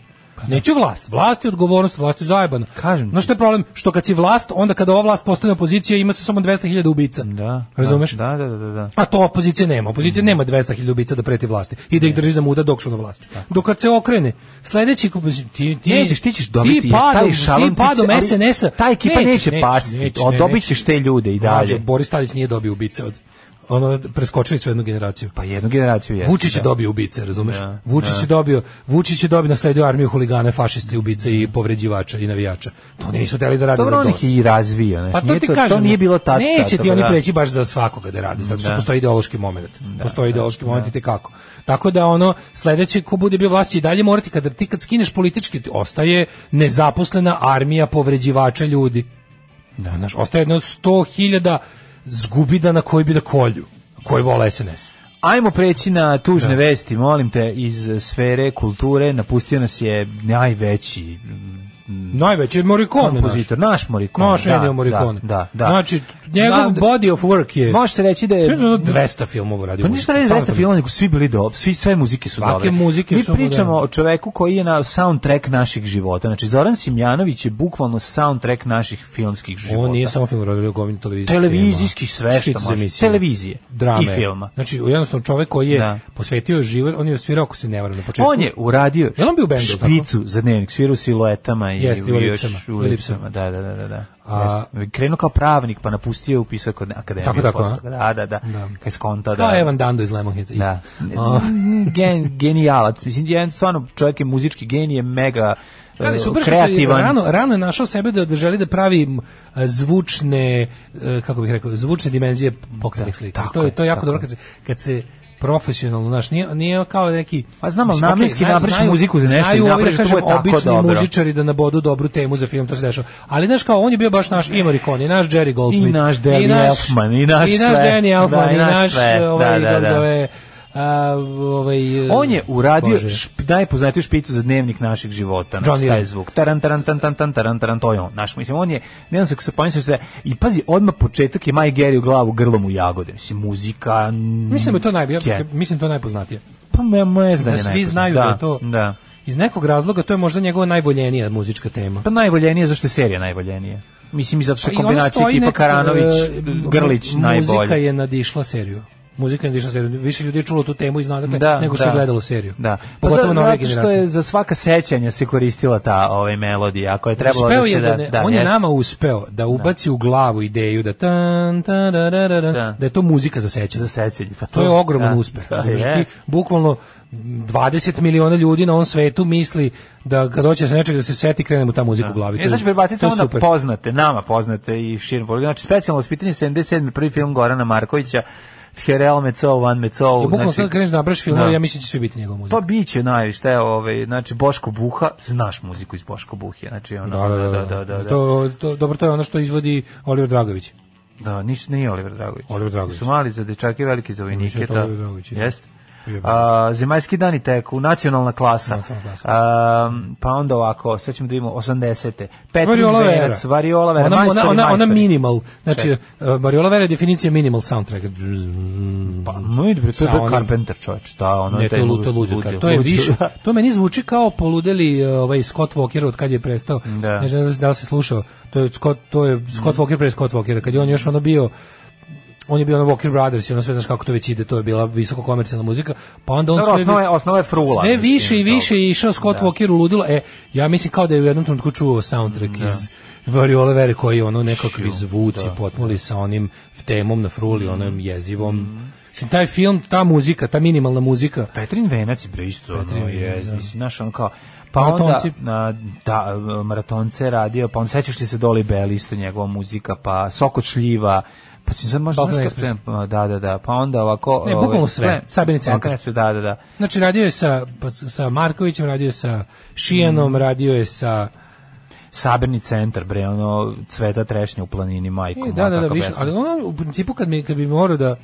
Speaker 7: Neću vlast. Vlast je odgovornost, vlast je zajebana.
Speaker 6: Pa da. Kažem ti.
Speaker 7: Znaš što je problem? Što kad si vlast, onda kada ova vlast postane opozicija, ima se samo 200.000 ubica.
Speaker 6: Da.
Speaker 7: Razumeš?
Speaker 6: Da, da, da, da. da.
Speaker 7: A to opozicija nema. Opozicija nema 200.000 ubica da preti vlasti i da ih drži za muda dok su na vlasti. Dok kad se okrene, sledeći kup- ti ti
Speaker 6: Nećeš, ti ćeš dobiti,
Speaker 7: ti
Speaker 6: jer taj
Speaker 7: padom,
Speaker 6: šalom
Speaker 7: ti
Speaker 6: ti se-
Speaker 7: padom
Speaker 6: ali
Speaker 7: SNS-a.
Speaker 6: ta ekipa
Speaker 7: Nećeš,
Speaker 6: neće
Speaker 7: nećeš,
Speaker 6: pasti.
Speaker 7: nećeš,
Speaker 6: O,
Speaker 7: ne,
Speaker 6: dobit
Speaker 7: nećeš.
Speaker 6: ćeš te ljude i
Speaker 7: Mlađo,
Speaker 6: dalje.
Speaker 7: Boris Tadić nije dobio ubice od ono preskočili su jednu generaciju.
Speaker 6: Pa jednu generaciju jeste.
Speaker 7: Vučić je
Speaker 6: da.
Speaker 7: dobio ubice, razumeš?
Speaker 6: Da,
Speaker 7: Vučić je dobio, Vučić je dobio nasledio armiju huligana, fašista, ubice i povređivača i navijača. To oni nisu hteli da rade
Speaker 6: Dobro,
Speaker 7: za
Speaker 6: on
Speaker 7: DOS.
Speaker 6: ih je i razvio. Znači,
Speaker 7: Pa to ti
Speaker 6: to,
Speaker 7: kažem.
Speaker 6: to nije bilo da. tačno.
Speaker 7: Neće ti oni preći baš za svakoga da radi, zato što postoji ideološki moment.
Speaker 6: Da,
Speaker 7: postoji ideološki moment i te kako. Tako da ono sledeće ko bude bio vlast će i dalje morati kada ti kad skineš politički ti ostaje nezaposlena armija povređivača ljudi. Da, znaš, ostaje jedno 100.000 zgubida na koji bi da kolju, koji vole SNS.
Speaker 6: Ajmo preći na tužne
Speaker 7: Da.
Speaker 6: vesti, molim te, iz sfere kulture. Napustio nas je najveći
Speaker 7: Najveći je Morikone naš.
Speaker 6: kompozitor, naš Morikone.
Speaker 7: Naš Ennio Morikone.
Speaker 6: Da, da, da.
Speaker 7: Znači, njegov
Speaker 6: Da,
Speaker 7: body of work je...
Speaker 6: Može se reći da je...
Speaker 7: Mislim da je 200 filmova radio.
Speaker 6: Pa ništa ne
Speaker 7: muziku.
Speaker 6: je
Speaker 7: Samo da
Speaker 6: filma, nego svi bili dobro, svi, sve muzike su
Speaker 7: Svake
Speaker 6: dobre.
Speaker 7: muzike
Speaker 6: Mi
Speaker 7: su
Speaker 6: pričamo
Speaker 7: moderne.
Speaker 6: o čoveku koji je na soundtrack naših života. Znači, Zoran Simjanović je bukvalno soundtrack naših filmskih
Speaker 7: mislim.
Speaker 6: života.
Speaker 7: On nije samo film radio, govin televizijski.
Speaker 6: Televizijski sve što može. Televizije
Speaker 7: Drame.
Speaker 6: i filma.
Speaker 7: Znači, jednostavno čovjek koji je
Speaker 6: Da.
Speaker 7: posvetio život, on je osvirao, ako se ne varam na početku.
Speaker 6: On je uradio
Speaker 7: Jel on bio u bendu,
Speaker 6: špicu za dnevnik, svirao siluetama i,
Speaker 7: Jeste, i u
Speaker 6: i
Speaker 7: Lipsama,
Speaker 6: još
Speaker 7: u
Speaker 6: u
Speaker 7: Lipsama.
Speaker 6: lipsama. Da, da, da, da. da.
Speaker 7: A-
Speaker 6: Jeste. Krenuo kao pravnik, pa napustio je upisao kod akademije.
Speaker 7: Tako, tako,
Speaker 6: posle. Da, da, da.
Speaker 7: Da.
Speaker 6: Kaj skonta, da.
Speaker 7: Kao Evan Dando iz Lemonhead. isto.
Speaker 6: Da.
Speaker 7: A,
Speaker 6: Gen, genijalac. Mislim, jedan stvarno čovjek je muzički genije, mega
Speaker 7: Ali
Speaker 6: e,
Speaker 7: super što se
Speaker 6: kreativan.
Speaker 7: Rano, rano je našao sebe da, da želi da pravi m, zvučne, e, kako bih rekao, zvučne dimenzije pokretnih slika. I
Speaker 6: Da, tako
Speaker 7: to je, to je
Speaker 6: je,
Speaker 7: jako
Speaker 6: tako
Speaker 7: dobro
Speaker 6: je.
Speaker 7: kad se, kad se profesionalno, znaš, nije, nije kao neki...
Speaker 6: Pa znam, ali
Speaker 7: Mislim, okej,
Speaker 6: namenski
Speaker 7: znaju-
Speaker 6: napraviš
Speaker 7: znaju-
Speaker 6: muziku za nešto i
Speaker 7: znaju ovi, da
Speaker 6: napraviš da
Speaker 7: kažem,
Speaker 6: bude tako
Speaker 7: obični
Speaker 6: dobro.
Speaker 7: muzičari da nabodu dobru temu za film, to se dešava. Ali, znaš, kao, on je bio baš naš i Morricone, i naš Jerry Goldsmith.
Speaker 6: E. I naš Danny Elfman, i naš
Speaker 7: I naš
Speaker 6: sve.
Speaker 7: Danny Elfman,
Speaker 6: Da,
Speaker 7: i naš,
Speaker 6: sve. Da,
Speaker 7: ovaj,
Speaker 6: da,
Speaker 7: kako
Speaker 6: da.
Speaker 7: zove, a, ovaj, e,
Speaker 6: On je uradio
Speaker 7: Bože.
Speaker 6: šp, najpoznatiju špicu za dnevnik naših života.
Speaker 7: John
Speaker 6: Znači, taj
Speaker 7: Lennon.
Speaker 6: zvuk. Taran, taran, taran, taran, taran, taran, taran, to je on. Znaš, mislim, on je, ne znam se kako se pomisliš sve. I pazi, odmah početak je Maj Geri u glavu grlom u jagode. Mislim, muzika... mm,
Speaker 7: Mislim da je to najbolje,
Speaker 6: ke-
Speaker 7: mislim da je to najpoznatije.
Speaker 6: Pa me, me zna
Speaker 7: da
Speaker 6: je
Speaker 7: svi
Speaker 6: najpoznat.
Speaker 7: znaju da, je to
Speaker 6: Da.
Speaker 7: iz nekog razloga to je možda njegova najvoljenija muzička tema.
Speaker 6: Pa najvoljenije, zašto je serija najvoljenije? Mislim, i zato što je
Speaker 7: Pa I ona
Speaker 6: kombinacija
Speaker 7: stoji
Speaker 6: tipa
Speaker 7: nekako,
Speaker 6: Karanović,
Speaker 7: e,
Speaker 6: Grlić
Speaker 7: mu- Muzika
Speaker 6: najbolje.
Speaker 7: je nadišla seriju. Muzika je nadišla seriju. Više ljudi je čulo tu temu i zna dakle,
Speaker 6: Da,
Speaker 7: nego što
Speaker 6: da.
Speaker 7: je gledalo seriju.
Speaker 6: Da. Pa
Speaker 7: Pogotovo
Speaker 6: zato,
Speaker 7: na ove
Speaker 6: zato što
Speaker 7: generacije.
Speaker 6: je za svaka sećanja se koristila ta ovaj melodija, ako je trebalo
Speaker 7: uspeo
Speaker 6: da se
Speaker 7: je
Speaker 6: da,
Speaker 7: da, ne, on je
Speaker 6: jeste.
Speaker 7: nama uspeo da ubaci u glavu ideju da tan, tan, da, da, da, da,
Speaker 6: Da.
Speaker 7: da je to muzika za sećanje.
Speaker 6: za sećanje. Pa
Speaker 7: To je ogroman
Speaker 6: da,
Speaker 7: uspeh.
Speaker 6: Da,
Speaker 7: razumeš?
Speaker 6: je.
Speaker 7: ti bukvalno 20 miliona ljudi na ovom svetu misli da kad hoće se nečeg da se seti krene mu ta muzika u glavi. To
Speaker 6: E,
Speaker 7: je-
Speaker 6: znači, prebacite
Speaker 7: to je
Speaker 6: onda
Speaker 7: super.
Speaker 6: poznate, nama poznate i širom pogledu. Znači, specijalno spitanje 77. prvi film Gorana Markovića, Therel Mecov, Van Mecov.
Speaker 7: Ja bukvalno
Speaker 6: znači-
Speaker 7: sad kreneš da nabraš filmove,
Speaker 6: Da.
Speaker 7: ja mislim će svi biti njegova muzika.
Speaker 6: Pa biće najviše, šta je ovaj, znači Boško Buha, znaš muziku iz Boško Buhe, znači
Speaker 7: Da,
Speaker 6: ono,
Speaker 7: To, to, dobro, to je ono što izvodi Oliver Dragović.
Speaker 6: Da, niš nije Oliver Dragović.
Speaker 7: Oliver Dragović.
Speaker 6: Su mali za dečake, veliki za
Speaker 7: Mislim da
Speaker 6: vojnike.
Speaker 7: je to
Speaker 6: da.
Speaker 7: Oliver Dragović, da.
Speaker 6: Jeste.
Speaker 7: Jebate.
Speaker 6: A, zemaljski dani teku, nacionalna klasa.
Speaker 7: Nacionalna klasa.
Speaker 6: A, pa onda ovako, sad ćemo da vidimo 80. Petrin
Speaker 7: Variola Vera.
Speaker 6: Venac, Variola Vera,
Speaker 7: ona,
Speaker 6: majstori,
Speaker 7: ona, ona, ona
Speaker 6: majstori.
Speaker 7: minimal. Znači, uh, Mariola Vera je definicija minimal soundtrack.
Speaker 6: Pa, no, bre, to
Speaker 7: Sa
Speaker 6: je Bob
Speaker 7: onim-
Speaker 6: Carpenter, čovječ. Da, ono,
Speaker 7: ne, to
Speaker 6: taj
Speaker 7: je lu- to je luđaka. To je
Speaker 6: luđi-
Speaker 7: više.
Speaker 6: [LAUGHS]
Speaker 7: To meni zvuči kao poludeli uh, ovaj Scott Walker od kad je prestao.
Speaker 6: Da. Mm.
Speaker 7: Ne znam da li- da li si slušao. To je Scott, to je Scott Walker pre Scott Walkera kad je on još ono bio on je bio na Walker Brothers i ono sve znaš kako to već ide, to je bila visoko komercijalna muzika, pa onda on
Speaker 6: Dobro,
Speaker 7: sve, vi-
Speaker 6: osnova je- osnova je frula,
Speaker 7: sve
Speaker 6: mislim,
Speaker 7: više i više
Speaker 6: dobro.
Speaker 7: je išao Scott
Speaker 6: Da.
Speaker 7: Walker u ludilo, e, ja mislim kao da je u jednom trenutku čuo soundtrack
Speaker 6: Da.
Speaker 7: iz Variole Vere koji je ono nekakvi zvuci potmuli sa onim temom na fruli,
Speaker 6: Mhm.
Speaker 7: onom jezivom, Mislim, taj film, ta muzika, ta minimalna muzika,
Speaker 6: Petrin Venac je bre isto,
Speaker 7: Petrin
Speaker 6: ono, je,
Speaker 7: Venac, da.
Speaker 6: mislim, znaš, on kao, pa
Speaker 7: Maratonci.
Speaker 6: onda, na, da, maratonce je radio, pa on sećaš ti se Doli Bell, isto njegova muzika, pa Soko Šljiva, pa si sad možda,
Speaker 7: Balkan
Speaker 6: znaš,
Speaker 7: Express.
Speaker 6: kako- da, da, da, pa onda ovako,
Speaker 7: Ne,
Speaker 6: ovaj,
Speaker 7: bukvalno sve, Sabirni centar.
Speaker 6: Balkan Express, da, da, da,
Speaker 7: Znači radio je sa pa, s- sa Markovićem, radio je sa Šijanom,
Speaker 6: Mhm.
Speaker 7: radio je sa
Speaker 6: Sabirni centar, bre, ono, cveta trešnja u planini, majko,
Speaker 7: e,
Speaker 6: moja,
Speaker 7: da da da
Speaker 6: kakva
Speaker 7: više,
Speaker 6: pesma.
Speaker 7: ali ono u principu kad mi kad bi morao da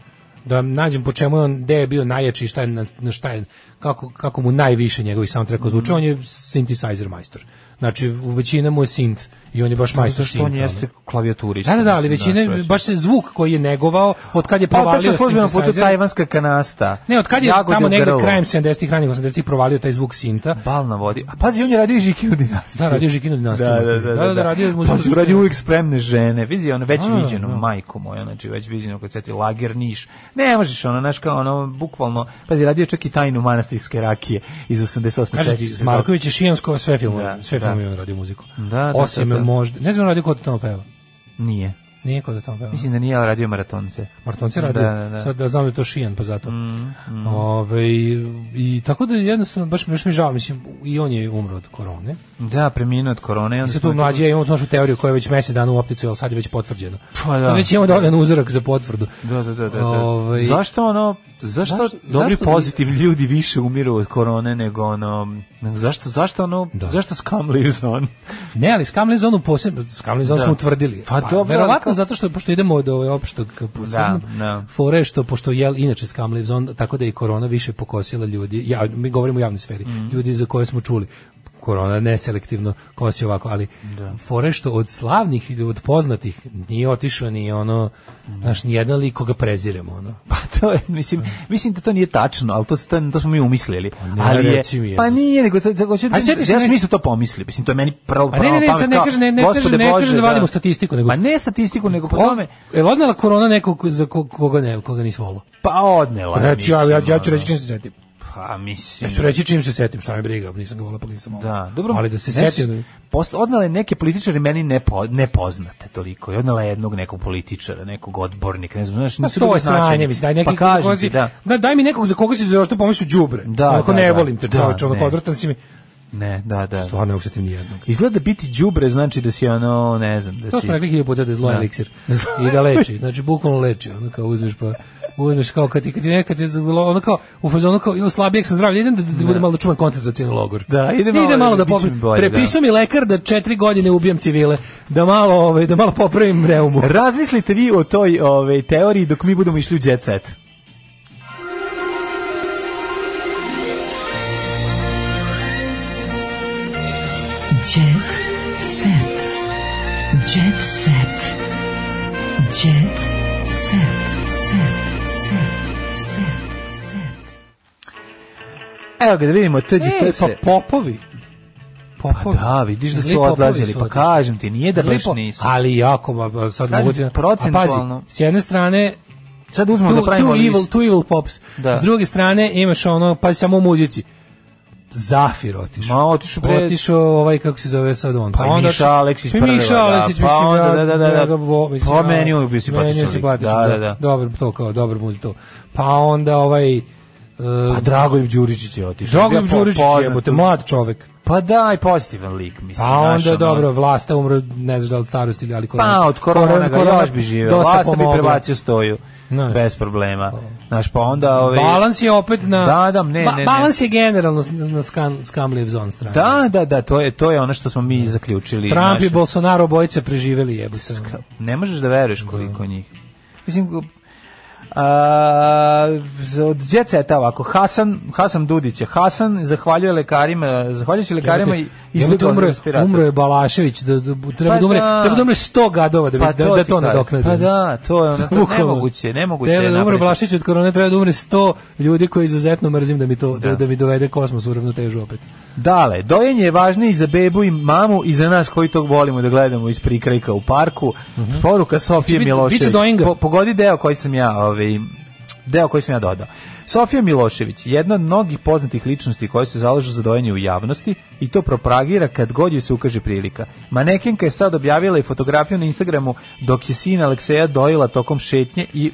Speaker 7: da nađem po čemu je on gde je bio najjači i šta je na na šta je kako kako mu najviše njegovih soundtracka
Speaker 6: Mhm.
Speaker 7: zvuče, on je synthesizer majstor. Znači u većina mu je synth i on je baš majstor
Speaker 6: Što on
Speaker 7: synth.
Speaker 6: jeste klavijaturista.
Speaker 7: Da, da, da, ali
Speaker 6: mislim,
Speaker 7: većina,
Speaker 6: čoveče.
Speaker 7: baš se zvuk koji je negovao, od kad je
Speaker 6: Pa,
Speaker 7: provalio
Speaker 6: to se službeno putu
Speaker 7: synthesizer-
Speaker 6: tajvanska kanasta.
Speaker 7: Ne, od kad je
Speaker 6: Jagode
Speaker 7: tamo
Speaker 6: u
Speaker 7: negde
Speaker 6: grlu.
Speaker 7: krajem 70-ih, ranih 80-ih provalio taj zvuk sinta,
Speaker 6: Bal na vodi. A pazi, on je radio i Žiki u dinastiji.
Speaker 7: Da, radio je Žikinu dinastiju.
Speaker 6: Da, da, da.
Speaker 7: Da, da, da, radio je muziku
Speaker 6: Pazi,
Speaker 7: Žikinu.
Speaker 6: radio uvijek spremne žene. Vizi, ono, već
Speaker 7: A,
Speaker 6: viđeno,
Speaker 7: da.
Speaker 6: majko moja, znači, već viđeno kod sveti lager niš. Ne možeš, ono, znaš, kao, ono, bukvalno, pazi, radio je čak i tajnu manastirske rakije iz 88.
Speaker 7: Kaže ti,
Speaker 6: četvrte.
Speaker 7: Pa Marković je Šijansko sve filmove,
Speaker 6: Da,
Speaker 7: sve
Speaker 6: da.
Speaker 7: filmove on radio muziku.
Speaker 6: Da, da,
Speaker 7: Osim
Speaker 6: da, da.
Speaker 7: možda, ne znam radio ko to tamo peva.
Speaker 6: Nije.
Speaker 7: Nije ko to tamo peva. Mislim,
Speaker 6: Mislim da nije, ali radio je maratonce.
Speaker 7: Martonci radio,
Speaker 6: Da, Mm, da, da.
Speaker 7: sad da znam da je to Šijan, pa zato. Ove, i, i tako da jednostavno, baš, baš mi žao, mislim, i on je umro od korone.
Speaker 6: Da, preminuo od korone. i
Speaker 7: I
Speaker 6: onda
Speaker 7: sad
Speaker 6: smo-
Speaker 7: tu mlađe ja imamo tu našu teoriju koja je već mesec dana u opticu, ali sad je već potvrđena.
Speaker 6: Pa da.
Speaker 7: Sad već imamo dovoljan uzorak za potvrdu.
Speaker 6: Da, da, da, da. da.
Speaker 7: Ovaj,
Speaker 6: zašto ono, zašto,
Speaker 7: Zašto-
Speaker 6: dobri
Speaker 7: zašto bi-
Speaker 6: pozitivni ljudi više umiru od korone nego ono, nego zašto, zašto ono,
Speaker 7: Da.
Speaker 6: zašto skamliju on?
Speaker 7: Ne, ali skamli zonu posebno, skamli zonu
Speaker 6: Da.
Speaker 7: smo utvrdili.
Speaker 6: Pa dobro, ali
Speaker 7: verovatno verovatno zato što pošto idemo od ovaj opštog ka posebnom.
Speaker 6: Da, da.
Speaker 7: Fore je što pošto je inače skamliv zon, tako da je i korona više pokosila ljudi. Ja mi govorimo o javnoj sferi. Ljudi za koje smo čuli korona neselektivno kosi ovako, ali da. fore što od slavnih i od poznatih nije otišao ni ono, znaš, ni jedan lik koga preziremo, ono.
Speaker 6: Pa to je, mislim, mislim da to nije tačno, ali to, se- to, to smo mi umislili.
Speaker 7: ne,
Speaker 6: ali je,
Speaker 7: reci mi jedno.
Speaker 6: pa nije, nego, to, to, to,
Speaker 7: A sjeti se
Speaker 6: ja sam
Speaker 7: neki-
Speaker 6: isto to pomislio, mislim, to je meni pravo,
Speaker 7: A ne,
Speaker 6: pravo
Speaker 7: ne, ne,
Speaker 6: pamet,
Speaker 7: sad ne
Speaker 6: kao,
Speaker 7: kažem, ne- ne
Speaker 6: gospode
Speaker 7: kažem- ne
Speaker 6: Bože,
Speaker 7: kažem da vadimo statistiku, nego-
Speaker 6: Pa ne statistiku, nego po
Speaker 7: O,
Speaker 6: tome,
Speaker 7: je li E, odnela korona nekog za ko- koga ne, koga nisi volao?
Speaker 6: pa odnela. je,
Speaker 7: Reći, ja, ja, ja ću
Speaker 6: mislim,
Speaker 7: reći čim se setim.
Speaker 6: ono. Pa mislim.
Speaker 7: Ja ću reći čim se setim, šta me briga, nisam ga volao, pa nisam volao.
Speaker 6: Da, dobro.
Speaker 7: Ali da se
Speaker 6: Znaš,
Speaker 7: setim...
Speaker 6: Posle odnela je neke političare meni nepo, nepoznate toliko. I odnela je jednog nekog političara, nekog odbornika, ne znam, znaš,
Speaker 7: Ma
Speaker 6: nisu
Speaker 7: Pa to
Speaker 6: bili
Speaker 7: je sranje,
Speaker 6: značajni.
Speaker 7: mislim, daj neki
Speaker 6: pa kažem
Speaker 7: kozi,
Speaker 6: ti, da.
Speaker 7: daj mi nekog za koga si zašto pomislio đubre.
Speaker 6: Da,
Speaker 7: Onako
Speaker 6: da,
Speaker 7: ne
Speaker 6: da.
Speaker 7: volim te,
Speaker 6: Da,
Speaker 7: čoveče, onako
Speaker 6: ne.
Speaker 7: odvratan si mi.
Speaker 6: Ne, da, da.
Speaker 7: Stvarno ne osetim ni jednog.
Speaker 6: Izgleda biti đubre znači da si ono, ne znam, da
Speaker 7: To
Speaker 6: si...
Speaker 7: smo rekli hiljadu puta da je zlo
Speaker 6: [LAUGHS] Da.
Speaker 7: eliksir. I da leči, znači bukvalno leči, ono kao uzmeš pa uzmeš kao kad ti kad ti nekad je zlo- ono kao u fazonu kao jo slabijeg sam zdravlja, idem da, da budem malo da čuvam koncentracioni logor.
Speaker 6: Da, idem malo
Speaker 7: ide
Speaker 6: da-
Speaker 7: malo da
Speaker 6: bit će
Speaker 7: popravim.
Speaker 6: mi bolje, da.
Speaker 7: Prepisao mi lekar da četiri godine ubijam civile, da malo ovaj da malo popravim reumu.
Speaker 6: Razmislite vi o toj ove, teoriji dok mi budemo išli u jet set.
Speaker 10: Jet set. Jet set. Jet set. Set. Set. Set. Set.
Speaker 6: Evo ga da vidimo, tođi
Speaker 7: E,
Speaker 6: to
Speaker 7: pa
Speaker 6: se...
Speaker 7: popovi.
Speaker 6: Pa
Speaker 7: Popovi.
Speaker 6: da, vidiš da
Speaker 7: Zli
Speaker 6: su
Speaker 7: popovi
Speaker 6: odlazili, pa
Speaker 7: otišli.
Speaker 6: kažem ti, nije da
Speaker 7: Zli
Speaker 6: baš
Speaker 7: po-
Speaker 6: nisu.
Speaker 7: Ali jako, ma- ma, sad
Speaker 6: Kažem,
Speaker 7: mogu ti... a
Speaker 6: procentualno.
Speaker 7: Pazi, s jedne strane,
Speaker 6: Sad uzmemo da
Speaker 7: tu,
Speaker 6: pravimo
Speaker 7: tu evil,
Speaker 6: list.
Speaker 7: tu evil pops.
Speaker 6: Da.
Speaker 7: S druge strane imaš ono, pa samo u muzici. Zafir otišao.
Speaker 6: Ma, otišao, bre.
Speaker 7: Otišao ovaj, kako se zove sad on.
Speaker 6: Pa i Miša Aleksić
Speaker 7: pa i
Speaker 6: prvi,
Speaker 7: Miša
Speaker 6: da,
Speaker 7: Aleksić,
Speaker 6: pa
Speaker 7: mislim,
Speaker 6: onda,
Speaker 7: ja-
Speaker 6: da, da, da,
Speaker 7: ja
Speaker 6: da.
Speaker 7: ga vo- mislim,
Speaker 6: Pa
Speaker 7: ja-
Speaker 6: meni je uvijek bio simpatičan
Speaker 7: meni je
Speaker 6: čovjek.
Speaker 7: simpatičan,
Speaker 6: Da,
Speaker 7: da,
Speaker 6: da, da.
Speaker 7: Dobar, to kao, dobar muzi to. Pa onda ovaj... e,
Speaker 6: Pa Dragoljub Đuričić je otišao.
Speaker 7: Dragoljub
Speaker 6: Bio po-
Speaker 7: Đuričić,
Speaker 6: poznat.
Speaker 7: jebote, mlad čovek.
Speaker 6: Pa da, i pozitivan lik, mislim.
Speaker 7: Pa
Speaker 6: znaš,
Speaker 7: onda
Speaker 6: ono.
Speaker 7: dobro, vlasta umro, ne znaš da li od starosti ili ali korona.
Speaker 6: Pa, od korona ga
Speaker 7: korona
Speaker 6: još bi živeo.
Speaker 7: dosta
Speaker 6: Vlasta bi
Speaker 7: pomogla.
Speaker 6: prebacio stoju.
Speaker 7: Znaš.
Speaker 6: Bez problema. Znaš, pa onda... Ove,
Speaker 7: Balans je opet na...
Speaker 6: Da, da, ne, ne, ne.
Speaker 7: Balans je generalno na, na skan, skamljiv zon strane.
Speaker 6: Da, da, da, to je, to je ono što smo mi zaključili.
Speaker 7: Trump i
Speaker 6: znaš.
Speaker 7: Bolsonaro obojice preživeli jebote. ono.
Speaker 6: Ne možeš da veruješ koliko njih. Mislim, a, za- od djeceta ovako, Hasan, Hasan Dudić je. Hasan zahvaljuje lekarima, zahvaljujući lekarima i
Speaker 7: Jebote, jebote,
Speaker 6: izgledao za
Speaker 7: umro, je-
Speaker 6: respirator.
Speaker 7: umro je Balašević, da, da, bu- treba,
Speaker 6: Pa
Speaker 7: da umre,
Speaker 6: da.
Speaker 7: treba da umre 100 gadova da, pa da, da
Speaker 6: ti
Speaker 7: to
Speaker 6: kažem.
Speaker 7: nadoknade.
Speaker 6: Pa da, to je ono, to
Speaker 7: Bukvalno.
Speaker 6: nemoguće, nemoguće
Speaker 7: Treba
Speaker 6: je
Speaker 7: da umre
Speaker 6: napraviti.
Speaker 7: Balašević od korone, treba da umre 100 ljudi koji izuzetno mrzim da mi, to, da.
Speaker 6: Da.
Speaker 7: Da, mi dovede kosmos u ravnotežu opet.
Speaker 6: Dale, dojenje je važnije i za bebu i mamu i za nas koji tog volimo da gledamo iz prikrajka u parku. Poruka Sofije
Speaker 7: Mhm. Biće-
Speaker 6: Milošević.
Speaker 7: biće doinga.
Speaker 6: Po- pogodi deo koji sam ja, ovaj, deo koji sam ja dodao. Sofija Milošević, jedna od mnogih poznatih ličnosti koja se zalažu za dojenje u javnosti i to propagira kad god joj se ukaže prilika. Manekenka je sad objavila i fotografiju na Instagramu dok je sin Alekseja dojila tokom šetnje i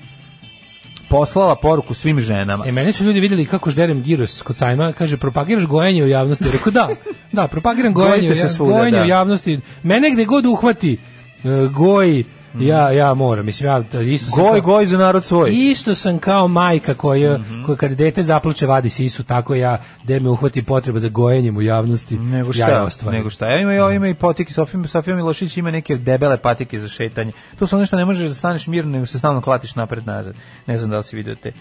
Speaker 6: poslala poruku svim ženama.
Speaker 7: E, mene su ljudi vidjeli kako žderem giros kod sajma, kaže, propagiraš gojenje u javnosti. Rekao, da, da, propagiram gojenje, u,
Speaker 6: Gojite se
Speaker 7: ja,
Speaker 6: svuda,
Speaker 7: gojenje
Speaker 6: da.
Speaker 7: u javnosti. Mene gde god uhvati e, goji, ja, ja moram, mislim, da- ja to isto sam
Speaker 6: Goj, Mhm.
Speaker 7: kao-
Speaker 6: goj za narod svoj.
Speaker 7: Isto sam kao majka koja, koja kad dete zaplače vadi sisu, tako ja gde me uhvati potreba za gojenjem u javnosti,
Speaker 6: Nego šta,
Speaker 7: ja je ostvarim.
Speaker 6: nego šta. Ja ima, ja ima i patike, Sofija, Sofija Milošić ima neke debele patike za šetanje. To su ono što ne možeš da staneš mirno, nego se stalno klatiš napred nazad. Ne znam da li si vidio te.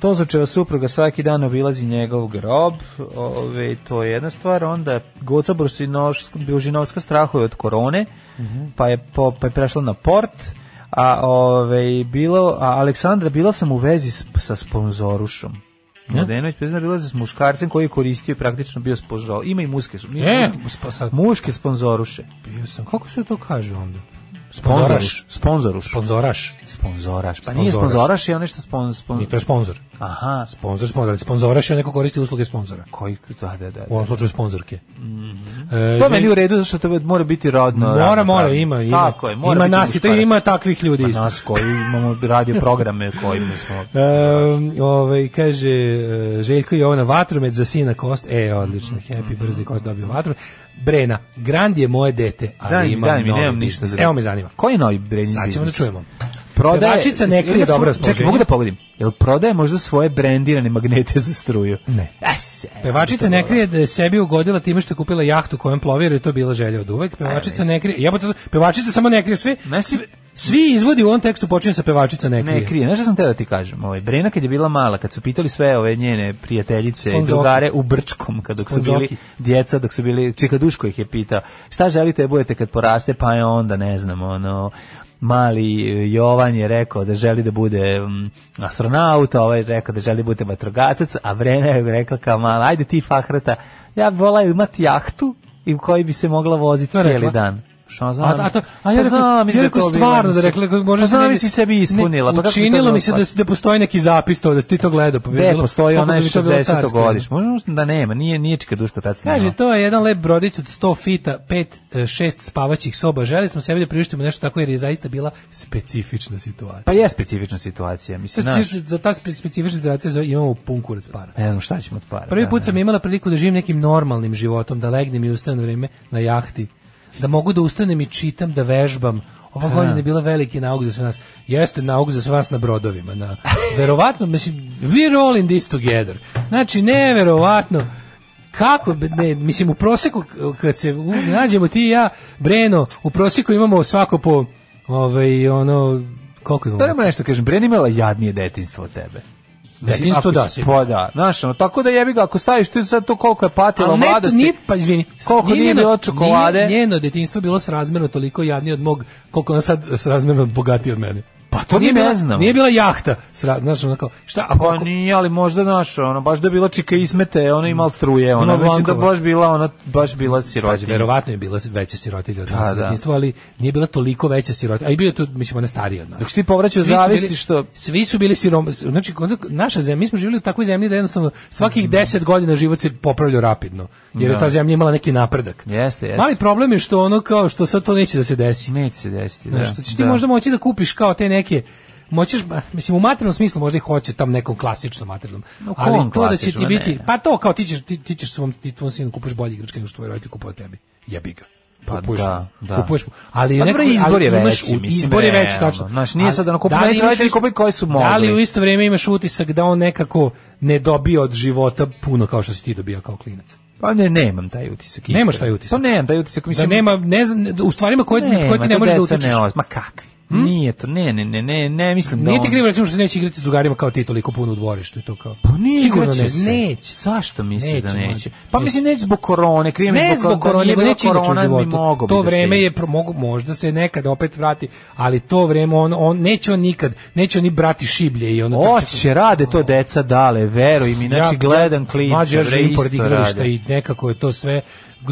Speaker 6: Tozočeva supruga svaki dan obilazi njegov grob, ove, to je jedna stvar, onda Goca Brušinoš- Bužinovska strahuje od korone, pa, je po, pa je prešla na port, a ove, bilo, a Aleksandra, bila sam u vezi s- sa sponzorušom. Mladenović priznao bila s muškarcem koji je koristio i praktično bio sponzor. Ima i muške,
Speaker 7: E, pa sad-
Speaker 6: muške sponzoruše.
Speaker 7: Bio sam, kako se to kaže onda?
Speaker 6: Sponzoruš, sponzoruš.
Speaker 7: Sponzoraš.
Speaker 6: Sponzoraš. Pa nije
Speaker 7: Sponzoraš.
Speaker 6: sponzoraš, je ono što spon, spon-
Speaker 7: Nije, to je sponzor.
Speaker 6: Aha, sp-
Speaker 7: Sponzor, sponzor. ali Sponzoraš je neko koristi usluge sponzora.
Speaker 6: koji, da, da, da.
Speaker 7: U ovom slučaju sponzorke. E,
Speaker 6: Mhm. To je meni u redu, zašto to mora biti rodno.
Speaker 7: Mora,
Speaker 6: ravnopravno.
Speaker 7: mora, ima, ima.
Speaker 6: Tako je, mora
Speaker 7: ima
Speaker 6: biti
Speaker 7: nas, i to
Speaker 6: muškarac.
Speaker 7: ima takvih ljudi
Speaker 6: Pa
Speaker 7: isto.
Speaker 6: nas koji imamo radio programe kojima smo...
Speaker 7: Ehm, ovaj, kaže, e, Željko i Jovana vatromet za sina Kost. E, odlično, happy brzni Kost dobio vatromet. Brena, Grand je moje dete, [LAUGHS] ali
Speaker 6: Daj mi,
Speaker 7: ima
Speaker 6: daj mi,
Speaker 7: novi
Speaker 6: nemam ništa
Speaker 7: biznis.
Speaker 6: za...
Speaker 7: Evo me zanima.
Speaker 6: Koji je novi branding
Speaker 7: Sad ćemo da
Speaker 6: biznis?
Speaker 7: čujemo.
Speaker 6: Prodaje...
Speaker 7: Pevačica ne krije
Speaker 6: Jel su-
Speaker 7: dobro
Speaker 6: Čekaj,
Speaker 7: raspoloženje.
Speaker 6: mogu da pogledim. Jel prodaje možda svoje brendirane magnete za struju?
Speaker 7: Ne.
Speaker 6: Aj, se-
Speaker 7: Pevačica ne krije da je sebi ugodila time što je kupila jahtu kojom plovi, jer je to bila želja od uvek. Pevačica ne krije, jebote, pevačica samo ne krije sve.
Speaker 6: Ne, si-
Speaker 7: sve- Svi izvodi u ovom tekstu počinju sa pevačica ne krije.
Speaker 6: Ne, krije. Znaš šta sam teo da ti kažem? Ovaj, Brena kad je bila mala, kad su pitali sve ove njene prijateljice i
Speaker 7: Sponzoki.
Speaker 6: drugare u Brčkom, kad dok su bili
Speaker 7: Sponzoki.
Speaker 6: djeca, dok su bili, čeka Duško ih je pitao, šta želite da budete kad poraste, pa je onda, ne znam, ono, mali e, Jovan je rekao da želi da bude mm, astronaut, a ovaj je rekao da želi da bude vatrogasac, a Brena je rekla kao mala, ajde ti Fahrata, ja bi volao imati jahtu i u kojoj bi se mogla voziti
Speaker 7: To je
Speaker 6: cijeli
Speaker 7: rekla?
Speaker 6: dan. Šta
Speaker 7: A, a, to, a ja
Speaker 6: pa
Speaker 7: rekao,
Speaker 6: znam,
Speaker 7: ja rekao
Speaker 6: izgleda to
Speaker 7: stvarno da
Speaker 6: bilo.
Speaker 7: rekla, kako može
Speaker 6: pa
Speaker 7: se
Speaker 6: znam,
Speaker 7: negdje-
Speaker 6: si sebi ispunila.
Speaker 7: Ne,
Speaker 6: pa kako bi to
Speaker 7: učinilo
Speaker 6: bilo
Speaker 7: mi se
Speaker 6: stvarno?
Speaker 7: da, s- da postoji neki zapis to, da si ti to gledao. Pa bi
Speaker 6: Ne,
Speaker 7: bilo-
Speaker 6: postoji
Speaker 7: kako
Speaker 6: onaj
Speaker 7: bi to bilo
Speaker 6: 60
Speaker 7: carski,
Speaker 6: godiš. Možda da nema, nije, nije čika Duško tad snimao.
Speaker 7: Kaže, to je jedan lep brodić od 100 fita, 5-6 spavaćih soba. Želi smo sebi da priuštimo nešto tako jer je zaista bila specifična situacija.
Speaker 6: Pa je specifična situacija, mislim, znaš.
Speaker 7: Specifična- za ta spe- specifična situacija za- imamo pun kurac para.
Speaker 6: Ne znam šta ćemo od para.
Speaker 7: Prvi
Speaker 6: da,
Speaker 7: put
Speaker 6: da.
Speaker 7: sam imala priliku da živim nekim normalnim životom, da legnem i ustanem na vreme na jahti, da mogu da ustanem i čitam, da vežbam. Ova godina je bila veliki nauk za sve nas. Jeste nauk za sve nas na brodovima. Na, verovatno, mislim, we all in this together. Znači, neverovatno kako, bi- ne, mislim, u proseku, k- kad se u- nađemo ti i ja, Breno, u proseku imamo svako po, ovaj, ono, koliko imamo?
Speaker 6: Da nema nešto, kažem, Bren imala jadnije detinstvo od tebe.
Speaker 7: Detinjstvo,
Speaker 6: Ako
Speaker 7: da,
Speaker 6: će-
Speaker 7: sigurno.
Speaker 6: Pa da, znaš, ono, tako da jebi ga, ako staviš tu sad to koliko je patila
Speaker 7: Ali
Speaker 6: u
Speaker 7: ne,
Speaker 6: mladosti.
Speaker 7: nije, pa izvini.
Speaker 6: Koliko nije bilo čokolade?
Speaker 7: Nije, njeno detinjstvo bilo srazmerno toliko jadnije od mog, koliko ona sad srazmerno bogatije od mene.
Speaker 6: Pa to
Speaker 7: nije
Speaker 6: mi ne
Speaker 7: bila,
Speaker 6: znamo.
Speaker 7: Nije bila jahta. Sra, znaš, onako, šta, ako,
Speaker 6: Pa
Speaker 7: da, ako,
Speaker 6: nije, ali možda naš, ono, baš da je bila čika ismete, ono
Speaker 7: Mm.
Speaker 6: imala struje,
Speaker 7: Ima
Speaker 6: ono, mislim da
Speaker 7: Blankova.
Speaker 6: baš bila, ono, baš bila
Speaker 7: Pazi,
Speaker 6: sirotinja.
Speaker 7: verovatno je bila veća sirotilja od nas
Speaker 6: Pa,
Speaker 7: u
Speaker 6: da.
Speaker 7: detinjstvu, ali nije bila toliko veća sirotilja. A i bio je tu, mislim, ona starija od nas.
Speaker 6: Dok si ti povraćao
Speaker 7: Svi su
Speaker 6: zavisti
Speaker 7: bili-
Speaker 6: što-
Speaker 7: Svi su bili sirom... Znači, onda naša zemlja, mi smo živjeli u takvoj zemlji da jednostavno
Speaker 6: Mhm.
Speaker 7: svakih 10 godina život se popravljao rapidno. Jer je ta zemlja imala neki napredak.
Speaker 6: Da. Jeste, jeste.
Speaker 7: Mali problem je što ono kao, što sad to neće da se desi.
Speaker 6: Neće se desiti, da.
Speaker 7: Znaš, što ćeš ti možda moći da kupiš kao te neke moćeš, ba, mislim, u materijalnom smislu možda i hoće tam nekom klasičnom materijalnom,
Speaker 6: No, kom
Speaker 7: ali to da će ti
Speaker 6: klasičnom,
Speaker 7: biti,
Speaker 6: ne.
Speaker 7: pa to kao ti ćeš, ti, ti ćeš svom, ti tvom sinu kupiš bolji igračke nego što tvoj roditelj kupuje tebi, jebi ga.
Speaker 6: Pa
Speaker 7: Kupuješ
Speaker 6: da,
Speaker 7: mu,
Speaker 6: da.
Speaker 7: Kupuješ mu. Ali,
Speaker 6: Pa
Speaker 7: neko-
Speaker 6: dobro, izbor
Speaker 7: ali
Speaker 6: je
Speaker 7: imaš
Speaker 6: veći,
Speaker 7: u-
Speaker 6: mislim,
Speaker 7: Izbor je veći,
Speaker 6: realno.
Speaker 7: tačno.
Speaker 6: Znaš, nije
Speaker 7: Ali
Speaker 6: sad ono, kupuje
Speaker 7: da li
Speaker 6: neće
Speaker 7: imaš
Speaker 6: roditelji
Speaker 7: isto-
Speaker 6: kupiti koji su
Speaker 7: Da
Speaker 6: mogli.
Speaker 7: li u isto vrijeme imaš utisak da on nekako ne dobija od života puno kao što si ti dobija kao klinac? Da
Speaker 6: Pa ne, nemam taj utisak. iskreno.
Speaker 7: Nemaš taj utisak?
Speaker 6: Pa nemam taj utisak.
Speaker 7: Da
Speaker 6: Mislim,
Speaker 7: nema, ne znam, u stvarima koje,
Speaker 6: Nema,
Speaker 7: koje ti ne
Speaker 6: to
Speaker 7: možeš da
Speaker 6: deca
Speaker 7: utičeš.
Speaker 6: ne oz- Ma kakvi? Nije to, ne, ne, ne, ne, ne, mislim da
Speaker 7: Nije ti
Speaker 6: on-
Speaker 7: krivo recimo što se neće igrati s drugarima kao ti toliko puno u dvorištu i to kao.
Speaker 6: Pa nije,
Speaker 7: Sigurno
Speaker 6: igraće
Speaker 7: ne,
Speaker 6: se.
Speaker 7: neće.
Speaker 6: Zašto misliš
Speaker 7: Neće,
Speaker 6: da neće?
Speaker 7: mlađe.
Speaker 6: Pa
Speaker 7: Neće.
Speaker 6: mislim neće zbog korone, krivo
Speaker 7: Ne
Speaker 6: zbog,
Speaker 7: zbog korone, nego
Speaker 6: nije
Speaker 7: neće
Speaker 6: bila
Speaker 7: inače u
Speaker 6: korona, ni
Speaker 7: životu.
Speaker 6: mogao bi
Speaker 7: To
Speaker 6: da se
Speaker 7: vreme
Speaker 6: igra.
Speaker 7: je, pro- mogu, možda se nekad opet vrati, ali to vreme, on, on, neće on nikad, neće oni brati šiblje i ono...
Speaker 6: Oće, rade to deca dale, veruj mi, znači gledam klince,
Speaker 7: Mađe, ja
Speaker 6: bre,
Speaker 7: živim
Speaker 6: isto
Speaker 7: pored igrališta
Speaker 6: rade.
Speaker 7: i nekako je to sve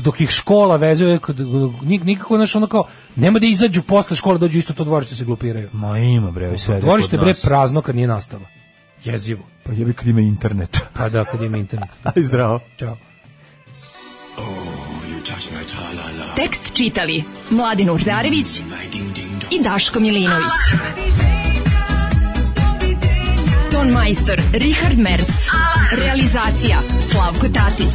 Speaker 7: dok ih škola vezuje, kad- nik- nikako znaš ono kao, nema da izađu posle škole, dođu isto u to dvorište se glupiraju.
Speaker 6: Ma ima bre, ovi sve. ide
Speaker 7: Dvorište
Speaker 6: kod
Speaker 7: bre
Speaker 6: nas.
Speaker 7: prazno kad nije nastava. Jezivo.
Speaker 6: Pa jebi kad ima internet. [LAUGHS]
Speaker 7: Pa da, kad ima internet.
Speaker 6: Aj zdravo.
Speaker 7: Ćao.
Speaker 10: Tekst čitali Mladin Urdarević i Daško Milinović. Ton majstor Richard Merc. Realizacija Slavko Tatić.